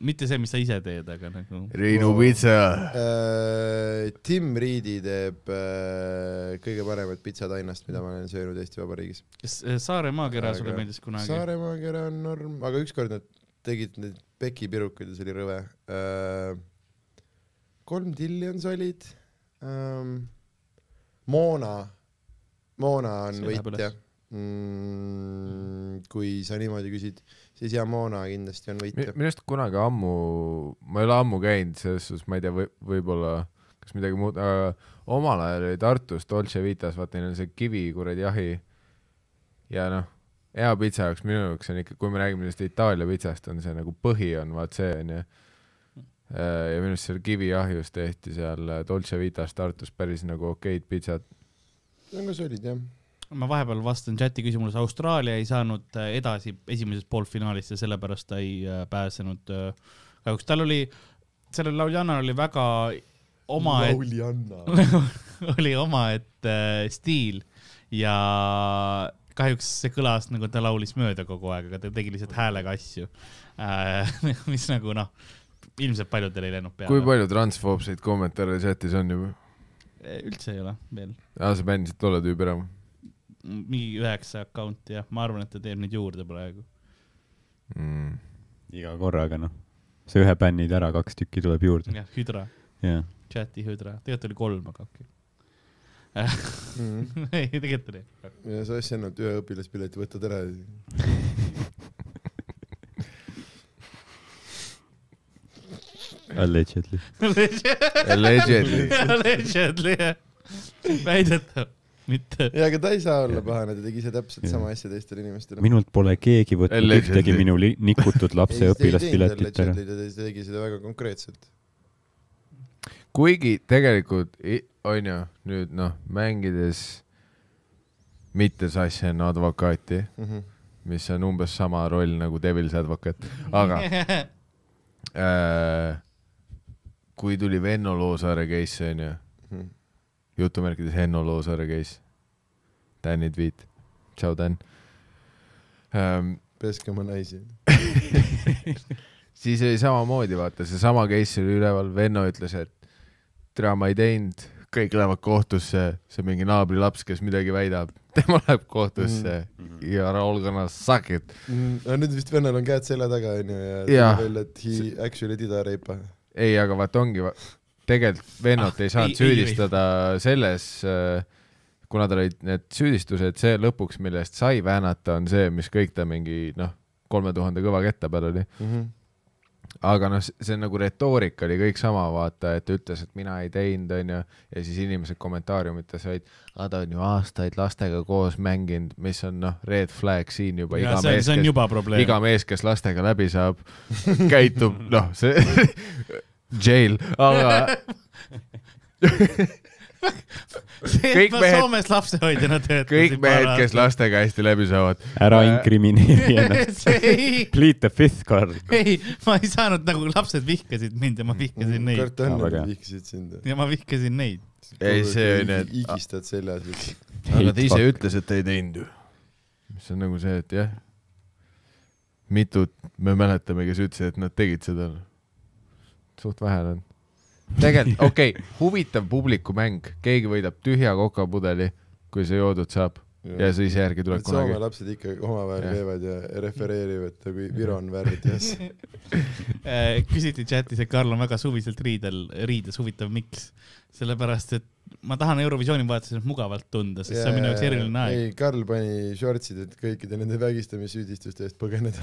mitte see , mis sa ise teed , aga nagu .
Reinu pitsa .
Äh, Tim Riidi teeb äh, kõige paremat pitsad ainast , mida ma olen söönud Eesti Vabariigis .
kas äh, Saaremaa kera
Aga-
sulle meeldis kunagi ?
Saaremaa kera on norm , aga ükskord nad tegid neid pekipirukaid ja see oli rõve äh, . kolm tilli on solid ähm, . Moona , Moona on
See läheb
võitja
üles.
mm, . kui sa niimoodi küsid , siis jaa , Moona kindlasti on võitja .
minu arust kunagi ammu , ma ei ole ammu käinud , selles suhtes ma ei tea , või võib-olla , kas midagi muud , aga omal ajal oli Tartus Dolce Vitas , vaata neil on see kivi kuradi jahi . ja noh , hea pitsa jaoks minu jaoks on ikka , kui me räägime sellest Itaalia pitsast , on see nagu põhi on vaat see onju . ja minu arust seal kivijahjus tehti seal äh, Dolce Vitas Tartus päris nagu okeid pitsad .
see on ka solid jah .
ma vahepeal vastan chati küsimusele , Austraalia ei saanud äh, edasi esimeses poolfinaalis ja sellepärast ta ei äh, pääsenud äh, kahjuks , tal oli , sellel lauljannal oli väga oma ,
Laulianna .
[LAUGHS] oli omaette äh, stiil ja kahjuks see kõlas nagu ta laulis mööda kogu aeg , aga ta tegi lihtsalt häälega asju äh, , [LAUGHS] mis nagu noh , ilmselt paljudel ei läinud
kui
peale .
palju transfoobseid kommentaare chatis on juba ?
Äh, üldse ei ole veel ,
aa , sa bändisid tolle tüübi ära ?
mingi üheksa account'i jah , ma arvan , et ta teeb neid juurde praegu .
Mm.
iga korraga noh , sa ühe bännid ära , kaks tükki tuleb juurde .
jah , Hydra
jah ,
chati hüdra , tegelikult oli kolm , aga okei .
[LAUGHS]
[LAUGHS]
Mm.
ei , tegelikult oli . [LAUGHS]
ja sa asja annad ühe õpilaspileti , võtad ära .
allegedly .
Allegedly .
Allegedly , jah . väidetav , mitte .
ja , aga ta ei saa olla pahane , ta tegi ise täpselt
Jah.
sama asja teistele inimestele .
minult pole keegi võtnud
Allegedly.
ühtegi minu li- nikutud lapse õpilaspiletit ära .
ta tegi seda väga konkreetselt .
kuigi tegelikult i- onju nüüd noh , mängides mitte Sassen advokaati ,
Mhm,
mis on umbes sama roll nagu Devil's Advocate ,
[LAUGHS]
aga äh, kui tuli Venno Loosaare case onju ,
mhm.
jutumärkides Henno Loosaare case , Tänni tweet , tšau Tän ähm, .
peske oma naisi .
siis oli samamoodi , vaata seesama case oli üleval , Venno ütles , et tere , ma ei teinud , kõik lähevad kohtusse , see on mingi naabri laps , kes midagi väidab , tema läheb kohtusse mm.
Mhm.
ja ära olge ennast sakid .
aga nüüd vist vennal on käed selja taga onju ja
Jaa.
tuleb välja , et he actually did a rape .
ei , aga vaata ongi , tegelikult Vennot
Ah,
ei saanud
ei- ei-
süüdistada selles , kuna tal olid need süüdistused , see lõpuks , millest sai väänata , on see , mis kõik ta mingi noh , kolme tuhande kõva ketta peal oli .
Mhm,
aga noh , see nagu retoorika oli kõik sama , vaata , et ta ütles , et mina ei teinud , onju , ja siis inimesed kommentaariumites olid , aga ta on ju aastaid lastega koos mänginud , mis on noh , red flag siin juba , iga
see on ,
mees ,
see on
kes ,
juba probleem .
iga mees , kes lastega läbi saab , [LAUGHS] käitub , noh , see [LAUGHS] jail ,
[LAUGHS]
aga [LAUGHS]
kõik
kõik mehed-
mehed . Soomes lapsehoidjana töötasin .
kõik mehed , kes . lastega hästi läbi saavad ,
ära
[LAUGHS]
inkrimineeri ennast .
[LAUGHS] ei ,
Plead the fifth card .
ei , ma ei saanud nagu lapsed vihkasid mind ja ma vihkasin neid
kord on ,
Aa,
mhm. et
väga hea.
vihkasid sind .
ja ma vihkasin neid .
Ei, see on, et-
higistad seljas .
aga ta ise ütles , et ta ei teinud ju . mis on nagu see , et jah , mitut me mäletame , kes ütlesid , et nad tegid seda . suht vähe on . [LAUGHS] tegelikult , okei okay, , huvitav publikumäng , keegi võidab tühja kokapudeli , kui see joodud saab ja siis järgi tuleb
et Soome
kunagi .
lapsed ikka omavahel
Jah.
käivad ja refereerivad , kui Viro on
[LAUGHS]
värvides .
Äh, küsiti chatis , et Karl on väga suviselt riidel , riides , huvitav , miks ? sellepärast , et ma tahan Eurovisiooni vaadates ennast mugavalt tunda , sest see on minu jaoks eriline aeg .
ei , Karl pani shortsid , et kõikide nende vägistamissüüdistuste eest põgeneda .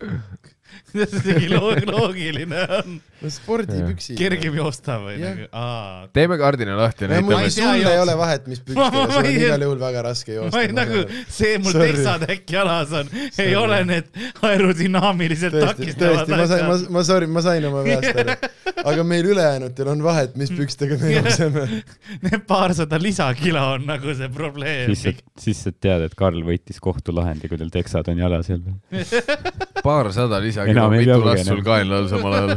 kuidas [LAUGHS] see isegi loog- loogiline on ?
no spordipüksid .
[LAUGHS] kergem joosta või
Jah.
nagu , aa .
teeme kaardi lahti ,
mul
näitame
ei
ei ,
tea
sul ei
joosta.
ole vahet , mis
Ma-
pükstega ,
ma-
sul on
ma ei-
igal juhul väga raske
ma
joosta .
ei nagu , [LAUGHS] see mul
Sorry.
teksatäkk jalas on , ei
Sorry.
ole need aerodünaamiliselt
tõesti ,
takistavad
tõesti , ma sain , ma
asjad .,
ma sorry , ma sain oma veast aru .
[LAUGHS]
aga meil ülejäänutel on vahet ,
Mm.
mis pükstega me
Jah. [LAUGHS]
jookseme .
Need paarsada lisakilo on nagu see probleem .
siis sa , siis sa tead , et Karl võitis kohtulahendi , kui tal teksad on jalas jälle .
paarsada lisakilo ,
Enam ei
mitu
pea
last sul
põgenema.
kaenla all samal [LAUGHS] ajal ?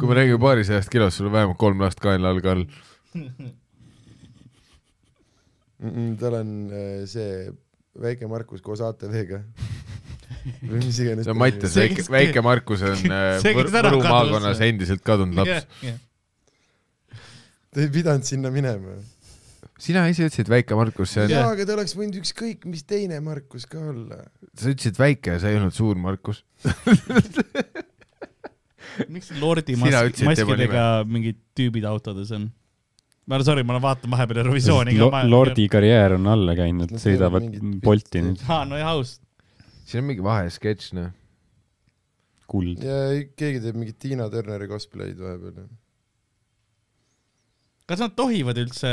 kui me räägime paarisajast kilost , sul on vähemalt kolm last kaenla all , Karl .
tal on äh, see väike Markus koos ATV-ga . või mis iganes .
see on Mattias ,
See,
väike
kes- ,
väike Markus
[LAUGHS]
on äh,
see, kes
Võr-
ära
Võru
kadus.
maakonnas endiselt kadunud laps .
ta ei pidanud sinna minema .
sina ise ütlesid väike Markus , see on ,
jaa , aga ta oleks võinud ükskõik mis teine Markus ka olla .
sa ütlesid väike ja sa ei olnud suur Markus .
miks lordi
Sina
mask,
ütlesid
maskidega
tema
mingid tüübid autodes on ? ma olen sorry , ma olen vaatanud vahepeal Eurovisiooni ka .
Lordi karjäär on alla käinud ,
Nad
sõidavad
teevad mingit
Bolti
pisti.
nüüd ,
aa , no ja aus .
siin on mingi vahesketš , noh .
kuld .
ja keegi teeb mingit Tiina Turneri cosplay'd vahepeal .
kas nad tohivad üldse ,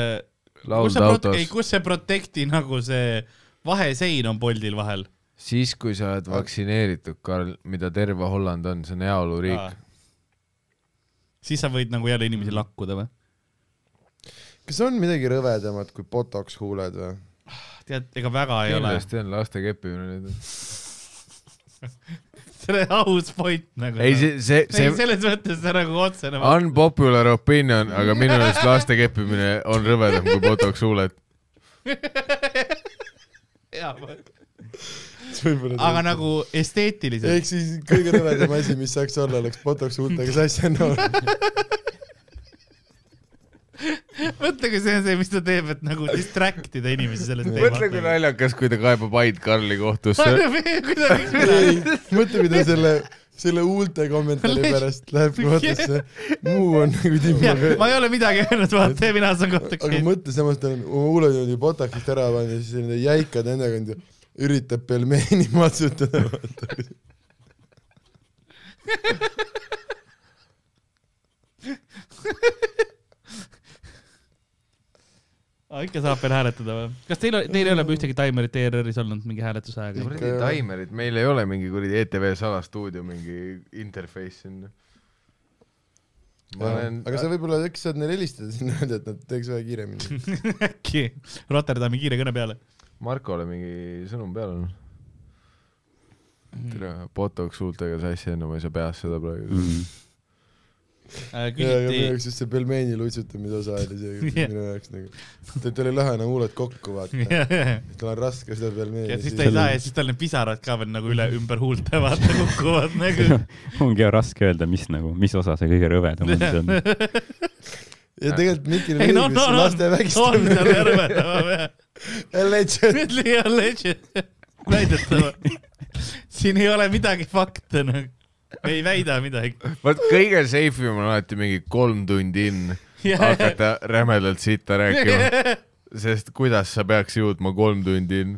kus
laulda
see prote- , ei ,
autos .
kus see Protecti nagu see vahesein on Boltil vahel ?
siis , kui sa oled vaktsineeritud , Karl , mida terve Holland on , see on heaoluriik .
siis sa võid nagu jälle inimesi lakkuda või ?
kas on midagi rõvedamat kui botox huuled või ?
tead , ega väga ei ole .
kindlasti on laste keppimine nüüd .
see oli aus point nagu .
ei , see , see ,
ei ,
see
selles mõttes see nagu otsene .
unpopular opinion , aga minu meelest laste keppimine on rõvedam kui botox huuled .
aga
[LAUGHS]
nagu esteetiliselt ,
ehk siis kõige rõvedam asi , mis saaks olla , oleks botox huultega sassi anna .
mõtle , kui see on see , mis ta teeb , et nagu distract ida inimesi sellest
mõtle , kui
teemast .
naljakas , kui ta kaebab Aid Karli
[LAUGHS]
kohtusse .
kuidas ,
mõtle , kui ta selle , selle huulte kommentaari pärast läheb kohtusse . muu on nagu
ma
timmaga .
ei ole midagi öelnud , vaata , mina saan
aga
kohtuks .
mõtle , samas ta on oma huuled niimoodi botoxist ära pannud ja siis nende jäikad nendega on ju , üritab pelmeeni matsutada .
ikka saab veel hääletada või ? kas teil , teil ei ole ühtegi taimerit ERR-is olnud mingi hääletusajaga ?
kuradi taimerid , meil ei ole mingi kuradi ETV salastuudio mingi interface sinna . ma olen ,
aga sa võib-olla , eks saad neile helistada sinna , [LAUGHS] öelda , et nad teeks vähe
[LAUGHS]
kiiremini .
äkki Rotterdami kiire kõne peale .
Markole mingi sõnum peal on . tere , botox huultega sassi enne , ma ei saa peast seda praegu .
Mm.
ja , aga minu
Äh, küsiti ,
jaoks just see pelmeeni luitsutamise osa oli see
Jah.
minu jaoks nagu , tal ei lähe enam huuled kokku ,
[LAUGHS]
vaata .
ja
tal on raske seda pelmeeni .
siis ta ei saa ja siis tal need pisarad ka veel nagu üle ümber huulte vaata kukuvad [LAUGHS] nagu .
ongi hea raske öelda , mis nagu , mis osa see kõige rõvedam on , see on
ja tegelikult Mikil on
ei no ,
õigus
no , no ,
laste
on seal
vägistamine .
järvetäva peal . [LAUGHS]
legend .
ütle ja legend , väidetava . siin ei ole midagi fakte nagu , ei väida midagi .
[LAUGHS] vaat kõige safe im on alati mingi kolm tundi in hakata rämedalt sitta rääkima , sest kuidas sa peaks jõudma kolm tundi in ,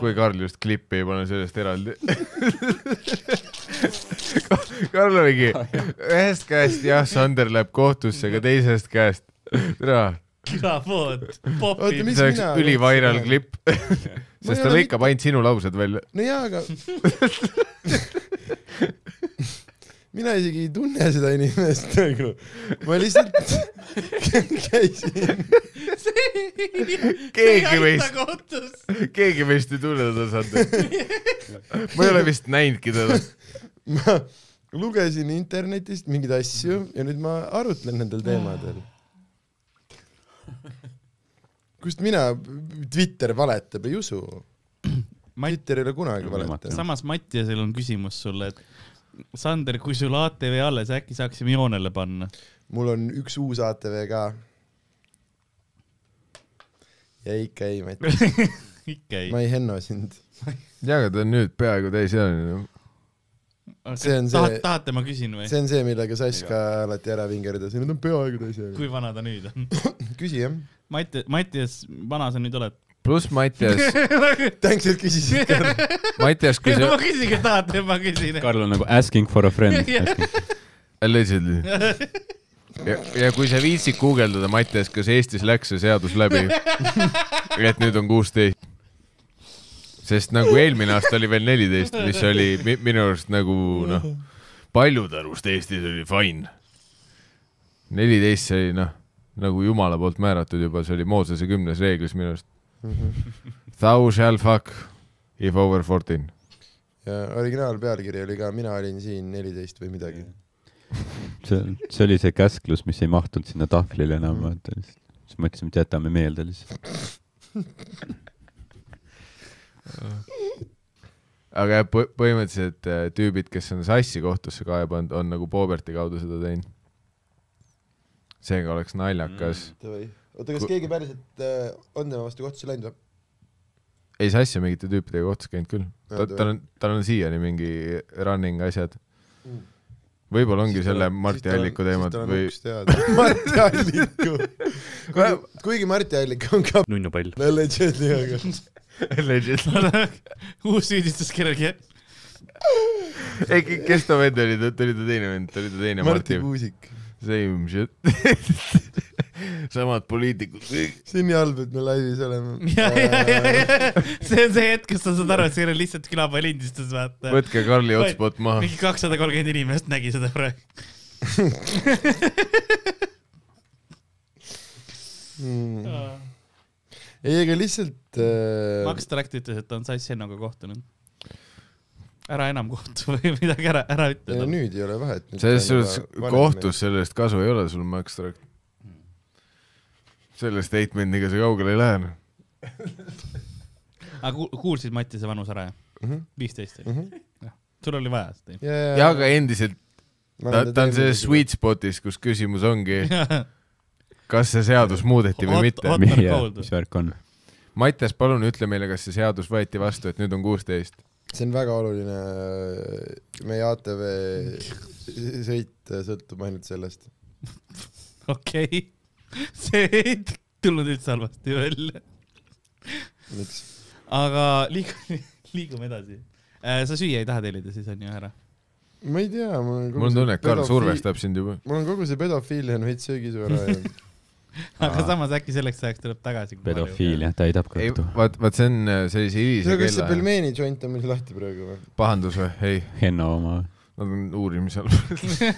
kui Karl just klippi ei pane sellest eraldi Ka- Karl oligi ühest käest jah , Sander läheb kohtusse , aga teisest käest , tere
külapood ,
Oota,
popib
mis- .
see oleks
mina
ülivairal
üldse
klipp , sest ta
ole
lõikab ainult sinu laused välja .
no jaa , aga [LAUGHS] mina isegi ei tunne seda inimest [LAUGHS] nagu , ma lihtsalt [LAUGHS] käisin ,
Keegi meist-
kohtus .
keegi meist ei tunne teda , Sander . ma ei ole vist näinudki teda .
ma lugesin internetist mingeid asju ja nüüd ma arutlen nendel teemadel . kust mina , Twitter valetab , ei usu .
Mati ,
Twitter ei ole kunagi valetanud .
samas Mattiasel on küsimus sulle , et Sander , kui sul ATV alles , äkki saaksime joonele panna ?
mul on üks uus ATV ka . ja ikka ei , Mati ,
ikka ei .
ma ei henno sind .
jaa , aga ta on nüüd peaaegu noh. täisealine .
see on
tahad
see- ,
tahate , ma küsin või ?
see on see , millega Saska alati ära vingerdas ja nüüd on peaaegu teise järgi .
kui vana ta nüüd on ?
küsi jah .
Mati , Mattias , vana sa nüüd oled ?
pluss Mattias ,
tänks , et
[LAUGHS]
küsisid .
Mattias ,
[LAUGHS]
kui sa
[LAUGHS] ma , küsin , kas tahate , ma küsin .
Karl on nagu asking for a
[LAUGHS]
friend .
allegedly . ja , ja kui sa viitsid guugeldada , Mattias , kas Eestis läks see seadus läbi ? et nüüd on kuusteist . sest nagu eelmine aasta oli veel neliteist , mis oli mi- minu arust nagu noh , paljude arust Eestis oli fine . neliteist , see oli noh , nagu jumala poolt määratud juba , see oli Moosese kümnes reeglis minu arust . Thou shall fuck if over fourteen .
ja originaalpealkiri oli ka Mina olin siin neliteist või midagi .
see , see oli see käsklus , mis ei mahtunud sinna tahvlile
Mm.
enam , vaata lihtsalt . siis mõtlesime , et jätame meelde lihtsalt .
aga jah , põhimõtteliselt äh, tüübid , kes on sassi kohtusse kaevanud , on nagu Boberti kaudu seda teinud . seega oleks naljakas mm. .
oota , kas
Ku-
keegi päriselt äh, on tema vastu kohtusse läinud või ?
ei , sassi on mingite tüüpidega kohtus käinud küll . ta , tal on , tal on siiani mingi running asjad
Mm. .
võib-olla ongi selle Marti Alliku teemad või , [LAUGHS]
Marti Alliku . kuigi Marti Allik on ka
nunnupall .
legend'i , aga
[LAUGHS]
nagu- [LAUGHS]
uus süüdistus kellelgi .
ei , kes ta vend oli , ta oli ta teine vend , ta oli ta teine
Marti
Marti .
Kuusik .
Same shit . [LAUGHS] samad poliitikud ,
see on nii halb , et me laivis oleme .
[LAUGHS] ja , ja , ja , ja , see on see hetk , kus sa saad aru , et see ei ole lihtsalt külapallindistus , vaata .
võtke Karli otspot maha .
mingi kakssada kolmkümmend inimest nägi seda praegu .
mm. . ei , ega lihtsalt äh,
Max Tract ütles , et ta on Sass Hennoga kohtunud . ära enam kohtu või [LAUGHS] midagi ära , ära ütle
ei,
talle .
nüüd ei ole vahet .
selles suhtes kohtus sellest kasu ei ole sul , Max Track . selle statement'iga sa kaugele ei lähe . noh.
aga ku- kuulsid Mati see vanus ära , jah ?
Mhm.
viisteist oli . sul oli vaja seda .
ja aga endiselt , ta , ta on selles . sweet spot'is , kus küsimus ongi , kas see seadus muudeti või
Hot-
mitte
hot- .
mis värk on ?
Mattias , palun ütle meile , kas see seadus võeti vastu , et nüüd on kuusteist .
see on väga oluline , meie ATV sõit äh, sõltub ainult sellest .
[LAUGHS] okei , see ei tulnud üldse halvasti välja .
miks ?
aga liigume , liigume edasi . sa süüa ei taha tellida siis on ju ära ?
ma ei tea , mul on
mul on tunne , et Karl . survestab sind juba .
mul on kogu see pedofiilia on veits söögis
[LAUGHS]
ära jäänud .
aga
Aa.
samas äkki selleks ajaks tuleb tagasi .
pedofiilia täidab
ei ,
kõhtu .
vaat , vaat see on äh, sellise
no
hilise
kas see
kella
pelmeeni joint on meil lahti praegu või ?
pahandus või ? ei ,
Henno oma .
nad on uurimise all [LAUGHS]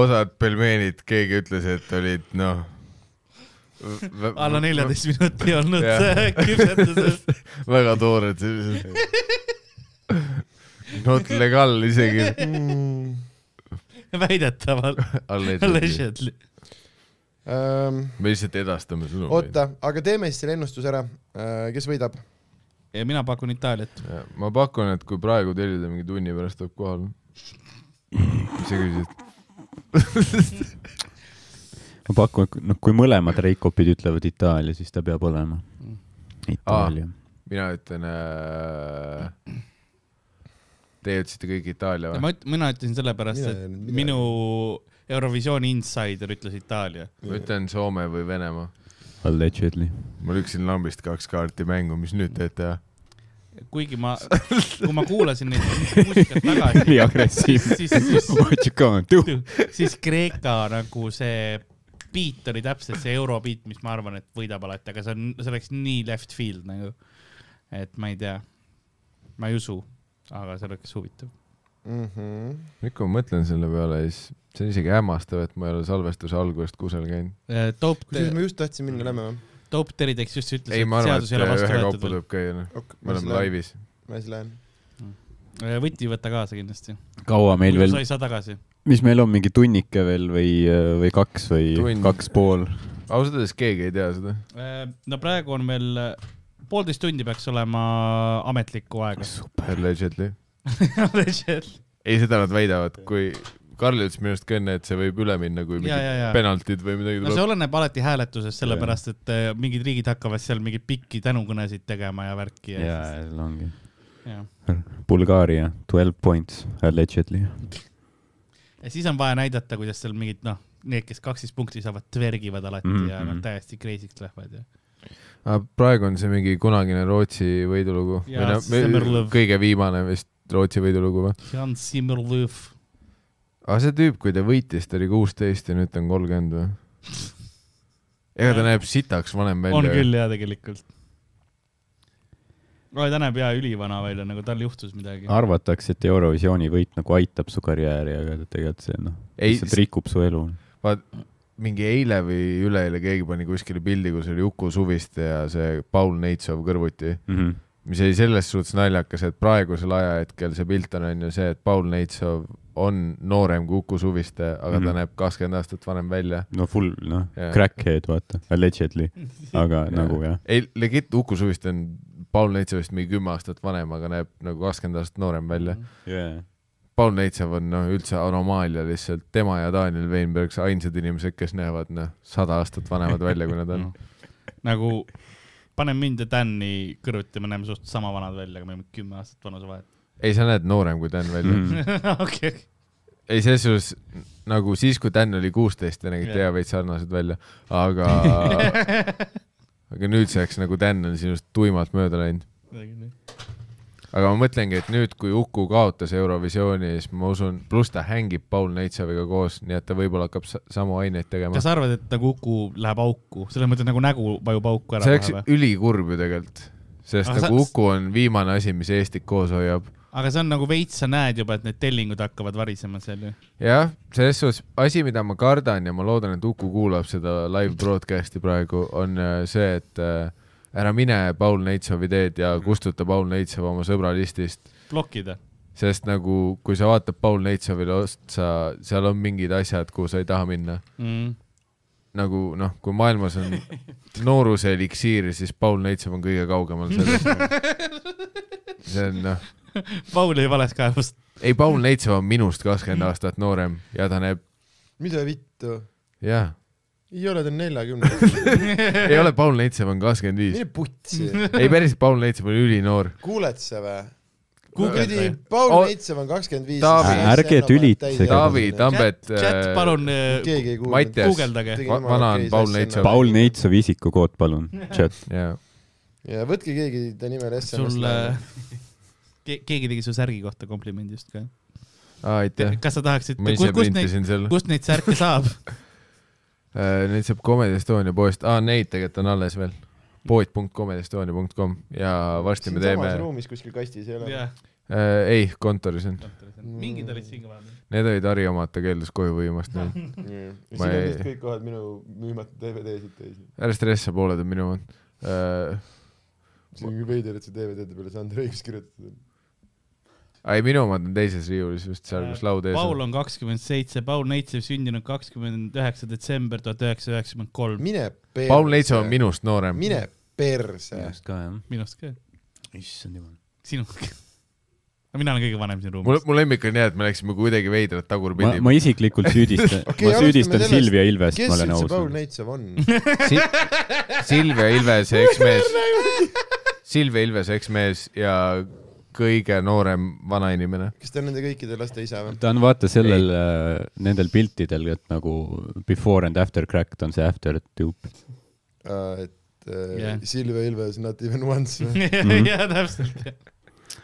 osad pelmeenid , keegi ütles , et olid noh .
alla neljateist minuti olnud [LAUGHS]
Jah.
küpsetuses .
väga toored sellised . Not legal isegi . Mm.
väidetavalt ,
me
allegedly .
lihtsalt edastame sõnumi .
Ehm, oota , aga teeme siis selle ennustuse ära . kes võidab ?
ja mina pakun Itaaliat .
ma pakun , et kui praegu tellida mingi tunni pärast tuleb kohale . mis sa küsisid ?
ma pakun , noh , kui mõlemad Reikopid ütlevad Itaalia , siis ta peab olema .
Mm.
Itaalia .
mina ütlen äh... . Teie ütlesite kõik Itaalia või ?
ma üt- , mina ütlesin sellepärast ,
Mina
et
ei öelnud midagi.
minu Eurovisiooni insider ütles Itaalia .
ma ütlen Soome või Venemaa .
Allegedly .
ma lüksin lambist kaks kaarti mängu , mis nüüd teete ?
kuigi ma , [LAUGHS] kui ma kuulasin neid muusikat
[LAUGHS]
tagasi ,
[LAUGHS] nii agressiivne .
siis , siis ,
What you gonna do ?
siis Kreeka nagu see beat oli täpselt see eurobeat , mis ma arvan , et võidab alati , aga see on , see oleks nii left field nagu . et ma ei tea , ma ei usu , aga see oleks huvitav .
nüüd , kui ma mõtlen selle peale , siis see on isegi hämmastav , et ma ei ole salvestuse algusest kusagil käinud .
Äh, Dope ,
kusjuures ma just tahtsin
Mm.
minna Lämme või ?
Dope Teriteks just ütles ,
ei ,
et
ma arvan ,
seadus ei ole
et
vastu
ühekaupa
võetud .
tuleb käia , noh . me
ma siis
oleme
lähen ,
laivis .
ma siis lähen .
Äh, võti võta kaasa kindlasti .
kaua meil veel ,
sa ei saa tagasi .
mis meil on , mingi tunnike veel või , või kaks või
Tund.
Tund. kaks pool ?
ausalt öeldes keegi ei tea seda .
Äh, no praegu on meil äh, poolteist tundi peaks olema ametlikku aega .
Allegedly . ei , seda nad väidavad , kui Karl ütles minu arust ka enne , et see võib üle minna , kui
ja , ja ,
mingid
ja .
penaltid või midagi
no see
tuleb .
oleneb alati hääletusest , sellepärast et äh, mingid riigid hakkavad seal mingeid pikki tänukõnesid tegema ja värki ja,
jaa , seal ongi .
ja. .
Bulgaaria , twelve points allegedly .
ja siis on vaja näidata , kuidas seal mingid noh , need , kes kaksteist punkti saavad , tvergivad alati mm
Mhm,
-hmm. ja nad
mhm.
täiesti crazy'ks lähevad ja .
Ah, praegu on see mingi kunagine Rootsi võidulugu .
Jaa, Semmerlõv.
kõige viimane vist Rootsi võidulugu või ?
Jan Simmerlõv ,
aga see tüüp , kui ta võitis , ta oli kuusteist ja nüüd ta on kolmkümmend või ? ega ta
Jah.
näeb sitaks vanem välja .
on küll ja tegelikult . no ta näeb ja ülivana välja , nagu tal juhtus midagi .
arvatakse , et Eurovisiooni võit nagu aitab su karjääri , aga tegelikult see noh ,
Ei,
lihtsalt rikub su elu .
mingi eile või üleeile keegi pani kuskile pildi , kus oli Uku Suviste ja see Paul Neitsov kõrvuti ,
Mhm.
mis oli selles suhtes naljakas , et praegusel ajahetkel see pilt on , on ju see , et Paul Neitsov on noorem kui Uku Suviste , aga mm -hmm. ta
Mhm.
näeb kakskümmend aastat vanem välja .
no full noh
Jaa.
yeah. , crackhead vaata ,
[LAUGHS]
allegedly , aga yeah. nagu jah .
ei , legit Uku Suviste on Paul Neitsovist mingi kümme aastat vanem , aga näeb nagu kakskümmend aastat noorem välja .
Yeah.
Paul Neitsov on noh , üldse anomaalia lihtsalt , tema ja Daniel Veinberg , ainsad inimesed , kes näevad noh , sada aastat vanemad välja , kui nad on .
nagu pane mind ja Dan'i kõrvuti , me näeme suhteliselt sama vanad välja , aga me oleme kümme aastat vanusevahet .
ei , sa näed noorem kui Dan välja mm. .
[LAUGHS] okei ,
ei , selles suhtes nagu siis , kui Dan oli kuusteist , te nägite
Jah.
hea veits sarnased välja , aga , aga nüüdseks nagu Dan on sinust tuimalt mööda läinud . aga ma mõtlengi , et nüüd , kui Uku kaotas Eurovisiooni , siis ma usun , pluss ta hängib Paul Neitsaviga koos , nii et ta võib-olla hakkab sa- samu aineid tegema
kas . sa arvad , et nagu Uku läheb auku , selles mõttes nagu nägu vajub auku ära
see oleks
kohe või ?
ülikurb ju tegelikult , sest
Aga
aga nagu
sa-
Uku on viimane asi , mis Eestit koos hoiab .
aga see on nagu veits , sa näed juba , et need tellingud hakkavad varisema seal ju .
jah , selles suhtes asi , mida ma kardan ja ma loodan , et Uku kuulab seda live broadcast'i praegu , on äh, see , et äh, ära mine Paul Neitsovi teed
Mhm.
ja kustuta Paul Neitsov oma sõbra listist ,
blokida .
sest nagu , kui sa vaatad Paul Neitsovile otsa , seal on mingid asjad , kuhu sa ei taha minna . nagu noh , kui maailmas
[LAUGHS]
on nooruse eliksiir , siis Paul Neitsov on kõige kaugemal
[LAUGHS]
sellest . see on noh ,
Paul oli vales kaevus .
ei , Paul Neitsov on minust
Mm.
kakskümmend aastat noorem ja ta näeb ,
mida vittu ?
jah ,
ei ole , ta on
[LAUGHS]
neljakümne .
ei ole , Paul Neitsov on kakskümmend viis .
mine
[LAUGHS]
putsi .
ei , päris Paul Neitsov on ülinoor .
kuuled sa vä ?
guugelda
kuradi . Paul
O-
Neitsev on kakskümmend viis .
Oh, Taavi.
Ärge tülitsege.
Taavi Tambet ,
chat , palun äh,
keegi ei kuulnud .
Mattias.
guugeldage .
Va- vana on Paul
nagu-
Neitsov.
Paul . Neitsovi isikukood , palun , [LAUGHS] chat .
jaa .
ja võtke keegi ta nimel
sul äh,
SMS-e .
äh,
ke- keegi tegi su särgi kohta komplimendi just ka .
aitäh ,
kas sa tahaksid ,
ma ise
kust neid ,
printisin selle .
kust neid särke saab ?
[LAUGHS] Neid saab Comedy Estonia poest , aa neid tegelikult on alles veel . pood.comedyestonia.com ja varsti me teeme Äh,
siinsamas , ruumis kuskil kastis ei ole .
ei , kontoris on .
mingid olid siin ka vahepeal .
Need olid Harri omad , ta keeldus koju viimast .
siin
Ma
on
ei-
vist kõik kohad minu müümata DVD-sid täis .
ära stressa , pooled on minu omad . Äh,
see on küll veider , et see DVD-de peale Sander Õigus kirjutatud on .
ei , minu omad on teises riiulis just seal , kus laud ees
Äh, Paul
on .
on kakskümmend seitse , Paul Neitsev sündinud kakskümmend üheksa detsember tuhat üheksasada üheksakümmend kolm .
mine perse .
Paul Neitsov on .
Äh,
minust noorem .
mine perse .
ka jah .
minust ka ,
issand jumal .
sinuga . mina olen kõige vanem siin
mul
[LAUGHS] ruumis ,.
mu lemmik on jah , et me läksime kuidagi veidrat
ma ,
tagurpidi .
ma isiklikult
[LAUGHS]
süüdistan
Okei,
okay, , ma
alustame
süüdistan
sellest.
Silvia Ilvest ,
kes
ma olen
üldse
aus .
Paul Neitsev
[LAUGHS]
on ?
Si Silvia [LAUGHS] Ilvese eksmees , Silvia Ilvese eksmees ja kõige noorem vanainimene .
kas ta on nende kõikide laste isa või ?
ta on vaata sellel , nendel piltidel , et nagu before and after crack , ta on see after tube .
et äh,
Jah.
Silvia Ilves not even once või ?
Mhm.
jaa , täpselt .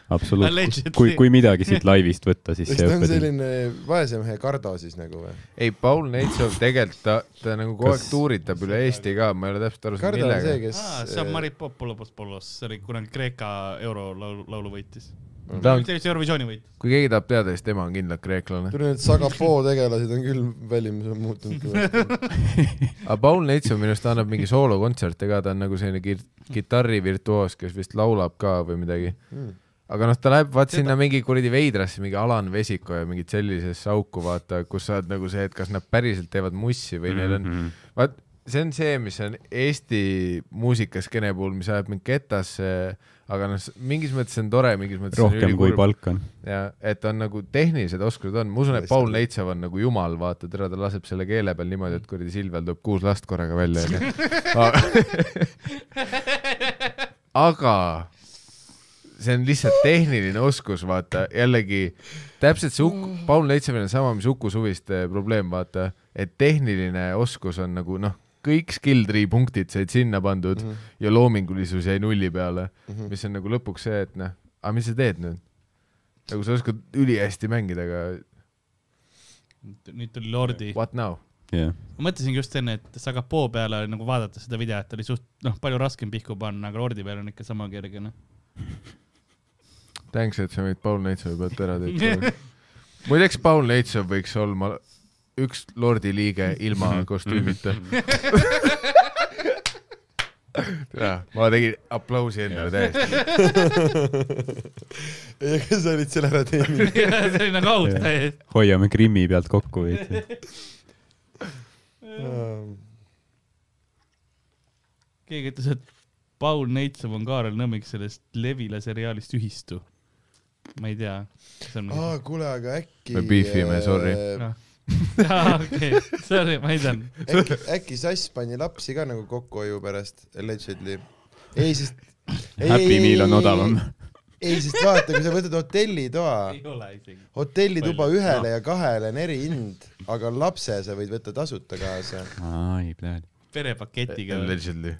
absoluutselt
Allegedly. .
kui , kui midagi siit laivist võtta , [LAUGHS] siis
kas
see
ta on
õppetunn .
selline vaese mehe Kardo siis nagu või ?
ei , Paul Neitsov tegelikult ta , ta nagu kogu aeg
Kas-
tuuritab üle Eesti ka , ma ei ole täpselt aru saanud ,
Kardo on see ,
millega .
kes
Ah,
äh,
see on Mari Popolopoulos , see oli kunagi Kreeka eurolaulu , laulu võitis .
ta on ,
see oli see Eurovisiooni võit .
kui keegi tahab teada , siis tema on kindlalt kreeklane .
tule need Sagapoo tegelased on küll välimus on muutunud
[LAUGHS]
kõvasti .
aga Paul Neitsov minu arust annab mingi soolokontserte ka , ta on nagu selline kir- kitarrivirtuoos , kes vist laulab ka või midagi .
Hmm,
aga noh , ta läheb vaat sinna mingi kuradi veidrasse , mingi Alan Vesiku ja mingit
Mhm.
Mhm.
sellisesse auku , vaata , kus sa oled nagu see , et kas nad päriselt teevad mussi või mm -hmm. neil on , vaat see on see , mis on Eesti muusikaskeene puhul , mis ajab mind ketasse , aga noh , mingis mõttes on tore , mingis mõttes
rohkem
on
kui . palk on .
ja et on nagu tehnilised oskused on , ma usun , et
Tõesti.
Paul Leitsev on nagu jumal , vaata , tere , ta laseb selle keele peal niimoodi , et kuradi Silvel tuleb kuus last korraga välja , onju . aga see on lihtsalt tehniline oskus , vaata , jällegi täpselt see Uku , Paul Leitsevil on sama , mis Uku Suviste probleem , vaata , et tehniline oskus on nagu noh , kõik skill tree punktid said sinna pandud mm -hmm. ja loomingulisus jäi nulli peale mm ,
mhm.
-hmm.
[LAUGHS]
mis on nagu lõpuks see , et noh , aga mis sa teed nüüd ? nagu sa oskad ülihästi mängida , aga
nüüd tuli Lordi .
what now ?
jah ,
ma mõtlesingi just enne , et Sagapoo peale oli nagu vaadates seda videot oli suht , noh , palju raskem pihku panna , aga Lordi peal on ikka sama kerge ,
[LAUGHS]
noh .
Thanks , et sa meid Paul Neitsevi pealt ära tõid . [LAUGHS] muideks Paul Neitsev võiks olema üks lordi liige ilma kostüümita . [LAUGHS] ma tegin aplausi endale täiesti .
ei , aga sa olid selle ära
[LAUGHS]
teinud .
see oli nagu aus täiesti .
hoiame Krimmi pealt kokku veidi .
keegi ütles , et Paul Neitsev on Kaarel Nõmmik sellest Levila seriaalist Ühistu . ma ei tea . nagu-
aa , kuule , aga äkki . äh,
Me beefime, sorry.
Noh. [LAUGHS] okei , sorry , ma ei tea .
[LAUGHS] äkki , äkki Sass pani lapsi ka nagu kokkuhoiu pärast , allegedly . ei , [LAUGHS] sest .
Happy Meal on odavam .
[LAUGHS] ei , sest vaata , kui sa võtad hotellitoa ,
ei ole isegi .
hotellituba ühele ja kahele on eri hind , aga lapse sa võid võtta tasuta kaasa .
ai , pläd .
perepaketiga .
Allegedly .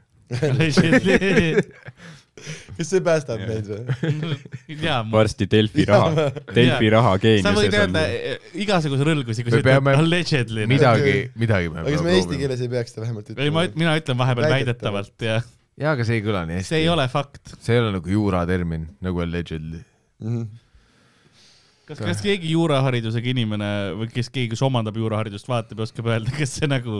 kas see päästab meid
[LAUGHS]
või ?
jaa , ma
varsti Delfi raha , Delfi raha
sa võid
geeniuses on
öelda . igasuguse rõlgusi , kui
Me
sa ütled
peame-
allegedly .
midagi , midagi me
aga kas me eesti . keeles ei peaks seda vähemalt
ei , ma ,
ütlema ?
mina ütlen vahepeal
Väidetavalt.
väidetavalt ja
jaa , aga see ei kõla nii hästi .
see ei . ole fakt .
see ei ole nagu juuratermin , nagu allegedly .
Mhm.
kas , kas keegi juuraharidusega inimene või kes keegi , kes omandab juuraharidust , vaatab ja oskab öelda , kas see nagu ,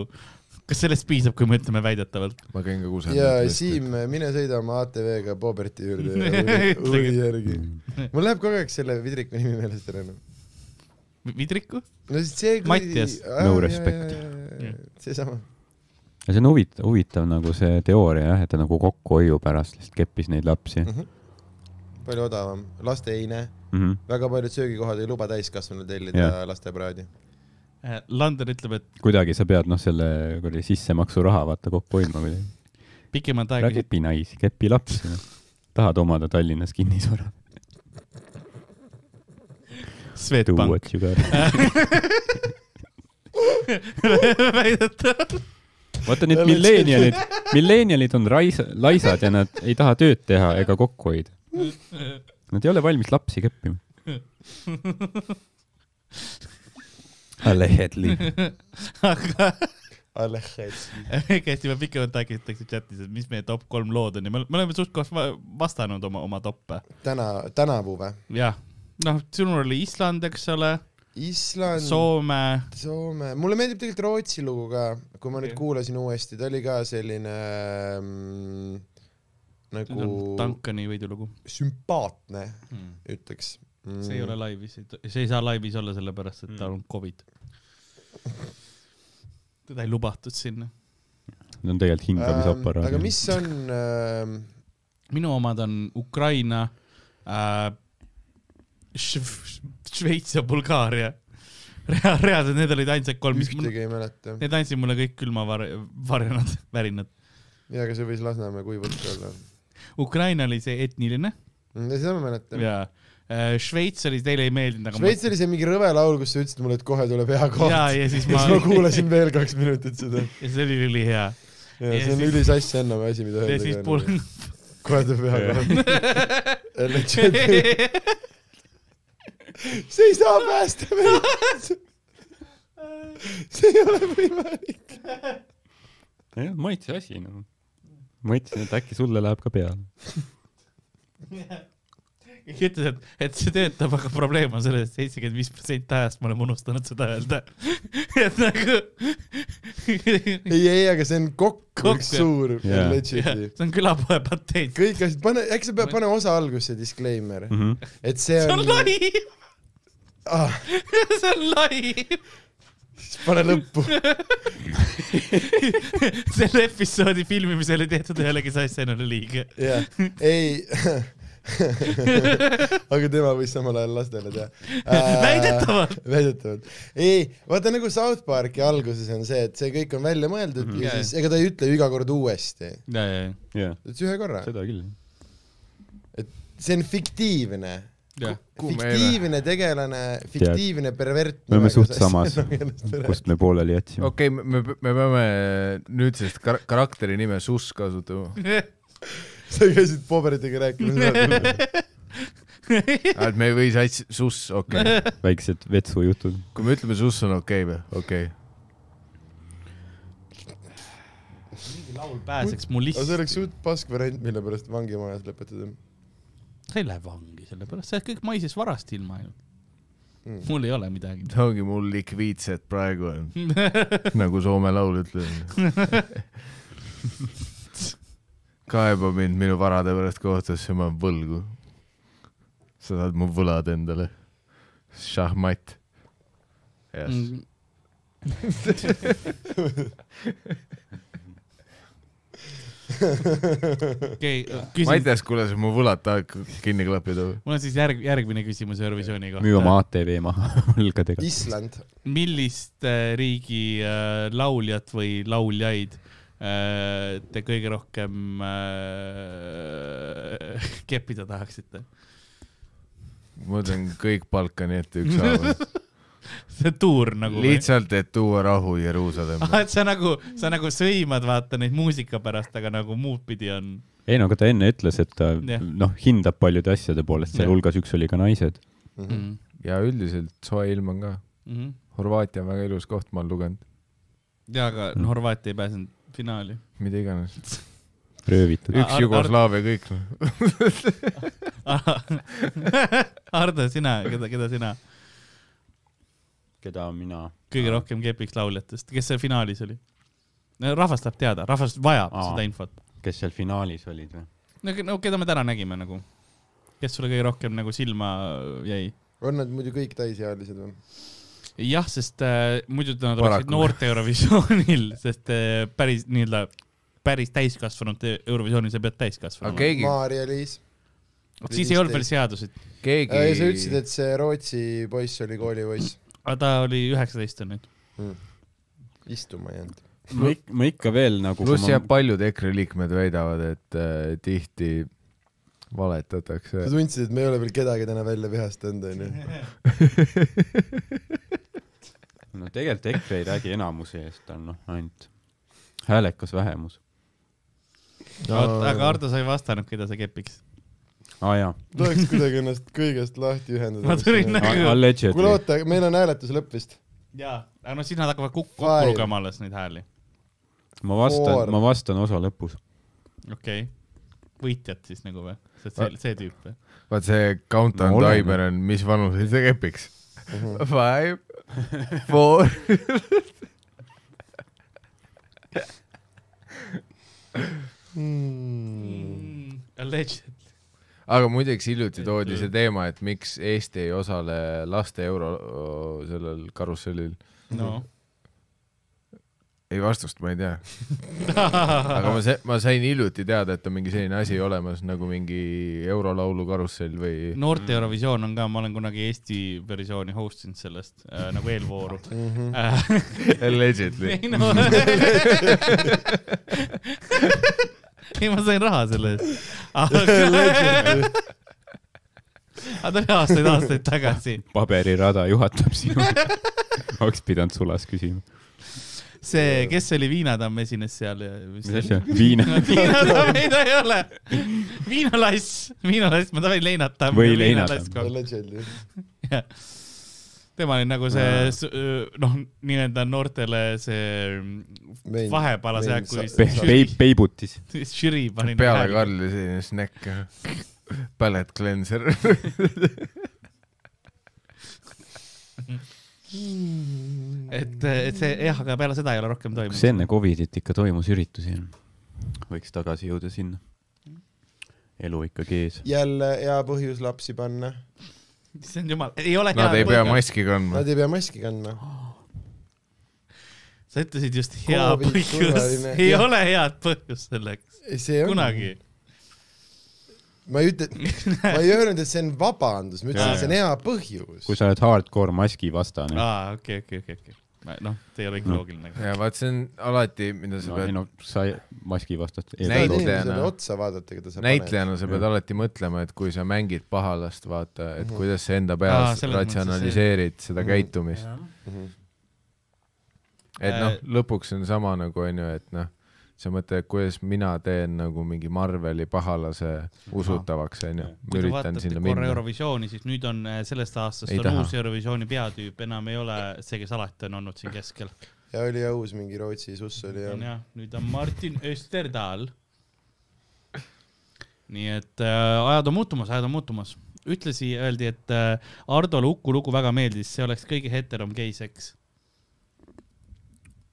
kas sellest piisab , kui me ütleme väidetavalt ?
ma käin ka kusagil .
ja Siim , mine sõida oma ATV-ga Bobberti
[LAUGHS]
juurde ja huvi- huvi järgi .
Mm.
mul läheb kogu aeg selle vidriku nimi meelest ära .
vidriku ?
no siis see .
Mattias.
No respect. .
seesama .
ja see on huvitav , huvitav nagu see teooria jah , et ta nagu kokkuhoiu pärast lihtsalt keppis neid lapsi mm .
palju odavam , laste ei näe ,
-hmm.
väga paljud söögikohad ei luba täiskasvanul tellida
Jah.
lastepraadi .
Äh, Lander ütleb , et
kuidagi sa pead noh , selle kuradi sissemaksuraha vaata kokku hoidma kuidagi .
pikemat
ära
aega ,
kepi naisi , kepi lapsi noh . tahad omada Tallinnas kinnisvara ? Do
Swedbank
what you got .
[LAUGHS] väidetavalt .
[LAUGHS] vaata need
[LAUGHS]
milleenialid , milleenialid on raisa , laisad ja nad ei taha tööd teha ega kokku hoida . Nad ei ole valmis lapsi keppima . [LAUGHS] Allegedly .
aga
Alex .
[LAUGHS] kästi ma pikemat aega ütleks chatis , et mis meie top kolm lood on ja me me oleme suht-koht va- vastanud oma , oma toppe .
täna , tänavu või ?
jah , noh , sinul oli Island , eks ole ,
Island so ,
Soome ,
Soome , mulle meeldib tegelikult Rootsi lugu ka , kui ma nüüd
Okei.
kuulasin uuesti , ta oli ka selline ähm, nagu
Duncani võidulugu .
sümpaatne ,
Hmm.
ütleks mm.
see ei ole . laivis , see ei saa laivis olla sellepärast , et tal on Covid . teda ei lubatud sinna .
Nad on tegelikult
Äh,
hingamisaparaadid .
aga mis on ähm, ,
minu omad on Ukraina äh, , Šveits ja Bulgaaria . Rea- , reaalselt need olid ainsad kolm , mis mul ,
ühtegi ei mäleta .
need andsid mulle kõik külmavar- , varjunad , [LAUGHS] värinad .
jaa , aga see võis Lasnamäe kuivõrd ka olla .
Ukraina oli see etniline
seda ma mäletan .
ja äh, Šveits oli , teile ei meeldinud , aga
Šveits oli see mingi rõve laul , kus sa ütlesid mulle , et kohe tuleb hea
ma...
koht .
ja ,
ja
ja
[LAUGHS]
siis ma
siis ma kuulasin veel kaks minutit seda .
[LAUGHS] ja see oli ülihea .
ja
Ja
see on
siis-
ülisass Ennamäe asi , mida
ja siis Bul-
öelda .
[LAUGHS]
kohe tuleb hea koht . Legend . see ei saa päästa meid . see ei ole võimalik .
nojah , maitse asi nagu . mõtlesin , et äkki sulle läheb ka peale .
keegi ütles , et , et see töötab , aga probleem on selles , et seitsekümmend viis protsenti ajast me oleme unustanud seda öelda . [LAUGHS] et nagu . [LAUGHS]
ei , ei , aga see on kokku üks
Kokku, jah.
suur
Jaa.
legend'i .
see on külapoe pateet .
kõik asjad , pane , äkki sa pead , pane osa algusse disclaimer ,
Mm. Mhm.
et see
see
on
on . lai , [LAUGHS]
Ah,
see on lai .
siis pane lõppu .
[LAUGHS] selle episoodi filmimisel ei tehtud ühelegi sassennale liiga .
jah , ei [LAUGHS] aga tema võis samal ajal lastele teha .
väidetavalt .
väidetavalt . ei , vaata nagu South Parki alguses on see , et see kõik on välja mõeldud
Mhm.
ja
Jaa,
siis , ega ta ei ütle ju iga kord uuesti ,
[LAUGHS] ja , ja ,
jah ,
ütles ühe korra .
seda küll .
see on fiktiivne .
ja .
Kuum
fiktiivne tegelane , fiktiivne pervert .
Me oleme suht
[LAUGHS]
samas. kust me pooleli jätsime .
okei , me , me peame nüüdsest kar- karakteri nime Suss kasutama .
sa käisid paberitega rääkimas .
Ah, et me ei või sats- , Suss , okei okay. .
väiksed vetsujutud .
kui me ütleme Suss on okei okay või ? okei okay. .
laul pääseks mul
aga
lihtsalt
see . oleks suht pask variant , mille pärast vangimajas lõpetada
sa ei lähe vangi sellepärast , sa oled kõik maises varast ilma ju .
mm. .
mul ei ole midagi .
see ongi mul likviidsed praegu on , nagu Soome laul ütleb . kaeba mind minu varade pärast kohtusse , ma olen võlgu . sa saad mu võlad endale . šahmat .
Mm.
jah ,
okei ,
ma ei
küsin ,
tea , kuule , sa mu võlad tahad kinni klappida või ?
mul on siis järg , järgmine küsimus Eurovisiooni kohta .
müü oma ATV maha [LAUGHS] õlgadega .
Island ,
millist äh, riigi äh, lauljat või lauljaid äh, te kõige rohkem äh, [LAUGHS] keppida tahaksite ?
ma ütlen kõik Balkani ette ükshaaval .
see tuur nagu või ? [LAUGHS]
lihtsalt , et tuua rahu Jeruusalemma .
et sa nagu , sa nagu sõimad , vaata neid muusika pärast , aga nagu muudpidi on .
ei no aga ta enne ütles , et ta
Jah.
noh , hindab paljude asjade poolest ,
Jah.
sealhulgas üks oli ka naised .
Mm.
Mhm.
ja üldiselt soe ilm on ka .
Mhm.
Horvaatia on väga ilus koht , ma olen lugenud .
ja , aga no Horvaatia ei pääsenud [LAUGHS] finaali .
mida iganes .
röövitud .
üks
Ar-
Jugoslaavia kõik .
Hardo , sina , keda , keda sina
keda mina ?
kõige rohkem kepiks lauljatest , kes see finaalis oli ? rahvas tahab teada , rahvas vajab Aa.
Aa.
seda infot .
kes seal finaalis olid või ?
no ke- no keda me täna nägime nagu , kes sulle kõige rohkem nagu silma jäi ?
on nad muidu kõik täisealised või ?
jah , sest äh, muidu nad oleksid
Paraku.
noorte Eurovisioonil , [LAUGHS] sest äh, päris nii-öelda päris täiskasvanute Eurovisioonil sa pead täiskasvanu
Okei. Keegi-
Maarja-Liis .
olema . siis ei olnud veel seaduseid ,
keegi
ei , sa ütlesid , et see Rootsi poiss oli koolipoiss
aga ta oli üheksateist on nüüd .
mm. . istuma ei jäänud .
ma ikka , ma ikka veel nagu .
pluss jah , paljud EKRE liikmed väidavad , et äh, tihti valetatakse
sa . tundsid , et me ei ole veel kedagi täna välja vihastanud , onju .
[LAUGHS]
no tegelikult EKRE ei räägi enamuse eest , ta on noh , ainult häälekas vähemus .
aga . Ardo , sa ei vastanud , keda sa kepiks .
aa Ah, jaa ,
tuleks kuidagi ennast kõigest lahti ühendada .
Ma tulin nagu-
kuule ,
allegedly .
oota , meil on hääletus lõpp vist .
jaa , aga no siis nad hakkavad kuk- kokku
Five.
lugema alles neid hääli .
ma vastan
foor. ,
ma vastan osa lõpus .
okei okay. , võitjad siis nagu või ? see , see , see tüüp või ?
vaat see countdown
Ma olen-
timer on , mis vanuses see kepiks . Mhm. [LAUGHS] Five , four .
Hmm.
Alleged .
aga muideks hiljuti toodi see teema , et miks Eesti ei osale laste euro sellel karussellil . [LAUGHS]
no . [LAUGHS]
ei , vastust ma ei tea . aga
[LAUGHS]
ma , ma sain hiljuti teada , et on mingi selline asi olemas nagu mingi eurolaulu karussell või
noorte Eurovisioon on ka , ma olen kunagi Eesti versiooni host inud sellest äh, nagu eelvooru .
allegedly .
[LAUGHS] ei no . [LAUGHS] ei , ma sain raha selle eest . aga [LAUGHS] aga ta oli aastaid-aastaid tagasi .
paberirada juhatab sinu . oleks pidanud sulas küsima .
see , kes oli Viinatamm esines seal äh, ja .
mis asja ?
[LAUGHS]
viina
Viinatamm ei , ta ei ole . viinalass , viinalass , ma tahan leinatamm .
Või leinatamm.
Allegedly .
Jah. [LAUGHS] tema oli nagu see , noh , nii-öelda noortele see
Vein-
vahepala
vein-
see aeg , kui
sa-
pe- , peib- , peibutis .
žürii- žürii pani .
peale . Karli selline
[LAUGHS]
snäkk . Pallet cleanser .
et , et see jah , aga peale seda ei ole rohkem [LAUGHS]
kas
toimunud .
enne Covidit ikka toimus üritusi ? võiks tagasi jõuda sinna . elu ikkagi ees .
jälle hea põhjus lapsi panna .
issand jumal , ei ole
Nad ei pea . maski kandma
Nad . ei pea maski kandma .
sa ütlesid just hea
Covid,
põhjus
turvaline. ,
ei
Jah.
ole head põhjust selleks ,
see on .
kunagi .
ma ei ütle , ma ei öelnud , et see on vabandus , ma ütlesin ,
Jaa,
et see on hea põhjus
kui . sa oled hardcore maski vastane .
aa , okei , okei , okei , okei . noh , see ei ole ikka
Noh.
loogiline .
ja vaat see on alati , mida sa
no ei
pead ,
no sa ei- maski vastast .
tahad
Näitlejana.
inimesele otsa vaadata , keda sa
näitlejana sa pead
Jah.
alati mõtlema , et kui sa mängid pahalast , vaata , et
Mhm.
kuidas sa enda
Aa,
peas
selles mõttes see-
ratsionaliseerid seda
Mhm.
käitumist .
paned .
et
Äh,
noh , lõpuks on sama nagu onju , et noh , sa mõtled , et kuidas mina teen nagu mingi Marveli pahalase usutavaks onju
Jah. ,
kui te
üritan
vaatate
sinna
korra
minna .
Eurovisiooni , siis nüüd on äh, sellest aastast
Ei
on
taha.
uus Eurovisiooni peatüüp , enam ei ole see , kes alati on olnud siin keskel .
ja oli ja uus mingi Rootsi suss oli ja
on . jah , nüüd on Martin Österdal . nii et äh, ajad on muutumas , ajad on muutumas . ütlesi , öeldi , et äh, Hardole Uku lugu väga meeldis , see oleks kõige heterom gei seks .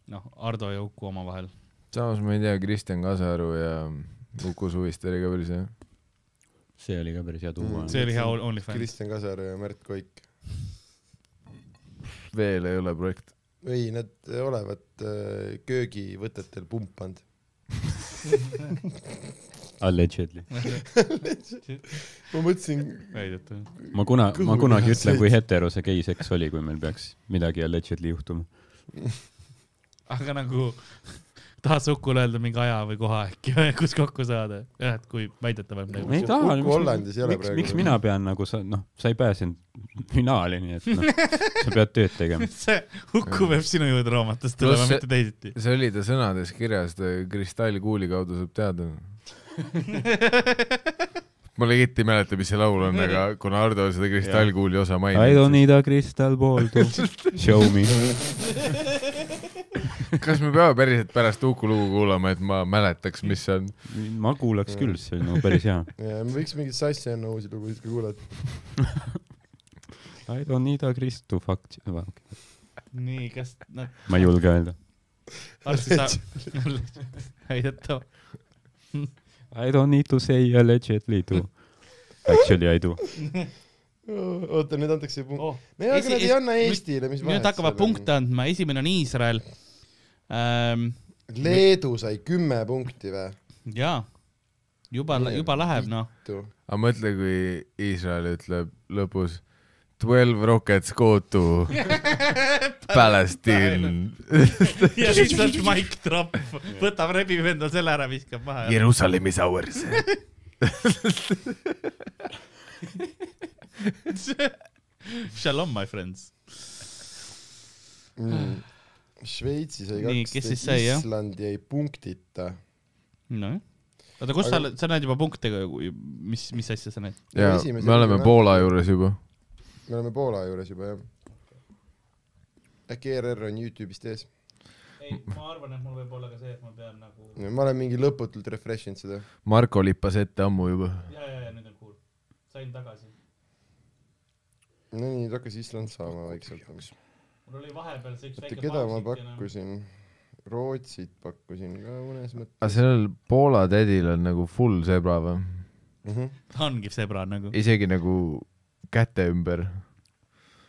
noh , Hardo ja Uku omavahel .
samas ma ei tea , Kristjan Kasaru ja Uku Suviste oli ka päris hea .
see oli ka päris hea tuua
Mm. .
see oli hea Only- OnlyFans .
Kristjan Kasar ja Märt Koik .
veel ei ole projekt .
ei , nad olevat äh, köögivõtetel pumpanud .
Allegedly .
ma mõtlesin ,
[LAUGHS] väidetav .
ma kuna , ma
Kõhu
kunagi
tehas
ütlen , kui
sõit.
hetero see gei seks oli , kui meil peaks midagi allegedly juhtuma .
aga nagu tahad sa Ukule öelda mingi aja või koha äkki , [LAUGHS] kus kokku saada ? jah , et kui väidetavalt nagu .
ei taha .
Uku Hollandis ei ole
miks ,
praegu
miks
veel.
mina pean nagu sa , noh , sa ei pääsenud finaali , nii et noh , sa pead tööd [LAUGHS] tegema .
[LAUGHS] see Uku peab sinu juurde raamatust
Pluss
tulema ,
see-
mitte teisiti .
see oli ta sõnades kirjas , ta kristallkuuli kaudu saab teada .
[LAUGHS]
ma legiti ei mäleta , mis see laul on , aga kuna Hardo seda kristallkuuli osa
I
mainis ,
don't need a crystal ball [LAUGHS] to show me .
kas me peame päriselt pärast Uku lugu kuulama , et ma mäletaks , mis see on ?
ma kuulaks küll , see oli nagu päris hea .
me võiks mingit Sassi Anna uusi lugusid ka kuulata .
[LAUGHS] I don't need a crystal to fuck you .
nii , kas
[LAUGHS]
nad
ma ei julge öelda .
arsti saab ,
[LAUGHS]
väidetav .
I don't need to say allegedly to . Actually I do .
oota , nüüd antakse punkt .
Oh.
no jaa , aga nad ei anna . Eestile , mis
nüüd hakkavad punkte . andma , esimene on Iisrael ähm, .
Leedu sai kümme punkti või ?
jaa , juba , juba läheb ,
[LAUGHS]
noh .
aga mõtle , kui Iisrael ütleb lõpus twelve rockets go
[LAUGHS]
to Palestine ,
[LAUGHS] ja lihtsalt Mike Trapp võtab , rebib endal selle ära , viskab maha .
Jerusalem is
[LAUGHS]
ours .
Shalom , my friends .
mm. . Šveitsi sai
Nii, kes siis
kaksteist ,
sai, jah?
Island jäi punktita .
nojah . Noh. oota , kus
Aga-
sa , sa näed juba punkte , mis , mis asja sa näed ?
ja me oleme . Poola juures juba .
me oleme Poola juures juba jah . äkki ERR on Youtube'ist ees ?
ei , ma arvan , et mul võib olla ka see , et ma pean nagu
ma olen mingi lõputult refresh inud seda .
Marko lippas ette ammu juba .
ja , ja , ja nüüd on cool . sain tagasi .
Nonii , nüüd hakkas Island saama vaikselt .
mul oli vahepeal see üks
oota , keda ma
nagu-
pakkusin ? Rootsit pakkusin ka mõnes
aga
mõttes .
sellel Poola tädil on nagu full zebra või ? Mhm.
ta ongi sebra nagu .
isegi nagu käte ümber .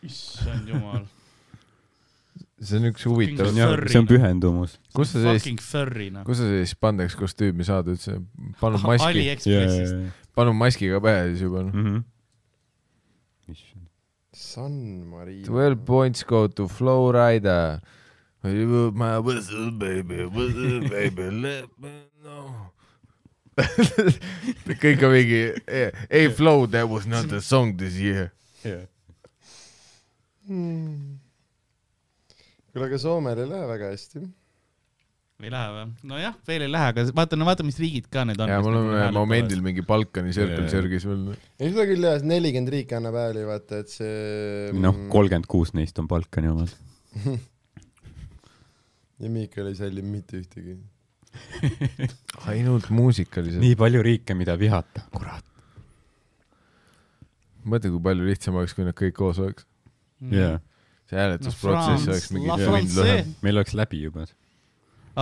issand jumal .
see on üks huvitav ,
Fucking-
see on pühendumus .
[LAUGHS] kus sa sellist ,
Fucking furry noh .
kus sa sellist pandeks kostüümi saad üldse ? palun maski ,
Aliekspressist .
palun maski ka pähe siis juba
Mhm.
noh .
issand .
San Marino
Twelve . points go to Flowrider . My whistle baby , whistle baby , let me know . [LAUGHS] kõik on mingi , ei flow , that was not a song this year .
kuule , aga Soomel ei lähe väga hästi .
ei lähe või ? nojah , veel ei lähe , aga vaata , no vaata , mis riigid ka need on .
ja mul on momendil . mingi Balkani Circle Circus veel . noh.
ei , seda küll jah , nelikümmend riiki annab hääli , vaata , et see .
noh , kolmkümmend kuus neist on Balkani omad .
ja Miikal ei salli mitte ühtegi .
ainult muusikaliselt .
nii palju riike , mida vihata . kurat .
mõtle , kui palju lihtsam oleks , kui nad kõik koos oleks .
Mm.
jaa ,
see hääletusprotsess
No
oleks mingi
France-
tund
La
lühem .
meil oleks läbi juba .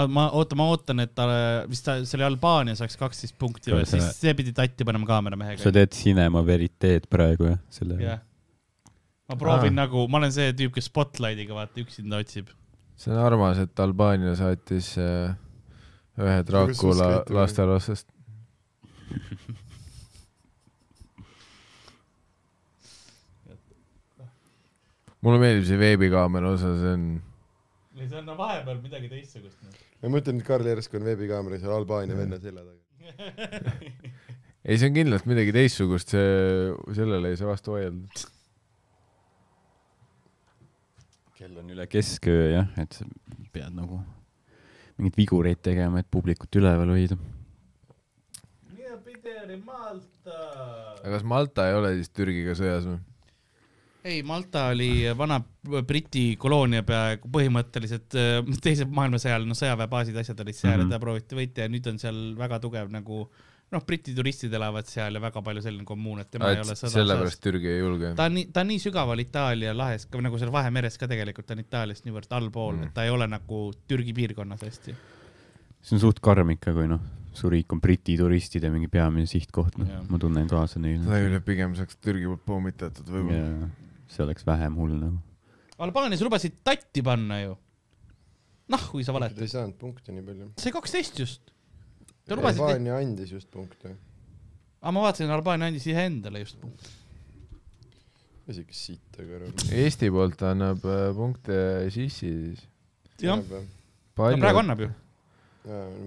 ma , oota , ma ootan , et ta , mis ta , see oli Albaania saaks kaksteist punkti või
Kuule, sa-
siis see pidi tatti panema kaameramehega
sa . teed Cinema Veriteed praegu jah , Ah. selle
jah . ma proovin nagu , ma olen see tüüp , kes Spotlightiga vaata üksinda otsib .
see on armas , et Albaania saatis äh, ühe Dracula
suskrit või?
lasterasvast . mulle meeldib see veebikaamera osa , see on ,
ei , see on no vahepeal midagi teistsugust . noh. [LAUGHS]
ma mõtlen , et Karl Järsk on veebikaamera seal Albaania venna selja taga .
ei , see on kindlalt midagi teistsugust , see , sellele ei saa vastu vaielda .
kell on üle keskööö jah , et sa pead nagu mingeid vigureid tegema , et publikut üleval hoida .
mina pidin Malta .
aga kas Malta ei ole siis Türgiga sõjas või ?
ei , Malta oli vana Briti koloonia peaaegu põhimõtteliselt äh, teise maailmasõja ajal , no sõjaväebaasid , asjad olid seal mm -hmm.
Mhm.
ja ta prooviti võita ja nüüd on seal väga tugev nagu noh , Briti turistid elavad seal ja väga palju selline kommuun , et tema ei ole sõda .
sellepärast Türgi ei julge .
ta on nii , ta on nii sügaval Itaalia lahes , nagu seal Vahemeres ka tegelikult on Itaaliast niivõrd allpool
Mm.
mm. , et ta ei ole nagu Türgi piirkonnas hästi .
see on suht karm ikka , kui noh , su riik on Briti turistide mingi peamine sihtkoht , noh
Jah. ,
ma tunnen kaasa neile
seda . küll , et pigem saaks Türgi poolt pommitatud võib-olla .
see oleks vähem hull nagu .
Albaanias lubasid tatti panna ju . noh , kui sa valetad .
ei saanud punkte nii palju .
see kaksteist just . Te lubasite ,
Albaania andis just punkte .
aga ma vaatasin , Albaania andis iseendale just .
isegi siit , aga
Eesti poolt annab äh, punkte sissi siis .
jah , no praegu annab ju .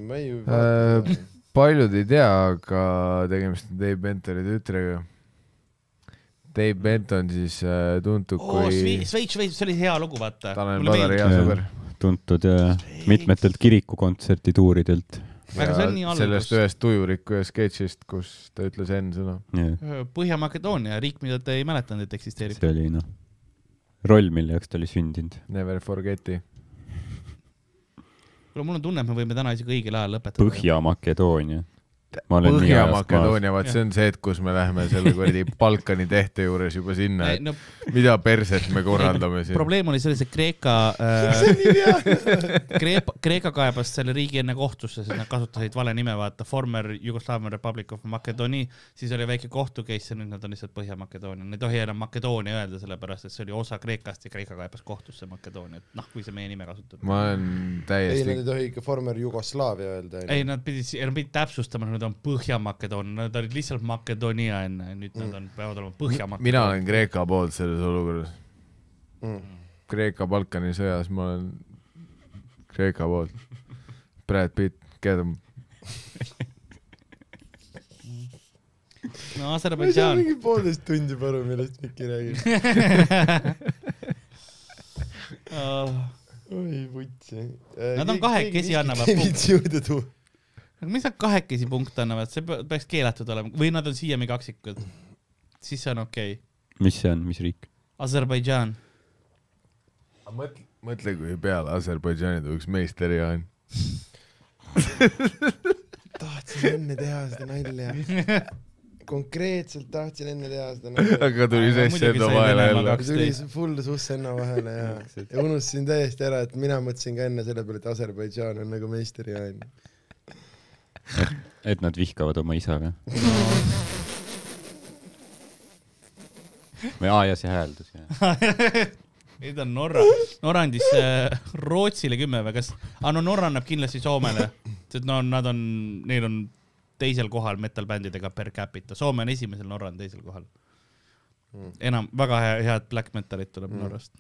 ma ei
Äh,
vaata .
paljud ei tea , aga tegemist on Dave Bentoni tütrega . Dave Benton siis äh, tuntud oh, kui
Šveits , Šveits , see oli hea lugu , vaata .
Tanel Padari hea sõber .
tuntud ja mitmetelt kirikukontsertituuridelt .
Aga see on nii algus.
sellest ühest tujuriku ja sketšist , kus ta ütles N-sõna .
Põhja-Makedoonia , riik , mida te ei mäletanud , et eksisteerib .
see oli noh , roll , mille jaoks ta oli sündinud .
Never forget'i .
kuule , mul on tunne , et me võime täna isegi õigel ajal lõpetada .
Põhja-Makedoonia . ma olen nii ajast maas .
Põhja-Makedoonia , vaat see on see , et kus me läheme selle
[LAUGHS]
kuradi Balkani tehte juures juba sinna , et
no
mida perset me korraldame siin .
probleem oli selles ,
[LAUGHS]
et Kreeka äh, , [LAUGHS] Kreeka , Kreeka kaebas selle riigi enne kohtusse , sest nad kasutasid vale nime , vaata , former Yugoslavian Republic of Makedoni , siis oli väike kohtu case ja nüüd nad on lihtsalt Põhja-Makedoonia , nad ei tohi enam Makedoonia öelda , sellepärast et see oli osa Kreekast ja Kreeka kaebas kohtusse Makedooniat , noh , kui sa meie nime kasutad .
ma olen
ei , nad
täiesti
ei tohi ikka former Jugoslaavia öelda .
ei , nad pidid , nad pidid täpsustama , nad on Põhja-Makedoonia , nad olid lihtsalt Makedoonia enne , nüüd nad on , peavad
mina
olema Põhja-Makedoonia .
olen Kreeka poolt selles olukorras .
Mm.
Kreeka-Balkani sõjas ma olen Kreeka poolt . Brad Pitt , get him .
no
ma ei saa
Aserbaidžaan .
mingi poolteist tundi aru , millest Miki räägib .
[LAUGHS] Ah,
oi vutsi . Äh,
Nad on kahekesi annavad
punkte . juurde tuua .
aga miks nad kahekesi punkte annavad , see pe- peaks keelatud olema või nad on siiani kaksikud , siis see on okei okay. .
mis see on , mis riik ?
Aserbaidžaan ,
mõtle , mõtle , kui peale Aserbaidžaani tuleks
[LAUGHS]
meisterjaan .
tahtsin enne teha seda nalja . konkreetselt tahtsin enne teha seda nalja .
aga tuli see
Muidugi
Senna
sai
vahele
Venemaa
jälle
kaks. .
tuli see full sussenna vahele ja, ja unustasin täiesti ära , et mina mõtlesin ka enne selle peale , et Aserbaidžaan on nagu meisterijaan .
et nad vihkavad oma isa või ? või aa , ja see hääldus jah .
nüüd on Norra , Norra andis äh, Rootsile kümme või kas , aa no Norra annab kindlasti Soomele , sest no nad on , neil on teisel kohal metal-bändidega per capita , Soome on esimesel , Norra on teisel kohal .
Hmm.
enam väga hea , head black metalit tuleb mm. Norrast .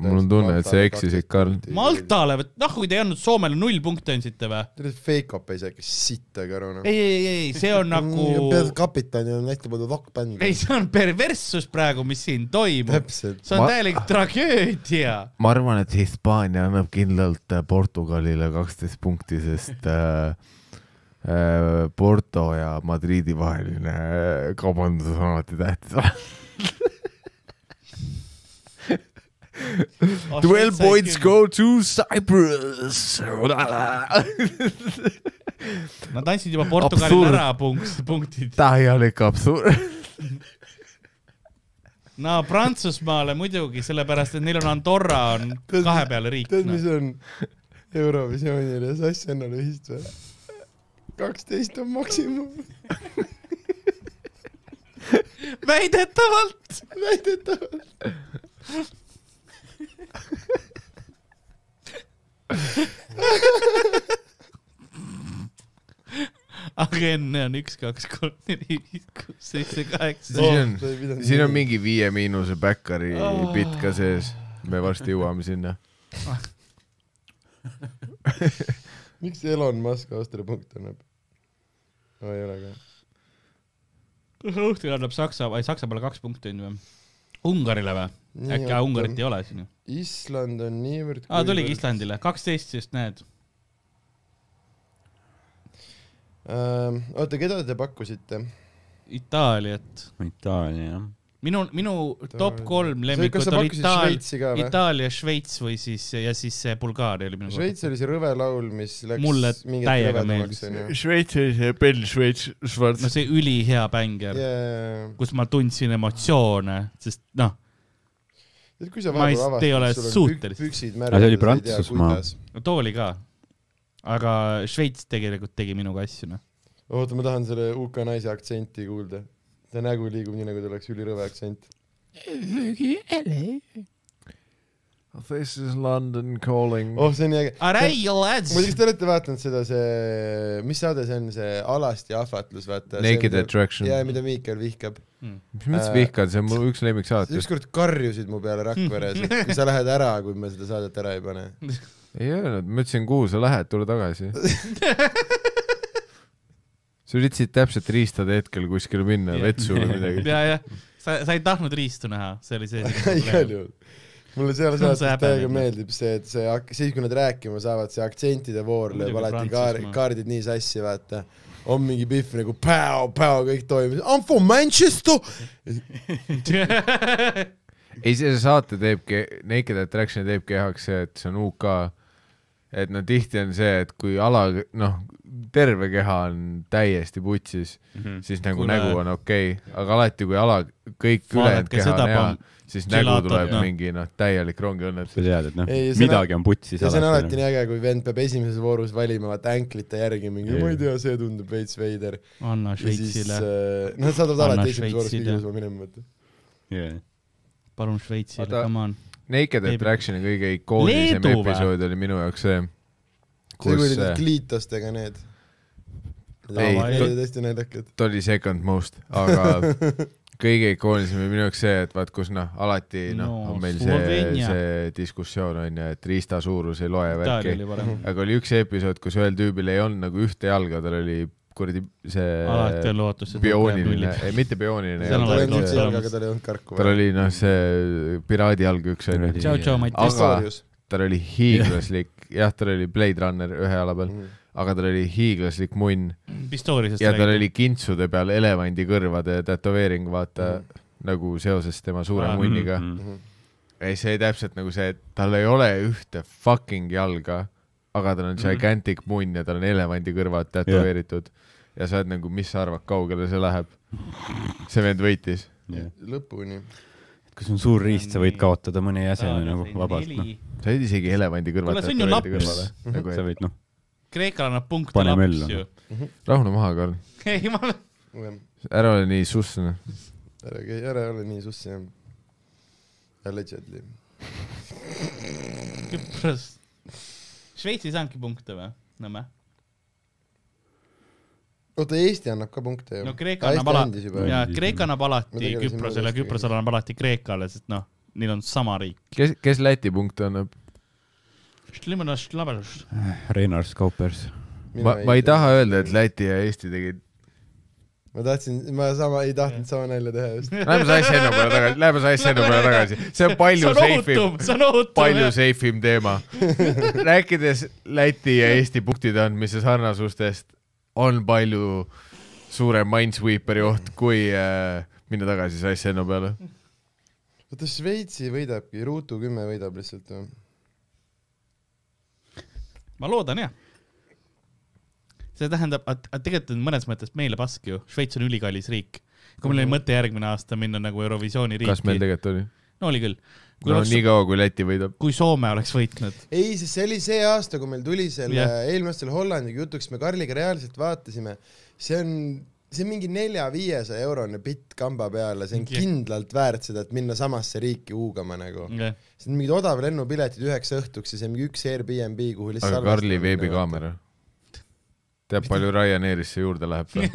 mul on tunne , et sa eksisid , Karl .
Maltale , noh kui te ei andnud Soomele null punkti andsite või ?
tead , et fake-up ei saa ikka sittagi aru noh .
ei , ei , ei , see
Hmm,
on
Mm,
nagu
kapitani on ette pandud rokkbänd .
ei , see on perverssus praegu , mis siin toimub .
täpselt .
see on
Ma-
täielik tragöödia .
ma arvan , et Hispaania annab kindlalt äh, Portugalile kaksteist punkti , sest äh, äh, Porto ja Madridi vaheline äh, kaubandus on alati
Ah,
tähtis . [LAUGHS]
Oh,
Twelve points . go to
[LAUGHS]
Cyprus .
Nad andsid juba Portugalile
Absurd.
ära punkt , punktid .
täielik absurd .
no Prantsusmaale muidugi , sellepärast et neil on Andorra on
Tead,
kahepeale riik noh.
tead ,
no.
mis . on Eurovisioonil ja Sassennal ühist või ? kaksteist on maksimum ,
Mm. väidetavalt .
väidetavalt .
aga enne on üks , kaks , kolm , neli , viis , kuus , seitse , kaheksa .
Siin on- siin on mingi Viie Miinuse Bäkkari bitt ka sees . me varsti jõuame sinna .
miks Elon Musk aastapunkte annab ? no ei ole ka .
õhtul annab Saksa , või Saksa peale kaks punkti on ju või ? Ungarile või ? äkki aa, Ungarit ei ole siin ju ?
Island on niivõrd .
aa , tuligi . Islandile , kaksteist siis näed .
Ähm, oota , keda te pakkusite ?
Itaaliat .
Itaalia jah .
minu , minu top kolm
kas
lemmikut
sa
oli
pakkusid
Itaal- ,
Šveitsi ka või ?
Itaalia , Šveits või siis ja siis see Bulgaaria oli minu
Šveits oli see rõve laul , mis läks
Mulle
mingi hetk
täiega
rõvedamaks,
meeldis.
onju.
Šveits oli see Bell Šveits , Schwarz
no see ülihea bäng
Jaa,
jälle yeah. ,
jaa, jaa.
kus ma tundsin emotsioone , sest noh ,
tead , kui sa
Ma
vahepeal
vist
avastad ,
ei ole
sul on pük-
suuteline.
püksid
Aga
märjad .
see oli Prantsusmaa. .
too oli ka . aga Šveits tegelikult tegi minuga asju , noh .
oota , ma tahan selle UK naise aktsenti kuulda . ta nägu liigub nii , nagu tal oleks ülirõve aktsent .
This is London calling
oh , see on nii äge .
Arei lads
muidugi , kas te olete vaadanud seda , see , mis saade see on , see Alasti ahvatlus , vaata .
Naked . Attraction .
jaa , mida Miikel vihkab .
Hmm.
mis mõttes
Äh,
vihkad , see on mu üks lemmiksaatest .
ükskord karjusid mu peale Rakveres ,
[LAUGHS]
et kui sa lähed ära , kui me seda saadet ära ei pane .
ei öelnud , ma ütlesin , kuhu sa lähed , tule [LAUGHS] tagasi . sa üritasid täpselt riistada hetkel kuskile minna
Jah.
vetsu
[LAUGHS]
või midagi .
ja , jah , sa , sa ei tahtnud riistu näha , see oli see .
[LAUGHS] igal juhul . mulle seal
See on see noh.
saates täiega
häbenemine.
meeldib see , et see , siis kui nad rääkima saavad , see aktsentide voor lööb
Muidugi
alati kaar-
Prantsusmaa. ,
kaardid nii sassi , vaata . on mingi pihv nagu päo , päo , kõik toimib . I m from Manchester .
ei , see saate teebki , Naked Attraction teebki heaks see , et see on UK . et no tihti on see , et kui ala , noh , terve keha on täiesti putsis , siis nagu
Mhm. Kuule.
Kule. nägu on okei okay. , aga alati , kui ala , kõik
Vaadake
ülejäänud keha
seda
on hea
pam- ,
siis nägu
gelatot,
tuleb
noh.
mingi noh , täielik rongiõnnetus
sa . tead , et noh
Ei, , see on-
midagi on noh. putsis
ja see on alati
alati .
nii äge , kui vend peab esimeses voorus valima vaata anklite järgi mingi , ma ei tea , see tundub veits veider .
anna
ja siis
Šveitsile ,
äh, nad saadavad
Anna
alati esimeses voorus
Šveitsile.
kõige ilusama minema , vaata .
palun Šveitsile ,
Oota.
come on .
Naked
Ei-
Attractioni kõige ikoonilisem
Leedu või?
episood oli minu jaoks see ,
see , kui
kus
olid need kliitostega need .
Ei,
Need
to-
olid hästi naljakad .
ta oli second most , aga kõige ikoonilisem oli minu jaoks see , et vaat kus noh , alati noh
No,
no, , on meil see ,
Sloveenia.
see diskussioon on ju , et riista suurus ei loe
Itaalia
värki ,
oli
[LAUGHS]
parem .
aga oli üks episood , kus ühel tüübil ei olnud nagu ühte jalga , tal oli kuradi
alati
see
on lootus , et
biooniline , ei mitte
See on
tal ei
biooniline
alati ,
olnud
olemas.
üldse jalga , aga tal ei olnud karku .
tal oli noh , see piraadijalg üks onju ,
tšau , tšau , Mati .
aga- tal oli hiiglaslik , jah , tal oli Blade Runner ühe jala peal ,
Mhm.
aga tal oli hiiglaslik munn
Pistorisest
ja tal . oli kintsude peal elevandi kõrvade tätoveering , vavaata
Mhm.
mm. nagu seoses tema suure
Aa,
ah, munniga
mhm.
Mm-hmm.
mm. .
Mhm.
ei , see oli täpselt nagu see , et tal ei ole ühte fucking jalga , aga tal on
Mhm.
gigantic munn ja tal on elevandi kõrvad tätoveeritud yeah. ja sa oled nagu , mis sa arvad , kaugele see läheb ? see vend võitis .
Mm-hmm.
lõpuni .
kui sul on suur riist , sa võid kaotada mõne jäseme nagu vabalt , noh .
Kreekal
sa olid isegi elevandi kõrvad
Kuule, see on ju Mhm. laps.
Nagu,
sa
et,
võid , noh ,
annab punkte
Paneme
laps
ellu. noh.
ju .
rahune maha , Karl .
[LAUGHS] ei , ma ,
ära
ära ole nii sussune .
käi , ära ole nii sussi jah . Allegedly .
Küpros . Šveits ei saanudki punkte või ? Nõmme .
oota , Eesti annab ka punkte ju .
no Kreeka annab
andis juba
alati ,
ju.
jaa , Kreeka annab
Ma
alati
tegelesin
Küprosele ,
Maldiividega.
Küprosel annab alati Kreekale , sest noh , neil on sama riik .
kes , kes Läti punkte annab ?
Reinar Skaupers .
ma , ma ei . taha öelda , et Läti ja Eesti tegid
ma tahtsin , ma sama , ei tahtnud sama nalja teha just .
[LAUGHS]
Lähme see asja enne peale tagasi , lähme see asja enne peale tagasi , see on palju seifim ,
see on ohutum
palju , seifim teema . rääkides Läti ja Eesti punktide andmise sarnasustest , on palju suurem Minesweeperi oht , kui äh, minna tagasi see asja enne peale .
oota , Šveitsi võidabki , ruutu kümme võidab lihtsalt või ?
ma loodan jah . see tähendab , et et tegelikult on mõnes mõttes meile pask ju , Šveits on ülikallis riik . kui meil oli mõte järgmine aasta minna nagu Eurovisiooni
kas meil
riiki ,
tegelikult oli ?
no oli küll . kui
no
oleks ,
niikaua , kui Läti võidab .
kui Soome oleks võitnud ,
ei , sest see oli see aasta , kui meil tuli selle
Jah.
yeah. eelmisel Hollandiga jutuks , me Karliga reaalselt vaatasime , see on see on mingi nelja-viiesaja eurone bitt kamba peale , see on
Mingi-
kindlalt väärt seda , et minna samasse riiki huugama nagu .
jah ,
see on mingid odav lennupiletid üheks õhtuks ja see on mingi üks Airbnb , kuhu lihtsalt
aga Karli . veebikaamera . teab , palju Ryanairisse juurde
[LAUGHS]
läheb või ?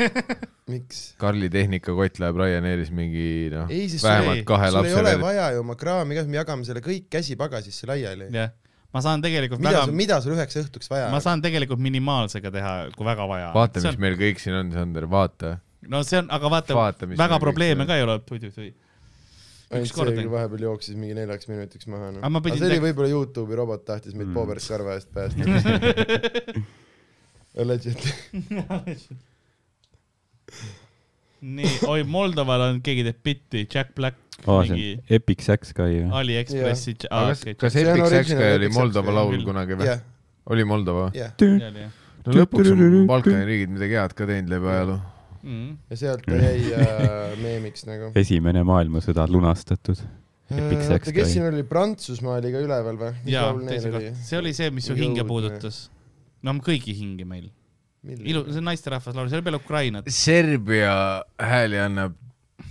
miks ?
Karli tehnikakott läheb Ryanairis mingi noh ,
ei , siis sul
vähemalt
ei ,
kahe
sul ei
lapse
ole
veel .
vaja ju oma kraami ka , me jagame selle kõik käsipagasisse laiali .
jah . ma saan tegelikult
mida
väga ,
sul , mida sul üheks õhtuks vaja
ma
on ?
saan tegelikult minimaalsega teha , kui väga vaja .
vaata , mis meil kõik siin on , Sander , vaata .
no see on , aga vaata,
Vaata,
vaata ,
mis
väga
meil kõik
probleeme
on.
ka
[LAUGHS]
ei ole , tui-tui-tui .
ainult
ükskord
see küll
ainult.
vahepeal jooksis mingi neljaks minutiks maha noh .
Aga ma
aga
pidin
see oli
teg-
võib-olla Youtube'i robot tahtis meid
Mm.
mm. Poobert karva eest
[LAUGHS]
päästa . Legend .
nii , oi , Moldoval on , keegi teeb bitti , Jack Black ,
aa , see
mingi
on Epic Sax Guy või ?
Aliekspressi .
kas , kas
See on
Epic Sex
original
Guy oli
Epic Sex
Moldova
Guy.
laul
Küll.
kunagi või ?
jah ,
oli Moldova ?
jah .
no lõpuks on Balkani riigid midagi head ka teinud läbi ajaloo .
Mm,
ja sealt ta jäi äh, meemiks nagu .
esimene maailmasõda lunastatud . Epic
oota ,
Sex
kes
Guy.
siin oli , Prantsusmaa oli ka üleval või ?
jaa , teise kohta , see oli see , mis su
Mingi
hinge
õudne.
puudutas . no kõigi hinge meil . ilu- ,
ilu- .
see on naisterahvas laul , selle peale Ukrainat .
Serbia hääli annab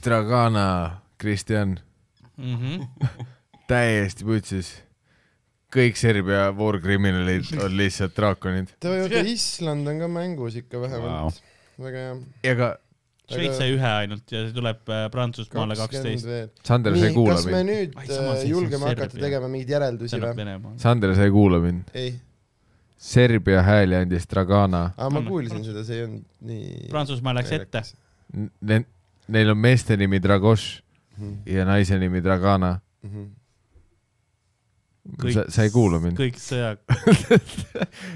Dragana Kristjan ,
Mhm.
täiesti putsis . kõik Serbia voorkriminalid on lihtsalt draakonid .
oota , Island on ka mängus ikka vähemalt . väga hea .
ega
Šveits sai ühe ainult ja see tuleb äh, Prantsusmaale kaksteist .
veel .
Sander , sa
nii
ei , kuula
kas me
mind .
nüüd
Ai, samas
äh,
ei, see
julgeme
on
hakata
Serbia.
tegema mingeid
see
järeldusi
annab
või ?
Venemaa .
Sander , sa ei kuula mind .
ei ,
Serbia hääli andis Dragana .
aga ma
Anna.
kuulsin seda , see ei olnud nii .
Prantsusmaa läks ette .
Neil on meeste nimi Dragoš
ette .
ja naise nimi Dragana .
Mhm.
sa , sa ei kuula mind .
kõik sõja .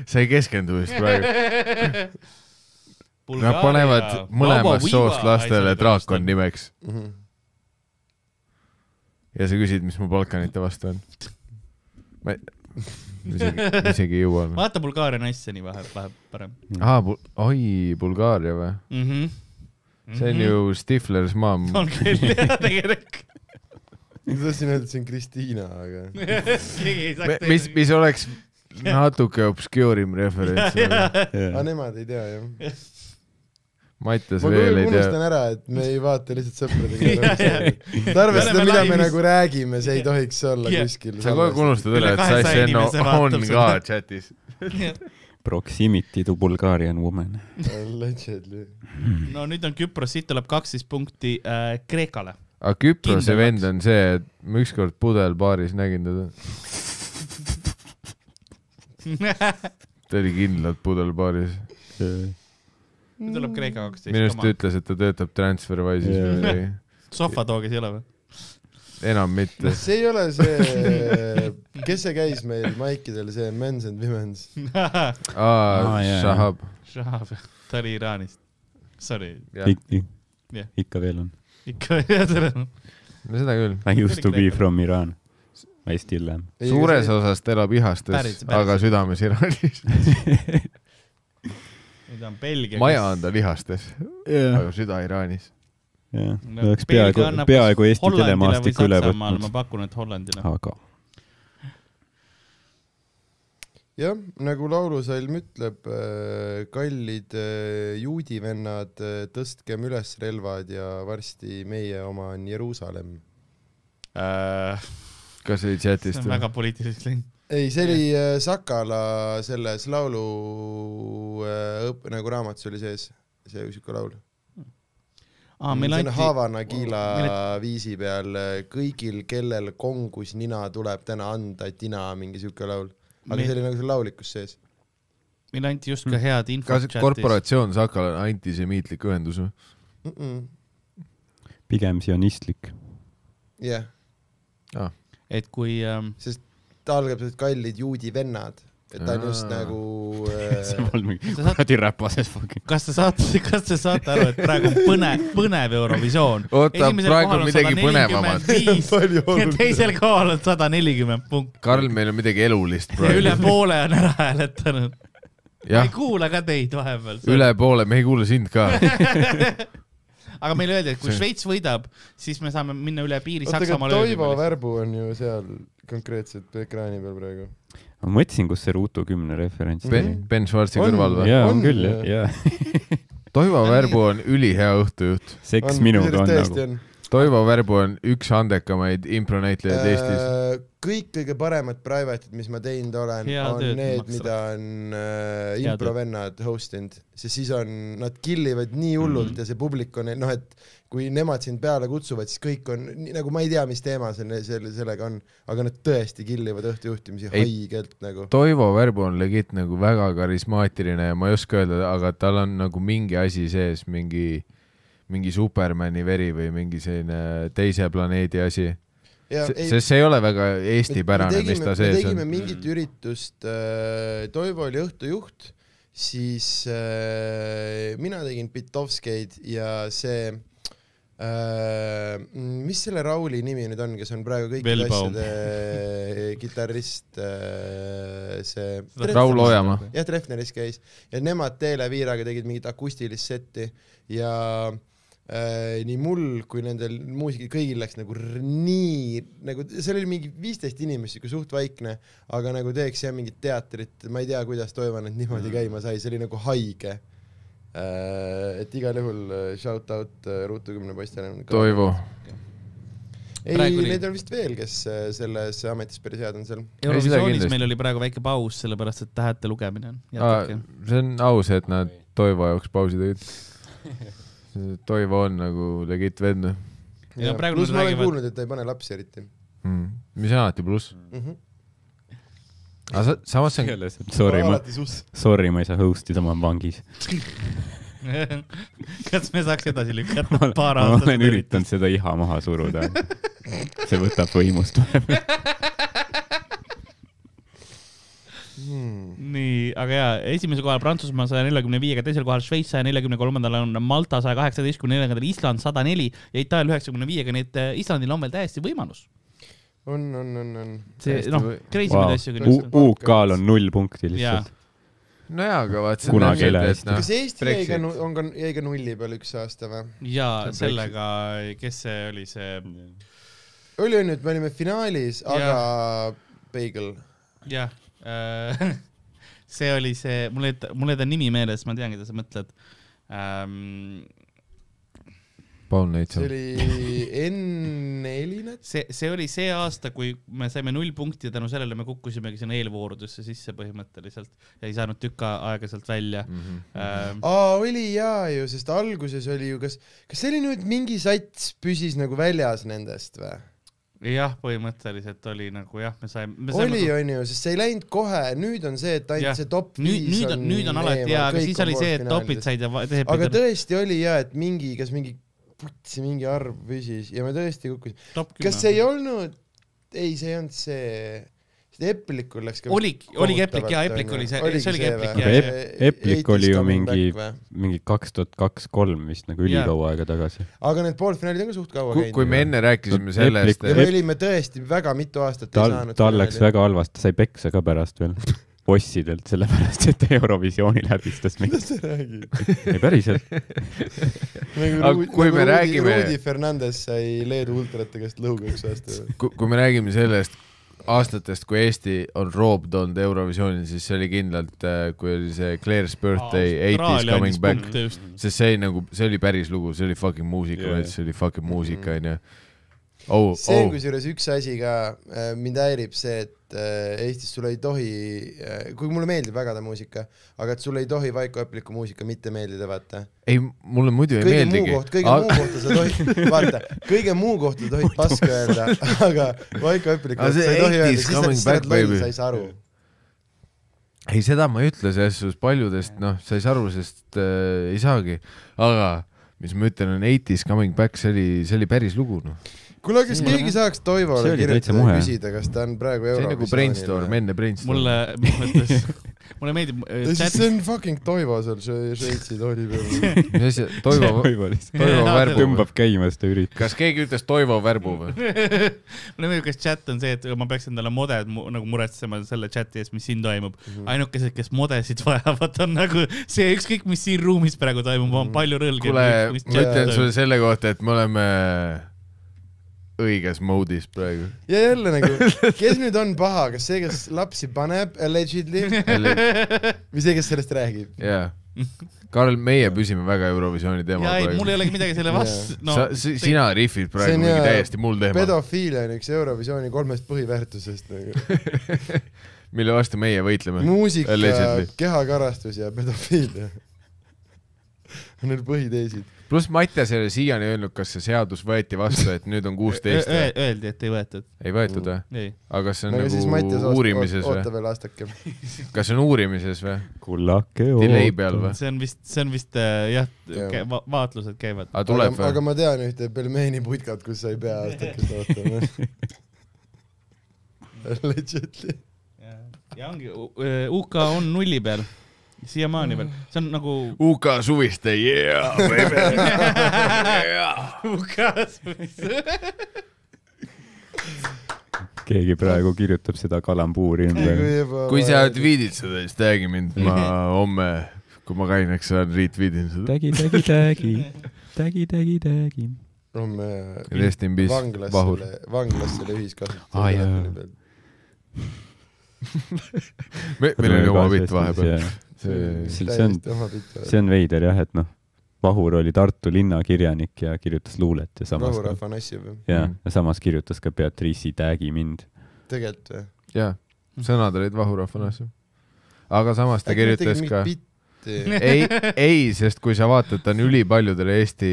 sa ei keskendu vist praegu . Nad panevad mõlemast soost lastele draakon . nimeks
Mhm.
ja sa küsid , mis mu Balkanite vastu on . ma isegi , isegi ei
[LAUGHS]
jõua .
vaata Bulgaaria naisseni vahe , vahe parem
aa , oi , Bulgaaria või ?
mm . -hmm.
see on ju Stiflers maam .
Mhm. [LAUGHS] on küll jah , tegelikult . [LAUGHS]
ma tahtsin öelda , et see on Kristiina , aga .
keegi ei saaks
mis , mis
[LAUGHS]
oleks natuke obscure'im referents .
aga
jaa .
nemad ei tea jah .
Mattias
ma
veel
kogu aeg
ei tea .
unustan ära , et me ei vaata lihtsalt
[LAUGHS]
[LAUGHS] Jaa,
sõpradega
jaa. .
et arvestada ,
Me oleme
mida me
laivis.
nagu räägime , see ei tohiks olla
Jah.
kuskil .
sa kogu aeg unustad
Üle
üle , et Sass
kahesaja
Enno
inimese vaatab
on ka
seda.
chatis .
Proximity to Bulgarian woman .
Allegedly .
no nüüd on Küpros , siit tuleb kaksteist punkti äh, Kreekale .
aga Küprose
Kindel
vend on see , et ma ükskord pudelbaaris nägin
[LAUGHS]
teda .
nüüd
ta oli kindlalt pudelbaaris .
tuleb Kreeka kaksteist .
Mm. minu arust ta ütles , et ta töötab Transferwise'is või
Jaa.
midagi .
sohvatoogis ei ole või ? [LAUGHS]
enam mitte .
see ei ole see , kes see käis meil maikidel , see Men's and Women's .
aa
Aa, , jaa,
Shahab .
Šahab , ta oli Iraanist . Sorry , Jah.
ikka veel on .
ikka ei tea tere .
no seda küll .
I used to be from Iran . I still am .
suures osas ta elab
Päris-
ihastes ,
päris.
aga südames Iraanis .
nüüd on Belgia .
maja on tal ihastes ,
jah
aga , süda Iraanis .
jah . oleks peaaegu , peaaegu Eesti telemaastik üle
ma
võtnud .
pakun , et
Ah.
Hollandile .
aga
jah , nagu laulusalm ütleb , kallid äh, juudi vennad , tõstkem üles relvad ja varsti meie oma on Jeruusalemm .
kas see oli
see
chatist
Äh, on ? väga poliitiliseks läinud .
ei , see oli äh, Sakala selles laulu äh, õp- , nagu raamatus oli sees , see siuke laul .
aa , meil
see on
anti ,
Havanagila
Meil-
viisi peal , kõigil , kellel kongus nina tuleb täna anda tina , mingi siuke laul . aga
Meil-
see oli nagu seal laulikus sees .
meil anti just ka head infot
Hmm. kas . korporatsioon Sakal on antisemiitlik ühendus või ?
pigem sionistlik .
jah ,
et kui ähm,
sest ta algab sealt kallid juudi vennad , et ta on just
Aa.
nagu
[LAUGHS]
see
[LAUGHS] äh,
polnud mingi
Sa saad-
kuradi räpases fucking .
kas te saate , [LAUGHS] kas te saate aru , et praegu on põnev , põnev Eurovisioon ?
oota , praegu on midagi põnevamat .
[LAUGHS] palju
ja
olulisem .
teisel kohal on sada nelikümmend punkti .
Karl , meil on midagi
[LAUGHS]
elulist
ja üle
praegu .
poole on ära hääletanud . ei
jah ,
kuula ka teid vahepeal .
üle poole , me ei kuula sind
[LAUGHS]
ka .
aga meile öeldi , et kui
See-
Šveits võidab , siis me saame minna üle piiri
oota , aga
Saksamaale .
Toivo Värbu on ju seal konkreetselt ekraani peal praegu .
ma mõtlesin , kus see Ruutu kümne referents
Pe-
oli .
Ben Schwarzi
On,
kõrval või ?
jaa , [LAUGHS]
on
on küll
või?
jah , jaa .
Toivo Värbu on ülihea õhtujuht .
seks minuga on
tõesti
nagu .
on .
Toivo Värbu on üks andekamaid
Äh.
impronäitlejaid Eestis .
kõik kõige paremad private'id , mis ma teinud olen ,
Hea
on
tööd
need ,
maksavad.
mida on äh,
Hea
improvennad host inud , sest siis on , nad kill ivad nii hullult mm
Mhm.
-hmm. ja see publik on , noh , et kui nemad sind peale kutsuvad , siis kõik on nii, nagu ma ei tea , mis teema selle , selle , sellega on , aga nad tõesti kill ivad õhtujuhtimisi
Ei.
haigelt nagu .
Toivo Värbu on legit nagu väga karismaatiline ja ma ei oska öelda , aga tal on nagu mingi asi sees , mingi , mingi Supermani veri või mingi selline teise planeedi asi . sest see ei ole väga
me-
eestipärane ,
me
mis ta
me
sees
tegime
on .
mingit
Mm.
üritust , Toivo oli õhtujuht , siis äh, mina tegin Bitovskeid ja see äh, , mis selle Rauli nimi nüüd on , kes on praegu kõikide
Velbaum.
asjade kitarrist äh, , see .
Raul Ojamaa .
jah , Treffneris käis ja nemad Teele Viiraga tegid mingit akustilist setti ja äh, nii mul kui nendel muusikud kõigil läks nagu r- nii nagu seal oli mingi viisteist inimest siuke suht vaikne , aga nagu teeks jah mingit teatrit , ma ei tea , kuidas Toivan nüüd
Mm.
niimoodi käima sai , see oli nagu haige . et igal juhul äh, shout out äh, Ruutu kümne poistele .
Toivo .
ei ,
Praegu oli-
neid on vist veel , kes äh, selles ametis päris head on seal .
seda
Eurovisioonis
kindlasti.
meil oli praegu väike paus , sellepärast et tähete lugemine on . jätkake .
see on aus , et nad Toivo jaoks pausi
[LAUGHS]
tegid . Toivo on nagu legit vend
Ja praegu
pluss
nad
ma olen
räägivad-
kuulnud , et ta ei pane lapsi eriti
mm. , mis on alati pluss .
mm . -hmm.
aga sa, samas see on ,
Sorry , ma ,
alati suss .
sorry , ma ei saa host ida , ma olen vangis .
[LAUGHS] kas me saaks edasi
ma
lükata
olen-
paar
ma
aastat
olen ? üritanud seda iha maha suruda . see võtab võimust .
Hmm.
nii , aga jaa , esimesel kohal Prantsusmaa saja neljakümne viiega , teisel kohal Šveits saja neljakümne kolmandal on Malta saja kaheksateistkümne neljandal , Island sada neli ja Itaalia üheksakümne viiega , nii et eh, Islandil on veel täiesti võimalus .
on , on , on , on .
see
Täiesti
noh
või- ,
crazy wow. mida asju küll
U-
üldse .
UK-l on null punkti
jaa
lihtsalt .,
nojaa , aga vaat see
Kunagi ei
on
lähe
täpselt,
hästi.
et
kas Eesti
noh ,
jäi ka
Brexit. ,
on ka , jäi ka nulli peal üks aasta või ?
jaa ,
See on
sellega , kes see oli , see
oli on ju , et me olime finaalis , aga Peigel .
jah äh, , see oli see , mul ei , mul ei ta nimi meeles , ma tean , keda sa mõtled ähm, .
Paul
see
Neitsal .
oli N4-nat .
see , see oli see aasta , kui me saime null punkti ja tänu sellele me kukkusimegi sinna eelvoorudesse sisse põhimõtteliselt ja ei saanud tükk aega sealt välja
Mhm.
ähm, .
aa , oli jaa ju , sest alguses oli ju , kas , kas see oli nüüd mingi sats püsis nagu väljas nendest või ?
jah , põhimõtteliselt oli nagu jah , me saime , me saime
oli . on ju , sest see ei läinud kohe , nüüd on see , et
nagu- Jah.
ainult see top
nüüd ,
viis
nüüd on , nüüd on alati hea , aga siis oli see , et topid said ja va- teised
aga
pidid
tõesti oli jaa , et mingi , kas mingi , putsi mingi arv püsis ja me tõesti kukkusime .
top kümme .
kas see ei olnud , ei , see ei olnud see , sest Eplikul läks ka .
oligi , oligi Eplik ja Eplik oli see , see oligi Eplik
Aga
ja
Ep- Eplik oli ju mingi- mingi kaks tuhat kaks , kolm vist nagu
Jaa.
ülikaua aega tagasi .
aga need poolfinaalid on ka suht kaua käinud .
kui me enne rääkisime sellest ,
ja me
Ep-
olime tõesti väga mitu aastat ei
tal ,
saanud .
tal läks . väga halvasti , sai peksa ka pärast veel bossidelt , sellepärast et Eurovisioonil häbistas
[LAUGHS]
meid .
mis sa räägid ?
ei päriselt ,
Aga kui me räägime-
Rudi Nagu Fernandes sai Leedu ultrate käest lõuga üks aasta .
kui kui me räägime sellest aastatest , kui Eesti on roobd olnud Eurovisioonil , siis see oli kindlalt , kui oli see Claire's birthday , Eighties coming back ,. sest see oli nagu , see oli päris lugu , see oli fucking muusika
Jaa.
yeah. , see oli fucking muusika , onju . oh ,
Mhm. see
oh ,
kusjuures üks asi ka , mind häirib see , et äh, Eestis sul ei tohi , kuigi mulle meeldib väga ta muusika , aga et sul ei tohi Vaiko Epliku muusika mitte meeldida , vaata .
ei , mulle muidu ei
kõige muu
meeldigi
kohta , kõige aga... . muu kohta sa
[LAUGHS]
tohid , vaata , kõige muu kohta tohid paska öelda , [LAUGHS] aga Vaiko Eplik ,
Aga
sa
see
ei tohi
80s
öelda , siis sa
coming
siis sa oled
back,
loll
baby. ,
sa ei saa aru .
ei , seda ma ei ütle , selles suhtes paljudest , noh , sa ei saa aru , sest äh, ei saagi , aga mis ma ütlen , on Eighties coming back , see oli , see oli päris lugu , noh .
kuule , kas
Mulle-
keegi saaks Toivole
See oli täitsa
kirjutada
muhe.
ja küsida , kas ta on praegu
see oli nagu brainstorm ,
Eurovisioonil ?
enne brainstorm .
mulle , mis mõttes ,
[LAUGHS]
mulle meeldib äh,
ja siis
chat
see on fucking Toivo seal Šve- Šveitsi tooli
[LAUGHS]
peal .
mis asja , Toivo ,
[LAUGHS]
Toivo
Jaa,
Värbu
tõmbab . käima seda üritust .
kas keegi ütles Toivo Värbu või ?
[LAUGHS] mulle meeldib , kas chat on see , et ma peaks endale moded mu, nagu muretsema selle chati ees , mis siin toimub .
Mhm.
ainukesed , kes modesid [LAUGHS] vajavad , on nagu see ükskõik , mis siin ruumis praegu toimub , on palju
[LAUGHS]
rõlgem .
Mhm. kuule , ma ütlen sulle selle kohta , et me oleme õiges mode'is praegu .
ja jälle
[LAUGHS]
nagu , kes nüüd on paha , kas see , kes lapsi paneb allegedly
jaa ,
[LAUGHS]
või see , kes sellest räägib ?
jaa , Karl , meie püsime väga Eurovisiooni teemal
ja ei , mul
praegu .
ei olegi midagi selle
Jaa.
vastu , noh,
No,
no
sa , sina rihvid
See
praegu
on
mingi
hea-
täiesti muul teemal ,
pedofiilia on üks Eurovisiooni kolmest põhiväärtusest nagu. .
mille vastu meie võitleme .
muusika
Allegedly. ,
kehakarastus ja pedofiilia . on need põhiteesid .
pluss Mattias ei ole siiani öelnud , kas see seadus võeti vastu , et nüüd on
[LAUGHS]
kuusteist või ?
öeldi , et ei võetud ,
ei võetud või ?
ei .
aga kas see on
aga siis Mattias
nagu
oot-
uurimises
oota
või ?
veel aastake .
kas see on uurimises või ?
kullake
Delay peal või ?
see on vist , see on vist äh, jah
Jah.
ja. , va vaatlused käivad .
aga
aga,
tuleb
aga
või ?
ma tean ühte pelmeeniputkad , kus sa ei pea aastakest ootama .
[LAUGHS]
Legitly .
ja ongi , UK on nulli peal , siiamaani veel ,
Mm.
see on nagu
UK suviste , yeah ,
[LAUGHS]
baby , yeah .
UK-s
keegi praegu kirjutab seda kalambuuri ümber .
kui sa tweet'id seda , siis tag'i mind ,
[LAUGHS]
ma homme , kui ma käin , eks saan retweet in seda .
tägi , tägi , tägi , tägi , tägi , tägi .
homme
Rest in peace ,
vanglas
Vahur .
selle , vanglas selle ühiskasutuse
Aa, jaa.
telefoni peal.
me , meil oli oma bitt vahepeal .. see ,
See- see on-
täiesti oma pilt
see . on veider jah , et noh , Vahur oli Tartu linnakirjanik ja kirjutas luulet ja samas ,
Vahur Afanasjev ,
ja
Mm.
ja samas kirjutas ka Beatrice'i Tagi mind .
tegelikult või ?
jaa , sõnad olid Vahur Afanasjev . aga samas ta kirjutas ka
bitti .
ei , ei , sest kui sa vaatad , ta on ülipaljudele Eesti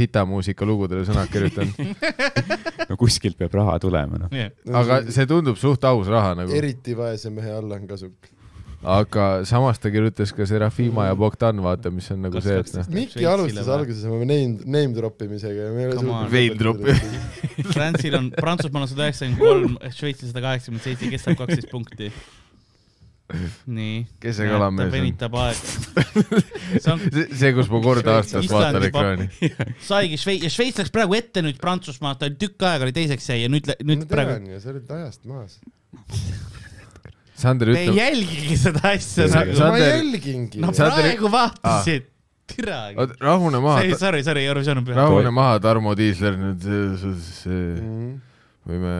sitamuusika lugudele sõnad
[LAUGHS]
kirjutanud ,
no kuskilt peab raha tulema noh .
jah ,
aga see tundub suht aus raha nagu ,
eriti vaese mehe alla on kasu .
aga samas ta kirjutas ka Serafima ja Bogdan , vaata , mis on nagu
Kas
see , et
kaks-
noh ,
Mikki
Šveitsile
alguses
või?
alguses oma name , name drop imisega ja me ei ole
Come on.
Vein drop. .
Prantsil on , Prantsusmaal on sada üheksakümmend kolm , Šveitsil sada kaheksakümmend seitse , kes saab kaksteist punkti ? nii .
Kes see kalamees on?
venitab aega . see on ,
see , see , kus ma kord aastas
Islandi
vaatan
papp-
ekraani .
saigi Šveits , ja Šveits läks praegu ette nüüd Prantsusmaalt , ta oli tükk aega oli teiseks jäi ja nüüd , nüüd
ma
praegu .
tean ju , sa oled ajast maas .
Sander
Te ei
ütleb ,
jälgigi seda asja
Sa-
nagu .
ma
Sander-
jälgingi
no
no, .
Sander-
praegu vaatasid . tiragi .
rahune
ei ,
maha ,
sorry , sorry , Eurovisioon on püha .
rahune maha , Tarmo Tiisler , nüüd see- see-
Mm
võime ,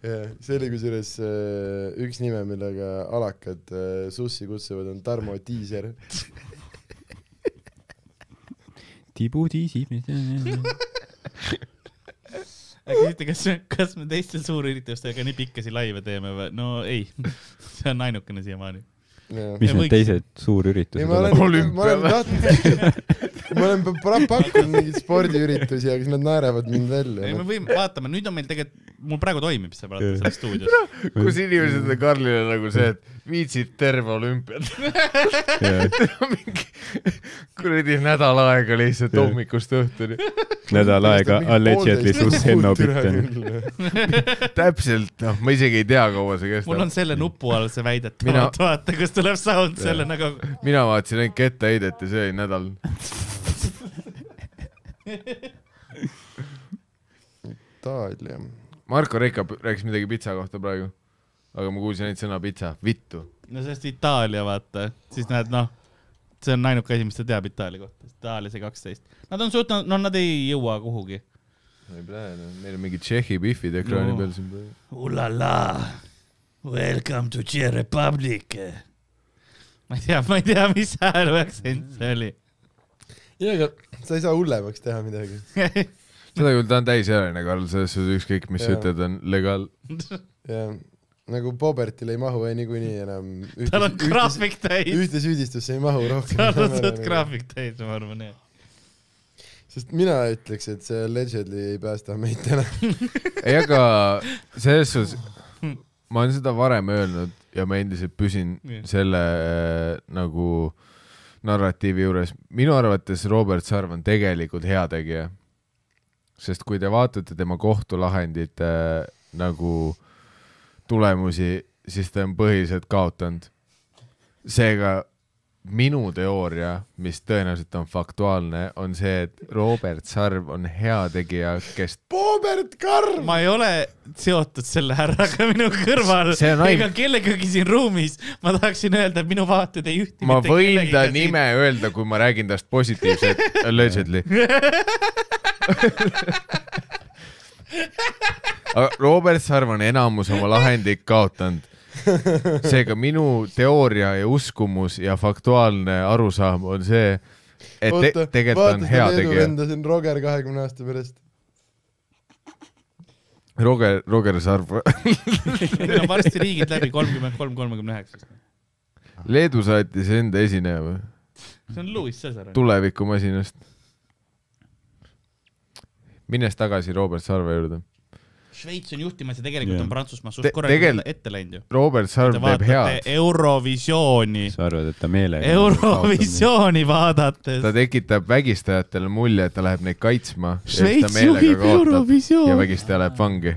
yeah. see oli kusjuures äh, üks nime , millega alakad äh, sussi kutsuvad , on Tarmo Tiiser .
tibu tiisib .
küsiti , kas , kas me teistel suurüritustega nii pikkasi laive teeme või ? no ei , [LAUGHS] see on ainukene siiamaani .
ei ,
mis need
võiks-
teised suurüritused
ma
on ?
olen , ma olen
Olümpia-
tahtnud , ma olen pra- pakkunud mingeid spordiüritusi , aga siis nad naeravad mind välja
ei , me
no. .
võime , vaatame , nüüd on meil tegelikult , mul praegu toimib see praegu selles stuudios .
kus inimesed on Karlile nagu see , et viitsid terve olümpiat [LAUGHS] mingi kuradi nädal aega lihtsalt
Jah.
hommikust õhtuni .
nädal aega allegedly suus Henno Pitten .
täpselt , noh , ma isegi ei tea , kaua see
mul on
kestab .
selle nupu all see
Mina-
väidetavalt , vaata , kus tuleb sound selle nagu .
mina vaatasin ainult kettaheidet ja see oli nädal .
Itaalia .
Marko Reikap rääkis midagi pitsa kohta praegu , aga ma kuulsin ainult sõna pitsa , vittu .
no sellest Itaalia , vaata , siis näed , noh , see on ainuke asi , mis ta teab Itaalia kohta . Itaalia see kaksteist . Nad on suutnud , no nad ei jõua kuhugi .
ei pläne , meil on mingid Tšehhi pihvid ekraani
No.
no. peal siin praegu .
Ulala , welcome to Czech Republic .
ma ei tea , ma ei tea , mis hääl aktsent see oli .
jaa , aga sa ei saa hullemaks teha midagi .
[LAUGHS]
seda küll , ta on täisealine , Karl , selles suhtes ükskõik , mis sa
Jaa.
ütled , on legaal .
jah , nagu Bobertil ei mahu ei niikuinii enam .
tal on graafik täis .
ühte süüdistusse ei mahu rohkem .
sa arvad , sa oled graafik täis , ma arvan jah .
sest mina ütleks , et see allegedly ei päästa meid täna .
ei , aga selles suhtes , ma olen seda varem öelnud ja ma endiselt püsin
Nii.
selle äh, nagu narratiivi juures . minu arvates Robert Sarv on tegelikult heategija . sest kui te vaatate tema kohtulahendite äh, nagu tulemusi , siis ta on põhiliselt kaotanud . seega minu teooria , mis tõenäoliselt on faktuaalne , on see , et Robert Sarv on heategija , kes
Bobert Karm .
ma ei ole seotud selle härraga [LAUGHS] minu kõrval
See on ain-
ega kellegagi siin ruumis . ma tahaksin öelda , et minu vaated ei ühti .
ma võin ta nime . öelda , kui ma räägin tast positiivselt , allegedly . Robert Sarv on enamus oma lahendit kaotanud seega minu teooria ja uskumus ja faktuaalne arusaam on see , et te tegelikult ta on hea tegija .
venda siin Roger kahekümne aasta pärast .
Roger , Roger Sarv .
meil on varsti riigid läbi kolmkümmend kolm , kolmekümne üheksa .
Leedu saatis enda esineja või ?
see on Louis Cesar .
tulevikumasinast . minnes tagasi Robert Sarve juurde .
Šveits on juhtimas ja tegelikult
Jah.
on Prantsusmaa
Te-
suht korralikult
tegel-
ette läinud ju .
Robert Sarv
Te
teeb
vaatate
head ,
Eurovisiooni ,
sa arvad , et ta meelega
Eurovisiooni vaadates
ta . tekitab vägistajatele mulje , et ta läheb neid kaitsma .
Šveits juhib
ja
Eurovisiooni .
vägistaja läheb vangi .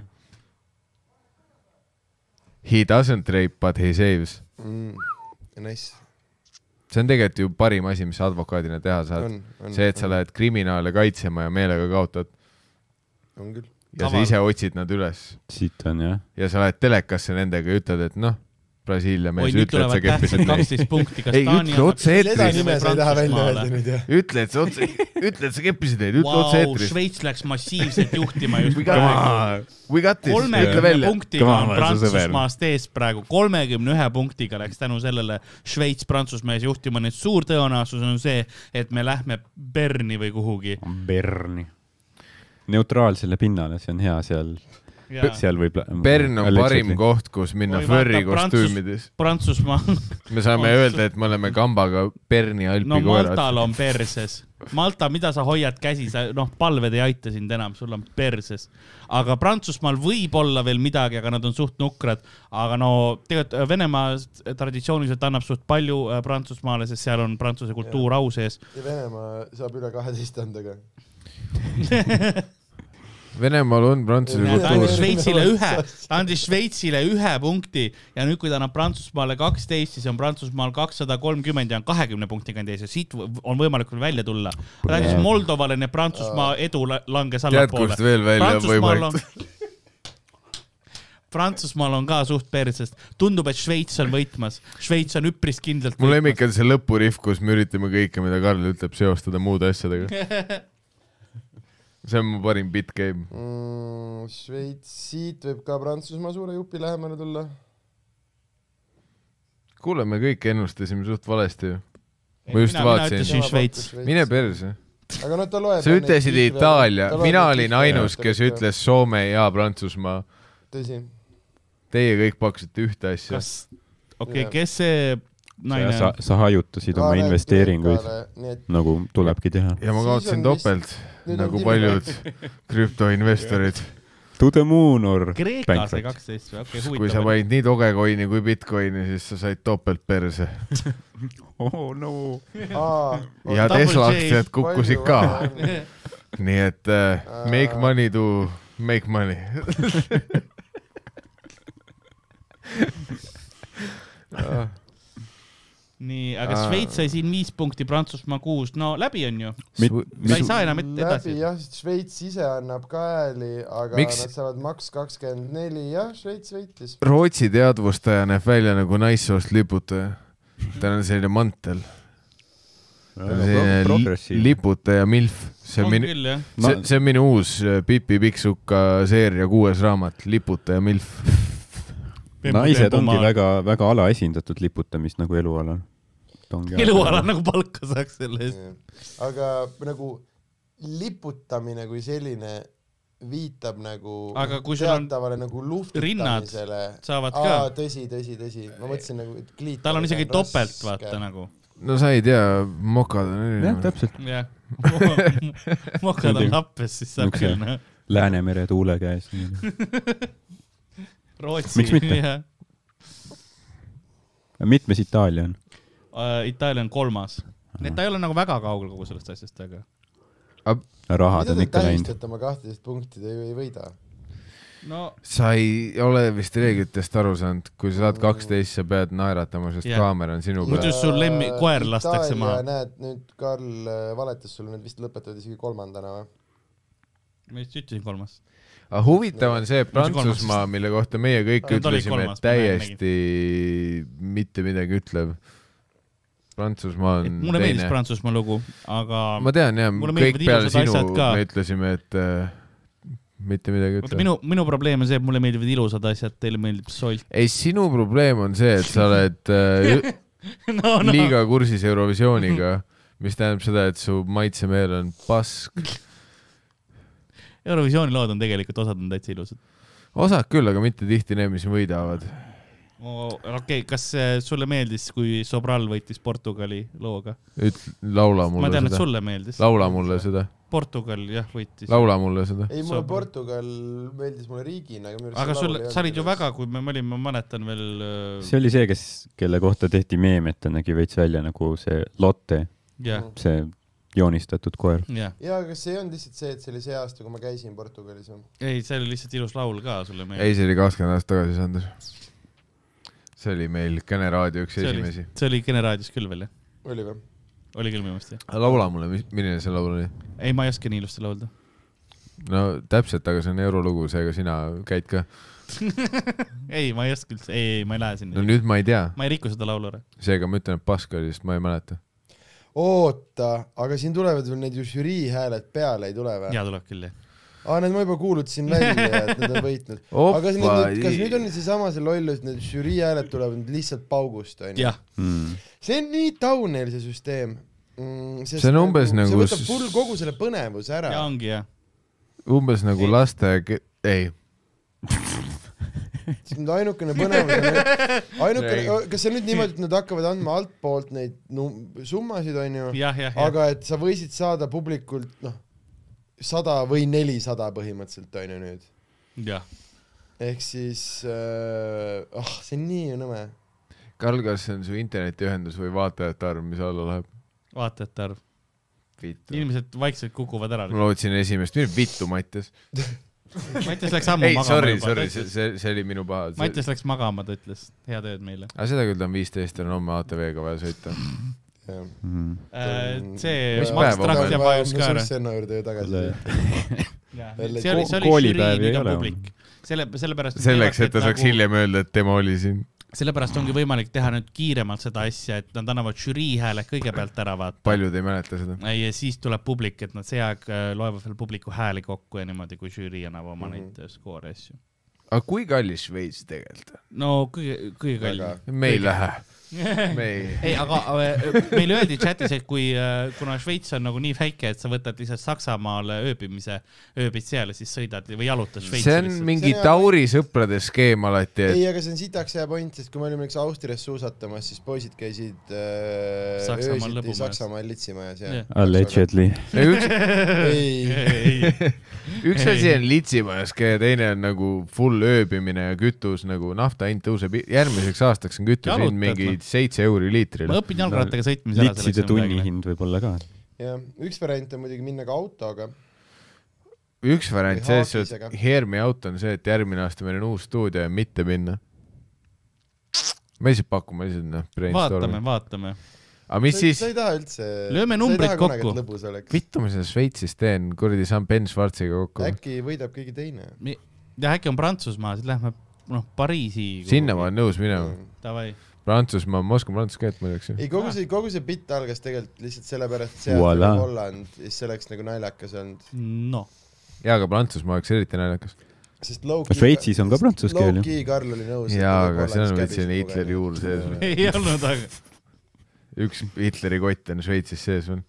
He doesn't rape but he saves .
Mm, Nice ,
see on tegelikult ju parim asi , mis sa advokaadina teha saad .
on , on .
see , et sa lähed kriminaale kaitsema ja meelega kaotad
on küll .
ja sa
Kaval.
ise otsid nad üles
siit on jah ,
ja sa lähed telekasse nendega ja ütled , et noh , Brasiilia
oi ,
mees ,
nüüd
ütle , et sa
tulevad
keppisid neid .
tähtsad kaksteist punkti , kas
ei ,
Taani
ütle otse
seda
eetris ,
nime-
nime sa ei taha välja
Prantsusmaale.
öelda nüüd jah .
ütle , et sa otse , ütle , et sa keppisid neid , ütle otse
Vau ,
eetris .
Šveits läks
[LAUGHS]
massiivselt juhtima just
We got
praegu .
this , we got this , ütle
kolmekümne
välja .
punktiga
Come on,
on
ma olen su sõber.
Prantsusmaast ees praegu , kolmekümne ühe punktiga läks tänu sellele Šveits Prantsusmaa ees juhtima , nii et suur tõenäosus on see , et me lähme Berni või kuhugi .
Berni . neutraalsele pinnale , see on hea seal , seal võib .
Bern on parim . koht , kus minna
Oi, vaata,
flörri
Prantsus-
kostüümides .
Prantsusmaa ,
me saame
on- [LAUGHS]
öelda , et me oleme kambaga Berni alpi
no Maltal
koerad .
on perses . Malta , mida sa hoiad käsi , sa noh , palved ei aita sind enam , sul on perses . aga Prantsusmaal võib olla veel midagi , aga nad on suht nukrad . aga no tegelikult äh, Venemaa traditsiooniliselt annab suht palju äh, Prantsusmaale , sest seal on prantsuse kultuur au sees .
ja Venemaa saab üle kaheteist andega .
Venemaal on prantsuse
Näed,
ta andis
ainult-
kultuur .
Šveitsile ühe , ta andis Šveitsile ühe punkti ja nüüd , kui ta annab Prantsusmaale kaksteist , siis on Prantsusmaal kakssada kolmkümmend ja on kahekümne punktiga on tees ja siit v- on võimalik veel välja tulla . ta andis Moldovale , nii et Prantsusmaa edu la- langes
tead , kust
allapoole .
veel välja on
Prantsusmaal on
võimalik ?,
[LAUGHS] Prantsusmaal on ka suht persest , tundub , et Šveits on võitmas , Šveits on üpris kindlalt
mu lemmik on see lõpurihv , kus me üritame kõike , mida Karl ütleb , seostada muude
[LAUGHS]
asjadega . see on mu parim bit game .
Šveits , siit Mm, võib ka Prantsusmaa suure jupi lähemale tulla .
kuule , me kõik ennustasime suht valesti ju . ma just vaatasin.
ütlesin Šveits .
mine . perse .
aga noh , ta loeb .
sa ütlesid Itaalia , mina olin ainus , kes . ütles Soome ja Prantsusmaa .
tõsi ,
Teie kõik pakkusite ühte asja .
kas , okei okay, , kes see naine
sa
on ?,
sa hajutasid oma investeeringuid ,
nii et
nagu tulebki teha .
ja ma
Siis on
kaotasin topelt ,
nüüd on
nagu
tiim-
paljud krüptoinvestorid .
To the moon or
Kreeka sai
bankrupt .
kaksteist või , okei ,
kui sa
huvitav .
panid nii dogecoin'i kui bitcoin'i , siis sa said topelt perse .
oh no .
aa ,
ja
Double
Tesla
J.
aktsiad kukkusid ka . [LAUGHS]
[LAUGHS]
nii et äh, make money to make money Ah,
nii , aga
Aa.
Šveits sai siin viis punkti , Prantsusmaa kuus , no läbi on ju ,
Mis-
sa ei saa enam et-
läbi
edasi .
jah , Šveits ise annab ka hääli , aga
Miks-
Miks? nad saavad maks kakskümmend neli , jah , Šveits võitis .
Rootsi teadvustaja näeb välja nagu naissoost liputaja . tal on selline mantel , tal on selline li-
progressiivne .
liputaja milf , see on
on
minu ,
küll jah ,
see , see on minu uus äh, Pipi Piksuka seeria kuues raamat , liputaja milf . [LAUGHS]
naised ongi väga-väga alaesindatud liputamist nagu elualal .
[LAUGHS] eluala nagu palka saaks selle eest .
aga nagu liputamine kui selline viitab nagu
Aga kui sul on
teatavale nagu
rinnad
luhvtitamisele .
saavad ka
aa ,, tõsi , tõsi , tõsi , ma mõtlesin nagu , et kliit .
tal on isegi topelt , vaata . nagu .
no sa ei tea , mokad on
jah ,
erinevad .
täpselt .
[LAUGHS]
jah , mokad on happes , siis saab
Niisuguse-
küll noh .
Läänemere tuule käes .
Rootsi
Miks mitte? , mitmes Itaalia on ?
Äh, Itaalia on kolmas . nii et ta ei ole nagu väga kaugel kogu sellest asjast , aga
rahad
mida
on
te
ikka läinud .
tähistate oma kahteteist punkti , te ju ei võida .
no
sa ei ole vist reeglitest aru saanud , kui sa saad kaksteist , sa pead naeratama , sest
Jah.
kaamera on sinu
Muidu
peal .
sul lemmi- koer lastakse maha.
Äh, näed , nüüd Karl äh, valetas sulle , nüüd vist lõpetavad isegi kolmandana või ?
ma just ütlesin kolmas .
aga huvitav on see , et
kolmas
Prantsusmaa , mille kohta meie kõik
Aga ta oli
ütlesime ,
kolmas,
et
ma näen,
täiesti mitte midagi ütlev . Prantsusmaa on
mulle meeldis
teine .
Prantsusmaa lugu , aga
ma tean jah ,
Mulle
kõik
meeldivad
peale
ilusad
sinu
asjad ka.
me ütlesime , et äh, mitte midagi
oota ,
ütle .
minu , minu probleem on see , et mulle meeldivad ilusad asjad , teile meeldib solt .
ei , sinu probleem on see , et sa oled äh, ü-
[LAUGHS] Oh, no , no .
liiga kursis
[LAUGHS]
Eurovisiooniga , mis tähendab seda , et su maitsemeel on pask .
Eurovisiooni lood on tegelikult , osad on täitsa ilusad .
osad küll , aga mitte tihti need , mis võidavad .
okei okay, , kas äh, sulle meeldis , kui Sobral võitis Portugali looga ?
üt- , laula
ma
mulle
tean , et
seda .
sulle meeldis .
laula mulle seda ,
Portugal jah võitis .
laula mulle seda .
ei , mulle
Saab-
Portugal meeldis mulle riigina , aga minu
aga sul , sa olid ju väga , kui me olime , ma mäletan veel . äh,
see oli see , kes , kelle kohta tehti meem , et ta nägi veits välja nagu see Lotte ,
jah ,
see joonistatud koer .
jah ,
jaa , aga kas see ei olnud lihtsalt see , et see oli see aasta , kui ma käisin Portugalis või ?
ei , see oli lihtsalt ilus laul ka sulle meeldis .
ei , see oli kakskümmend aastat tagasi , Sander . see oli meil Kene raadio üks
See oli-
esimesi .
see oli Kene raadios küll veel jah ,
oli või ?
oli küll minu meelest jah .
laula mulle , milline see laul oli ?
ei , ma ei oska nii ilusti laulda .
no täpselt , aga see on eurolugu , seega sina käid ka .
ei , ma ei oska üldse , ei , ei , ma ei lähe
no
sinna .
nüüd ma ei tea ,
ma ei riku seda laulu ära .
seega ma ütlen , et pask oli , sest ma ei mäleta .
oota , aga siin tulevad veel need ju žürii hääled peale , ei tule või ?
ja tuleb küll jah .
aa , need ma juba kuulutasin välja , et need on
[LAUGHS]
võitnud . aga kas need nüüd , kas nüüd on seesama see lollus , need žürii hääled tulevad nüüd lihtsalt paugust onju ?
jah ,
Mm.
see on nii taunil see süsteem mm, .
See on umbes nagu
see võtab
s-
full kogu selle põnevuse ära
ja . ongi jah .
umbes nagu
Ei.
laste , ei ,
siis nüüd ainukene põnevus on , ainukene ,
Ei.
kas see on nüüd niimoodi , et nad hakkavad andma altpoolt neid num- , summasid onju ,
jah , jah , jah .
aga et sa võisid saada publikult noh , sada või nelisada põhimõtteliselt onju nüüd .
jah ,
ehk siis äh, , ah see on nii nõme .
Karl , kas see on su internetiühendus või vaatajate arv , mis alla läheb ?
vaatajate arv .
vittu .
inimesed vaikselt kukuvad ära .
ma lootsin esimest , vittu , Mattias .
Mattias läks ammu
ei ,
magama .
sorry , sorry , see , see , see oli minu paha . aga
Mattias läks magama , ta ütles , head ööd meile .
seda küll , ta on viisteist , tal on homme ATV-ga vaja [LAUGHS] sõita .
Mm.
Äh, see
Mis
Max
päev on
Trahv jääb ajus ka ära .
Senna juurde tagasi . Jälle
see oli , see oli
ko-
žürii ,
koolipäev ei
nüüd on
ole
publik . selle , sellepärast .
selleks , et ta saaks . hiljem öelda , et tema oli siin .
sellepärast nagu- ongi võimalik teha nüüd kiiremalt seda asja , et nad annavad žürii hääle kõigepealt ära , vaata .
paljud ei mäleta seda .
ja siis tuleb publik , et nad see aeg äh, loevad veel publiku hääli kokku ja niimoodi , kui žürii annab
Mhm.
oma neid äh, skoore ja asju .
aga kui kallis Šveits tegelikult on ?
no kõige , kõige kallim .
me ei lähe . me ei .
ei , aga äh, meile öeldi chatis , et kui , kuna Šveits on nagu nii väike , et sa võtad lihtsalt Saksamaal ööbimise , ööbid seal ja siis sõidad või jalutad Šveitsi .
see on mingi Tauri sõprade skeem alati ,
ei
et ,
aga see on sitaks hea point , sest kui me olime näiteks Austrias suusatamas , siis poisid käisid äh,
Saksamaal
öösiti
lõbumajas.
Saksamaal litsimajas ja
Jah.
Allegedly .
ei üks ,
ei ,
mingi .
üks
Ei.
asi on litsimajaske ja teine on nagu full ööbimine ja kütus nagu nafta hind tõuseb , järgmiseks aastaks on kütuse
Jalutad,
hind mingi
noh.
seitse euri [LAUGHS] liitrile
ma . õpin jalgrattaga sõitmise ära .
litside tunnihind võib-olla ka .
jah , üks variant on muidugi minna ka autoga ,
üks variant
Või
selles suhtes ,
haakisega.
et Hermi out on see , et järgmine aasta meil on uus stuudio ja mitte minna . ma lihtsalt pakun , ma lihtsalt noh ,
vaatame ,
brainstormin .
vaatame .
aga mis
sa,
siis
sa , ei taha üldse .
Lööme numbrid kokku.
lõbus oleks ,
vittu ma seda Šveitsis teen , kuradi saan Ben Schwarziga kokku .
äkki võidab keegi teine .
ja äkki on Prantsusmaa , siis lähme , noh , Pariisi .
sinna ma . olen nõus minema .
Mm.
Davai .
Prantsusmaa , ma oskan prantsuse keelt muideks .
ei , kogu see , kogu see bitt algas tegelikult lihtsalt sellepärast , et seal
Voila.
oli Holland ja siis see oleks nagu naljakas olnud ,
noh ,
jaa , aga Prantsusmaa oleks eriti naljakas .
sest low
Kas Šveitsis on ka prantsuse
ju ?
keel, ju?
Low-key Karl oli nõus . nagu
jaa , aga seal on veits selline Hitleri juur sees .
[LAUGHS] ei olnud , aga
üks Hitleri kott on Šveitsis sees veel .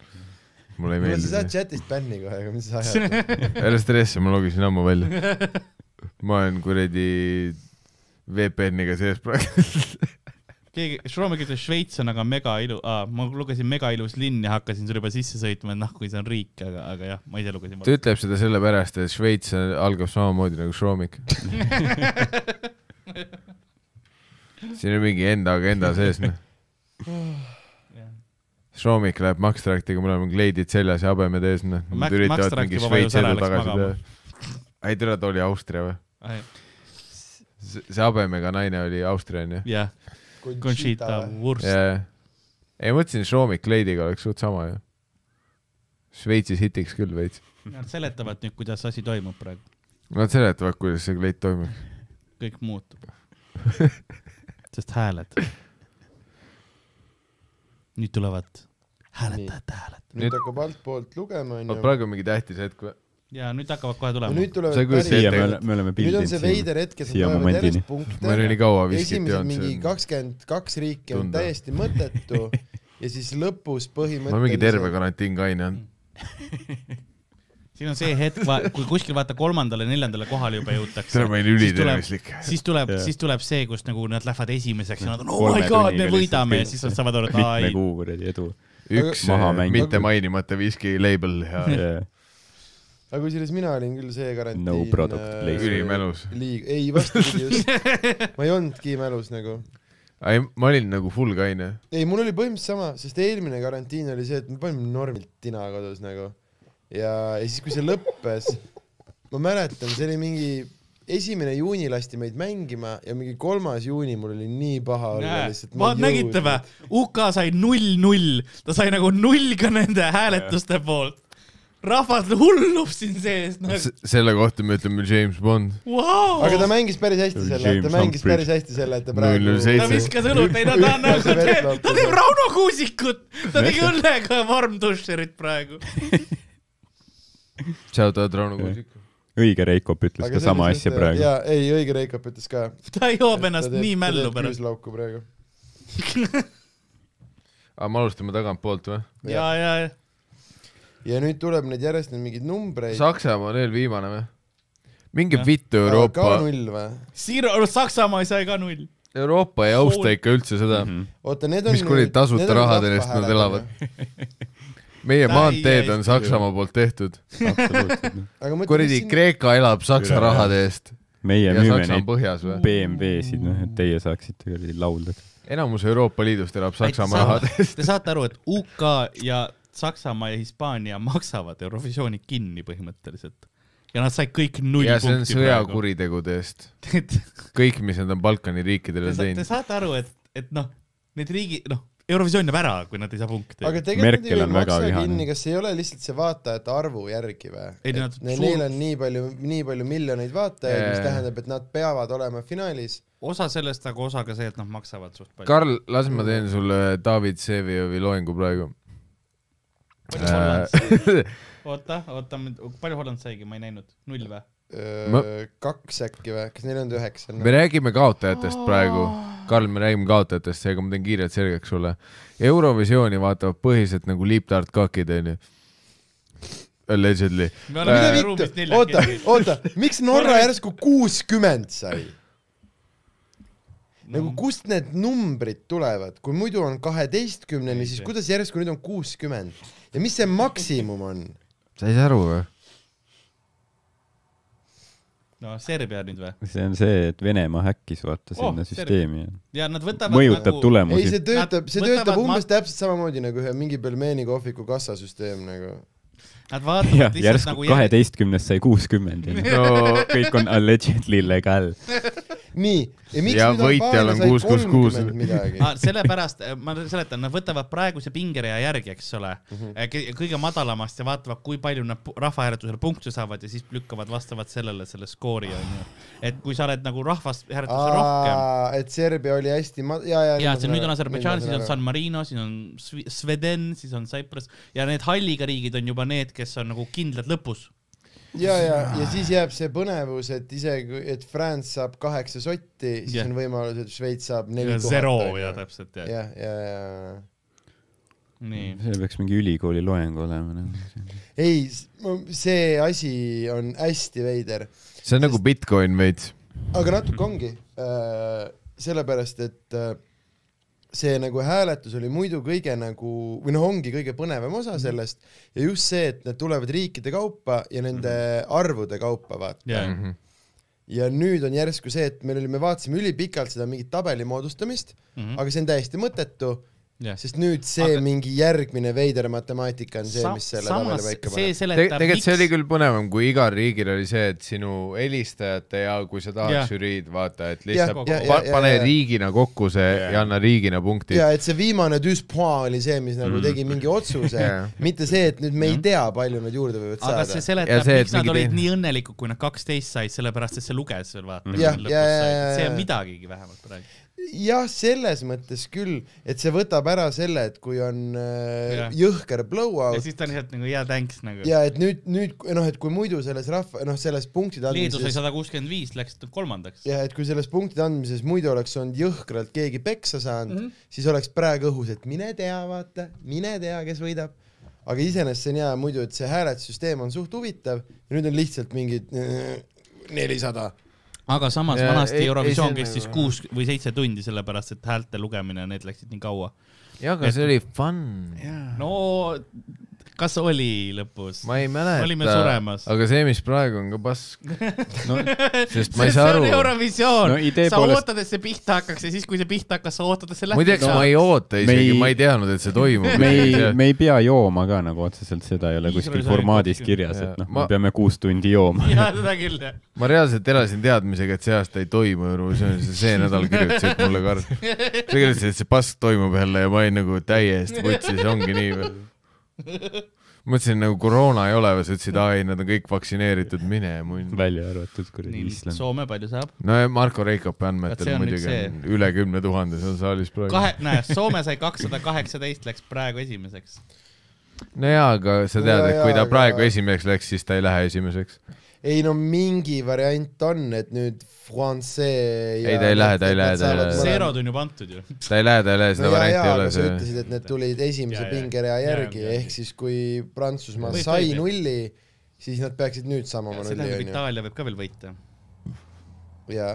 mulle ei
kuule , sa saad
meeldi see .
chatist bänni kohe , aga mis sa
[LAUGHS]
ajad ?
ära stressi , ma logisin ammu
[LAUGHS]
välja . ma olen kuradi VPN-iga sees praegu .
keegi , Šromek ütles , Šveits on aga mega ilu- ah, , ma lugesin mega ilus linn ja hakkasin sulle juba sisse sõitma , et noh , kui see on riik , aga , aga jah , ma ise lugesin .
ta ütleb seda sellepärast , et Šveits algab samamoodi nagu
[LAUGHS]
Šromik . siin on mingi enda agenda sees , noh . Šromik läheb Max Tractiga , mul on kleidid seljas ja habemed ees , noh .
Max-
Nad
Max
üritavad
Tract
mingi
juba vajus
Šveitsi
ära,
edu
läks
tagasi
magama.
teha . ei , tule , ta oli Austria või ? see see habemega naine oli Austria , onju .
jah , Conchita Wurst .
jajah . ei , ma mõtlesin , Šromik kleidiga oleks suht sama ju . Šveitsis hitiks küll veits .
Nad seletavad nüüd , kuidas asi toimub praegu ,
Nad seletavad , kuidas see kleit toimib .
kõik muutub .
[LAUGHS]
sest hääled . nüüd tulevad hääletajate hääled .
nüüd hakkab altpoolt lugema
oot ,
onju .
praegu on mingi tähtis hetk või ?
ja nüüd hakkavad kohe
ja
tulema .
nüüd tulevad
see , kui
päris-
siia me
tegelikult-
ole- me oleme
nüüd on
pildinud
see
siin .
veider hetk , et nad
siia
tulevad
momendini.
järjest punkte
ma . olin nii kaua viskit
esimesed mingi
joonud .
kakskümmend kaks riiki on
tunda.
täiesti mõttetu
[LAUGHS]
ja siis lõpus
ma olen mingi terve
põhimõtteliselt .
karantiinkaine olnud .
siin on see hetk , kui kuskil vaata kolmandale-neljandale kohale juba jõutakse
tere ,. ma olin ülitervislik .
siis tuleb
Jaa. ,
siis tuleb see , kus nagu nad lähevad esimeseks ja nad on oh
Kolme
my god , me
tunniga
võidame
lihtsalt nagu
ja siis nad saavad aru , et aa
[LAUGHS] mitme
ei .
kuu kuradi edu .
üks
Maha
eh,
mängida.
mitte mainimata viski label [LAUGHS] ja
aga kusjuures mina olin küll see karantiin .
No product placement.
ülimälus .
liig- , ei vastupidi just . ma ei olnudki mälus nagu .
ei , ma olin nagu full kaine .
ei , mul oli põhimõtteliselt sama , sest eelmine karantiin oli see , et me panime normilt tina kodus nagu . ja , ja siis , kui see lõppes , ma mäletan , see oli mingi esimene juuni lasti meid mängima ja mingi kolmas juuni mul oli nii paha olla lihtsalt .
vaat nägite vä ?, UK sai null-null , ta sai nagu null ka nende hääletuste poolt . rahvas hullub siin sees , noh ,
selle kohta me ütleme James Bond .
vau .
aga ta mängis päris hästi
See oli
selle , ta
James
mängis
Humphrey.
päris hästi selle , et ta
Null
praegu
null . seitse.
ta viskas õlut , ei no ta on
[LAUGHS]
nagu
Ühtlase
teeb ,
verelauku.
ta teeb Rauno Kuusikut , ta tegi õllega varmdušerit praegu .
Shout out Rauno Kuusik .
õige Reikop ütles ka sama asja praegu .
jaa , ei õige Reikop ütles ka .
ta joob ennast nii mällu pärast .
küüslauku praegu .
aga me alustame tagantpoolt või ?
ja , ja , ja
ja nüüd tuleb neid järjest neid mingeid numbreid .
Saksamaa on veel viimane või ? minge
Jah.
vittu
ka
Euroopa ,
null või ?
Siiro , Saksamaa sai ka null .
Euroopa ei austa
Hool-
ikka üldse seda .
oota , need on .
Mis kuradi tasuta rahade eest nad elavad? meie
Täiesti
maanteed on
ju.
Saksamaa poolt tehtud .
absoluutselt .
noh.
aga mõtle ,
kuradi
mis siin ,
Kreeka elab Saksa
Üle-
rahade eest
meie
ja
müüme
Saksa on
neid
põhjas või ?
BMW-sid , noh , et teie saaksite kuradi laulda .
enamus Euroopa Liidust elab Saksamaa rahade eest .
Te saate aru , et UK ja Saksamaa ja Hispaania maksavad Eurovisiooni kinni põhimõtteliselt ja nad said kõik null
ja see on
punkti [LAUGHS] praegu .
sõjakuritegude eest .
et
kõik , mis nad on Balkani
te,
riikidele
sa, te
teinud .
saate aru , et , et noh , need riigi , noh , Eurovisioon jääb ära , kui nad ei saa punkte .
aga tegelikult nad
Merkel
ju ei
on väga
maksa
vihane.
kinni , kas ei ole lihtsalt see vaatajate arvu järgi või ?
Ei, nad suur-
Neil on nii palju , nii palju miljoneid vaatajaid , mis
Jaa.
tähendab , et nad peavad olema finaalis .
osa sellest , aga osa ka see , et nad maksavad suht palju .
Karl , las ma teen sulle David Vsevijovi loengu praegu . [LAUGHS]
palju Holland
Äh.
sai ? oota , oota , palju Holland saigi , ma ei näinud , null või ?
Ma-
kaks äkki või , kas neil on üheksa ?
me räägime kaotajatest praegu . Karl , me räägime kaotajatest , seega ma teen kiirelt selgeks sulle . Eurovisiooni vaatavad põhiliselt nagu liiptart kakid , onju . Allegedly .
me
mida
oleme
Äh.
siin ruumis
vittu , oota
Äh, neljakesi .,
oota , miks Norra
Norra-
järsku kuuskümmend sai ? nagu kust need numbrid tulevad , kui muidu on kaheteistkümneni , siis kuidas järsku nüüd on kuuskümmend ja mis see maksimum on ?
sa ei saa aru või ?
no Serbia nüüd või ?
see on see , et Venemaa häkkis vaata
Oh,
sinna
terve-
süsteemi ja
ja nad võtavad
mõjutab
nagu...
ei ,
tulemusi
see . töötab , see
Nad
töötab
võtavad
umbes täpselt samamoodi nagu ühe mingi pelmeeni kohviku kassasüsteem nagu .
Nad
[LAUGHS]
vaatavad
jah ,
lihtsalt
järsku
nagu
kaheteistkümnest sai kuuskümmend ja
no
kõik on allegedly legal .
nii , ja miks
Ja
nüüd
võitjal
Albaania
on
sai
666.
kolmkümmend midagi ?
Ah, sellepärast , ma seletan , nad võtavad praeguse pingerea järgi , eks ole
Mhm.
mm , -hmm. kõige madalamast ja vaatavad , kui palju nad pu- rahvahääletusel punkte saavad ja siis lükkavad vastavalt sellele selle skoori onju . et kui sa oled nagu rahvahääletusel rohkem ,
et Serbia oli hästi ma- , ja , ja .
ja see nüüd on Aserbaidžaan , siis on San Marino , siis on Svi- Sweden , siis on Cyprus ja need halliga riigid on juba need , kes on nagu kindlad lõpus .
ja , ja , ja siis jääb see põnevus , et isegi , et France saab kaheksa sotti , siis
Jah.
on võimalus , et Šveits saab neli tuhat .
Zero ja . täpselt
ja ,
ja ,
ja , ja ,
nii .
Mhm.
see peaks mingi ülikooli loeng olema nagu .
ja . ei , see asi on hästi veider ,
see on nagu Bitcoin veits .
aga natuke ongi äh, , sellepärast et äh, see nagu hääletus oli muidu kõige nagu või noh , ongi kõige põnevam osa
Mhm.
sellest ja just see , et need tulevad riikide kaupa ja nende
Mhm.
arvude kaupa , vaata .
ja ,
Mhm.
ja nüüd on järsku see , et meil oli , me vaatasime ülipikalt seda mingit tabeli moodustamist mm ,
Mhm.
-hmm. aga see on täiesti mõttetu ,
ja .
sest nüüd see aga...
Aga-
mingi järgmine veider matemaatika on see , mis selle
samas
tabeli paika
see
paneb .
Te-
seletab ,
tegelikult see oli
miks
küll põnevam , kui igal riigil oli see , et sinu helistajate ja kui sa
Jah.
tahad žüriid vaata , et
Jah,
lihtsalt ja,
jah,
ja,
jah,
pane
jah, jah.
riigina kokku see ja, ja anna riigina punkti .
ja et see viimane düspoa oli see , mis
Mhm.
nagu tegi mingi otsuse
Jaa. ,
mitte see , et nüüd me ei tea , palju nad juurde võivad
aga see
saada .
Ja
seletab ,
see, et
miks nad
mingi
olid
teine-
nii õnnelikud , kui nad kaksteist said , sellepärast et see luges veel vaata .
Jah, jah, jah, jah,
see
jah.
on midagigi vähemalt praegu .
jah , selles mõttes küll , et see võtab ära selle , et kui on äh,
Jah.
jõhker blowout
ja siis ta on lihtsalt nagu yeah thanks nagu .
ja et nüüd , nüüd noh , et kui muidu selles rahva , noh , selles punktide
Leedu sai
andmises
sada kuuskümmend viis , läks kolmandaks .
ja et kui selles punktide andmises muidu oleks olnud jõhkralt keegi peksa saanud mm ,
Mhm.
-hmm. siis oleks praegu õhus , et mine tea , vaata , mine tea , kes võidab . aga iseenesest see on hea muidu , et see hääletussüsteem on suht huvitav ja nüüd on lihtsalt mingid äh, nelisada .
aga samas
Ja,
vanasti
ei-
Eurovisioon
ei, see on
käis siis
nagu-
kuus või seitse tundi , sellepärast et häälte lugemine , need läksid nii kaua .
jaa , aga see oli fun .
Ah.
no kas oli lõpus ?
ma ei mäleta .
olime suremas.
aga see , mis praegu on ka pask
[LAUGHS]
no
sest ma ei saa
see on
aru .
Eurovisioon no, ,
No idee
sa
poolest-
poolest... ootad , et see pihta hakkaks ja siis , kui see pihta hakkas , sa ootad , et see läbi
muideks ma ei oota
Me
isegi
ei- ,
ma ei teadnud , et see toimub .
me ei , me ei pea jooma ka nagu otseselt , seda ei ole kuskil
Iisraelis oli
formaadis
kakskümmend.
kirjas ,
Jaa.
et noh ,
Ma-
me peame kuus tundi jooma .
[LAUGHS] jaa , seda küll , jah .
ma reaalselt elasin teadmisega , et see aasta ei toimu Eurovisiooni , sa see nädal kirjutasid mulle ka . sa kirjutasid , et see pask toimub jälle ja ma olin nagu täiesti vutsis , ongi nii või ? mõtlesin nagu koroona ei ole või , sa ütlesid , aa ei , nad on kõik vaktsineeritud , mine munn .
[LAUGHS] välja arvatud kuradi
nii ,
Island .
Soome palju saab ?
no ja Marko Reikopi
Vaat see
andmetel
on nüüd
muidugi on üle kümne tuhande seal saalis praegu .
kahe , näe , Soome sai kakssada kaheksateist , läks praegu esimeseks .
no jaa , aga sa tead ,
No
et kui
jaa,
ta
aga-
praegu esimeseks läks , siis ta ei lähe esimeseks .
ei no mingi variant on , et nüüd France ja
Ei, ta ei lähe, ta ei lähe, ta ei
Äh.
lähe.
Zerod on juba antud ju .
ta ei lähe , ta ei lähe , seda
no ja , ja
varianti ei
aga
ole
sa
see .
ütlesid , et need tulid esimese
Ja, ja.
pingerea
Ja,
järgi
ja.
ehk siis kui Prantsusmaa
Võib,
sai
võib, jah.
nulli , siis nad peaksid nüüd saama oma
see
nulli
tähendab ,
onju .
Itaalia võib ka veel võita .
jaa ,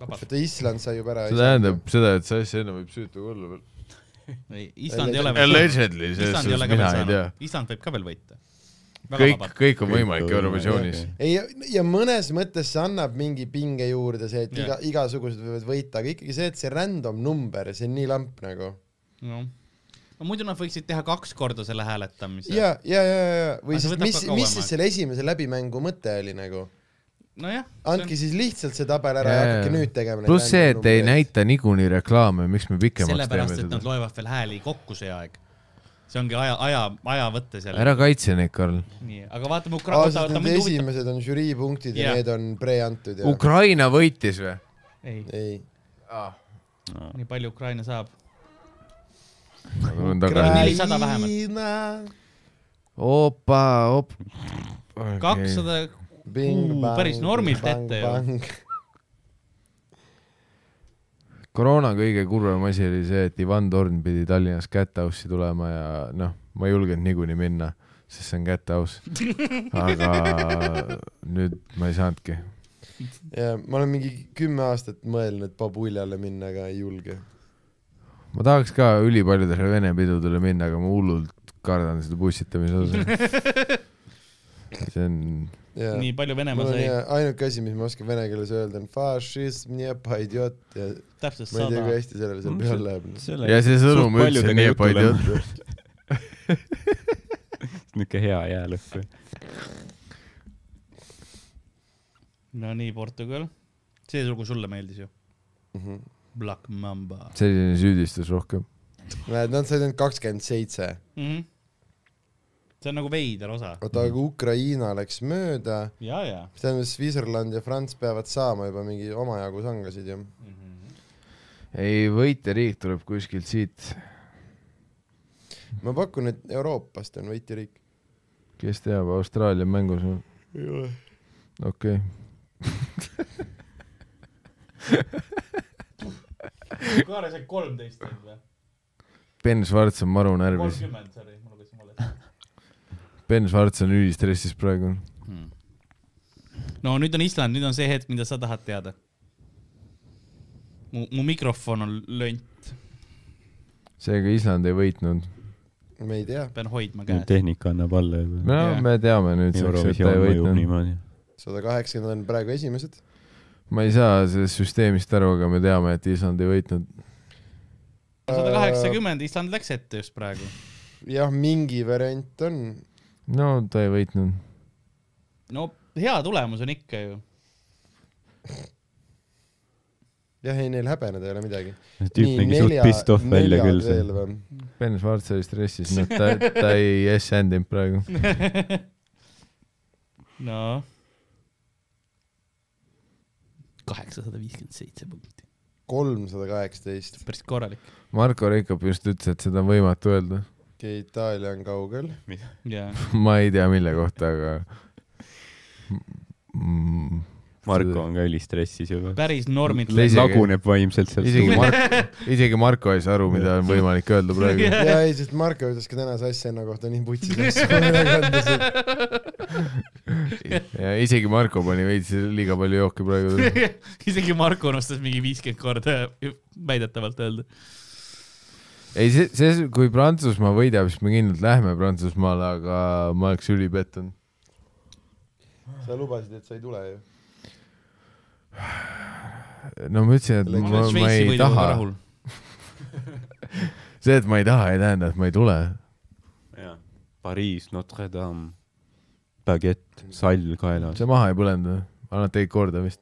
vabalt ,
vaata Island sai juba ära .
see tähendab seda , et see asi enne võib süütu ka olla veel .
Island ei ole veel saanud .
Allegedly , selles
Island ei
suhtes
ole ka
mina
veel
ei tea .
saanud , Island võib ka veel võita .
kõik , kõik on võimalik
Kõik on
Eurovisioonis .
ei , ja mõnes mõttes see annab mingi pinge juurde see , et
Jah.
iga , igasugused võivad võita , aga ikkagi see , et see random number , see on nii lamp nagu .
no. no muidu nad võiksid teha kaks korda selle hääletamise .
ja , ja , ja , ja , või
Aga see
siis
võtab
mis
ka , kauem
mis siis
aega.
selle esimese läbimängu mõte oli nagu ?
nojah .
andke siis lihtsalt see tabel ära ja
Jaa, jaa.
hakake nüüd tegema .
pluss see , et ei . näita niikuinii reklaame , miks me pikemaks teeme
sellepärast , et nad
seda .
loevad veel hääli kokku see aeg . see ongi aja , aja , aja võttes jälle .
ära kaitse neid , Karl .
nii , aga vaatame Ukra- , oota ,
aa , sest
oota ,
need
mind huvitab .
esimesed on žürii punktid ja
Jah.
need on preantud ja .
Ukraina võitis või ?
ei ,
ei .
nii palju Ukraina saab .
ma tulen Nagu tagasi .
400 vähemalt. .
opa , op- .
kakssada , Uu, päris normilt ette ju.
ju .
koroona kõige kurvem asi oli see , et Ivan Torn pidi Tallinnas Cat House'i tulema ja noh , ma ei julgenud niikuinii minna , sest see on Cat
[LAUGHS]
House . aga nüüd ma ei saanudki .
ja ma olen mingi kümme aastat mõelnud Babuljale minna , aga ei julge .
ma tahaks ka ülipaljudele vene pidudele minna , aga ma hullult kardan seda bussitamise osa . see on ,
nii palju Venemaa
mul on
sai ,
hea- ainuke asi , mis ma oskan vene keeles öelda , on fašism ja paidjot ja
täpselt
ma ei tea , kui
sada .
hästi sellele seal
Mm,
peal
see-
läheb . noh.
ja see sõnum üldse nii paljud ..
niisugune hea jäälõpp .
no nii , Portugal . see lugu sulle meeldis ju ?
Mhm.
Black Mamba
selline süüdistus rohkem .
näed , nad said ainult kakskümmend seitse ,
mm . -hmm. see on nagu veider osa .
oota , aga Ukraina läks mööda ,
ja , ja
mis tähendab , Switzerland ja Franz peavad saama juba mingi omajagu sangasid ju .
mm . -hmm.
ei , võiteriik tuleb kuskilt siit ,
ma pakun , et Euroopast on võitjariik .
kes teab , Austraalia mängus on , okei okay. .
Kaare sai kolmteist teinud või ?
Ben Schwarz on maru närvis ,
kolmkümmend , sorry , ma lugesin valesti
Ben Schwarz on ülistressis praegu .
hmm. . no nüüd on Island , nüüd on see hetk , mida sa tahad teada . mu , mu mikrofon on lönt ,
seega Island ei võitnud .
me ei tea ,
pean hoidma
nüüd
käes .
tehnika annab alla
no
juba .
yeah. me teame nüüdseks , et ta ei
Eurovisioon mõjub
võitnud .
niimoodi .
sada kaheksakümmend on praegu esimesed .
ma ei saa sellest süsteemist aru , aga me teame , et Island ei võitnud .
sada kaheksakümmend , Island läks ette just praegu .
jah , mingi variant on .
no ta ei võitnud
no hea tulemus on ikka ju .
jah , ei neil häbeneda ei ole midagi .
see tüüp nägi suht pissed off välja küll seal .
seal .
Ben Schwarz oli stressis , noh ta , ta ei [LAUGHS] yes-endinud praegu .
no . kaheksasada viiskümmend seitse punkti .
kolmsada kaheksateist .
päris korralik .
Marko Reikop just ütles , et seda on võimatu öelda .
okei , Itaalia on [LAUGHS] kaugel .
jaa .
ma ei tea , mille kohta , aga mm,
Marko on ka ülistressis juba .
päris normid .
Le- isegi-
laguneb vaimselt sealt .
isegi Marko , isegi Marko ei saa aru , mida on võimalik öelda praegu .
ja ei , sest Marko ütles ka tänase asjaenna kohta nii putsis asju , [LAUGHS] ma ei kandnud .
ja isegi Marko pani veits liiga palju jooki praegu .
[LAUGHS] isegi Marko unustas mingi viiskümmend korda väidetavalt öelda .
ei , see , see , kui Prantsusmaa võidab , siis me kindlalt lähme Prantsusmaale , aga ma oleks ülipettunud .
sa lubasid , et sa ei tule ju .
no ma ütlesin , et ma, ma ei taha , see , et ma ei taha , ei tähenda , et ma ei tule .
Pariis , Notre Dame , baguette , sall kaelas .
see maha ei põlenud või ? annad teid korda vist .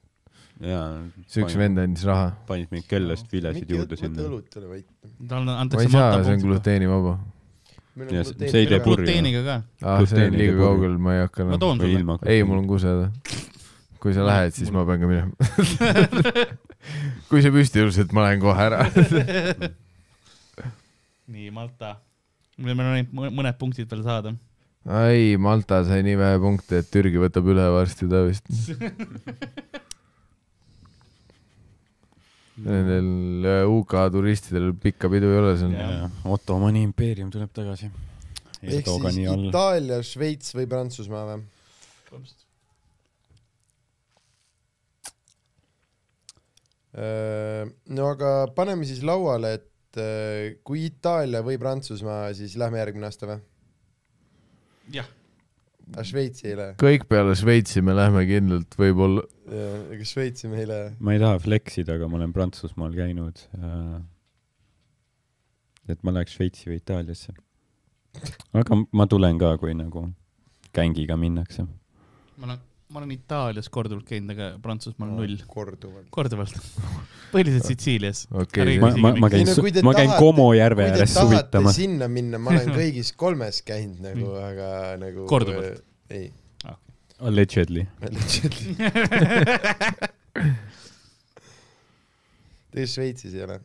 jaa .
see üks vend andis raha .
panid mingi kellast vilesid juurde sinna .
õlut ei ole vait .
talle
ma ei
antakse
saa , see on
matapulti .
gluteenivaba .
meil
Ja
on
see-
gluteeni
see ei tee
vaba.
purju.
gluteeniga ka .
aa , Ah, see on
Gluteenide
liiga
purju.
kaugel , ma ei hakka
ma
enam .
toon sulle .
ei , mul on kuse häda . kui sa lähed , siis ma pean ka minema . [LAUGHS] kui sa püsti tõused , ma lähen kohe ära .
nii , Malta . meil on ainult mõ- mõned punktid veel saada .
ei , Malta sai nii vähe punkte , et Türgi võtab üle varsti ta
[LAUGHS]
vist . Nendel äh, UK turistidel pikka pidu ei ole seal .
Ottomani impeerium tuleb tagasi . ei
ehk
tooga
siis
nii all .
Itaalia , Šveits või Prantsusmaa või ? no aga paneme siis lauale , et öö, kui Itaalia või Prantsusmaa , siis lähme järgmine aasta või ?
Jah. .
aga Šveitsi ei lähe ?
kõik peale Šveitsi me lähme kindlalt võib-olla .
ega Šveitsi me ei lähe .
ma ei taha fleksida , aga ma olen Prantsusmaal käinud . et ma läheks Šveitsi või Itaaliasse . aga ma tulen ka , kui nagu gängiga minnakse .
ma olen , ma olen Itaalias korduvalt käinud , aga Prantsusmaal null .
korduvalt .
korduvalt . põhiliselt [LAUGHS] Sitsiilias .
okei
ma , ma , ma käin
Ei no kui te ,
ma käin
tahate-
Como järve
kui te
ääres
tahate
suvitamas .
sinna minna , ma
[LAUGHS]
olen kõigis kolmes käinud nagu , aga nagu .
Mm. Korduvalt. .
ei ,
Allegedly .
ma [LAUGHS] lihtsalt , tegelikult Šveitsis ei ole .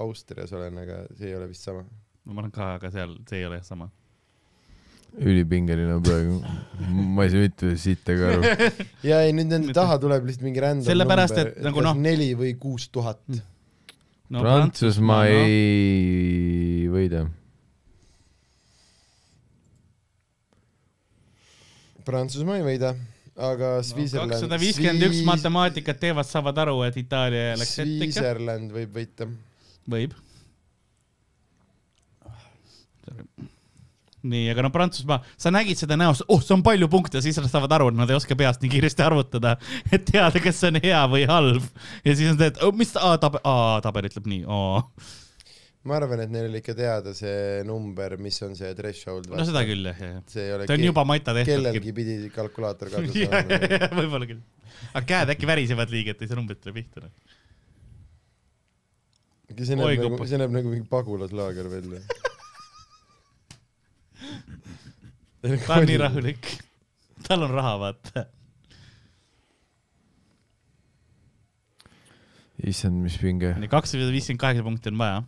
Austrias olen , aga see ei ole vist sama .
ma olen ka , aga seal , see ei ole jah sama .
ülipingeline praegu . ma ei saa mitte siit ega aru .
ja ei , nüüd nende taha tuleb lihtsalt mingi random
Sellepärast,
number,
et nagu
kas
noh- Mm.
neli või kuus tuhat .
no
Prantsusmaa
no.
ei võida .
Prantsusmaa ei võida , aga Switzerland .
kakssada viiskümmend üks matemaatikat teevad , saavad aru , et Itaalia läks ette ikka .
Switzerland võib võita .
võib . nii , aga no Prantsusmaa , sa nägid seda näost , oh , see on palju punkte , siis nad saavad aru , et nad ei oska peast nii kiiresti arvutada , [LAUGHS] et teada , kas see on hea või halb . ja siis on see , et oh, mis ta , aa , tabel , aa , tabel ütleb nii , aa .
ma arvan , et neil oli ikka teada see number , mis on see threshold .
no seda küll , jah , jah , jah .
see ei ole
see on juba maita
[LAUGHS]
tehtud .
kellelgi pidi
[LAUGHS]
kalkulaator kaasas olema .
võib-olla küll . aga käed äkki värisevad liiga , et ei saa numbrit üle pihta . noh.
see
Oi,
näeb nagu ,
kupas.
see näeb nagu mingi pagulaslaager välja .
ta on nii . rahulik . tal on raha , vaata .
issand , mis pinge .
nii , kakssada viiskümmend kaheksa punkti on vaja .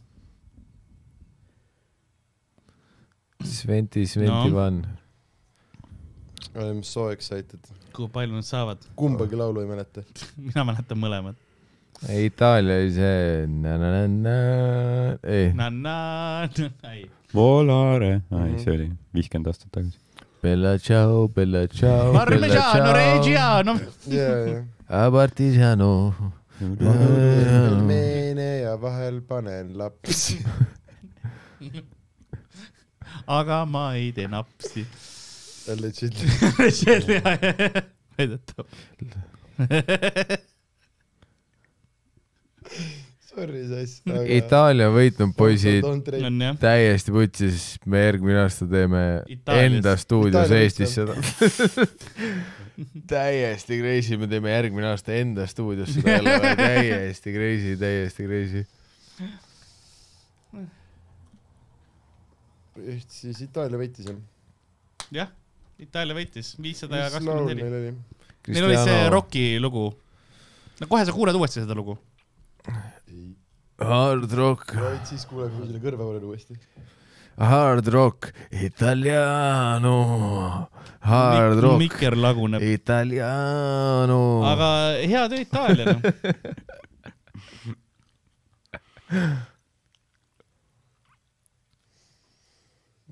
Sventi , Sventi
No.
no. Van .
I am so excited .
kui palju nad saavad ? [LAUGHS]
kumbagi laulu ei mäleta .
mina mäletan mõlemat .
Itaalia oli see na-na-na-na , ei ,
na-na , ei .
Volare , ai
Mhm.
see oli viiskümmend aastat tagasi .
Bella ciao , Bella ciao , Bella
Parmigiano
ciao ,
Reggiano .
ja , ja .
a partigiano .
Mhm. meene ja vahel panen lapsi .
aga ma ei tee napsi . [LAUGHS]
Legit .
väidetav .
Sorry sest , aga .
Itaalia on võitnud poisid
on jah .
täiesti putsis , me järgmine aasta teeme
Itaalias.
Itaalias. enda stuudios
Itaalias
Eestis seda . [LAUGHS] täiesti crazy , me teeme järgmine aasta enda stuudios seda
[LAUGHS]
jälle , täiesti crazy , täiesti crazy .
siis Itaalia võitis jah .
jah , Itaalia võitis viissada ja
mis laul
kakskümmend neli .
neil oli ?
Neil oli see Rocki lugu . no kohe sa kuuled uuesti seda lugu .
Hard rock ,
vaid siis kuuleb mul selle kõrva peal uuesti .
hard rock , italiano , hard rock ,
mikker laguneb ,
italiano .
aga hea töö
[LAUGHS]
Itaaliale .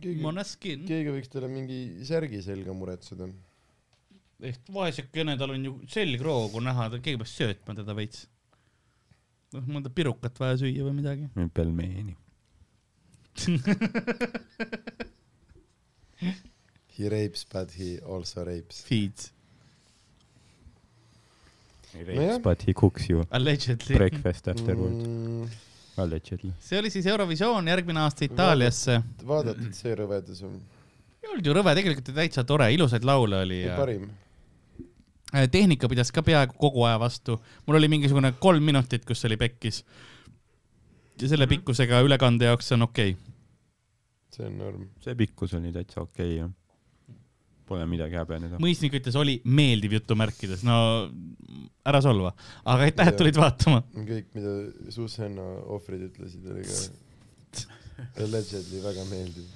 keegi ,
Moneskin ,
keegi võiks talle mingi särgi selga muretseda .
ehk vaesekene , tal on ju selgroogu näha , ta , keegi peaks söötma teda veits . noh , mõnda pirukat vaja süüa või midagi .
pelmeeni .
He rapes but he also rapes .
Feeds ,
Nojah.
But he cooks you
allegedly .
breakfast afterward .
Mm,
Allegedly .
see oli siis Eurovisioon , järgmine aasta Itaaliasse .
vaadatud see rõvedus on
ei olnud ju rõve , tegelikult oli täitsa tore , ilusaid laule oli ja Äh,
parim .
tehnika pidas ka peaaegu kogu aja vastu . mul oli mingisugune kolm minutit , kus oli pekkis . ja selle pikkusega ülekande jaoks on okei okay. .
see on norm .
see pikkus oli täitsa okei okay, jah . Pole midagi häbeneda .
mõisnik ütles , oli meeldiv jutumärkides , no ära solva , aga aitäh , et tulid vaatama .
kõik , mida Susanna ohvrid ütlesid , oli ka
[LAUGHS]
allegedly väga meeldiv .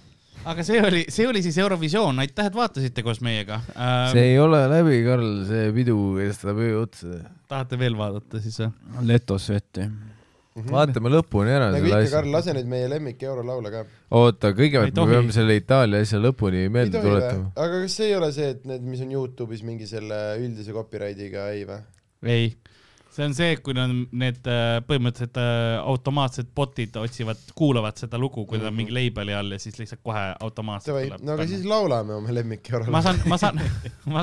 aga see oli , see oli siis Eurovisioon , aitäh , et vaatasite koos meiega
see ei
äh, .
ole läbi , Karl , see pidu kestab öö otsa .
tahate veel vaadata siis või ?
letos vette .
vaatame lõpuni ära
nagu
selle
ikka ,
asja
Karl ,. lase nüüd meie lemmik eurolaule ka .
oota ,
Ei
kõigepealt me
tohi.
peame selle Itaalia asja lõpuni
ei
meelde
tohi või
tuletama .,
aga kas see ei ole see , et need , mis on Youtube'is mingi selle üldise copyright'iga , ei või ?
ei , see on see , kui nad need äh, põhimõtteliselt äh, automaatsed bot'id otsivad , kuulavad seda lugu , kui ta on mingi label'i all ja siis lihtsalt kohe automaatselt
Davai ,
tuleb
no aga
panna.
siis laulame oma lemmik
ma
eurolaule .
saan , ma saan ,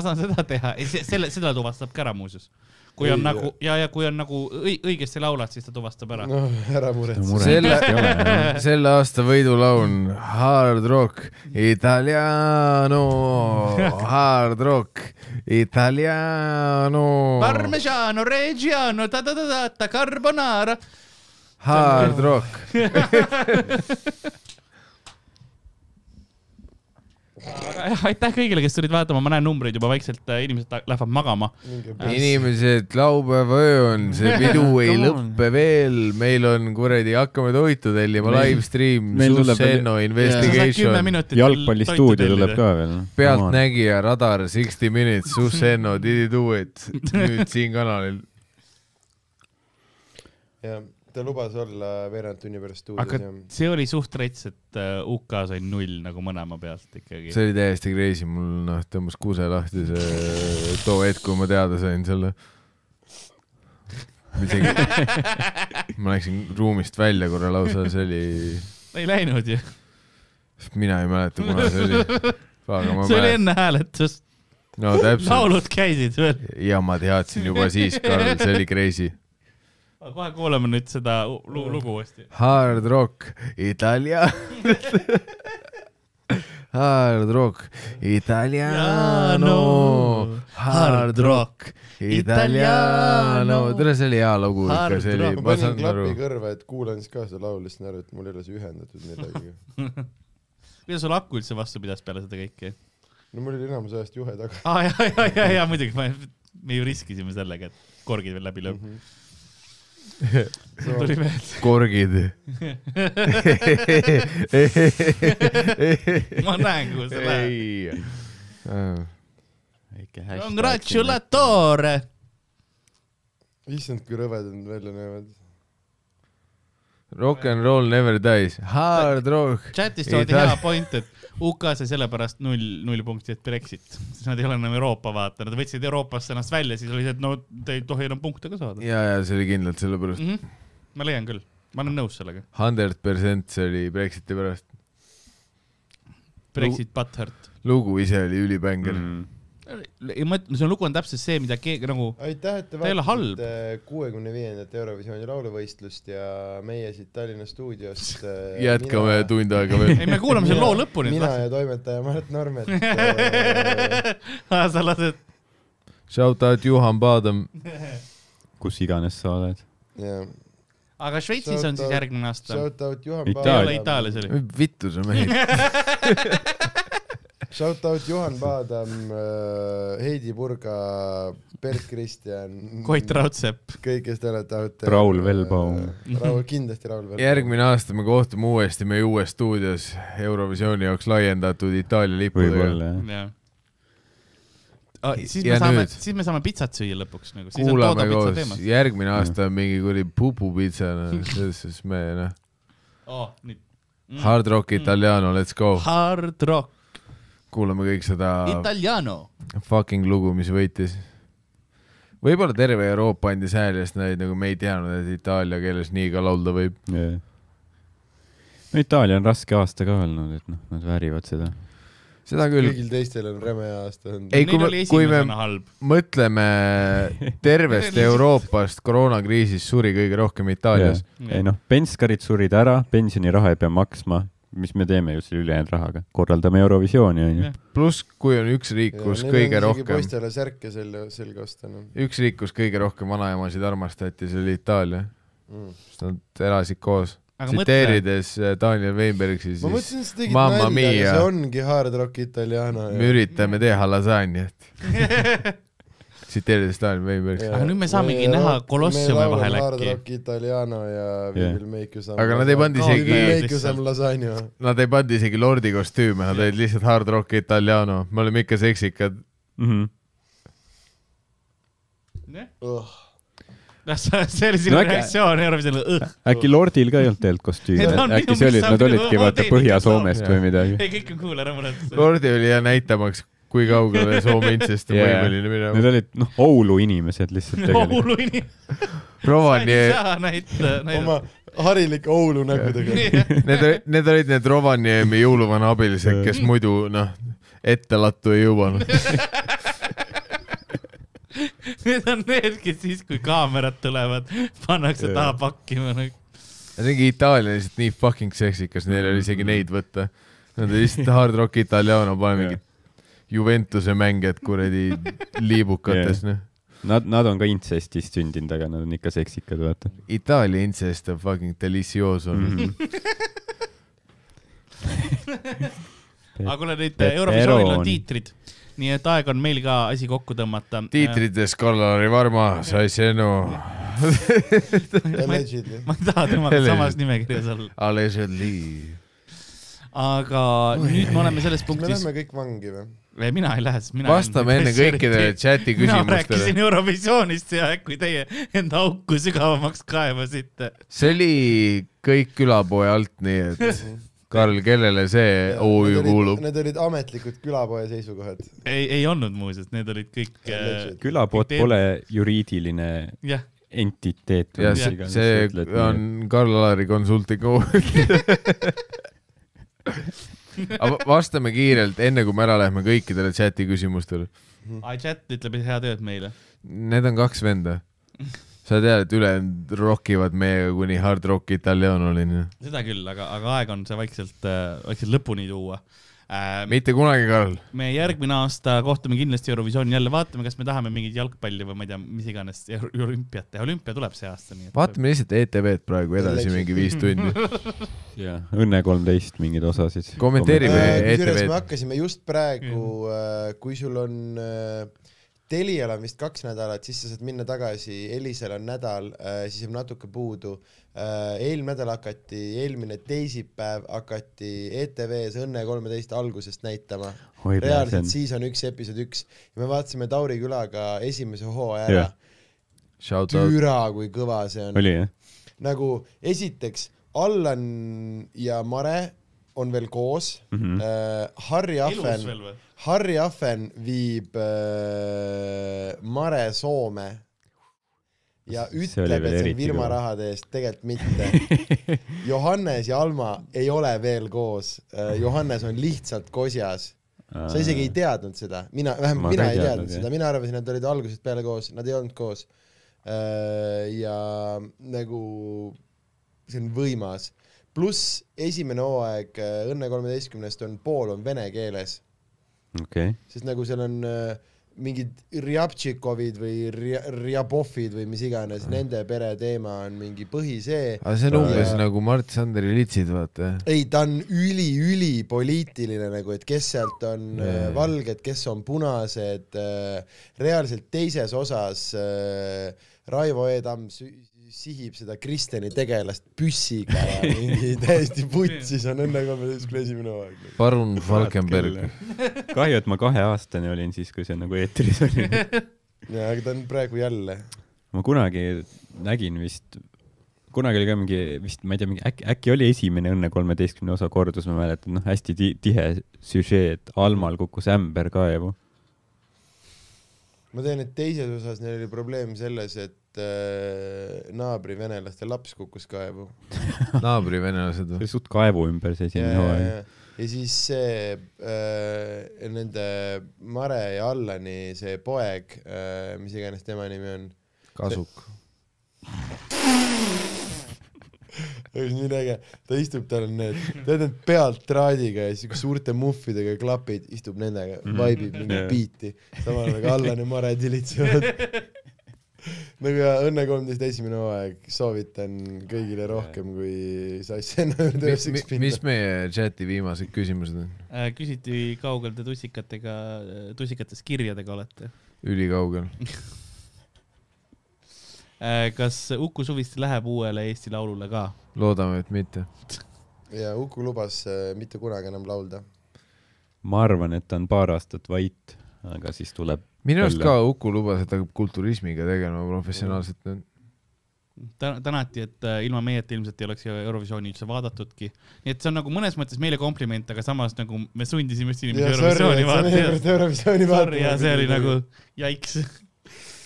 ma saan seda teha , selle , seda tuvastab ka ära muuseas . kui on
Ei,
nagu ja , ja kui on nagu õi- õigesti laulad , siis ta tuvastab ära .
noh , ära muretse .
selle ,
[LAUGHS]
selle aasta võidulaul on Hard Rock Italiano , Hard Rock Italiano ,
Parmesano , Reggiano , ta-ta-ta-ta , carbonara .
Hard Rock .
aga jah , aitäh kõigile , kes tulid vaatama , ma näen numbreid juba vaikselt , inimesed ta- lähevad magama .
inimesed , laupäeva öö on ,
[LAUGHS]
see pidu ei
Come on.
lõppe veel , meil on kuradi , hakkame toitu tellima ,
Meil-
live stream ,
meil tuleb
Sussenno investigation ,
jalgpallistuudio tuleb ka . veel . noh.
Pealtnägija , Radar , Sixty Minutes ,
[LAUGHS]
Sussenno , Did it do it , nüüd siin kanalil .
jah , ta lubas olla veerand tunni pärast
aga
stuudios ja
see oli suht rets , et äh, UK sai null nagu mõlema pealt ikkagi .
see oli täiesti crazy , mul noh tõmbas kuuse lahti see too hetk , kui ma teada sain selle . isegi
[LAUGHS]
ma läksin ruumist välja korra lausa , see oli ,
ei läinud ju ,
mina ei mäleta , kuna see oli . aga ma
see oli
mäletan ,
enne hääletust ,
no täpselt
laulud käisid veel .
ja ma teadsin juba siis , Karl , see oli crazy .
aga kohe kuulame nüüd seda u- lu- lugu uuesti .
Hard rock , Itaalia . Hard rock , Italiano . Hard rock , Italiano . tere , see oli hea lugu ikka , see oli ,
ma
ma
panin
saan aru
klapi . kõrva , et kuulan siis ka seda laulu , siis saan aru , et mul ei ole see ühendatud millegagi .
kuidas sul aku üldse vastu pidas peale seda kõike ?
no mul oli enamus ajast juhe taga .
aa ja , ja , ja , ja muidugi , me ju riskisime sellega , et korgid veel läbi
[LAUGHS]
lööb .
Mhm.
tuli meelde ,
korgid
ma näen , kuhu see läheb .
ei .
Congratulatore ,
issand , kui rõvedad nad välja näevad .
Rock n roll never dies , hard rock .
chatis toodi hea point , et UK sai sellepärast null , null punkti , et Brexit , siis nad ei ole enam Euroopa vaata , nad võtsid Euroopast ennast välja , siis oli see , et no te ei tohi enam punkte ka saada .
ja , ja see oli kindlalt sellepärast ,
Mm -hmm. ma leian küll , ma olen nõus sellega .
hundred percent see oli Brexiti pärast .
Brexit butthurt .
lugu ise oli ülibänger mm. .
ei ma ütlen , see lugu on täpselt see , mida keegi nagu ,
aitäh , et te
Ta ei ole halb.
vaatasite kuuekümne viiendat Eurovisiooni lauluvõistlust ja meie siit Tallinna
[LAUGHS]
stuudiost .
jätkame mina... . tund aega veel
ei . me kuulame selle loo lõpuni .
mina ja toimetaja Mart
[LAUGHS]
Normet äh,
Ah, sa lased ,
[LAUGHS] Shout out Juhan Paadam .
kus iganes sa oled .
jah.
aga Šveitsis on siis järgmine aasta .
Shout out Juhan
Itaalia.
ei ole Itaalias oli .
vittu sa mehed .
Shout out Juhan Paadam , Heidi Purga , Bert Kristjan .
Koit . Raudsepp .
kõik , kes te olete out .
Raul Velbaum. .
Raul , kindlasti Raul Velbaum .
järgmine aasta me kohtume uuesti meie uues stuudios Eurovisiooni jaoks laiendatud Itaalia lippudega .
võib-olla jah .
jah . siis
Ja
me saame ,
nüüd?
siis me saame pitsat süüa lõpuks nagu .
kuulame koos , järgmine aasta on mingi kuradi pupupitsa , noh , selles suhtes me noh ,
koos .
hard rock italiano , let's go .
Hard rock ,
kuulame kõik seda
italiano .
fucking lugu , mis võitis . võib-olla terve Euroopa andis hääli , sest nad nagu me ei teadnud , et itaalia keeles nii ka laulda võib .
Jajah. no Itaalia on raske aasta ka olnud , et noh , nad väärivad seda .
seda küll .
kõigil teistel on räme aasta olnud .
Ei, kui
Neil
me-
oli
kui me-
esimesena halb . [LAUGHS]
mõtleme tervest Euroopast koroonakriisis suri kõige rohkem Itaalias .
ei noh , penskarid surid ära , pensioniraha ei pea maksma , mis me teeme ju selle ülejäänud rahaga , korraldame Eurovisiooni onju
Jah. .
pluss , kui on üks riik , kus kõige rohkem ,
poistele särke selja , selga osta noh. enam
üks riik , kus kõige rohkem vanaemasid armastati , see oli Itaalia .
mm. .
sest nad elasid koos .
aga mõtle ,
tsiteerides äh, Daniel Weinbergi ,
ma
siis
mõtlesin , sa tegid
Mamma
nalja , aga
mia.
see ongi hard rock italiano .
me üritame teha lasanjat .
[LAUGHS]
tsiteerides Daniel Weinbergi .
Aga nüüd me saamegi näha Colosseumi vahel
Hard
äkki.
rock italiano ja We
Jah.
will make you some .
Aga nad ei pannud isegi-
We will make you
lihtsalt.
some lasagna .
Nad ei pannud isegi lordi kostüüme , nad olid lihtsalt hard rock italiano , me oleme ikka seksikad .
Mhm.
[LAUGHS]
Oh,
Noh, see oli sinu
No äkki-
reaktsioon Eurovisioonile .
äkki Lordil ka ei olnud tegelikult
Need on
kostüümi ,
minu
äkki see
meelest
oli , et nad
samuti
olidki
oma
vaata
tehnikad
Põhja-Soomest
laulda.
või midagi .
ei , kõik on cool , ära
[LAUGHS]
muretse .
Lordi oli jah näitamaks , kui
[LAUGHS]
kaugele soomintsest on
Jaa.
võimeline
Need
minema .
olid noh , Oulu inimesed
[LAUGHS]
lihtsalt tegelikult .
Oulu inimene , sa ei
Rovaniemi
saa näita , näidata
oma . harilike Oulu nägudega .
Need , need olid need Rovaniemi jõuluvana abilised , kes muidu noh , ette lattu ei jõuanud .
[LAUGHS] Need on need , kes siis , kui kaamerad tulevad , pannakse
Jaa.
taha pakkima nagu. .
see ongi Itaalia lihtsalt nii fucking seksikas , neil oli
Mm.
isegi neid võtta . Nad olid lihtsalt hard rock italiano , paneme mingid Juventuse mängijad kuradi liibukates noh .
Nad , nad on ka intsestist sündinud , aga nad on ikka seksikad , vaata .
Itaalia incest on fucking delicioso mm . -hmm.
Mhm.
aga kuule , nüüd
Pepperoni.
Eurovisioonil on tiitrid , nii et aeg on meil ka asi kokku tõmmata .
tiitrites Karl-Lari Varma sai sõnu
[LAUGHS] ma ei
Allegedly .
ma ei taha temaga
Helen.
samas nimekirjas olla ,
allegedly .
aga nüüd me oleme selles
me
punktis ,
lähme kõik vangi või ?
mina ei lähe , sest mina .
vastame enne kõikidele chati
mina
küsimustele .
rääkisin Eurovisioonist ja kui teie enda auku sügavamaks kaevasite .
see oli kõik külapoe alt , nii
[LAUGHS]
et Karl , kellele see OÜ kuulub ?
Need olid ametlikud külapoe seisukohad .
ei , ei olnud muuseas , need olid kõik äh,
Allegedly.
külapood
Teeb-
pole juriidiline
jah ,
entiteet
jah ,
mis iganes
see
ütled, nii
on
et-
Karl-Alari Consulting
[LAUGHS]
OÜ . aga vastame kiirelt , enne kui me ära lähme kõikidele chati küsimustele .
Mhm.
iChat ütleb head ööd meile .
Need on kaks venda . sa tead , et ülejäänud rokivad meiega kuni hard rock italianolini .
seda küll , aga , aga aeg on see vaikselt , vaikselt lõpuni tuua äh, .
mitte kunagi , Karl .
me järgmine aasta kohtume kindlasti Eurovisioonil jälle , vaatame , kas me tahame mingit jalgpalli või ma ei tea , mis iganes euro- olümpiat teha , olümpia tuleb see aasta , nii et .
vaatame lihtsalt ETV-d praegu edasi mingi viis tundi .
[LAUGHS]
jah , Õnne kolmteist mingeid osasid .
Kommenteerime.
Äh,
ETV-d.
kusjuures me hakkasime just praegu , kui sul on äh, Telial on vist kaks nädalat , siis sa saad minna tagasi , Elisel on nädal , siis jääb natuke puudu . eelmine nädal hakati , eelmine teisipäev hakati ETV-s Õnne kolmeteist algusest näitama . reaalselt
reaalselt .
siis on üks episood üks ja me vaatasime Tauri külaga esimese hooaja ära
Jah. .
Shout out .
türa , kui kõva see on .
oli jah ?
nagu esiteks Allan ja Mare on veel koos mm . -hmm. Uh, Harri
elus
Ahven
veel , või ?
Harri Ahven viib uh, Mare Soome ja
See oli
ütleb ,
veel
et see on
eriti
firma
kõva.
rahade eest , tegelikult mitte .
[LAUGHS]
Johannes ja Alma ei ole veel koos uh, , Johannes on lihtsalt kosjas . sa isegi ei teadnud seda , mina ,
Ma
vähemalt mina
ka ei
ei
teadnud,
teadnud
jah.
seda , mina arvasin , et nad olid algusest peale koos , nad ei olnud koos . ja nagu see on võimas , pluss esimene hooaeg äh, Õnne kolmeteistkümnest on pool on vene keeles ,
okei ,
sest nagu seal on äh, mingid Rjapčikovid või Rja- Rjabovid või mis iganes ,
Mhm.
nende pere teema on mingi põhi see .
aga see on umbes . nagu Mart Sanderi litsid , vaata .
ei , ta on üli-ülipoliitiline nagu , et kes sealt on yeah.
Jaa.
valged , kes on punased . reaalselt teises osas äh, Raivo E. Tamm sü- sihib seda Kristjani tegelast püssiga
[LAUGHS]
ja mingi täiesti putsis on Õnne kolmeteistkümne esimene hooaeg .
parun Falkenberg .
kahju , et ma kaheaastane olin siis , kui see nagu eetris oli .
ja , aga ta on praegu jälle .
ma kunagi nägin vist , kunagi oli ka mingi vist , ma ei tea , mingi äkki , äkki oli esimene Õnne kolmeteistkümne osa kordus , ma mäletan , noh , hästi ti- tihe süžee , et Almal kukkus ämber kaevu .
ma tean , et teises osas neil oli probleem selles , et äh, naabri venelaste laps kukkus kaevu .
[LAUGHS] naabrivenelased
see
või ?
oli suht kaevu ümber see
ja ,
esimene
ja ,
hooaeg .
ja , Äh, ja siis see äh, nende Mare ja Allani see poeg äh, , mis iganes tema nimi on ,
kasuk .
nii äge , ta istub , tal on need , tead need pealt traadiga ja siuke suurte muffidega klapid , istub nendega ,
Mhm.
vaibib mingit
Jaa.
biiti , samal ajal kui Allan ja Mare
[LAUGHS]
tilitsevad . no ja Õnne kolmteist esimene hooaeg , soovitan kõigile rohkem kui sass enne [LAUGHS] juurde üheks
mis meie chati viimased küsimused on ?
Äh, küsiti , kaugel te tussikatega , tussikates kirjadega olete .
ülikaugel .
Äh, kas Uku Suviste läheb uuele Eesti Laulule ka ?
loodame , et mitte .
ja Uku lubas äh, mitte kunagi enam laulda .
ma arvan , et ta on paar aastat vait , aga siis tuleb .
minu arust
Jälle.
ka Uku lubas , et ta hakkab kulturismiga tegelema professionaalselt .
ta , tänati , et äh, ilma meieta ilmselt ei oleks Eurovisiooni üldse vaadatudki . nii et see on nagu mõnes mõttes meile kompliment , aga samas nagu me sundisime just inimesi Eurovisiooni vaatama .
Eurovisiooni
Sorry , ja
vaatama .
see oli nagu jaiks . [LAUGHS]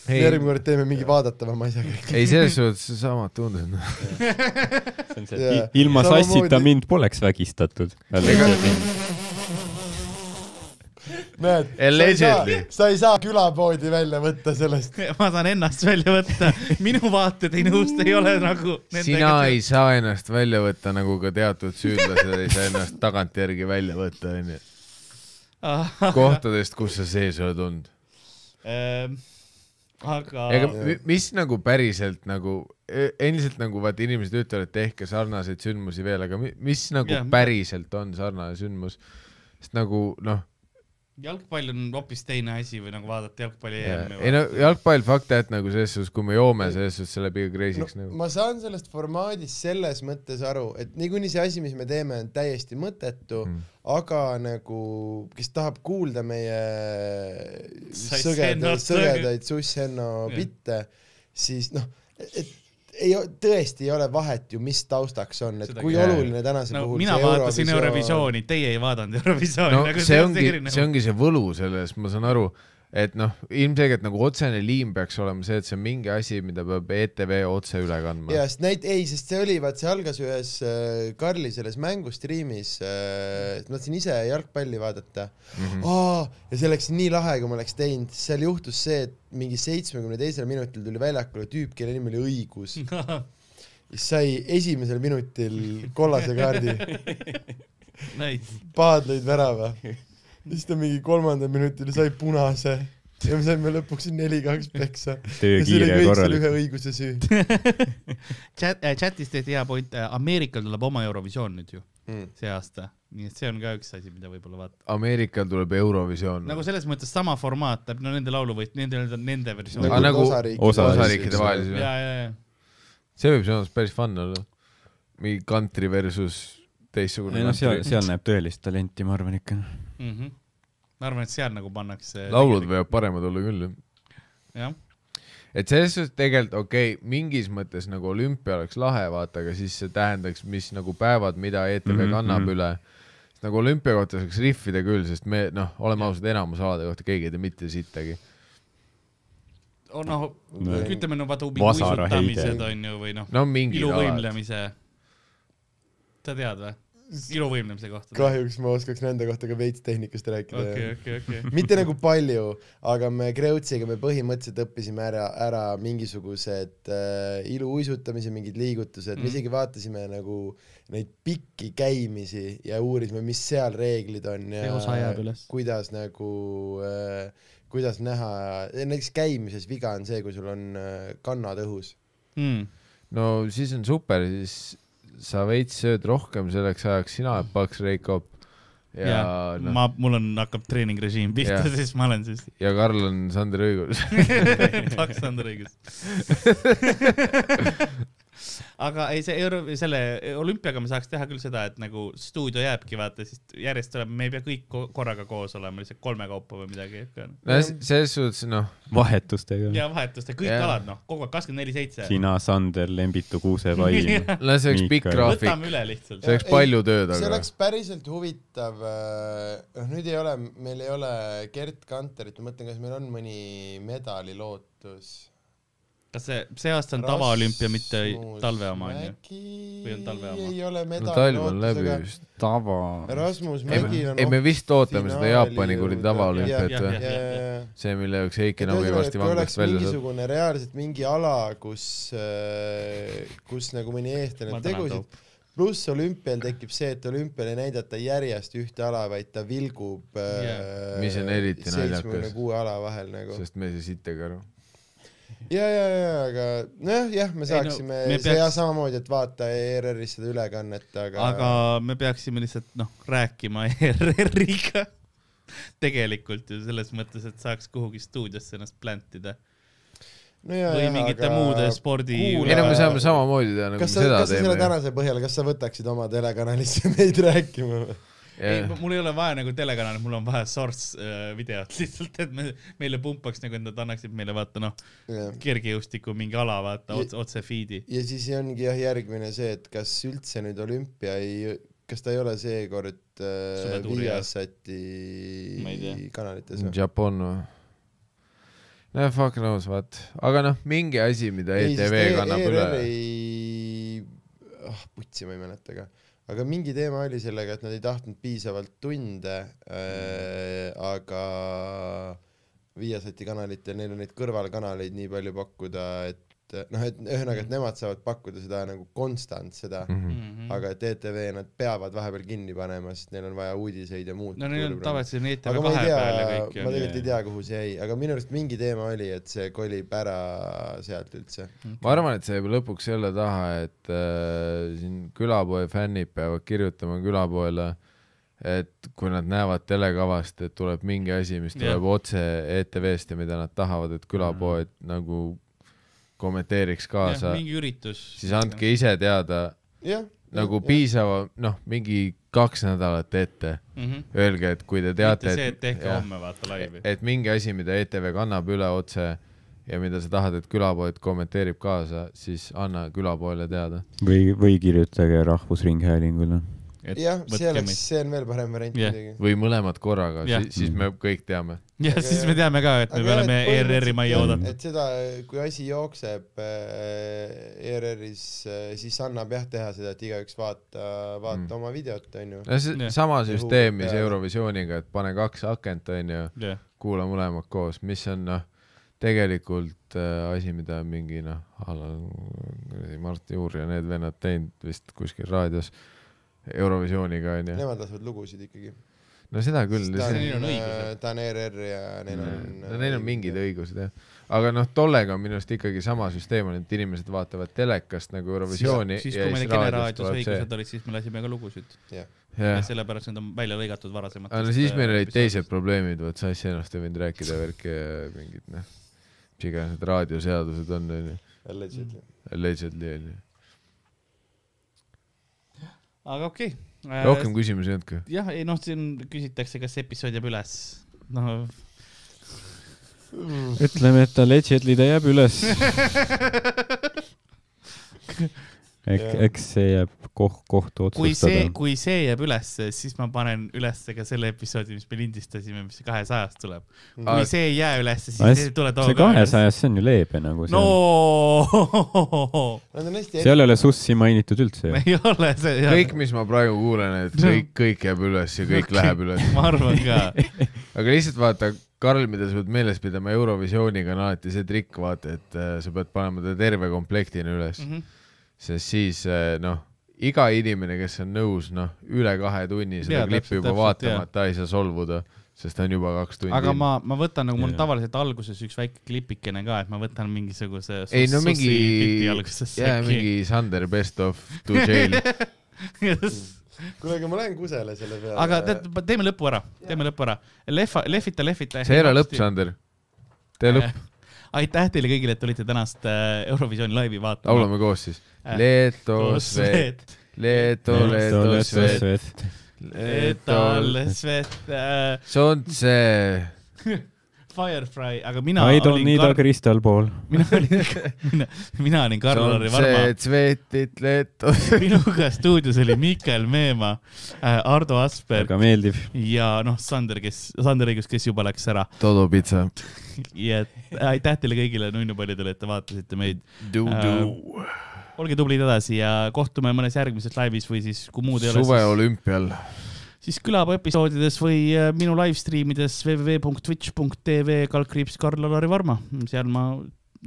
järgmine kord teeme mingi vaadatavama asjaga .
ei , selles suhtes samad tunded .
see on see
Jaa.
yeah. , ilma
Samamoodi-
sassita mind poleks vägistatud .
näed , sa ei saa
Allegedly. ,
sa ei saa külapoodi välja võtta sellest .
ma saan ennast välja võtta , minu vaated ei nõustu , ei ole nagu .
sina ei saa ennast välja võtta , nagu ka teatud süüdlased ei saa ennast tagantjärgi välja võtta , onju .
saa .
kohtadest , kus sa sees oled olnud .
Ehm, aga .
ega mi- mis nagu päriselt nagu , endiselt nagu vaata , inimesed ütlevad , et tehke sarnaseid sündmusi veel , aga mi- mis nagu
Jah.
yeah. päriselt on sarnane sündmus ? sest nagu noh ,
jalgpall on hoopis teine asi või nagu vaadata jalgpalli EM-i
ei no jalgpall fakt that nagu selles suhtes , kui me joome , selles suhtes see läheb
no,
ikka crazy'ks no, nagu .
ma saan sellest formaadist selles mõttes aru , et niikuinii see asi , mis me teeme , on täiesti mõttetu mm. , aga nagu , kes tahab kuulda meie
Sass
sõgedaid ,
Hennot,
sõgedaid susshenno
Jah.
bitte , siis noh , et ei , tõesti ei ole vahet ju , mis taustaks on , et
Seda
kui
küll.
oluline tänasel
no
puhul
mina vaatasin . Eurovisiooni , teie ei vaadanud Eurovisiooni Nagu
no see nagu- ongi , see ongi see võlu selles , ma saan aru , et noh , ilmselgelt nagu otsene liim peaks olema see , et see on mingi asi , mida peab ETV otse üle kandma
ja . sest näit- , ei , sest see oli , vaat see algas ühes äh, Karli selles mängustriimis äh, , ma tahtsin ise jalgpalli vaadata mm .
Mhm.
-hmm. Aa, ja see oleks nii lahe , kui ma oleks teinud , seal juhtus see , et mingi seitsmekümne teisel minutil tuli väljakule tüüp , kelle nimi oli Õigus ,
[LAUGHS]
Mm.
siis sai esimesel minutil kollase
[LAUGHS]
kaardi ,
Nice.
pahad lõid värava . siis ta mingi kolmandal minutil sai punase ja me saime lõpuks neli-kaks peksa .
töö
ja see oli
kiire ja
kõik selle
korralik .
ühe õiguse süü
[LAUGHS]
Chat , chatis tehti hea point , Ameerikal tuleb oma Eurovisioon nüüd ju
mm. .
see aasta , nii et see on ka üks asi , mida võib-olla vaadata .
Ameerikal tuleb Eurovisioon
nagu selles mõttes sama formaat , no nende lauluvõit , nende , nende versioon
Aga . nagu
osariikide-
osariikide vahelisi või
ja ,? ja , ja ,
see võib selles mõttes päris fun olla . mingi country versus teistsugune
ei noh , seal ,
country .
seal näeb tõelist talenti , ma arvan ikka .
ja . Mhm. ma arvan , et seal nagu pannakse .
laulud . võivad paremad olla küll , jah .
jah ,
et selles suhtes tegelikult okei okay, , mingis mõttes nagu olümpia oleks lahe , vaata , aga siis see tähendaks , mis nagu päevad , mida ETV mm
Mhm,
-hmm. kannab
mhm.
üle . nagu olümpia kohta saaks rihvida küll , sest me noh , oleme ausad , enamus alade kohta keegi ei tea mitte sittagi .
noh , ütleme no vaata ,
Vasara heide.
uisutamised on ju , või noh ,
no mingid alad .
iluvõimlemise . sa tead või ? iluvõimlemise kohta .
kahjuks ma oskaks nende kohta ka veits tehnikast rääkida
okei ,
okay. .
okei , okei .
mitte nagu palju , aga me Kreutsiga me põhimõtteliselt õppisime ära , ära mingisugused äh, iluuisutamise mingid liigutused mm. , me isegi vaatasime nagu neid pikki käimisi ja uurisime , mis seal reeglid on ja
Eos ajab üles.
kuidas nagu äh, kuidas näha , näiteks käimises viga on see , kui sul on äh, kannad õhus .
mm. .
no siis on super , siis sa veits sööd rohkem selleks ajaks , sina oled paks Reikop ja, ja
no.
noh ,
ma , mul on , hakkab treeningrežiim pihta
Jah.
yeah. , [LAUGHS] siis ma olen
[LAUGHS]
siis
ja Karl on Sander Õigus .
paks Sander õigus . aga ei , see euro , selle olümpiaga me saaks teha küll seda , et nagu stuudio jääbki , vaata siis järjest tuleb , me ei pea kõik ko- korraga koos olema , lihtsalt kolme kaupa või midagi .
no s- selles suhtes noh ,
vahetustega .
ja vahetuste , kõik
Jah.
yeah. alad noh , kogu aeg kakskümmend neli seitse .
sina , Sander , Lembitu , Kuusepai .
no see oleks pikk
Miikal.
graafik ,
võtame üle lihtsalt
see . oleks
Ei,
palju tööd ,
see
aga
oleks päriselt huvitav , noh nüüd ei ole , meil ei ole Gerd Kanterit , ma mõtlen , kas meil on mõni medalilootus .
kas see , see aasta on tavaolümpia , mitte talve oma onju ? Või on talve oma?
ei ole
no talv on läbi
medalilootusega .
vist .
tava .
Rasmus
ei
Mägi , on
ei me vist ootame seda
finaali
Jaapani
jõudnud.
kuradi
Jah,
tavaolümpiat
jah,
või
jah. ?
see , mille jaoks Heiki Nõmme varsti vanglast välja saab .
mingisugune reaalselt mingi ala , kus , kus nagu mõni eestlane
Ma tänan,
tegusid , pluss olümpial tekib see , et olümpial ei näidata järjest ühte ala , vaid ta vilgub äh,
Jah.
Mis on eriti naljakas.
kuue ala vahel nagu .
sest me ei saa sittagi aru .
ja , ja , ja , aga nojah , jah , me
Ei no,
saaksime
me
no, , see ja
peaks-
samamoodi , et vaata ERR-is seda ülekannet , aga,
aga me peaksime lihtsalt noh , rääkima [LAUGHS] ERR-iga tegelikult ju selles mõttes , et saaks kuhugi stuudiosse ennast plantida
no, ja,
või
ja,
mingite
aga
muude spordi .
kuule-
ei no me saame samamoodi teha nagu me
kas sa ,
seda
kas sa selle
teeme .
tänase põhjal , kas sa võtaksid oma telekanalisse [LAUGHS] meid rääkima või ?
ei , mul ei ole vaja nagu telekanal , mul on vaja source äh, videot lihtsalt , et me , meile pumpaks nagu , et nad annaksid meile vaata noh , kergejõustiku mingi ala vaata otse , otse feed'i .
ja siis ongi jah , järgmine see , et kas üldse nüüd olümpia ei , kas ta ei ole seekord äh,
Suvetuuri Ma ei tea.
Viasati kanalites või ?
Jaapan või ? no noh. fuck knows what , aga noh , mingi asi , mida ETV
E-
kannab üle .
ei , ah putsi ma ei mäleta ka , aga mingi teema oli sellega , et nad ei tahtnud piisavalt tunde
Mm.
äh, , aga Viasati kanalitel , neil on neid kõrvalkanaleid nii palju pakkuda , et noh , et ühesõnaga ,
Mm.
et nemad saavad pakkuda seda nagu konstant seda mm .
Mm-hmm.
Mhm.
aga et ETV nad peavad vahepeal kinni panema , sest neil on vaja uudiseid ja muud .
no neil on tavaliselt E
aga
on ETV
ma
kahe
ei tea
peal ja , kõik
ma
ju .
tegelikult ei tea , kuhu see jäi , aga minu arust mingi teema oli , et see kolib ära sealt üldse .
ma arvan , et see jääb lõpuks selle taha , et äh, siin külapoe fännid peavad kirjutama külapoele , et kui nad näevad telekavast , et tuleb mingi asi , mis
Jah. Mhm.
tuleb yeah. otse ETV-st ja mida nad tahavad , et külapoed mm. nagu kommenteeriks kaasa ,
mingi üritus .
siis andke ise teada
jah .
nagu . piisava , noh , mingi kaks nädalat ette .
mm .
Öelge , et kui te
mitte
teate ,
see , et tehke
jah.
homme vaata laivi .
et mingi asi , mida ETV kannab üle otse ja mida sa tahad , et külapood kommenteerib kaasa , siis anna külapoole teada .
või , või kirjutage Rahvusringhäälingule .
jah , see oleks , see on veel parem variant
Jah.
muidugi .
või mõlemad korraga
Jah. ,
siis me kõik teame .
jah , siis me teame ka , et me
Aga
oleme
jah, et
ERR-i
põhimõtteliselt
majja oodanud .
jah, et seda , kui asi jookseb äh, ERR-is , siis annab jah teha seda , et igaüks vaata , vaata
Mm.
mm. oma videot , onju .
no see
Jah.
sama
Ja
süsteem ,
huuled
mis
peale.
Eurovisiooniga , et pane kaks akent , onju ,
jah ,
kuula mõlemad koos , mis on noh , tegelikult äh, asi , mida mingi noh , Mart Juur ja need vennad teinud vist kuskil raadios Eurovisiooniga onju .
Nemad lasevad lugusid ikkagi .
no seda küll .
ta
neil
on
on õigused. ,
ta on ERR ja neil on . äh,
no neil on mingid õigused jah , aga noh , tollega on minu arust ikkagi sama süsteem on , et inimesed vaatavad telekast nagu Eurovisiooni
siis
ja
kui meil
siis raadiost
Generaadio
tuleb see .
õigused olid , siis me lasime ka lugusid . ja
jah ,
sellepärast need on välja lõigatud äh, varasemalt .
aga no siis meil olid teised probleemid , vot sassi ennast ei võinud rääkida , värki ja mingid noh , mis iganes need raadioseadused on , onju ,
Allegedly .
Mm. allegedly onju .
aga okei okay.
rohkem . küsimusi ei olnud ka ?
jah , ei noh , siin küsitakse , kas episood jääb üles . no
ütleme , et allegedly ta jääb üles . eks , eks see jääb koht , kohtu
kui see ,
otsustada .
kui see jääb üles , siis ma panen üles ka selle episoodi , mis me lindistasime , mis kahesajast tuleb . kui
Aa.
see ei jää üles ,
Aga
siis ei tule too .
see kahesajas , see on ju leebe
[LAUGHS]
nagu see on.
no
Nad on hästi
seal ei ole sussi mainitud üldse ju .
ei ole see .
kõik , mis ma praegu kuulen , et kõik , kõik jääb üles ja kõik läheb üles .
ma arvan
[LAUGHS]
ka .
aga lihtsalt vaata , Karl , mida sa pead meeles pidama Eurovisiooniga on alati see trikk , vaata , et äh, sa pead panema ta terve komplektina üles mm ,
Mhm.
-hmm. sest siis äh, noh , iga inimene , kes on nõus noh , üle kahe tunni seda
Jaa,
klippi
täpselt,
juba
täpselt, jaa.
vaatama , et ta ei saa solvuda , sest ta on juba kaks tundi .
aga ma , ma võtan nagu mul on
Jaa.
tavaliselt alguses üks väike klipikene ka , et ma võtan mingisuguse sus-
ei no mingi
sussi pildi algusesse
jaa , mingi Sander Best
[LAUGHS]
of To Jail .
kuule , aga ma lähen kusele selle peale .
aga tead , teeme lõpu ära , teeme lõpu ära . lehva , lehvita , lehvita .
see ei ole lõpp , Sander . tee
Äh.
lõpp ,
aitäh teile kõigile , et tulite tänast äh, Eurovisiooni laivi vaatama .
laulame koos siis .
Äh.
Leto , Svet , Leto , Leto , Svet , Leto ,
Etale Svet äh, ,
Sontse .
Firefly , aga mina
I don't
olin
need a
Kar- ,
crystal ball .
[LAUGHS] mina olin , mina, mina olin Karl-Lari Varma .
Sontse , Svetit , Leto .
[LAUGHS] minuga stuudios oli Mihkel Meemaa äh, , Ardo Asper
väga meeldiv .
ja noh , Sander , kes , Sander Õigus , kes juba läks ära .
Todo pitsa .
ja et äh, aitäh teile kõigile nunnupallidele , et te vaatasite meid . Äh,
Du-du .
olge tublid edasi ja kohtume mõnes järgmises laivis või siis , kui muud ei ole ,
suveolümpial .
siis, siis külaepisoodides või äh, minu live stream ides www.twitch.tv kaldkriips Karl-Alari Varma , seal ma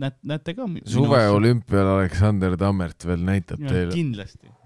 näet- , näete ka .
suveolümpial Aleksander Tammert veel näitab teile .
kindlasti ,